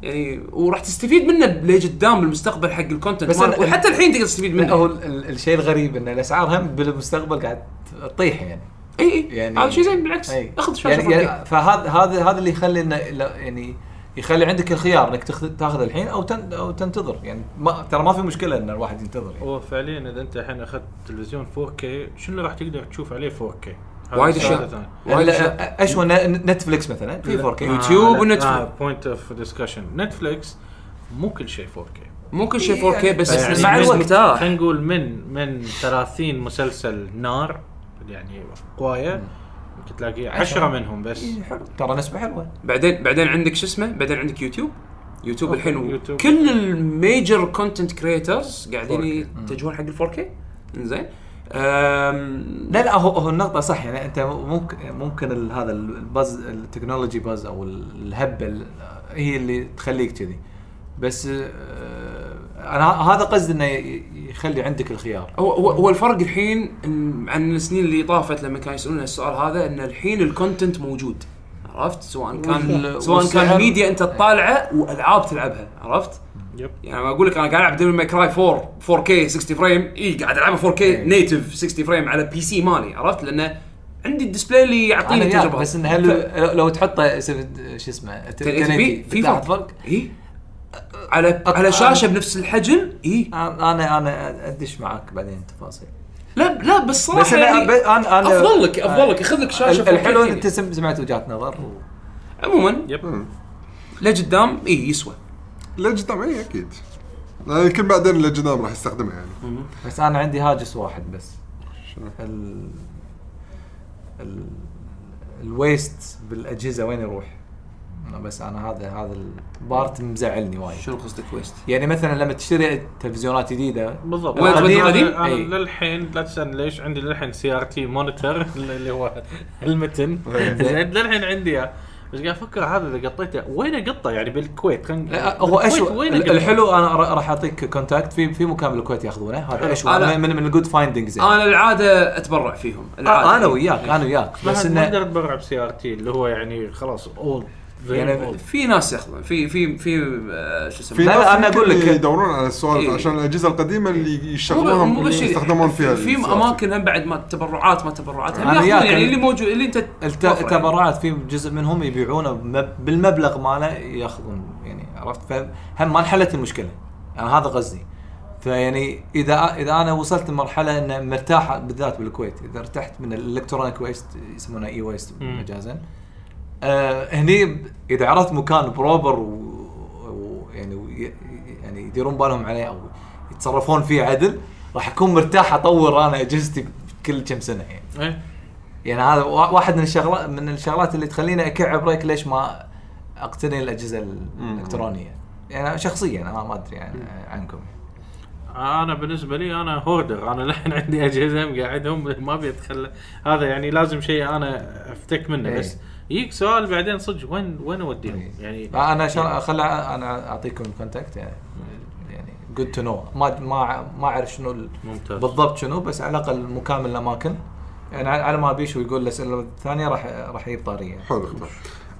يعني وراح تستفيد منه لقدام بالمستقبل حق الكونتنت
بس
مالك
ال-
وحتى الحين تقدر تستفيد
لا، هو
منه
ال- ال- الشيء الغريب ان الاسعار هم بالمستقبل قاعد تطيح يعني
اي اي
يعني
إيه، هذا شيء زين بالعكس
أي.
اخذ شاشه
يعني
4K
يعني فهذا هذا هذا اللي يخلي انه لا- يعني يخلي عندك الخيار انك تاخذ تاخذ الحين او تن او تنتظر يعني ما ترى ما في مشكله ان الواحد ينتظر يعني.
هو فعليا اذا انت الحين اخذت تلفزيون 4K شنو اللي راح تقدر تشوف عليه 4K؟ هذا
وايد
شغلة
أشياء.
ثانية.
وايد
يعني
أشياء.
لا- اشوى ن- نتفلكس مثلا في 4K
يوتيوب
لا،
ونتفلكس.
لا، بوينت اوف ديسكشن نتفلكس مو كل شيء 4K
مو كل شيء 4K بس,
بس
بس
يعني
مع
من-
الوقت آه.
خلينا نقول من من 30 مسلسل نار يعني قوايه يمكن تلاقي 10 منهم بس
إيه.
إي، حلو. ترى نسبه حلوه
بعدين بعدين عندك شو اسمه بعدين عندك يوتيوب يوتيوب
أوكي،
الحين
يوتيوب.
كل الميجر كونتنت كريترز قاعدين يتجهون حق ال 4K زين أم،
لا لا هو هو النقطه صح يعني انت ممكن ممكن ال- هذا ال- الباز التكنولوجي باز او ال- الهبه ال- هي اللي تخليك كذي بس آه، انا هذا قصدي انه ي- يخلي عندك الخيار
هو هو هو الفرق الحين إن- عن السنين اللي طافت لما كانوا يسالون السؤال هذا ان الحين الكونتنت موجود عرفت سواء كان
وال-
سواء كان
والسعر-
ميديا انت تطالعه والعاب تلعبها عرفت
يب
يعني أنا اقول لك انا قاعد العب ديفل ماي كراي 4 4K 60 فريم اي قاعد العبها 4K
إيه.
نيتف 60 فريم على بي سي مالي عرفت لانه عندي الديسبلاي اللي
انا
يعطيني
وياك،
التجربه
بس انه
هذه.
هل لو- لو تحطه سب- شو اسمه
1080
1080
في
بتلاحظ
فرق اي على على شاشه بنفس الحجم اي
انا انا- انا ادش معاك بعدين تفاصيل
لا لا بس صراحه
بس أنا-
يعني
ب- أنا- أنا- آه،
افضل لك افضل لك خذ لك شاشه
ال- الحلو
4K.
إن انت سم- سمعت وجهات نظر و-
عموما
يب
لقدام اي يسوى
للقدام اي اكيد لان الكل بعدين للقدام راح يستخدمها يعني
بس انا عندي هاجس واحد بس ال ال الويست بالاجهزه وين يروح؟
نعم.
أنا بس انا هذا هذا البارت مزعلني وايد
شنو قصدك ويست؟
يعني مثلا لما تشتري تلفزيونات جديده
بالضبط
وين تبدل
أنا-
قديم؟
أنا
إي.
للحين لا تسالني ليش عندي للحين سي ار تي مونيتور اللي هو المتن زين للحين عندي إياه. بس قاعد افكر هذا اذا قطيته وين اقطه يعني بالكويت خلينا
لا، أه، هو
بالكويت
اشو
وين
ال-
أقطه؟
الحلو انا ر- راح اعطيك كونتاكت في في مكان بالكويت ياخذونه هذا اشو
أنا-
من من, من الجود فايندنجز يعني.
انا العاده اتبرع فيهم العاده
آه، انا وياك انا وياك
ما
بس
حد- ما
انه
اقدر اتبرع بسي ار تي اللي هو يعني خلاص اولد
يعني
في ناس ياخذون في في في آه، شو اسمه
في
لا،
ناس
لا، أنا
يمكن
أقول لك-
يدورون على السؤال
إي.
عشان الاجهزه القديمه اللي
مو
يشغلونها
مو بس شيء.
يستخدمون فيها
في
السيارة.
اماكن هم بعد ما تبرعات ما تبرعات هم
أنا
ياخذون
وياك.
يعني اللي موجود اللي انت
الت-
توفره.
التبرعات في جزء منهم يبيعونه بم- بالمبلغ ماله ياخذون يعني عرفت فهم ما انحلت المشكله انا هذا قصدي فيعني اذا اذا انا وصلت لمرحله ان مرتاح بالذات بالكويت اذا ارتحت من الالكترونيك ويست يسمونه اي ويست
مم.
مجازا آه هني ب- اذا عرفت مكان بروبر و- ويعني وي- يعني يديرون بالهم عليه او يتصرفون فيه عدل راح اكون مرتاح اطور انا اجهزتي كل كم سنه يعني
إيه.
يعني هذا وا- واحد من الشغلات من الشغلات اللي تخليني اكعب بريك ليش ما اقتني الاجهزه الالكترونيه يعني شخصيا انا ما ادري يعني عنكم
انا بالنسبه لي انا هوردر انا لحن عندي اجهزه مقعدهم ما ابي اتخلى هذا يعني لازم شيء انا افتك منه
إيه.
بس يجيك سؤال بعدين صدق وين وين اوديهم
إيه.
يعني
انا شا... خلا انا اعطيكم الكونتاكت يعني يعني جود تو نو ما ما ما اعرف شنو ال...
ممتاز
بالضبط شنو بس على الاقل مكان الاماكن يعني على- على ما بيش ويقول الاسئله الثانيه راح راح يجيب طاريه
حلو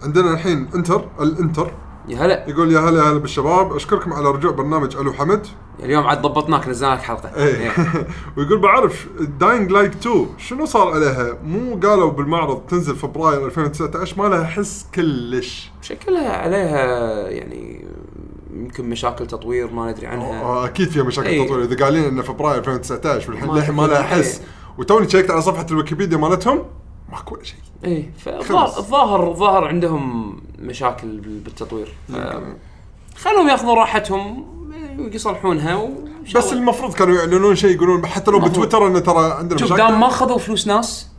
عندنا الحين انتر الانتر
يا هلا
يقول يا هلا يا هلا بالشباب اشكركم على رجوع برنامج الو حمد
اليوم عاد ضبطناك نزلناك حلقه
ايه
إيه.
ويقول بعرف داينج لايك 2 شنو صار عليها؟ مو قالوا بالمعرض تنزل فبراير 2019 ما لها حس كلش
شكلها عليها يعني يمكن مشاكل تطوير ما ندري عنها
آه، اكيد فيها مشاكل
إيه.
تطوير اذا قايلين انه فبراير 2019 والحين
ما-
للحين ما لها حس
إيه.
وتوني شيكت على صفحه الويكيبيديا مالتهم ماكو ولا شيء
اي فالظاهر الظاهر الظاهر عندهم مشاكل بال- بالتطوير ف- خلهم ياخذون راحتهم ويصلحونها وإن شاء
بس
الله.
المفروض كانوا يعلنون شيء يقولون حتى لو
المفروض.
بتويتر انه ترى عندنا
شوف
مشاكل
دام ما اخذوا فلوس ناس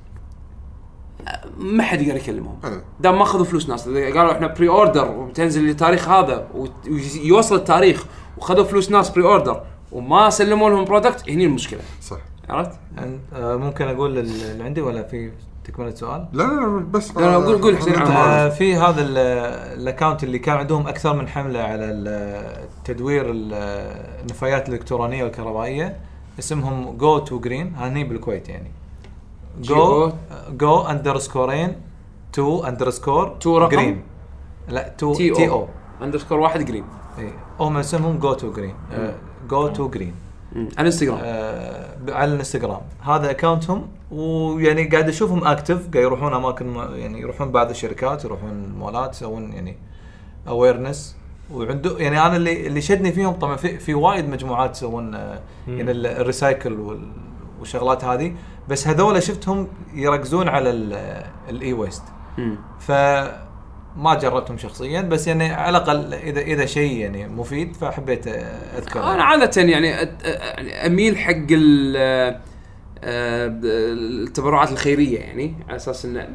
آه، ما حد يقدر يكلمهم
إيه.
دام ما اخذوا فلوس ناس إذا قالوا احنا بري اوردر وبتنزل التاريخ هذا وت- ويوصل التاريخ وخذوا فلوس ناس بري اوردر وما سلموا لهم برودكت هني المشكله
صح
عرفت؟
عن- آه، ممكن اقول ال- اللي عندي ولا في تكمله سؤال؟
لا لا لا بس
لا، لا، قول- قول حسين
أنت
عمار.
عارف.
آه في هذا ال- الاكونت اللي كان عندهم اكثر من حمله على ال- تدوير ال- النفايات الالكترونيه والكهربائيه اسمهم جو تو جرين هني بالكويت يعني جو
Go-
جو اندرسكورين تو اندرسكور
To رقم؟
جرين لا تو
تي او,
تي او
اندرسكور واحد جرين
إيه. هم اسمهم جو تو جرين جو تو جرين
على الانستغرام
آه، على الانستغرام هذا اكونتهم ويعني قاعد اشوفهم اكتف قاعد يروحون اماكن ما- يعني يروحون بعض الشركات يروحون المولات يسوون يعني اويرنس وعنده يعني انا اللي اللي شدني فيهم طبعا في, في وايد مجموعات يسوون آه، يعني ال- الريسايكل وال- والشغلات هذه بس هذول شفتهم يركزون على الاي ويست
مم.
فما جربتهم شخصيا بس يعني على الاقل اذا اذا شيء يعني مفيد فحبيت آه، اذكره
انا عاده يعني أت- أ- يعني اميل حق ال- آه، آه، ب- التبرعات الخيريه يعني على اساس انه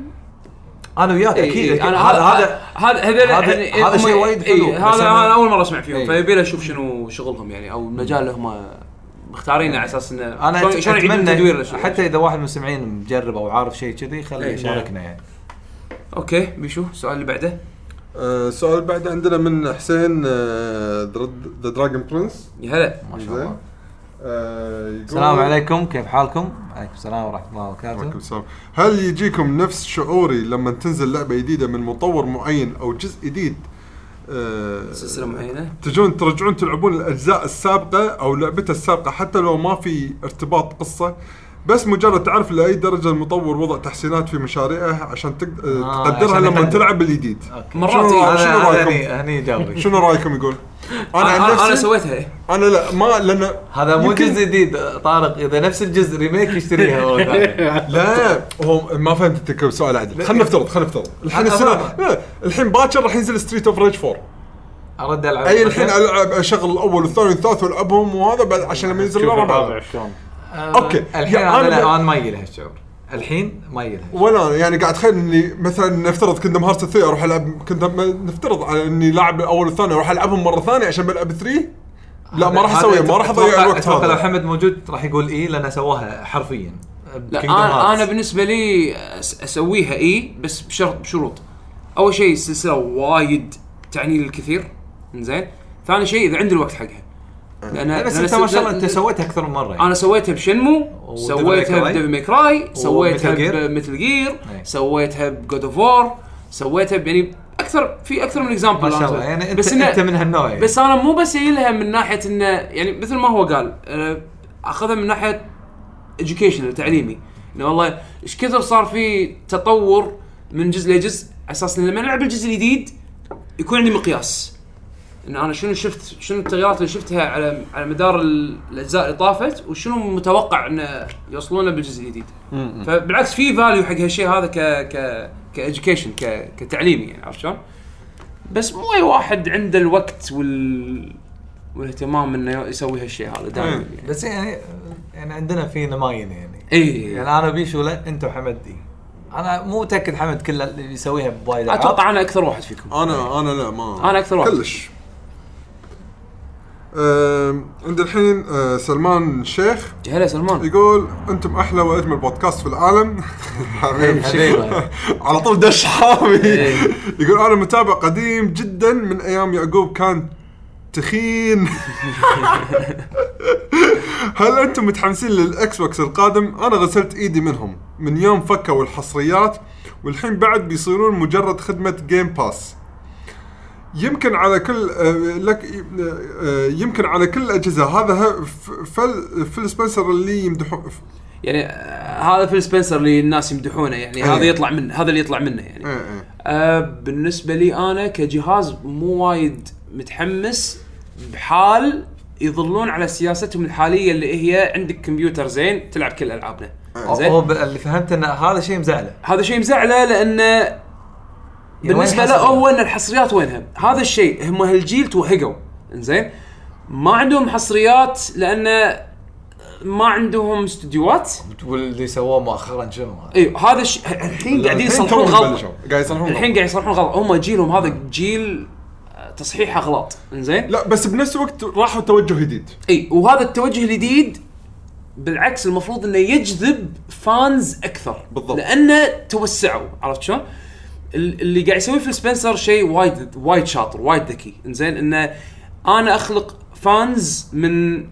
انا وياك
إي،
اكيد
إي،
أكيد.
إيه، أنا
هذا هذا
هذا هذول-
هذا-
يعني إيه،
هذا شيء
هم-
وايد
إيه،
حلو، بس
هذا
أنا- إيه.
انا اول مره اسمع فيهم
إي.
فيبي لي اشوف شنو شغلهم يعني او المجال اللي هم مختارينه على اساس انه
انا
شلون-
أت-
شلون يعيدون تدوير
اتمنى
الأشياء.
حتى اذا واحد من المستمعين مجرب او عارف شيء كذي خليه
إي.
يشاركنا يعني
اوكي بيشو السؤال اللي بعده
آه، سؤال بعد عندنا من حسين
آه،
ذا دراجون برنس
يا هلا
ما شاء الله
السلام
آه،
السلام عليكم كيف حالكم؟ عليكم السلام ورحمه الله
عليكم
وبركاته
السلام هل يجيكم نفس شعوري لما تنزل لعبه جديده من مطور معين او جزء جديد آه،
سلسله معينه
تجون ترجعون تلعبون الاجزاء السابقه او لعبته السابقه حتى لو ما في ارتباط قصه بس مجرد تعرف لاي درجه المطور وضع تحسينات في مشاريعه عشان تقد...
آه،
تقدرها
عشان
لما
يقدر.
تلعب الجديد
مرات
شنو-
إي.
شنو
انا
رأيكم؟
هني هني جاوبك
شنو رايكم يقول؟ انا
انا
عن
انا, أنا
نفسي
سويتها إي.
انا لا ما لان
هذا مو
يمكن-
جزء جديد آه، طارق اذا نفس الجزء ريميك يشتريها هو ثاني.
لا هو ما فهمت انت كيف سؤال عدل خلينا نفترض خلينا نفترض الحين
أنا-
السنه لا، الحين باكر راح ينزل ستريت اوف ريج 4
ارد العب
اي الحين العب اشغل الاول والثاني والثالث والعبهم وهذا بعد عشان لما ينزل
شوف
الرابع
الرابع
ألعب.
شلون
آه،
أوكي.
الحين
يا
انا
أنا-
لا، انا ما يجي لها الشعور الحين ما يجي لها
ولا أنا يعني قاعد اتخيل اني مثلا نفترض كندم هارت 3 اروح العب كندم نفترض على اني لاعب الاول والثاني اروح العبهم مره ثانيه عشان بلعب 3 لا ما راح
هذا
اسويها ما راح اضيع
أتوقع-
الوقت
أتوقع لو
هذا
حمد موجود راح يقول اي لانها سواها حرفيا
لا
Kingdom
انا
Hearts.
انا بالنسبه لي أس- اسويها اي بس بشرط بشروط اول شيء السلسله وايد تعني لي الكثير زين ثاني شيء اذا عندي الوقت حقها لان
أه. إيه، بس
لأن
انت ما شاء الله
السلسلة-
انت سويتها اكثر من يعني. مره
انا سويتها بشنمو
وديفل
سويتها
ماي كراي.
بديفل ماي كراي سويتها
وميتل جير.
بمثل جير
أي.
سويتها بجود اوف وور سويتها ب- يعني اكثر في اكثر من اكزامبل
ما شاء الله يعني انت
بس
بس
إنه-
انت من هالنوع يعني.
بس انا مو بس لها من ناحيه انه يعني مثل ما هو قال أه، اخذها من ناحيه educational تعليمي انه والله ايش كثر صار في تطور من جزء لجزء على اساس إن لما نلعب الجزء الجديد يكون عندي مقياس ان انا شنو شفت شنو التغييرات اللي شفتها على على مدار ال- الاجزاء اللي طافت وشنو متوقع انه يوصلون له بالجزء الجديد فبالعكس في فاليو حق هالشيء هذا ك ك كاجوكيشن ك كتعليمي يعني عرفت شلون؟ بس مو اي واحد عنده الوقت وال والاهتمام انه يسوي هالشيء هذا دائما يعني
بس يعني يعني عندنا في نماين يعني
اي
يعني انا بيشو لا انت وحمد دي انا مو متاكد حمد كل اللي يسويها بوايد ألعاب.
اتوقع انا اكثر واحد فيكم
انا انا لا ما
أنا أكثر واحد.
كلش
آم، عند الحين آه، سلمان الشيخ
هلا سلمان
يقول انتم احلى واجمل بودكاست في العالم حبيبي
حبيبي.
على طول دش حامي
إيه.
يقول انا متابع قديم جدا من ايام يعقوب كان تخين هل انتم متحمسين للاكس بوكس القادم؟ انا غسلت ايدي منهم من يوم فكوا الحصريات والحين بعد بيصيرون مجرد خدمه جيم باس يمكن على كل آه، لك آه، يمكن على كل الاجهزه هذا ه- ف- فل فل سبنسر اللي يمدحون
يعني آه، هذا فيل سبنسر اللي الناس يمدحونه يعني هذا
إيه.
يطلع منه هذا اللي يطلع منه يعني
إيه، إيه.
أه بالنسبه لي انا كجهاز مو وايد متحمس بحال يظلون على سياستهم الحاليه اللي هي عندك كمبيوتر زين تلعب كل العابنا
هو
زين
ب- اللي فهمت ان هذا شيء مزعله
هذا شيء مزعله لانه بالنسبه له
الحصريات؟
هو ان الحصريات وينها هذا الشيء هم هالجيل توهقوا زين ما عندهم حصريات لانه ما عندهم استديوهات
واللي سووه مؤخرا شنو هذا؟
ايوه هذا الش... الحين قاعدين
الحين
يصلحون
توهم
غلط
بلشوا، قاعد يصلحون غلط.
الحين قاعد يصلحون غلط هم جيلهم هذا جيل آه، تصحيحه غلط انزين
لا بس بنفس الوقت راحوا توجه جديد
اي وهذا التوجه الجديد بالعكس المفروض انه يجذب فانز اكثر
بالضبط.
لانه توسعوا عرفت شلون؟ ال- اللي قاعد يسويه في سبنسر شيء وايد وايد شاطر وايد ذكي انزين انه انا اخلق فانز من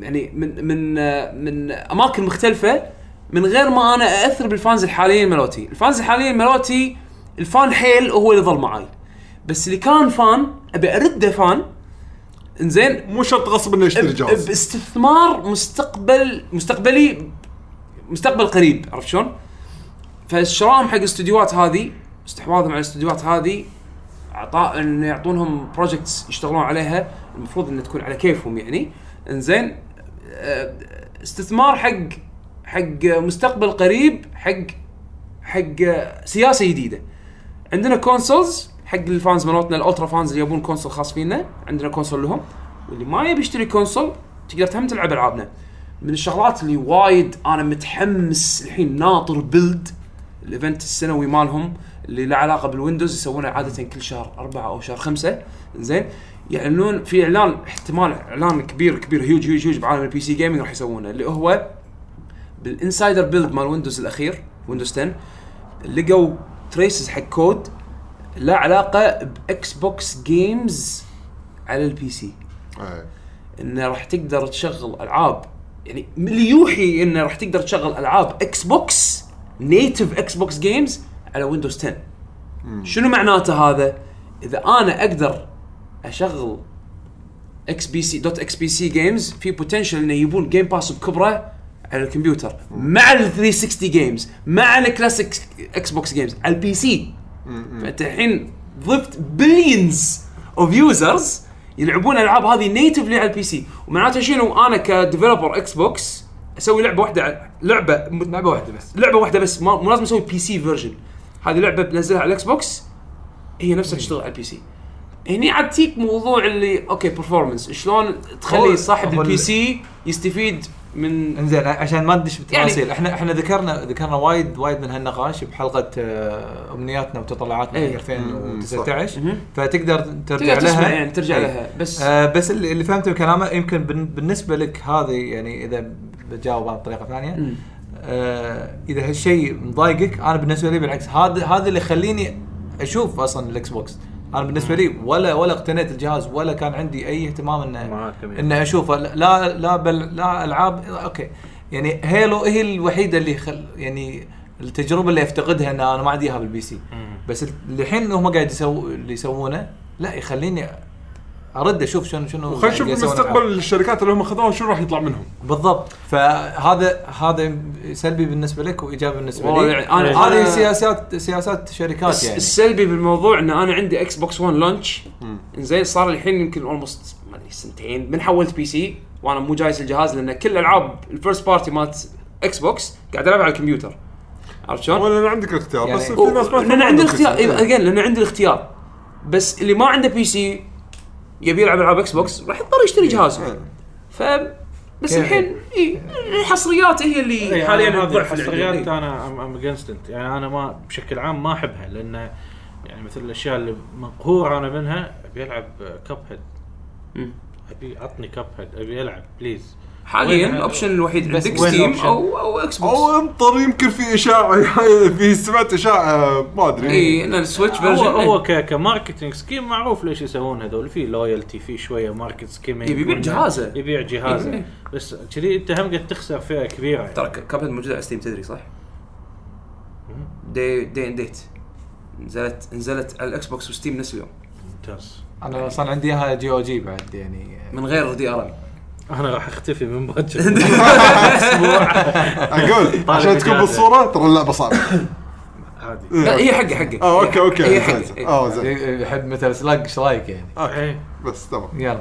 يعني من من آه، من اماكن مختلفه من غير ما انا ااثر بالفانز الحاليين مالوتي، الفانز الحاليين مالوتي الفان حيل هو اللي ظل معاي بس اللي كان فان ابي ارده فان انزين
مو شرط غصب انه يشتري
ب-
جهاز
باستثمار مستقبل مستقبلي مستقبل قريب عرفت شلون؟ فالشرائهم حق الاستديوهات هذه استحواذهم على الاستديوهات هذه اعطاء ان يعطونهم بروجكتس يشتغلون عليها المفروض انها تكون على كيفهم يعني انزين آه، استثمار حق حق مستقبل قريب حق حق آه، سياسه جديده عندنا كونسولز حق الفانز مالتنا الالترا فانز اللي يبون كونسول خاص فينا عندنا كونسول لهم واللي ما يبي يشتري كونسول تقدر تهم تلعب العابنا من الشغلات اللي وايد انا متحمس الحين ناطر بيلد الايفنت السنوي مالهم اللي له علاقه بالويندوز يسوونه عاده كل شهر أربعة او شهر خمسة زين يعلنون في اعلان احتمال اعلان كبير كبير هيوج هيوج هيوج بعالم البي سي جيمنج راح يسوونه اللي هو بالانسايدر بيلد مال ويندوز الاخير ويندوز 10 لقوا تريسز حق كود لا علاقه باكس بوكس جيمز على البي سي
إيه.
انه راح تقدر تشغل العاب يعني من اللي يوحي انه راح تقدر تشغل العاب اكس بوكس نيتف اكس بوكس جيمز على ويندوز 10 شنو معناته هذا؟ اذا انا اقدر اشغل اكس بي سي دوت اكس بي سي جيمز في بوتنشل انه يبون جيم باس بكبره على الكمبيوتر مع ال 360 جيمز مع الكلاسيك اكس بوكس جيمز على البي سي فانت الحين ضفت بليونز اوف يوزرز يلعبون الالعاب هذه نيتفلي على البي سي ومعناته شنو انا كديفلوبر اكس بوكس اسوي لعبه واحده على- لعبه
لعبه واحده بس
لعبه واحده بس ما- مو لازم اسوي بي سي فيرجن هذه لعبه بنزلها على الاكس بوكس هي نفسها تشتغل على البي سي هني عاد تيك موضوع اللي اوكي برفورمانس شلون تخلي
هو-
صاحب
هو
البي
ال-
سي يستفيد من
انزين عشان ما
يعني
ندش بالتفاصيل احنا احنا ذكرنا ذكرنا وايد وايد من هالنقاش بحلقه آه، امنياتنا وتطلعاتنا
إيه.
في 2019
مهم.
فتقدر ترجع
تقدر تسمع
لها
يعني ترجع
إيه.
لها بس
آه بس اللي اللي فهمته من كلامه يمكن بن- بالنسبه لك هذه يعني اذا بجاوب انا بطريقه ثانيه
مم.
آه اذا هالشيء مضايقك انا بالنسبه لي بالعكس هذا هذا اللي يخليني اشوف اصلا الاكس بوكس انا بالنسبه لي ولا ولا اقتنيت الجهاز ولا كان عندي اي اهتمام انه
معاك أمين.
انه اشوفه لا لا بل لا العاب اوكي يعني هيلو هي الوحيده اللي خل يعني التجربه اللي افتقدها ان انا ما عندي اياها بالبي سي بس ال- الحين هم قاعد يسو اللي يسوونه لا يخليني ارد اشوف شنو شنو
خلينا نشوف
قاعد يعني يسوون
المستقبل
العاب.
الشركات اللي هم خذوها شنو راح يطلع منهم
بالضبط فهذا هذا سلبي بالنسبه لك وايجابي بالنسبه
والله
لي
يعني أنا-
هذه
أنا-
سياسات سياسات شركات
الس-
يعني
السلبي بالموضوع ان انا عندي اكس بوكس 1 لانش زين صار الحين يمكن اولموست ما ادري سنتين من حولت بي سي وانا مو جايز الجهاز لان كل العاب الفيرست بارتي مالت اكس بوكس قاعد العبها على الكمبيوتر عرفت شلون؟
ولا أنا عندك الاختيار
يعني-
بس في ناس ما
لان
تفهم
عندي
الوقت.
الاختيار
إيه.
اجين لان عندي الاختيار بس اللي ما عنده بي سي يبي يلعب العاب اكس بوكس راح يضطر يشتري جهاز ف بس
كيف؟
الحين اي الحصريات هي
إيه،
اللي حاليا ضعف
الحصريات
العدد.
انا ام ام انت يعني انا ما بشكل عام ما احبها لان يعني مثل الاشياء اللي مقهور انا منها ابي العب كاب هيد
مم.
ابي عطني كاب هيد ابي العب بليز
حاليا
وين-
الاوبشن الوحيد
بس
عندك
وين
ستيم
الأوبشن؟
او او اكس بوكس
او انطر يمكن في اشاعه في سمعت اشاعه ما ادري
اي ان إيه، السويتش
هو هو
فيرجن إيه.
ك- كماركتينج سكيم معروف ليش يسوون هذول في لويالتي في شويه ماركت سكيمينج
يبي يبيع
وإنه
جهازه.
يبيع
إيه.
جهازه بس كذي انت هم قد تخسر فئه كبيره يعني.
ترى كابهيد موجوده على ستيم تدري صح؟ دي دي ان ديت نزلت نزلت على الاكس بوكس وستيم نفس اليوم
ممتاز
انا اصلا عندي اياها جي او جي بعد يعني
من غير دي ار ام
انا راح اختفي من باكر
اقول
طالع
عشان تكون
بجازة.
بالصوره ترى اللعبه صعبه
عادي
لا هي حقه حقه
اه اوكي اوكي
هي
ممتاز.
حقه
اه
إيه.
زين
يحب مثل سلاج ايش رايك يعني
إيه.
بس تمام
يلا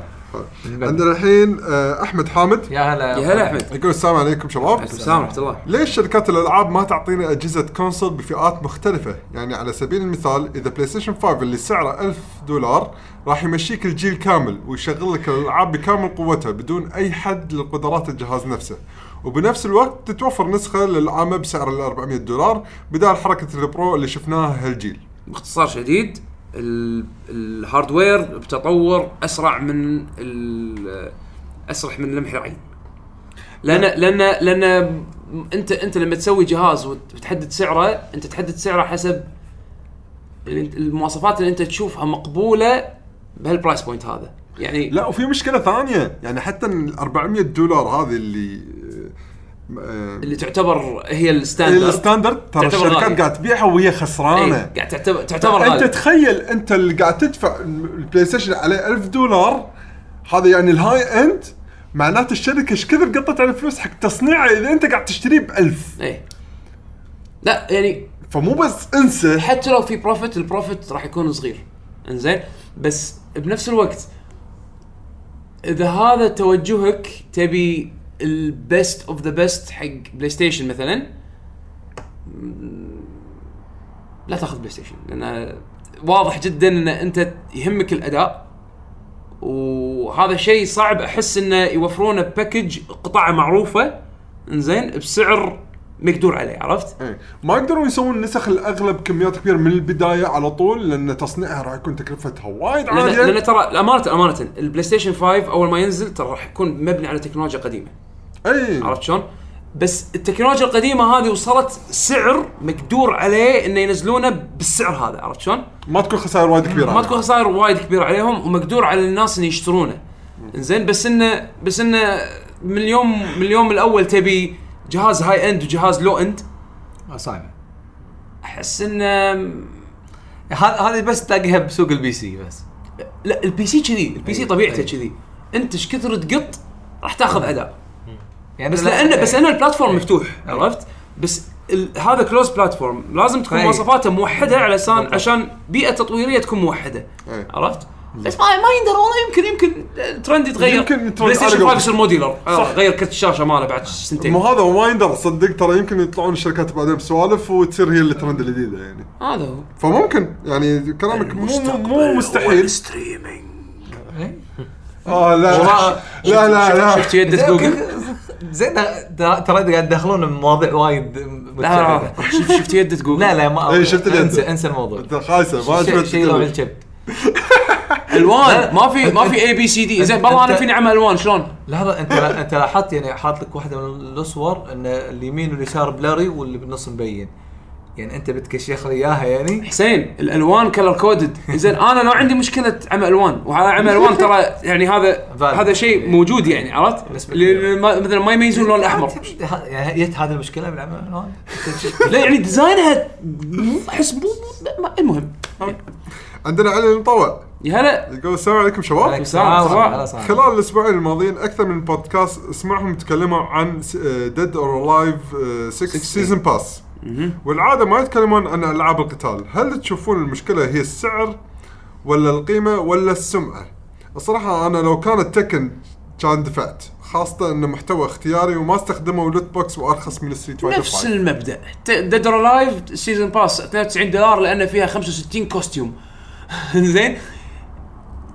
عندنا الحين آه، احمد حامد
يا هلا
يا هلا احمد
يقول السلام عليكم شباب
السلام ورحمه الله
ليش شركات الالعاب ما تعطينا اجهزه كونسول بفئات مختلفه؟ يعني على سبيل المثال اذا بلاي ستيشن 5 اللي سعره 1000 دولار راح يمشيك الجيل كامل ويشغل لك الالعاب بكامل قوتها بدون اي حد لقدرات الجهاز نفسه. وبنفس الوقت تتوفر نسخه للعامه بسعر ال 400 دولار بدال حركه البرو اللي شفناها هالجيل.
باختصار شديد ال- الهاردوير بتطور اسرع من ال- اسرع من لمح العين لان لان لان م- انت انت لما تسوي جهاز وت- وتحدد سعره انت تحدد سعره حسب اللي انت- المواصفات اللي انت تشوفها مقبوله بهالبرايس بوينت هذا يعني
لا وفي مشكله ثانيه يعني حتى ال 400 دولار هذه اللي آه،
اللي تعتبر هي الستاندرد
الستاندرد ترى
تعتبر غالية.
الشركات قاعد تبيعها وهي
إيه،
خسرانه.
قاعد تعتبر تعتبر
انت
غالي
تخيل انت اللي قاعد تدفع البلاي ستيشن عليه 1000 دولار هذا يعني الهاي اند معناته الشركه ايش كثر قطت على فلوس حق تصنيعه اذا انت قاعد تشتريه ب 1000
ايه لا يعني
فمو بس انسى
حتى لو في بروفيت البروفيت راح يكون صغير انزين بس بنفس الوقت اذا هذا توجهك تبي البيست اوف ذا بيست حق بلاي ستيشن مثلا مم، لا تاخذ بلاي ستيشن لان واضح جدا ان انت يهمك الاداء وهذا شيء صعب احس انه يوفرونه باكج قطعه معروفه انزين بسعر مقدور عليه عرفت؟
إيه. ما يقدرون يسوون نسخ الاغلب كميات كبيره من البدايه على طول لان تصنيعها راح يكون تكلفتها وايد
لان لان
عاليه
ترى امانه امانه البلاي ستيشن 5 اول ما ينزل ترى راح يكون مبني على تكنولوجيا قديمه
اي
عرفت شلون؟ بس التكنولوجيا القديمه هذه وصلت سعر مقدور عليه انه ينزلونه بالسعر هذا عرفت شلون؟
ما تكون خسائر وايد كبيره
ما تكون خسائر وايد كبيره عليهم ومقدور على الناس انه يشترونه. زين بس انه بس انه من اليوم من اليوم الاول تبي جهاز هاي اند وجهاز لو اند
صعبه
احس انه
هذا هذه بس تلاقيها بسوق البي سي بس
لا البي سي كذي البي سي
أي-
طبيعته
أي.
كذي انت ايش كثر تقط راح تاخذ اداء
يعني
بس لانه بس انا البلاتفورم مفتوح
أي.
عرفت بس ال- هذا كلوز بلاتفورم لازم تكون
أي.
مواصفاته موحده علشان عشان بيئه تطويريه تكون موحده
أي.
عرفت بس ما ما يندر والله يمكن يمكن الترند يتغير
يمكن الترند
بلاي ستيشن
على
5
قولك.
يصير موديلر آه، غير كرت الشاشه ماله بعد سنتين
مو هذا وما يندر صدق ترى يمكن يطلعون الشركات بعدين بسوالف وتصير هي الترند الجديده يعني
هذا هو
فممكن يعني كلامك مو مو- مو مستحيل
ستريمينج
اه لا لا لا لا
شفت يده جوجل
زين ترى ترى قاعد يدخلون بمواضيع وايد
لا
متشعبه
لا شفت شفت يده جوجل
لا لا ما
إيه، شفت اليد.
انسى انسى الموضوع
انت خايسه ما
شيء-
عجبت
شيء يروح الجب
الوان ما في ما في اي بي سي دي زين والله انا فيني اعمل الوان شلون؟
لحظه انت انت لاحظت يعني حاط لك واحده من الصور ان اليمين واليسار بلاري واللي بالنص مبين يعني انت بتكشخ لي اياها يعني
حسين الالوان كلر كودد زين انا لو عندي مشكله عمى الوان وعمى الوان ترى يعني هذا
Valid.
هذا شيء موجود يعني عرفت
بالنسبة
اللي-
لي.
اللي ما- مثلا ما يميزون اللون الاحمر
ه- يعني جت هذه المشكله بالعمل
لا يعني ديزاينها احس مو مو- ما- المهم
عندنا علي المطوع
يا هلا
يقول السلام عليكم شباب خلال الاسبوعين الماضيين اكثر من بودكاست اسمعهم تكلموا عن آه، ديد اور الايف 6 سيزون باس والعاده ما يتكلمون عن العاب القتال هل تشوفون المشكله هي السعر ولا القيمه ولا السمعه الصراحه انا لو كانت تكن كان دفعت خاصة انه محتوى اختياري وما استخدموا لوت بوكس وارخص من الستريت فايتر
نفس
5.
المبدا ديد اور لايف سيزون باس 92 دولار لان فيها 65 كوستيوم زين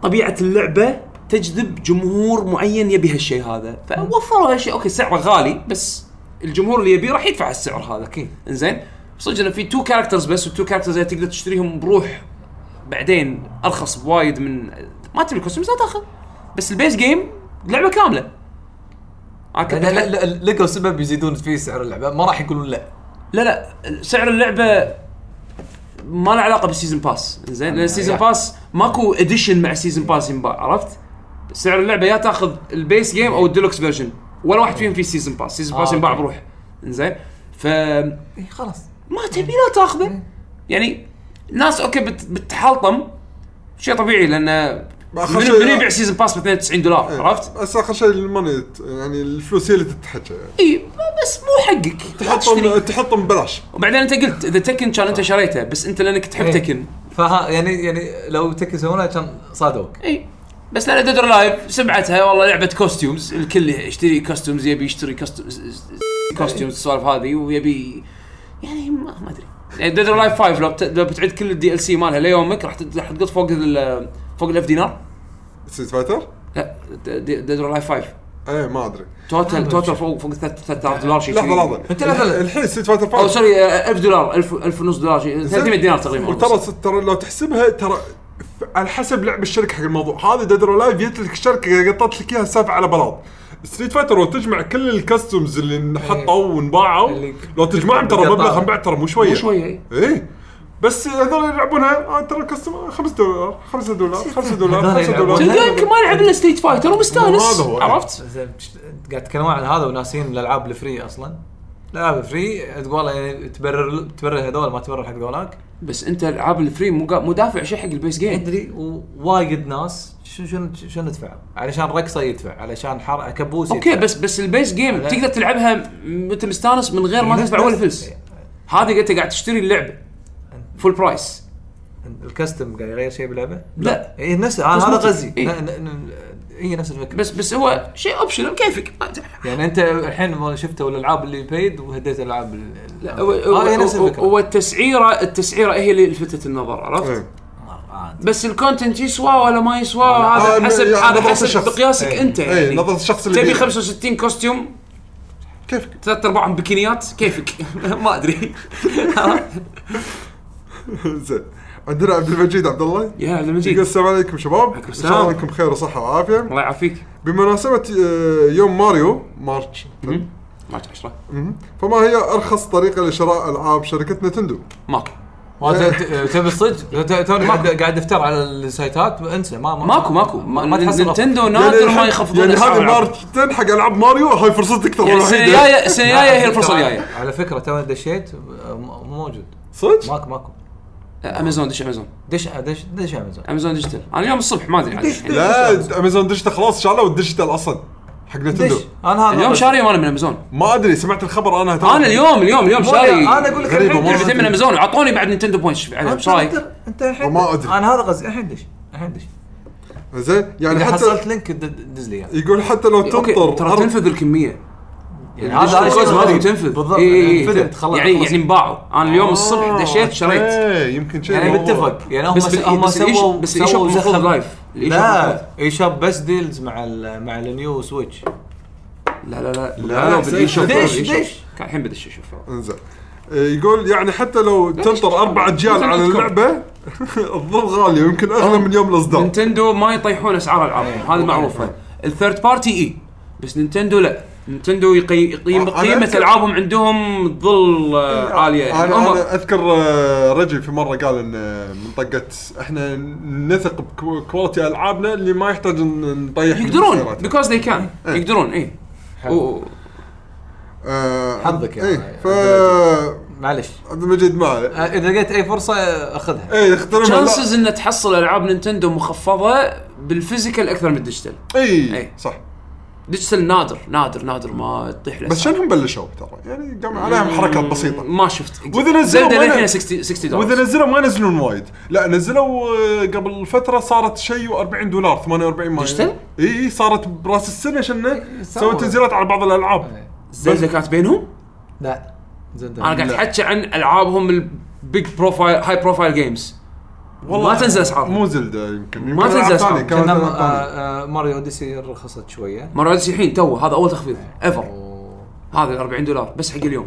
طبيعه اللعبه تجذب جمهور معين يبي هالشيء هذا فوفروا هالشيء اوكي سعره غالي بس الجمهور اللي يبيه راح يدفع السعر هذا اكيد انزين صدق انه في تو كاركترز بس والتو كاركترز اللي تقدر تشتريهم بروح بعدين ارخص بوايد من ما تبي الكوستمز لا تاخذ بس البيس جيم لعبه كامله أنا كنت
لا لا لا لقوا سبب يزيدون فيه سعر اللعبه ما راح يقولون لا
لا لا سعر اللعبه ما له علاقه بالسيزون باس زين لان السيزون
يعني.
باس ماكو اديشن مع سيزون باس ينباع عرفت؟ سعر اللعبه يا تاخذ البيس جيم او الديلوكس فيرجن ولا واحد فيهم فيه سيزون باس سيزون
آه،
باس ينباع
أوكي.
بروح زين ف
إيه خلاص
ما تبي لا تاخذه يعني ناس اوكي بت بتحلطم شيء طبيعي لان
آخر
من
شيء-
من يبيع سيزون باس ب 92 دولار
إيه.
عرفت؟
بس اخر شيء الماني يعني الفلوس هي اللي تتحكى يعني
اي بس مو حقك لا تشتري.
تحطهم تحطهم ببلاش
وبعدين انت قلت اذا تكن كان انت شريته بس انت لانك تحب
إيه.
تكن
فها يعني يعني لو تك يسوونها كان صادوك
اي بس لان ديد لايف سمعتها والله لعبه كوستيومز الكل يشتري كوستيومز يبي يشتري كوستيومز كوستيومز السوالف هذه ويبي يعني ما, ما ادري يعني ديد لايف 5 لو بت- لو بتعد كل الدي ال سي مالها ليومك راح تد- راح تقط فوق ال فوق الاف دينار
ستريت فايتر؟
لا ديد لايف 5
ايه ما ادري
توتال توتال فوق فوق 3000 دولار شيء
لحظه
كذي.
لحظه
أنت لا- لا-
الحين ستريت فايتر
او
5
سوري 1000 دولار 1000 1000 ونص دولار شيء 300 دينار تقريبا
وترى ترى لو تحسبها ترى ف- على حسب لعب الشركه حق الموضوع هذا ديد اور لايف جت لك الشركه قطت لك اياها السالفه على بلاط ستريت فايتر لو تجمع كل الكاستمز اللي انحطوا ونباعوا
إيه. اللي-
لو تجمعهم ترى
اللي
مبلغهم
قطعوا.
بعد ترى مو شويه
مو شوية، إي.
ايه بس هذول يلعبونها آه ترى الكاستم 5 دولار 5 دولار 5 دولار
هذول
5 دولار
تلقاه يمكن ما يلعب الا ستريت فايتر ومستانس
هذا هو.
عرفت؟
زين مش- قاعد تتكلمون عن هذا وناسين الالعاب الفري اصلا الالعاب الفري تقول والله يعني تبرر تبرر هذول ما تبرر حق ذولاك
بس انت العاب الفري مو قا- مو دافع شيء حق البيس جيم
ادري ووايد ناس شو شنو شنو ندفع علشان رقصه يدفع علشان حر كبوس
اوكي
يدفع.
بس بس البيس جيم
لا.
تقدر تلعبها وانت مستانس من غير ما
نفس-
تدفع ولا
نفس-
فلس هذه انت قاعد تشتري اللعبه فول برايس
الكاستم قاعد يغير شيء باللعبه؟
لا
اي نفس أنا هذا
ممكن.
غزي
إيه.
ن- ن- ن- هي نفس الفكره
بس بس هو شيء اوبشنال كيفك ما ادري
يعني انت الحين ما شفتوا الالعاب اللي بيد وهديت الالعاب ال-
لا، هو-
آه، هي نفس
هو-
الفكره
هو التسعيره التسعيره هي اللي لفتت النظر عرفت؟
إيه.
آه،
بس الكونتنت يسوى ولا ما يسوى
آه،
آه،
هذا حسب
يعني
هذا
نظرة
حسب
الشخص.
بقياسك
إيه.
انت
ايه
يعني
نظره الشخص اللي
تبي
بيه.
65 كوستيوم
كيفك
ثلاث ارباعهم بكينيات كيفك ما ادري
زين عندنا عبد المجيد عبد الله
يا عبد
يقول
المجيد
السلام عليكم شباب ان
السلام.
شاء الله انكم بخير وصحه وعافيه
الله يعافيك
بمناسبه آه، يوم ماريو مارتش
ما عشرة
مهم. فما هي ارخص طريقه لشراء العاب شركه نتندو؟
ماكو
ما ت- ت- تبي الصدق ت- توني قاعد قاعد افتر على السايتات انسى ما ما
ماكو ماكو ما,
ما,
ما
تحصل أفضل.
نتندو نادر ما
الحين-
يخفضون
يعني
أسعار
هذه
الألعاب.
مارتين حق العاب ماريو هاي فرصتك ترى
يعني السنه
الوحيده
الجايه السنه الجايه هي الفرصه الجايه
على فكره توني دشيت آه، مو موجود
صدق؟
ماكو ماكو
امازون دش امازون
دش دش دش امازون
امازون ديجيتال انا اليوم الصبح ما ادري عاد الحين.
لا امازون ديجيتال خلاص شالوا الديجيتال اصلا حق نتندو
دش انا هذا
اليوم شاري وانا من امازون
ما ادري سمعت الخبر انا ترى.
انا اليوم اليوم اليوم
مو
شاري
أنا- أنا أقول لك
غريبة
الحين
مرة.
لعبتين من امازون اعطوني بعد نينتندو بوينتس عليهم
انت
ايش رايك؟
أنت- انت الحين
ما أدري.
انا هذا قصدي الحين دش الحين دش
زين يعني
اذا
حتى
حصلت لينك د- دز لي يعني. اياه
يقول حتى لو
اوكي ترى
تنطر
تنفذ الكميه
يعني
هذا
هذا شيء
هذا
غريب.
تنفذ
بالضبط
إي إي إي،
يعني
تنفذ.
فدت، خلاص
إيه، يعني
خلاص.
يعني انباعوا انا اليوم
آه.
الصبح دشيت شريت
ايه يمكن شيء
يعني
الموضوع.
متفق يعني هم
بس بال-
هم
بس الإيش-
سووا
بس الإيشوب مو
زخم.
خذ لايف. الإيشوب مو
لا اي شوب بس ديلز مع ال مع النيو سويتش
لا لا لا
لا،
لا بالاي شوب
دش،
بالإي
دش.
شوب. الحين بدش اشوف
انزين إيه، يقول يعني حتى لو تنطر اربع اجيال على اللعبه الظل غالي ويمكن اغلى من يوم الاصدار
نينتندو ما يطيحون اسعار
إيه،
العابهم هذه معروفه الثيرد بارتي اي بس نينتندو لا نينتندو يقي- يقيم
أنا
قيمه
أذكر- إيه،
العابهم عندهم تظل آه، عاليه يعني
انا
هم-
انا اذكر آه، رجل في مره قال ان آه، منطقه احنا نثق بكواليتي العابنا اللي ما يحتاج ن- نطيح من
يقدرون
سعراتها.
بيكوز ذي كان
إيه.
يقدرون إيه. اي
آه،
حظك يا
ايه ف
معلش
عبد المجيد ما
آه،
عليه.
اذا لقيت اي فرصه
آه،
اخذها
ايه اخترم
تشانسز ان تحصل العاب نينتندو مخفضه بالفيزيكال اكثر من الديجيتال
اي
إيه.
صح
ديجيتال نادر نادر نادر ما تطيح له
بس
أسعار.
شنهم بلشوا ترى يعني قام عليهم حركات بسيطه
ما شفت
وإذا نزلوا
زلدة
ما ن-
للحين 60 60
واذا
دولار
نزلوا ما ينزلون وايد لا نزلوا آه، قبل فتره صارت شيء و40 دولار 48 ما
ديجيتال؟
اي اي صارت براس السنه شنه
سووا.
سووا تنزيلات على بعض الالعاب
زلدة كانت بينهم
لا زين
انا قاعد احكي عن العابهم البيج بروفايل هاي بروفايل جيمز والله ما تنزل اسعار
مو زلده يمكن
ما تنزل أسعار.
كان
كنا آه، آه، ماريو اوديسي رخصت شويه
مره الحين تو هذا اول تخفيض ايفر هذا 40 دولار بس حق اليوم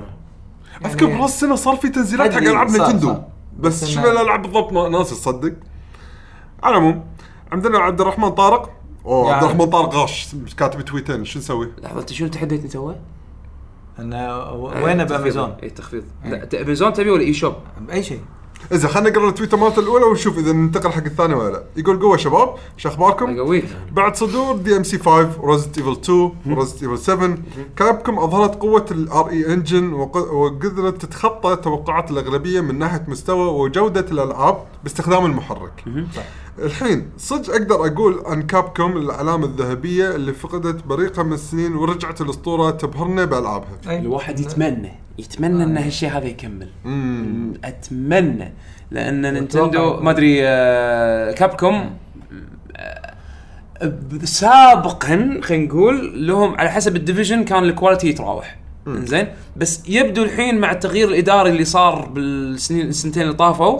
اذكر بهالسنه صار في تنزيلات حق
أدري،
العاب
صح،
نتندو
صح.
بس
بس
شنو
إنه-
الالعاب بالضبط ما- ناسي تصدق على العموم عندنا عبد الرحمن طارق اوه
يا
عبد
عبد.
الرحمن طارق غاش كاتب تويتين شو نسوي؟
لحظه انت شنو تحديت انت هو؟
انه
آه،
و- وينه بامازون؟
اي تخفيض لا ت- امازون تبي ولا اي شوب؟
باي شيء
اذا خلينا نقرا التويته مالته الاولى ونشوف اذا ننتقل حق الثانيه ولا لا يقول قوه شباب شو اخباركم؟
اقويك
بعد صدور دي ام سي 5 ريزد ايفل 2 وريزد ايفل 7 كابكم اظهرت قوه الار اي انجن E وقدرت تتخطى توقعات الاغلبيه من ناحيه مستوى وجوده الالعاب باستخدام المحرك. الحين صدق اقدر اقول عن كابكم العلامه الذهبيه اللي فقدت بريقها من السنين ورجعت الاسطوره تبهرنا بالعابها.
أي. آه، إيه.
الواحد يتمنى يتمنى ان هالشيء هذا يكمل مم، اتمنى لان نينتندو ما ادري كابكوم سابقا خلينا نقول لهم على حسب الديفيجن كان الكواليتي يتراوح زين بس يبدو الحين مع التغيير الاداري اللي صار بالسنين السنتين اللي طافوا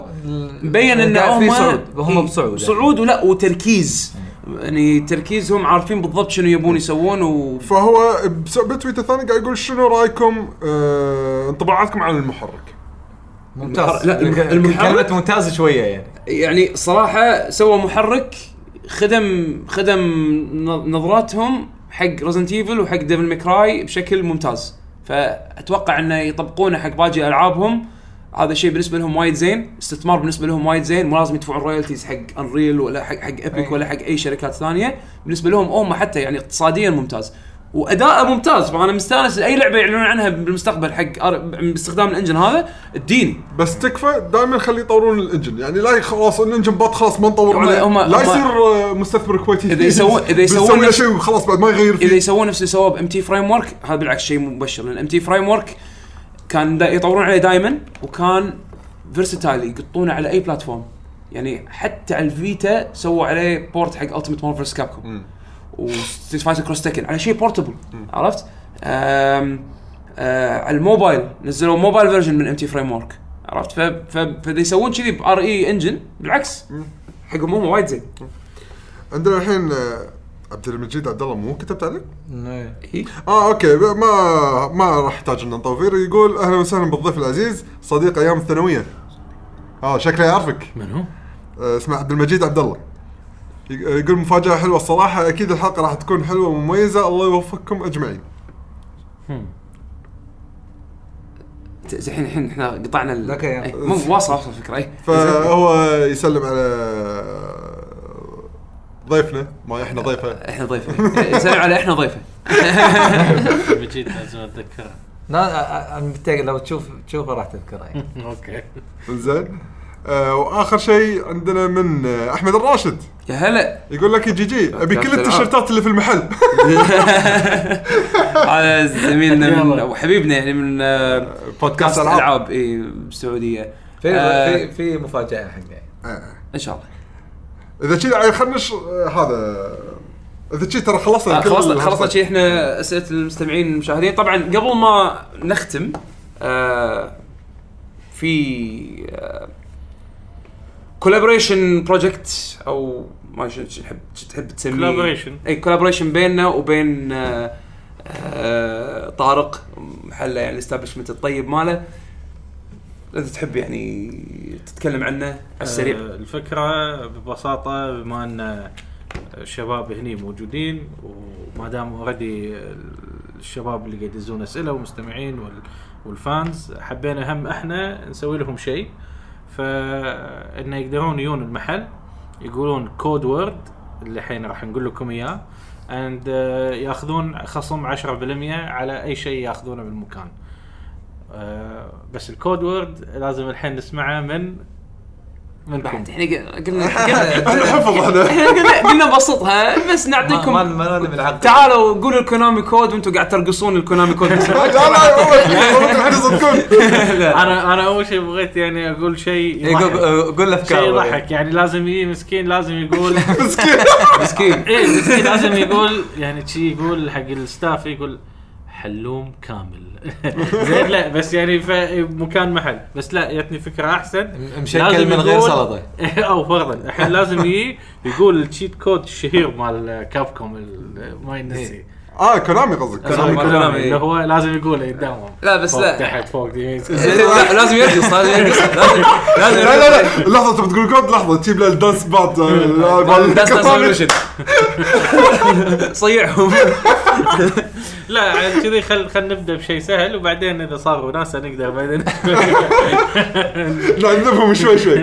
مبين ان
قاعد
هم
في صعود
إيه،
هم بصعود يعني.
صعود ولا وتركيز يعني تركيزهم عارفين بالضبط شنو يبون يسوون و
فهو بس- بتويته ثاني قاعد يقول شنو رايكم آه انطباعاتكم عن المحرك؟
ممتاز
لا، الم-
ك-
المحرك-
كلمه ممتاز شويه يعني
يعني صراحه سوى محرك خدم خدم ن- نظراتهم حق ريزنت ايفل وحق ديفل ميكراي بشكل ممتاز فاتوقع انه يطبقونه حق باقي العابهم هذا الشيء بالنسبه لهم وايد زين استثمار بالنسبه لهم وايد زين مو لازم يدفعون رويالتيز حق انريل ولا حق حق ابيك
أي.
ولا حق اي شركات ثانيه بالنسبه لهم هم حتى يعني اقتصاديا ممتاز واداءه ممتاز فانا مستانس اي لعبه يعلنون عنها بالمستقبل حق أر- باستخدام الانجن هذا الدين
بس تكفى دائما خليه يطورون الانجن يعني لا خلاص الانجن بط خلاص ما نطور
هم-
عليه
يعني هم-
لا
هم-
يصير آه، مستثمر كويتي
إذا يسوون- إذا يسوون
بيسوي له
نفس-
شيء خلاص بعد ما يغير
اذا
فيه
يسوون نفس اللي سووه بام تي فريم ورك هذا بالعكس شيء مبشر لان ام تي فريم ورك كان دا يطورون عليه دائما وكان فيرستايل يقطونه على اي بلاتفورم يعني حتى على الفيتا سووا عليه بورت حق التيمت مارفل كابكوم وستريت فايتر كروس تكن على شيء بورتبل عرفت؟ أم آه على الموبايل نزلوا موبايل فيرجن من ام تي فريم ورك عرفت؟ ف- ف- فاذا يسوون كذي بار اي انجن بالعكس حقهم هم وايد زين
عندنا الحين آه، عبد المجيد عبد الله مو كتبت عليه؟
إيه.
اه اوكي ب- ما ما راح يحتاج ان نطوفير يقول اهلا وسهلا بالضيف العزيز صديق ايام الثانويه اه شكله يعرفك
من هو؟
آه، اسمه عبد المجيد عبد الله يق- يقول مفاجاه حلوه الصراحه اكيد الحلقه راح تكون حلوه ومميزه الله يوفقكم اجمعين
ت- الحين الحين احنا قطعنا ال...
ذاك أيام.
إيه، مو واصل واصل إيه. الفكره اي
فهو يسلم على ضيفنا ما احنا ضيفه
احنا ضيفه سلام إيه، على احنا ضيفه
مجيد لازم اتذكره
لا انا متأكد لو تشوف تشوفه راح تذكره يعني.
اوكي
زين آه واخر شيء عندنا من آه، احمد الراشد
يا هلا
يقول لك يا جي جي ابي كل
الألعاب.
التيشيرتات اللي في المحل
هذا زميلنا من
يلا.
وحبيبنا يعني من آه،
بودكاست
كاست
العاب
العاب اي بالسعوديه
في
آه.
في في مفاجاه حقه
ان شاء الله
اذا كذا خلنا نش- آه، هذا اذا كذا ترى خلصنا
آه،
كل
خلصنا
ال-
خلصنا شيء احنا اسئله المستمعين المشاهدين طبعا قبل ما نختم آه، في آه، كولابوريشن بروجكت او ما شو شو تحب شو تحب تسميه
Collaboration.
اي كولابوريشن بيننا وبين آه، آه، طارق محله يعني الاستابلشمنت الطيب ماله اذا تحب يعني تتكلم عنه على السريع
آه، الفكره ببساطه بما ان الشباب هني موجودين وما دام اوريدي الشباب اللي قاعد يدزون اسئله ومستمعين وال- والفانز حبينا هم احنا نسوي لهم شيء فانه يقدرون يجون المحل يقولون كود وورد اللي الحين راح نقول لكم اياه اند ياخذون خصم 10% على اي شيء ياخذونه بالمكان آه، بس الكود وورد لازم الحين نسمعه من منكم
بعد احنا قلنا- قلنا
احنا حفظ احنا
احنا قلنا قلنا نبسطها بس
ما ما
نعطيكم
ما نبي العقد
تعالوا قولوا الكونامي كود وانتم قاعد ترقصون الكونامي كود
لا لا والله احنا صدقون
انا انا اول شيء بغيت يعني اقول شيء
إيه، قول-
يضحك.
آه، قول
شيء
افكار
يضحك يعني لازم يجي مسكين لازم يقول إيه،
مسكين
ايه مسكين لازم يقول يعني شي يقول حق الستاف يقول حلوم كامل زين لا بس يعني فمكان محل بس لا جتني فكره احسن
م- مشكل
لازم
من غير
يقول-
سلطة.
او فرضا الحين لازم يجي يقول التشيت كود الشهير مال كابكوم ال- ما ينسي
اه كلامي قصدك
كلامي-
كلامي
إيه.
اللي هو لازم يقوله قدامهم
لا، بس
فوق
لا.
تحت فوق يمين
لا، لازم يرقص لازم يرقص لازم لازم
لا لا
يرقص.
لا لحظه انت بتقول كود لحظه تجيب له الدانس بات آه، مال
That's not
كلامي.
solution. صيعهم
لا عاد كذي خل خل نبدا بشيء سهل وبعدين اذا صاروا ناس نقدر بعدين
نعذبهم شوي شوي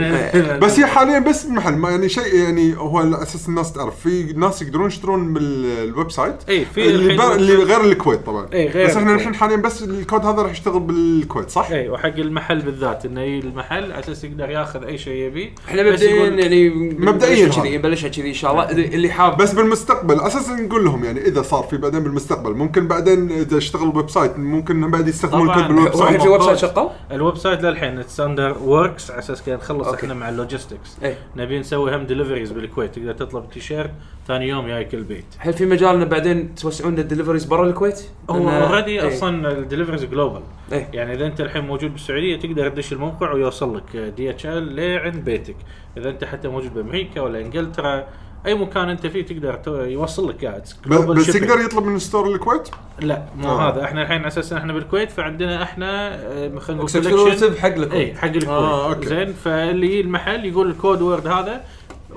بس هي حاليا بس محل ما يعني شيء يعني هو على اساس الناس تعرف في ناس يقدرون يشترون من ال- الويب سايت
اي إيه، في
اللي,
الحين-
بر... اللي غير الكويت طبعا
إي، غير
بس احنا
الكويت. إيه.
الحين حاليا بس الكود هذا راح يشتغل بالكويت صح؟
اي وحق المحل بالذات انه يجي المحل على اساس يقدر ياخذ اي شيء يبيه
احنا
بس
مبدئيا
يقول-
يعني
مبدئياً هذا.
كذي نبلشها كذي ان شاء الله اللي اللي حاب
بس بالمستقبل اساسا نقول لهم يعني اذا صار في بعدين بالمستقبل ممكن بعدين اذا اشتغل ويب سايت ممكن هم بعد يستخدمون
طبعاً.
الكود بالويب
واحد
سايت
في ويب سايت شغال؟
الويب سايت للحين ستاندر وركس على اساس كذا نخلص
أوكي.
احنا مع اللوجيستكس
إيه.
نبي نسوي هم دليفريز بالكويت تقدر تطلب تيشيرت ثاني يوم جايك البيت
هل في مجال انه بعدين توسعون الدليفريز برا الكويت؟
هو
لأن-
اوريدي
إيه.
اصلا الدليفريز جلوبال
إيه.
يعني اذا انت الحين موجود بالسعوديه تقدر تدش الموقع ويوصل لك دي اتش ال لعند بيتك اذا انت حتى موجود بامريكا ولا انجلترا اي مكان انت فيه تقدر تو- يوصل لك قاعد
ب- بس يقدر يطلب من ستور الكويت
لا مو
آه.
هذا احنا الحين اساسا احنا بالكويت فعندنا احنا آه، خلينا نقول collection.
اكسكلوسيف حق الكويت
اي حق الكويت
آه،
آه،
أوكي.
زين فاللي يجي المحل يقول الكود وورد هذا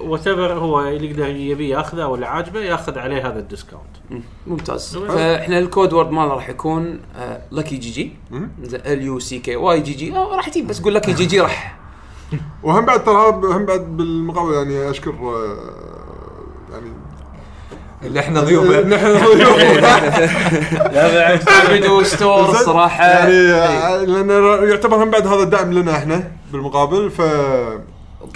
وات هو اللي يقدر يبي ياخذه ولا عاجبه ياخذ عليه هذا الديسكاونت
ممتاز
حلو.
فاحنا الكود وورد مالنا راح يكون آه، لكي جي جي ال يو سي كي واي جي جي آه، راح تجيب بس قول لكي جي جي راح
وهم بعد ترى هم بعد بالمقابل يعني اشكر آه، يعني
اللي احنا ضيوفه
نحن ضيوف.
لا بالعكس فيديو ستور
زين؟
صراحه
يعني
إيه.
آه، لان يعتبر هم بعد هذا دعم لنا احنا بالمقابل ف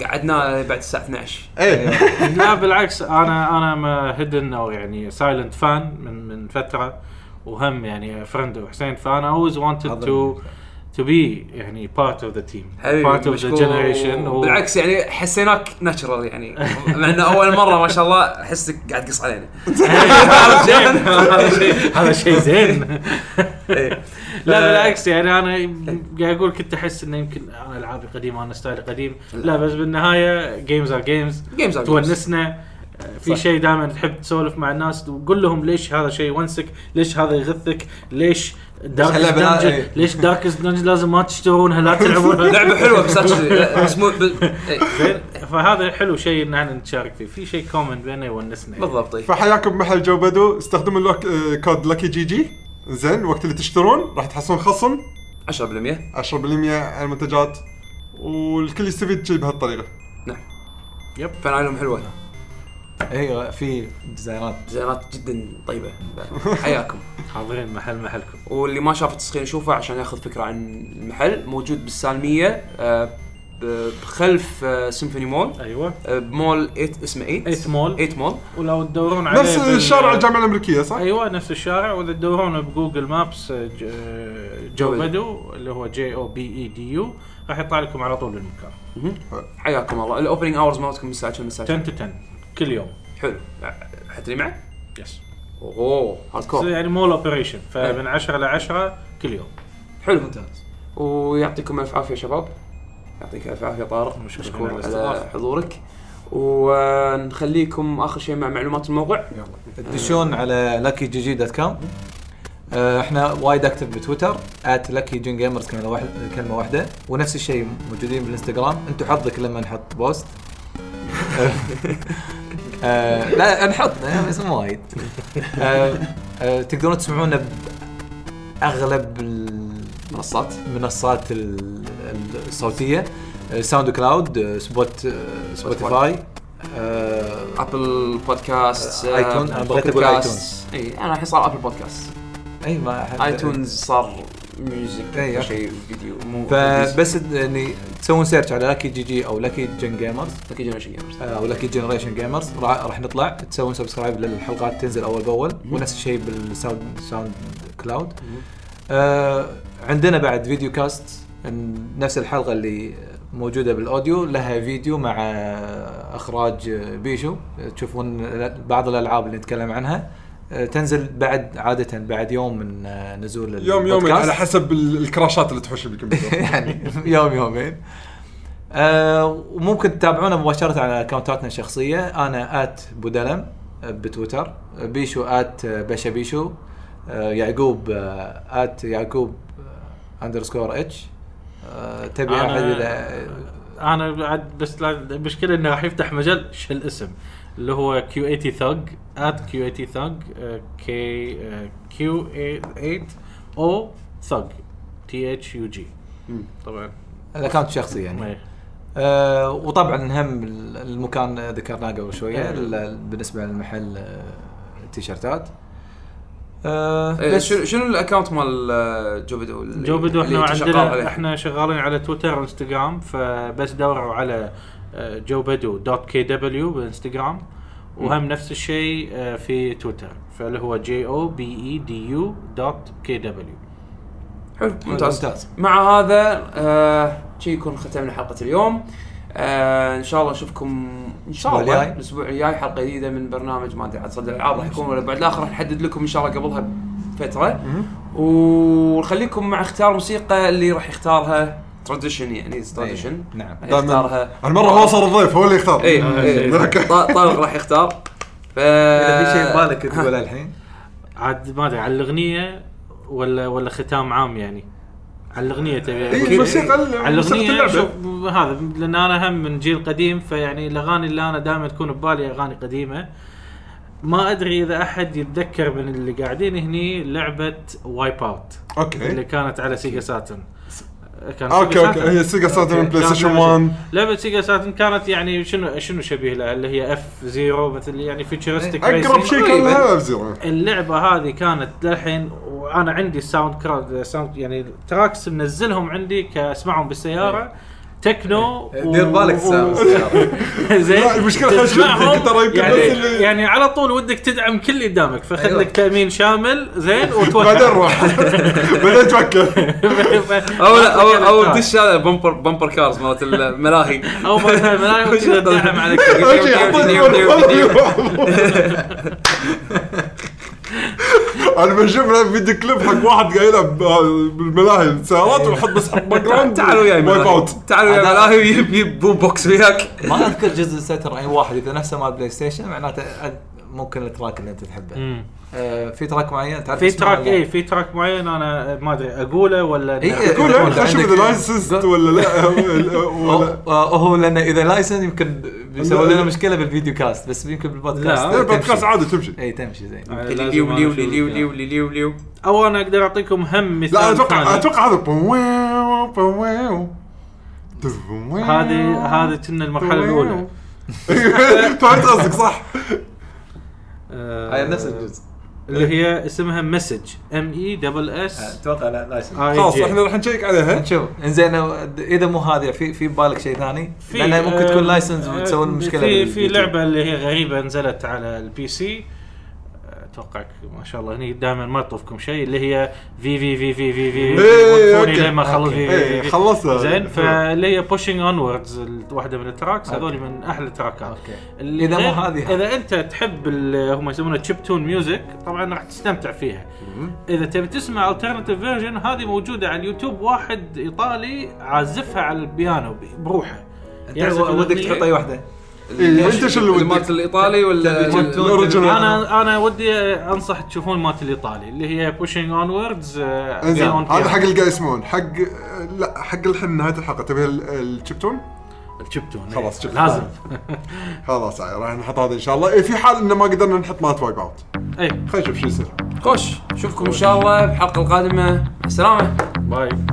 قعدنا بعد الساعه 12
إيه.
ايه
لا بالعكس انا انا ما هيدن او يعني سايلنت فان من من فتره وهم يعني فرند وحسين فانا always wanted to to be يعني part of the team
حبيبي
part of the
مشكور.
generation و-
بالعكس يعني حسيناك ناتشرال يعني مع انه اول مره ما شاء الله احسك قاعد تقص علينا عرفت شلون؟
هذا شيء- هذا شيء زين
إيه.
لا بالعكس يعني انا قاعد اقول كنت احس انه يمكن انا العابي قديمه انا ستايلي قديم لا بس بالنهايه جيمز ار جيمز
Games are games.
تونسنا آه، في شيء دائما تحب تسولف مع الناس وقول لهم ليش هذا شيء يونسك ليش هذا يغثك ليش دارك
هلا بلا-
دنجن
إيه.
ليش دارك دنجن لازم ما تشترونها لا تلعبونها
لعبه حلوه بس لا تشتري. لا، بس مو بال- إيه.
زين فهذا حلو شيء ان احنا نتشارك فيه في شيء كومن بيننا يونسنا
بالضبط إيه.
فحياكم محل جو بدو استخدموا اللوك آه، كود لكي جي جي زين وقت اللي تشترون راح تحصلون خصم
10%
10% على المنتجات والكل يستفيد شي بهالطريقه
يعني
فنانهم حلوه
ايوه في ديزاينات
ديزاينات جدا طيبه حياكم
حاضرين محل محلكم
واللي ما شاف التسخين يشوفه عشان ياخذ فكره عن المحل موجود بالسالميه آه، ب- بخلف آه، سيمفوني مول
ايوه
آه، بمول 8 اسمه 8
8 مول
8 مول
ولو تدورون عليه
نفس
بال-
الشارع الجامعه الامريكيه صح؟
ايوه نفس الشارع واذا تدورون بجوجل مابس آه، ج- آه، جو
بدو.
بدو اللي هو جي او بي اي دي يو E راح يطلع لكم على طول المكان
حياكم الله الاوبننج اورز مالتكم الساعه كم الساعه
10
كم؟
تو 10 كل يوم
حلو حتري معه؟
يس
اوه هارد
بس
كور
يعني مول اوبريشن فمن 10 ل 10 كل يوم
حلو ممتاز ويعطيكم الف عافيه شباب يعطيك الف عافيه طارق
مشكور
مشكور
على
على
الاستضافة.
حضورك ونخليكم اخر شيء مع معلومات الموقع
تدشون على لاكي جي جي دوت كوم آه، احنا وايد اكتف بتويتر ات لاكي جين جيمرز كلمه واحده كلمه واحده ونفس الشيء موجودين بالانستغرام انتم حظك لما نحط بوست آه، لا نحط آه، بس مو وايد آه، آه، تقدرون تسمعونا باغلب المنصات منصات ال- ال- الصوتيه آه، ساوند كلاود آه، سبوت آه، سبوتيفاي آه،
ابل بودكاست
آه، آيتون. أنا بغيت أقول
اي انا الحين صار ابل بودكاست
اي ما أحد-
ايتونز صار ميوزك
إي، أوكي.
شيء فيديو مو
فبس يعني تسوون سيرش على لاكي جي جي او لاكي جن جيمرز
لكي جنريشن جيمرز
او لاكي جنريشن جيمرز راح راح نطلع تسوون سبسكرايب للحلقات تنزل اول باول ونفس الشيء بالساوند ساوند كلاود آه عندنا بعد فيديو كاست إن نفس الحلقه اللي موجوده بالاوديو لها فيديو مع اخراج بيشو تشوفون بعض الالعاب اللي نتكلم عنها آه، تنزل بعد عاده بعد يوم من آه، نزول
يوم يومين
البودكاست.
على حسب ال- الكراشات اللي تحوش بالكمبيوتر
يعني يوم يومين آه وممكن تتابعونا مباشره على اكونتاتنا الشخصيه انا ات بودلم آه، بتويتر بيشو ات بشا بيشو آه يعقوب آه، ات يعقوب اندرسكور اتش آه تبي
أنا-
احد اذا
انا بعد بس لا- المشكله انه راح يفتح مجال شو الاسم اللي هو كيو 80 ثوج ات كيو 80 ثوج كي كيو 8 او ثوج تي اتش يو جي طبعا
الاكونت الشخصي يعني
ما-
آه وطبعا هم ال- المكان ذكرناه قبل شويه ال- بالنسبه للمحل آه، التيشيرتات آه
إيه،
بس
شنو شنو الاكونت مال آه، جوبدو اللي-
جوبدو
اللي
احنا
أنت شغال عليه؟
عندنا احنا شغالين على تويتر وانستغرام فبس دوروا على آه، جوبدو دوت كي دبليو بانستغرام وهم نفس الشيء آه، في تويتر فاللي هو جي او بي اي دي يو E دوت كي دبليو
حلو ممتاز
ممتاز.
مع هذا آه، شي يكون ختمنا حلقه اليوم آه، ان شاء الله نشوفكم ان شاء
الأسبوع
الله
الجاي.
الاسبوع الجاي حلقه جديده من برنامج ما ادري عاد صدى الالعاب راح يكون ولا بعد الاخر راح نحدد لكم ان شاء الله قبلها بفتره ونخليكم مع اختيار موسيقى اللي راح يختارها تراديشن يعني تراديشن
نعم
يختارها
هالمره هو صار الضيف هو اللي يختار
إيه.
اي
آه،
إيه، طارق راح يختار ف
اذا في شيء ببالك تقوله الحين
عاد ما ادري على الاغنيه ولا ولا ختام عام يعني على الاغنيه تبي
إيه،
أقول شيء؟
الموسيقى ال-
على
موسيقى
الاغنيه
اللعبة.
شوف هذا لان انا هم من جيل قديم فيعني الاغاني اللي انا دائما تكون ببالي اغاني قديمه ما ادري اذا احد يتذكر من اللي قاعدين هني لعبه وايب اوت اللي
اوكي
كانت على سيجا ساتن كان
اوكي
سيجا
اوكي
ساتن.
هي سيجا ساتن
أوكي.
بلاي
كانت
ستيشن
لعبة-
1
لعبه سيجا ساتن كانت يعني شنو شنو شبيه لها اللي هي اف زيرو مثل يعني فيتشرستيك
اقرب
إيه.
شيء كان
تقريباً.
لها زيرو
اللعبه هذه كانت للحين وانا عندي الساوند كراود ساوند يعني تراكس منزلهم عندي كاسمعهم بالسياره
إيه.
تكنو و-
دير بالك
و-
سام.
زين
لا، المشكلة خلنا نشوف
تسمعهم
ترى يمكن
يعني,
بس اللي- أيوه.
يعني على طول ودك تدعم كل اللي قدامك فخذ
أيوة.
لك تامين شامل زين
بعدين
وتوكل
روح بعدين توكل
او لا او او دش هذا بمبر بمبر كارز مالت الملاهي
او مثلا ملايين تدعم على كل
أول شيء يحطون انا بشوف له فيديو كليب حق واحد قايله بالملاهي السيارات ويحط بس حط باك جراوند
تعالوا وياي
وايب
ملاهي
اوت
تعالوا وياي ملاهي ويب يب بوم بوكس وياك
ما اذكر جزء ستر اي واحد اذا نفسه مال بلاي ستيشن معناته أد- ممكن التراك اللي انت تحبه آه في تراك معين تعرف
في
اسمه
تراك إيه.
ولا؟
اي في تراك معين انا ما ادري اقوله ولا
إي، إي.
قول يعني،
عندك-
خش اذا لايسنس ولا لا ولا
أو- آه، هو لان اذا لايسن يمكن بيسوي لنا مشكله بالفيديو كاست بس يمكن بالبودكاست
لا، آه.
تمشي. إيه،
البودكاست يعني عادي تمشي
اي تمشي زين
إيه.
ليو ليو ليو ليو ليو ليو
إيه،
او انا اقدر اعطيكم هم مثال
لا اتوقع
ثاني.
اتوقع هذا بويو بويو دفويو.
هذه هذه كنا المرحله الاولى
فهمت قصدك صح
آه،
هاي نفس الجزء
اللي هي اسمها E مسج ام اي دبل
آه،
اس
اتوقع لا لايسن
خلاص احنا راح نشيك
آه.
عليها
شوف انزين أو- اذا مو هذه في في بالك شيء ثاني؟ لان ممكن تكون لايسنس وتسوي المشكله
آه، في في
باليوتيوب.
لعبه اللي هي غريبه نزلت على البي سي اتوقع ما شاء الله هني دائما ما يطوفكم شيء اللي هي في في في في في في
إيه،
وقفوني
أوكي.
لين ما خلص في- في-
إيه،
في-
خلصها.
زين
إيه.
فاللي هي بوشنج اونوردز واحده من التراكس هذول
أوكي.
من احلى التراكات
اوكي
اللي
إذا مو
غير-
هذه.
اذا انت تحب ال- هم يسمونها تشيب تون ميوزك طبعا راح تستمتع فيها اذا تبي تسمع الترناتيف فيرجن هذه موجوده على اليوتيوب واحد ايطالي عازفها على البيانو ب- بروحه يعني
انت
يعزف
ودك
الأغنية.
تحط اي واحده
وانت إيه، شو اللي ودك؟
مالت الايطالي ولا
تبي تبي-
الاوريجنال
انا انا إيه، ودي انصح تشوفون مالت الايطالي اللي هي آه، بوشينج اونوردز
انزين هذا حق اللي قاعد يسمعون حق لا حق الحين نهايه الحلقه تبي ال- الشبتون؟
شفتون
خلاص، شفتون.
إيه. لازم
خلاص عاد راح نحط هذا ان شاء الله إيه، في حال انه ما قدرنا نحط مالت وايب اوت
اي
خلينا نشوف شو يصير
خوش نشوفكم ان شاء الله بالحلقه القادمه السلامه
باي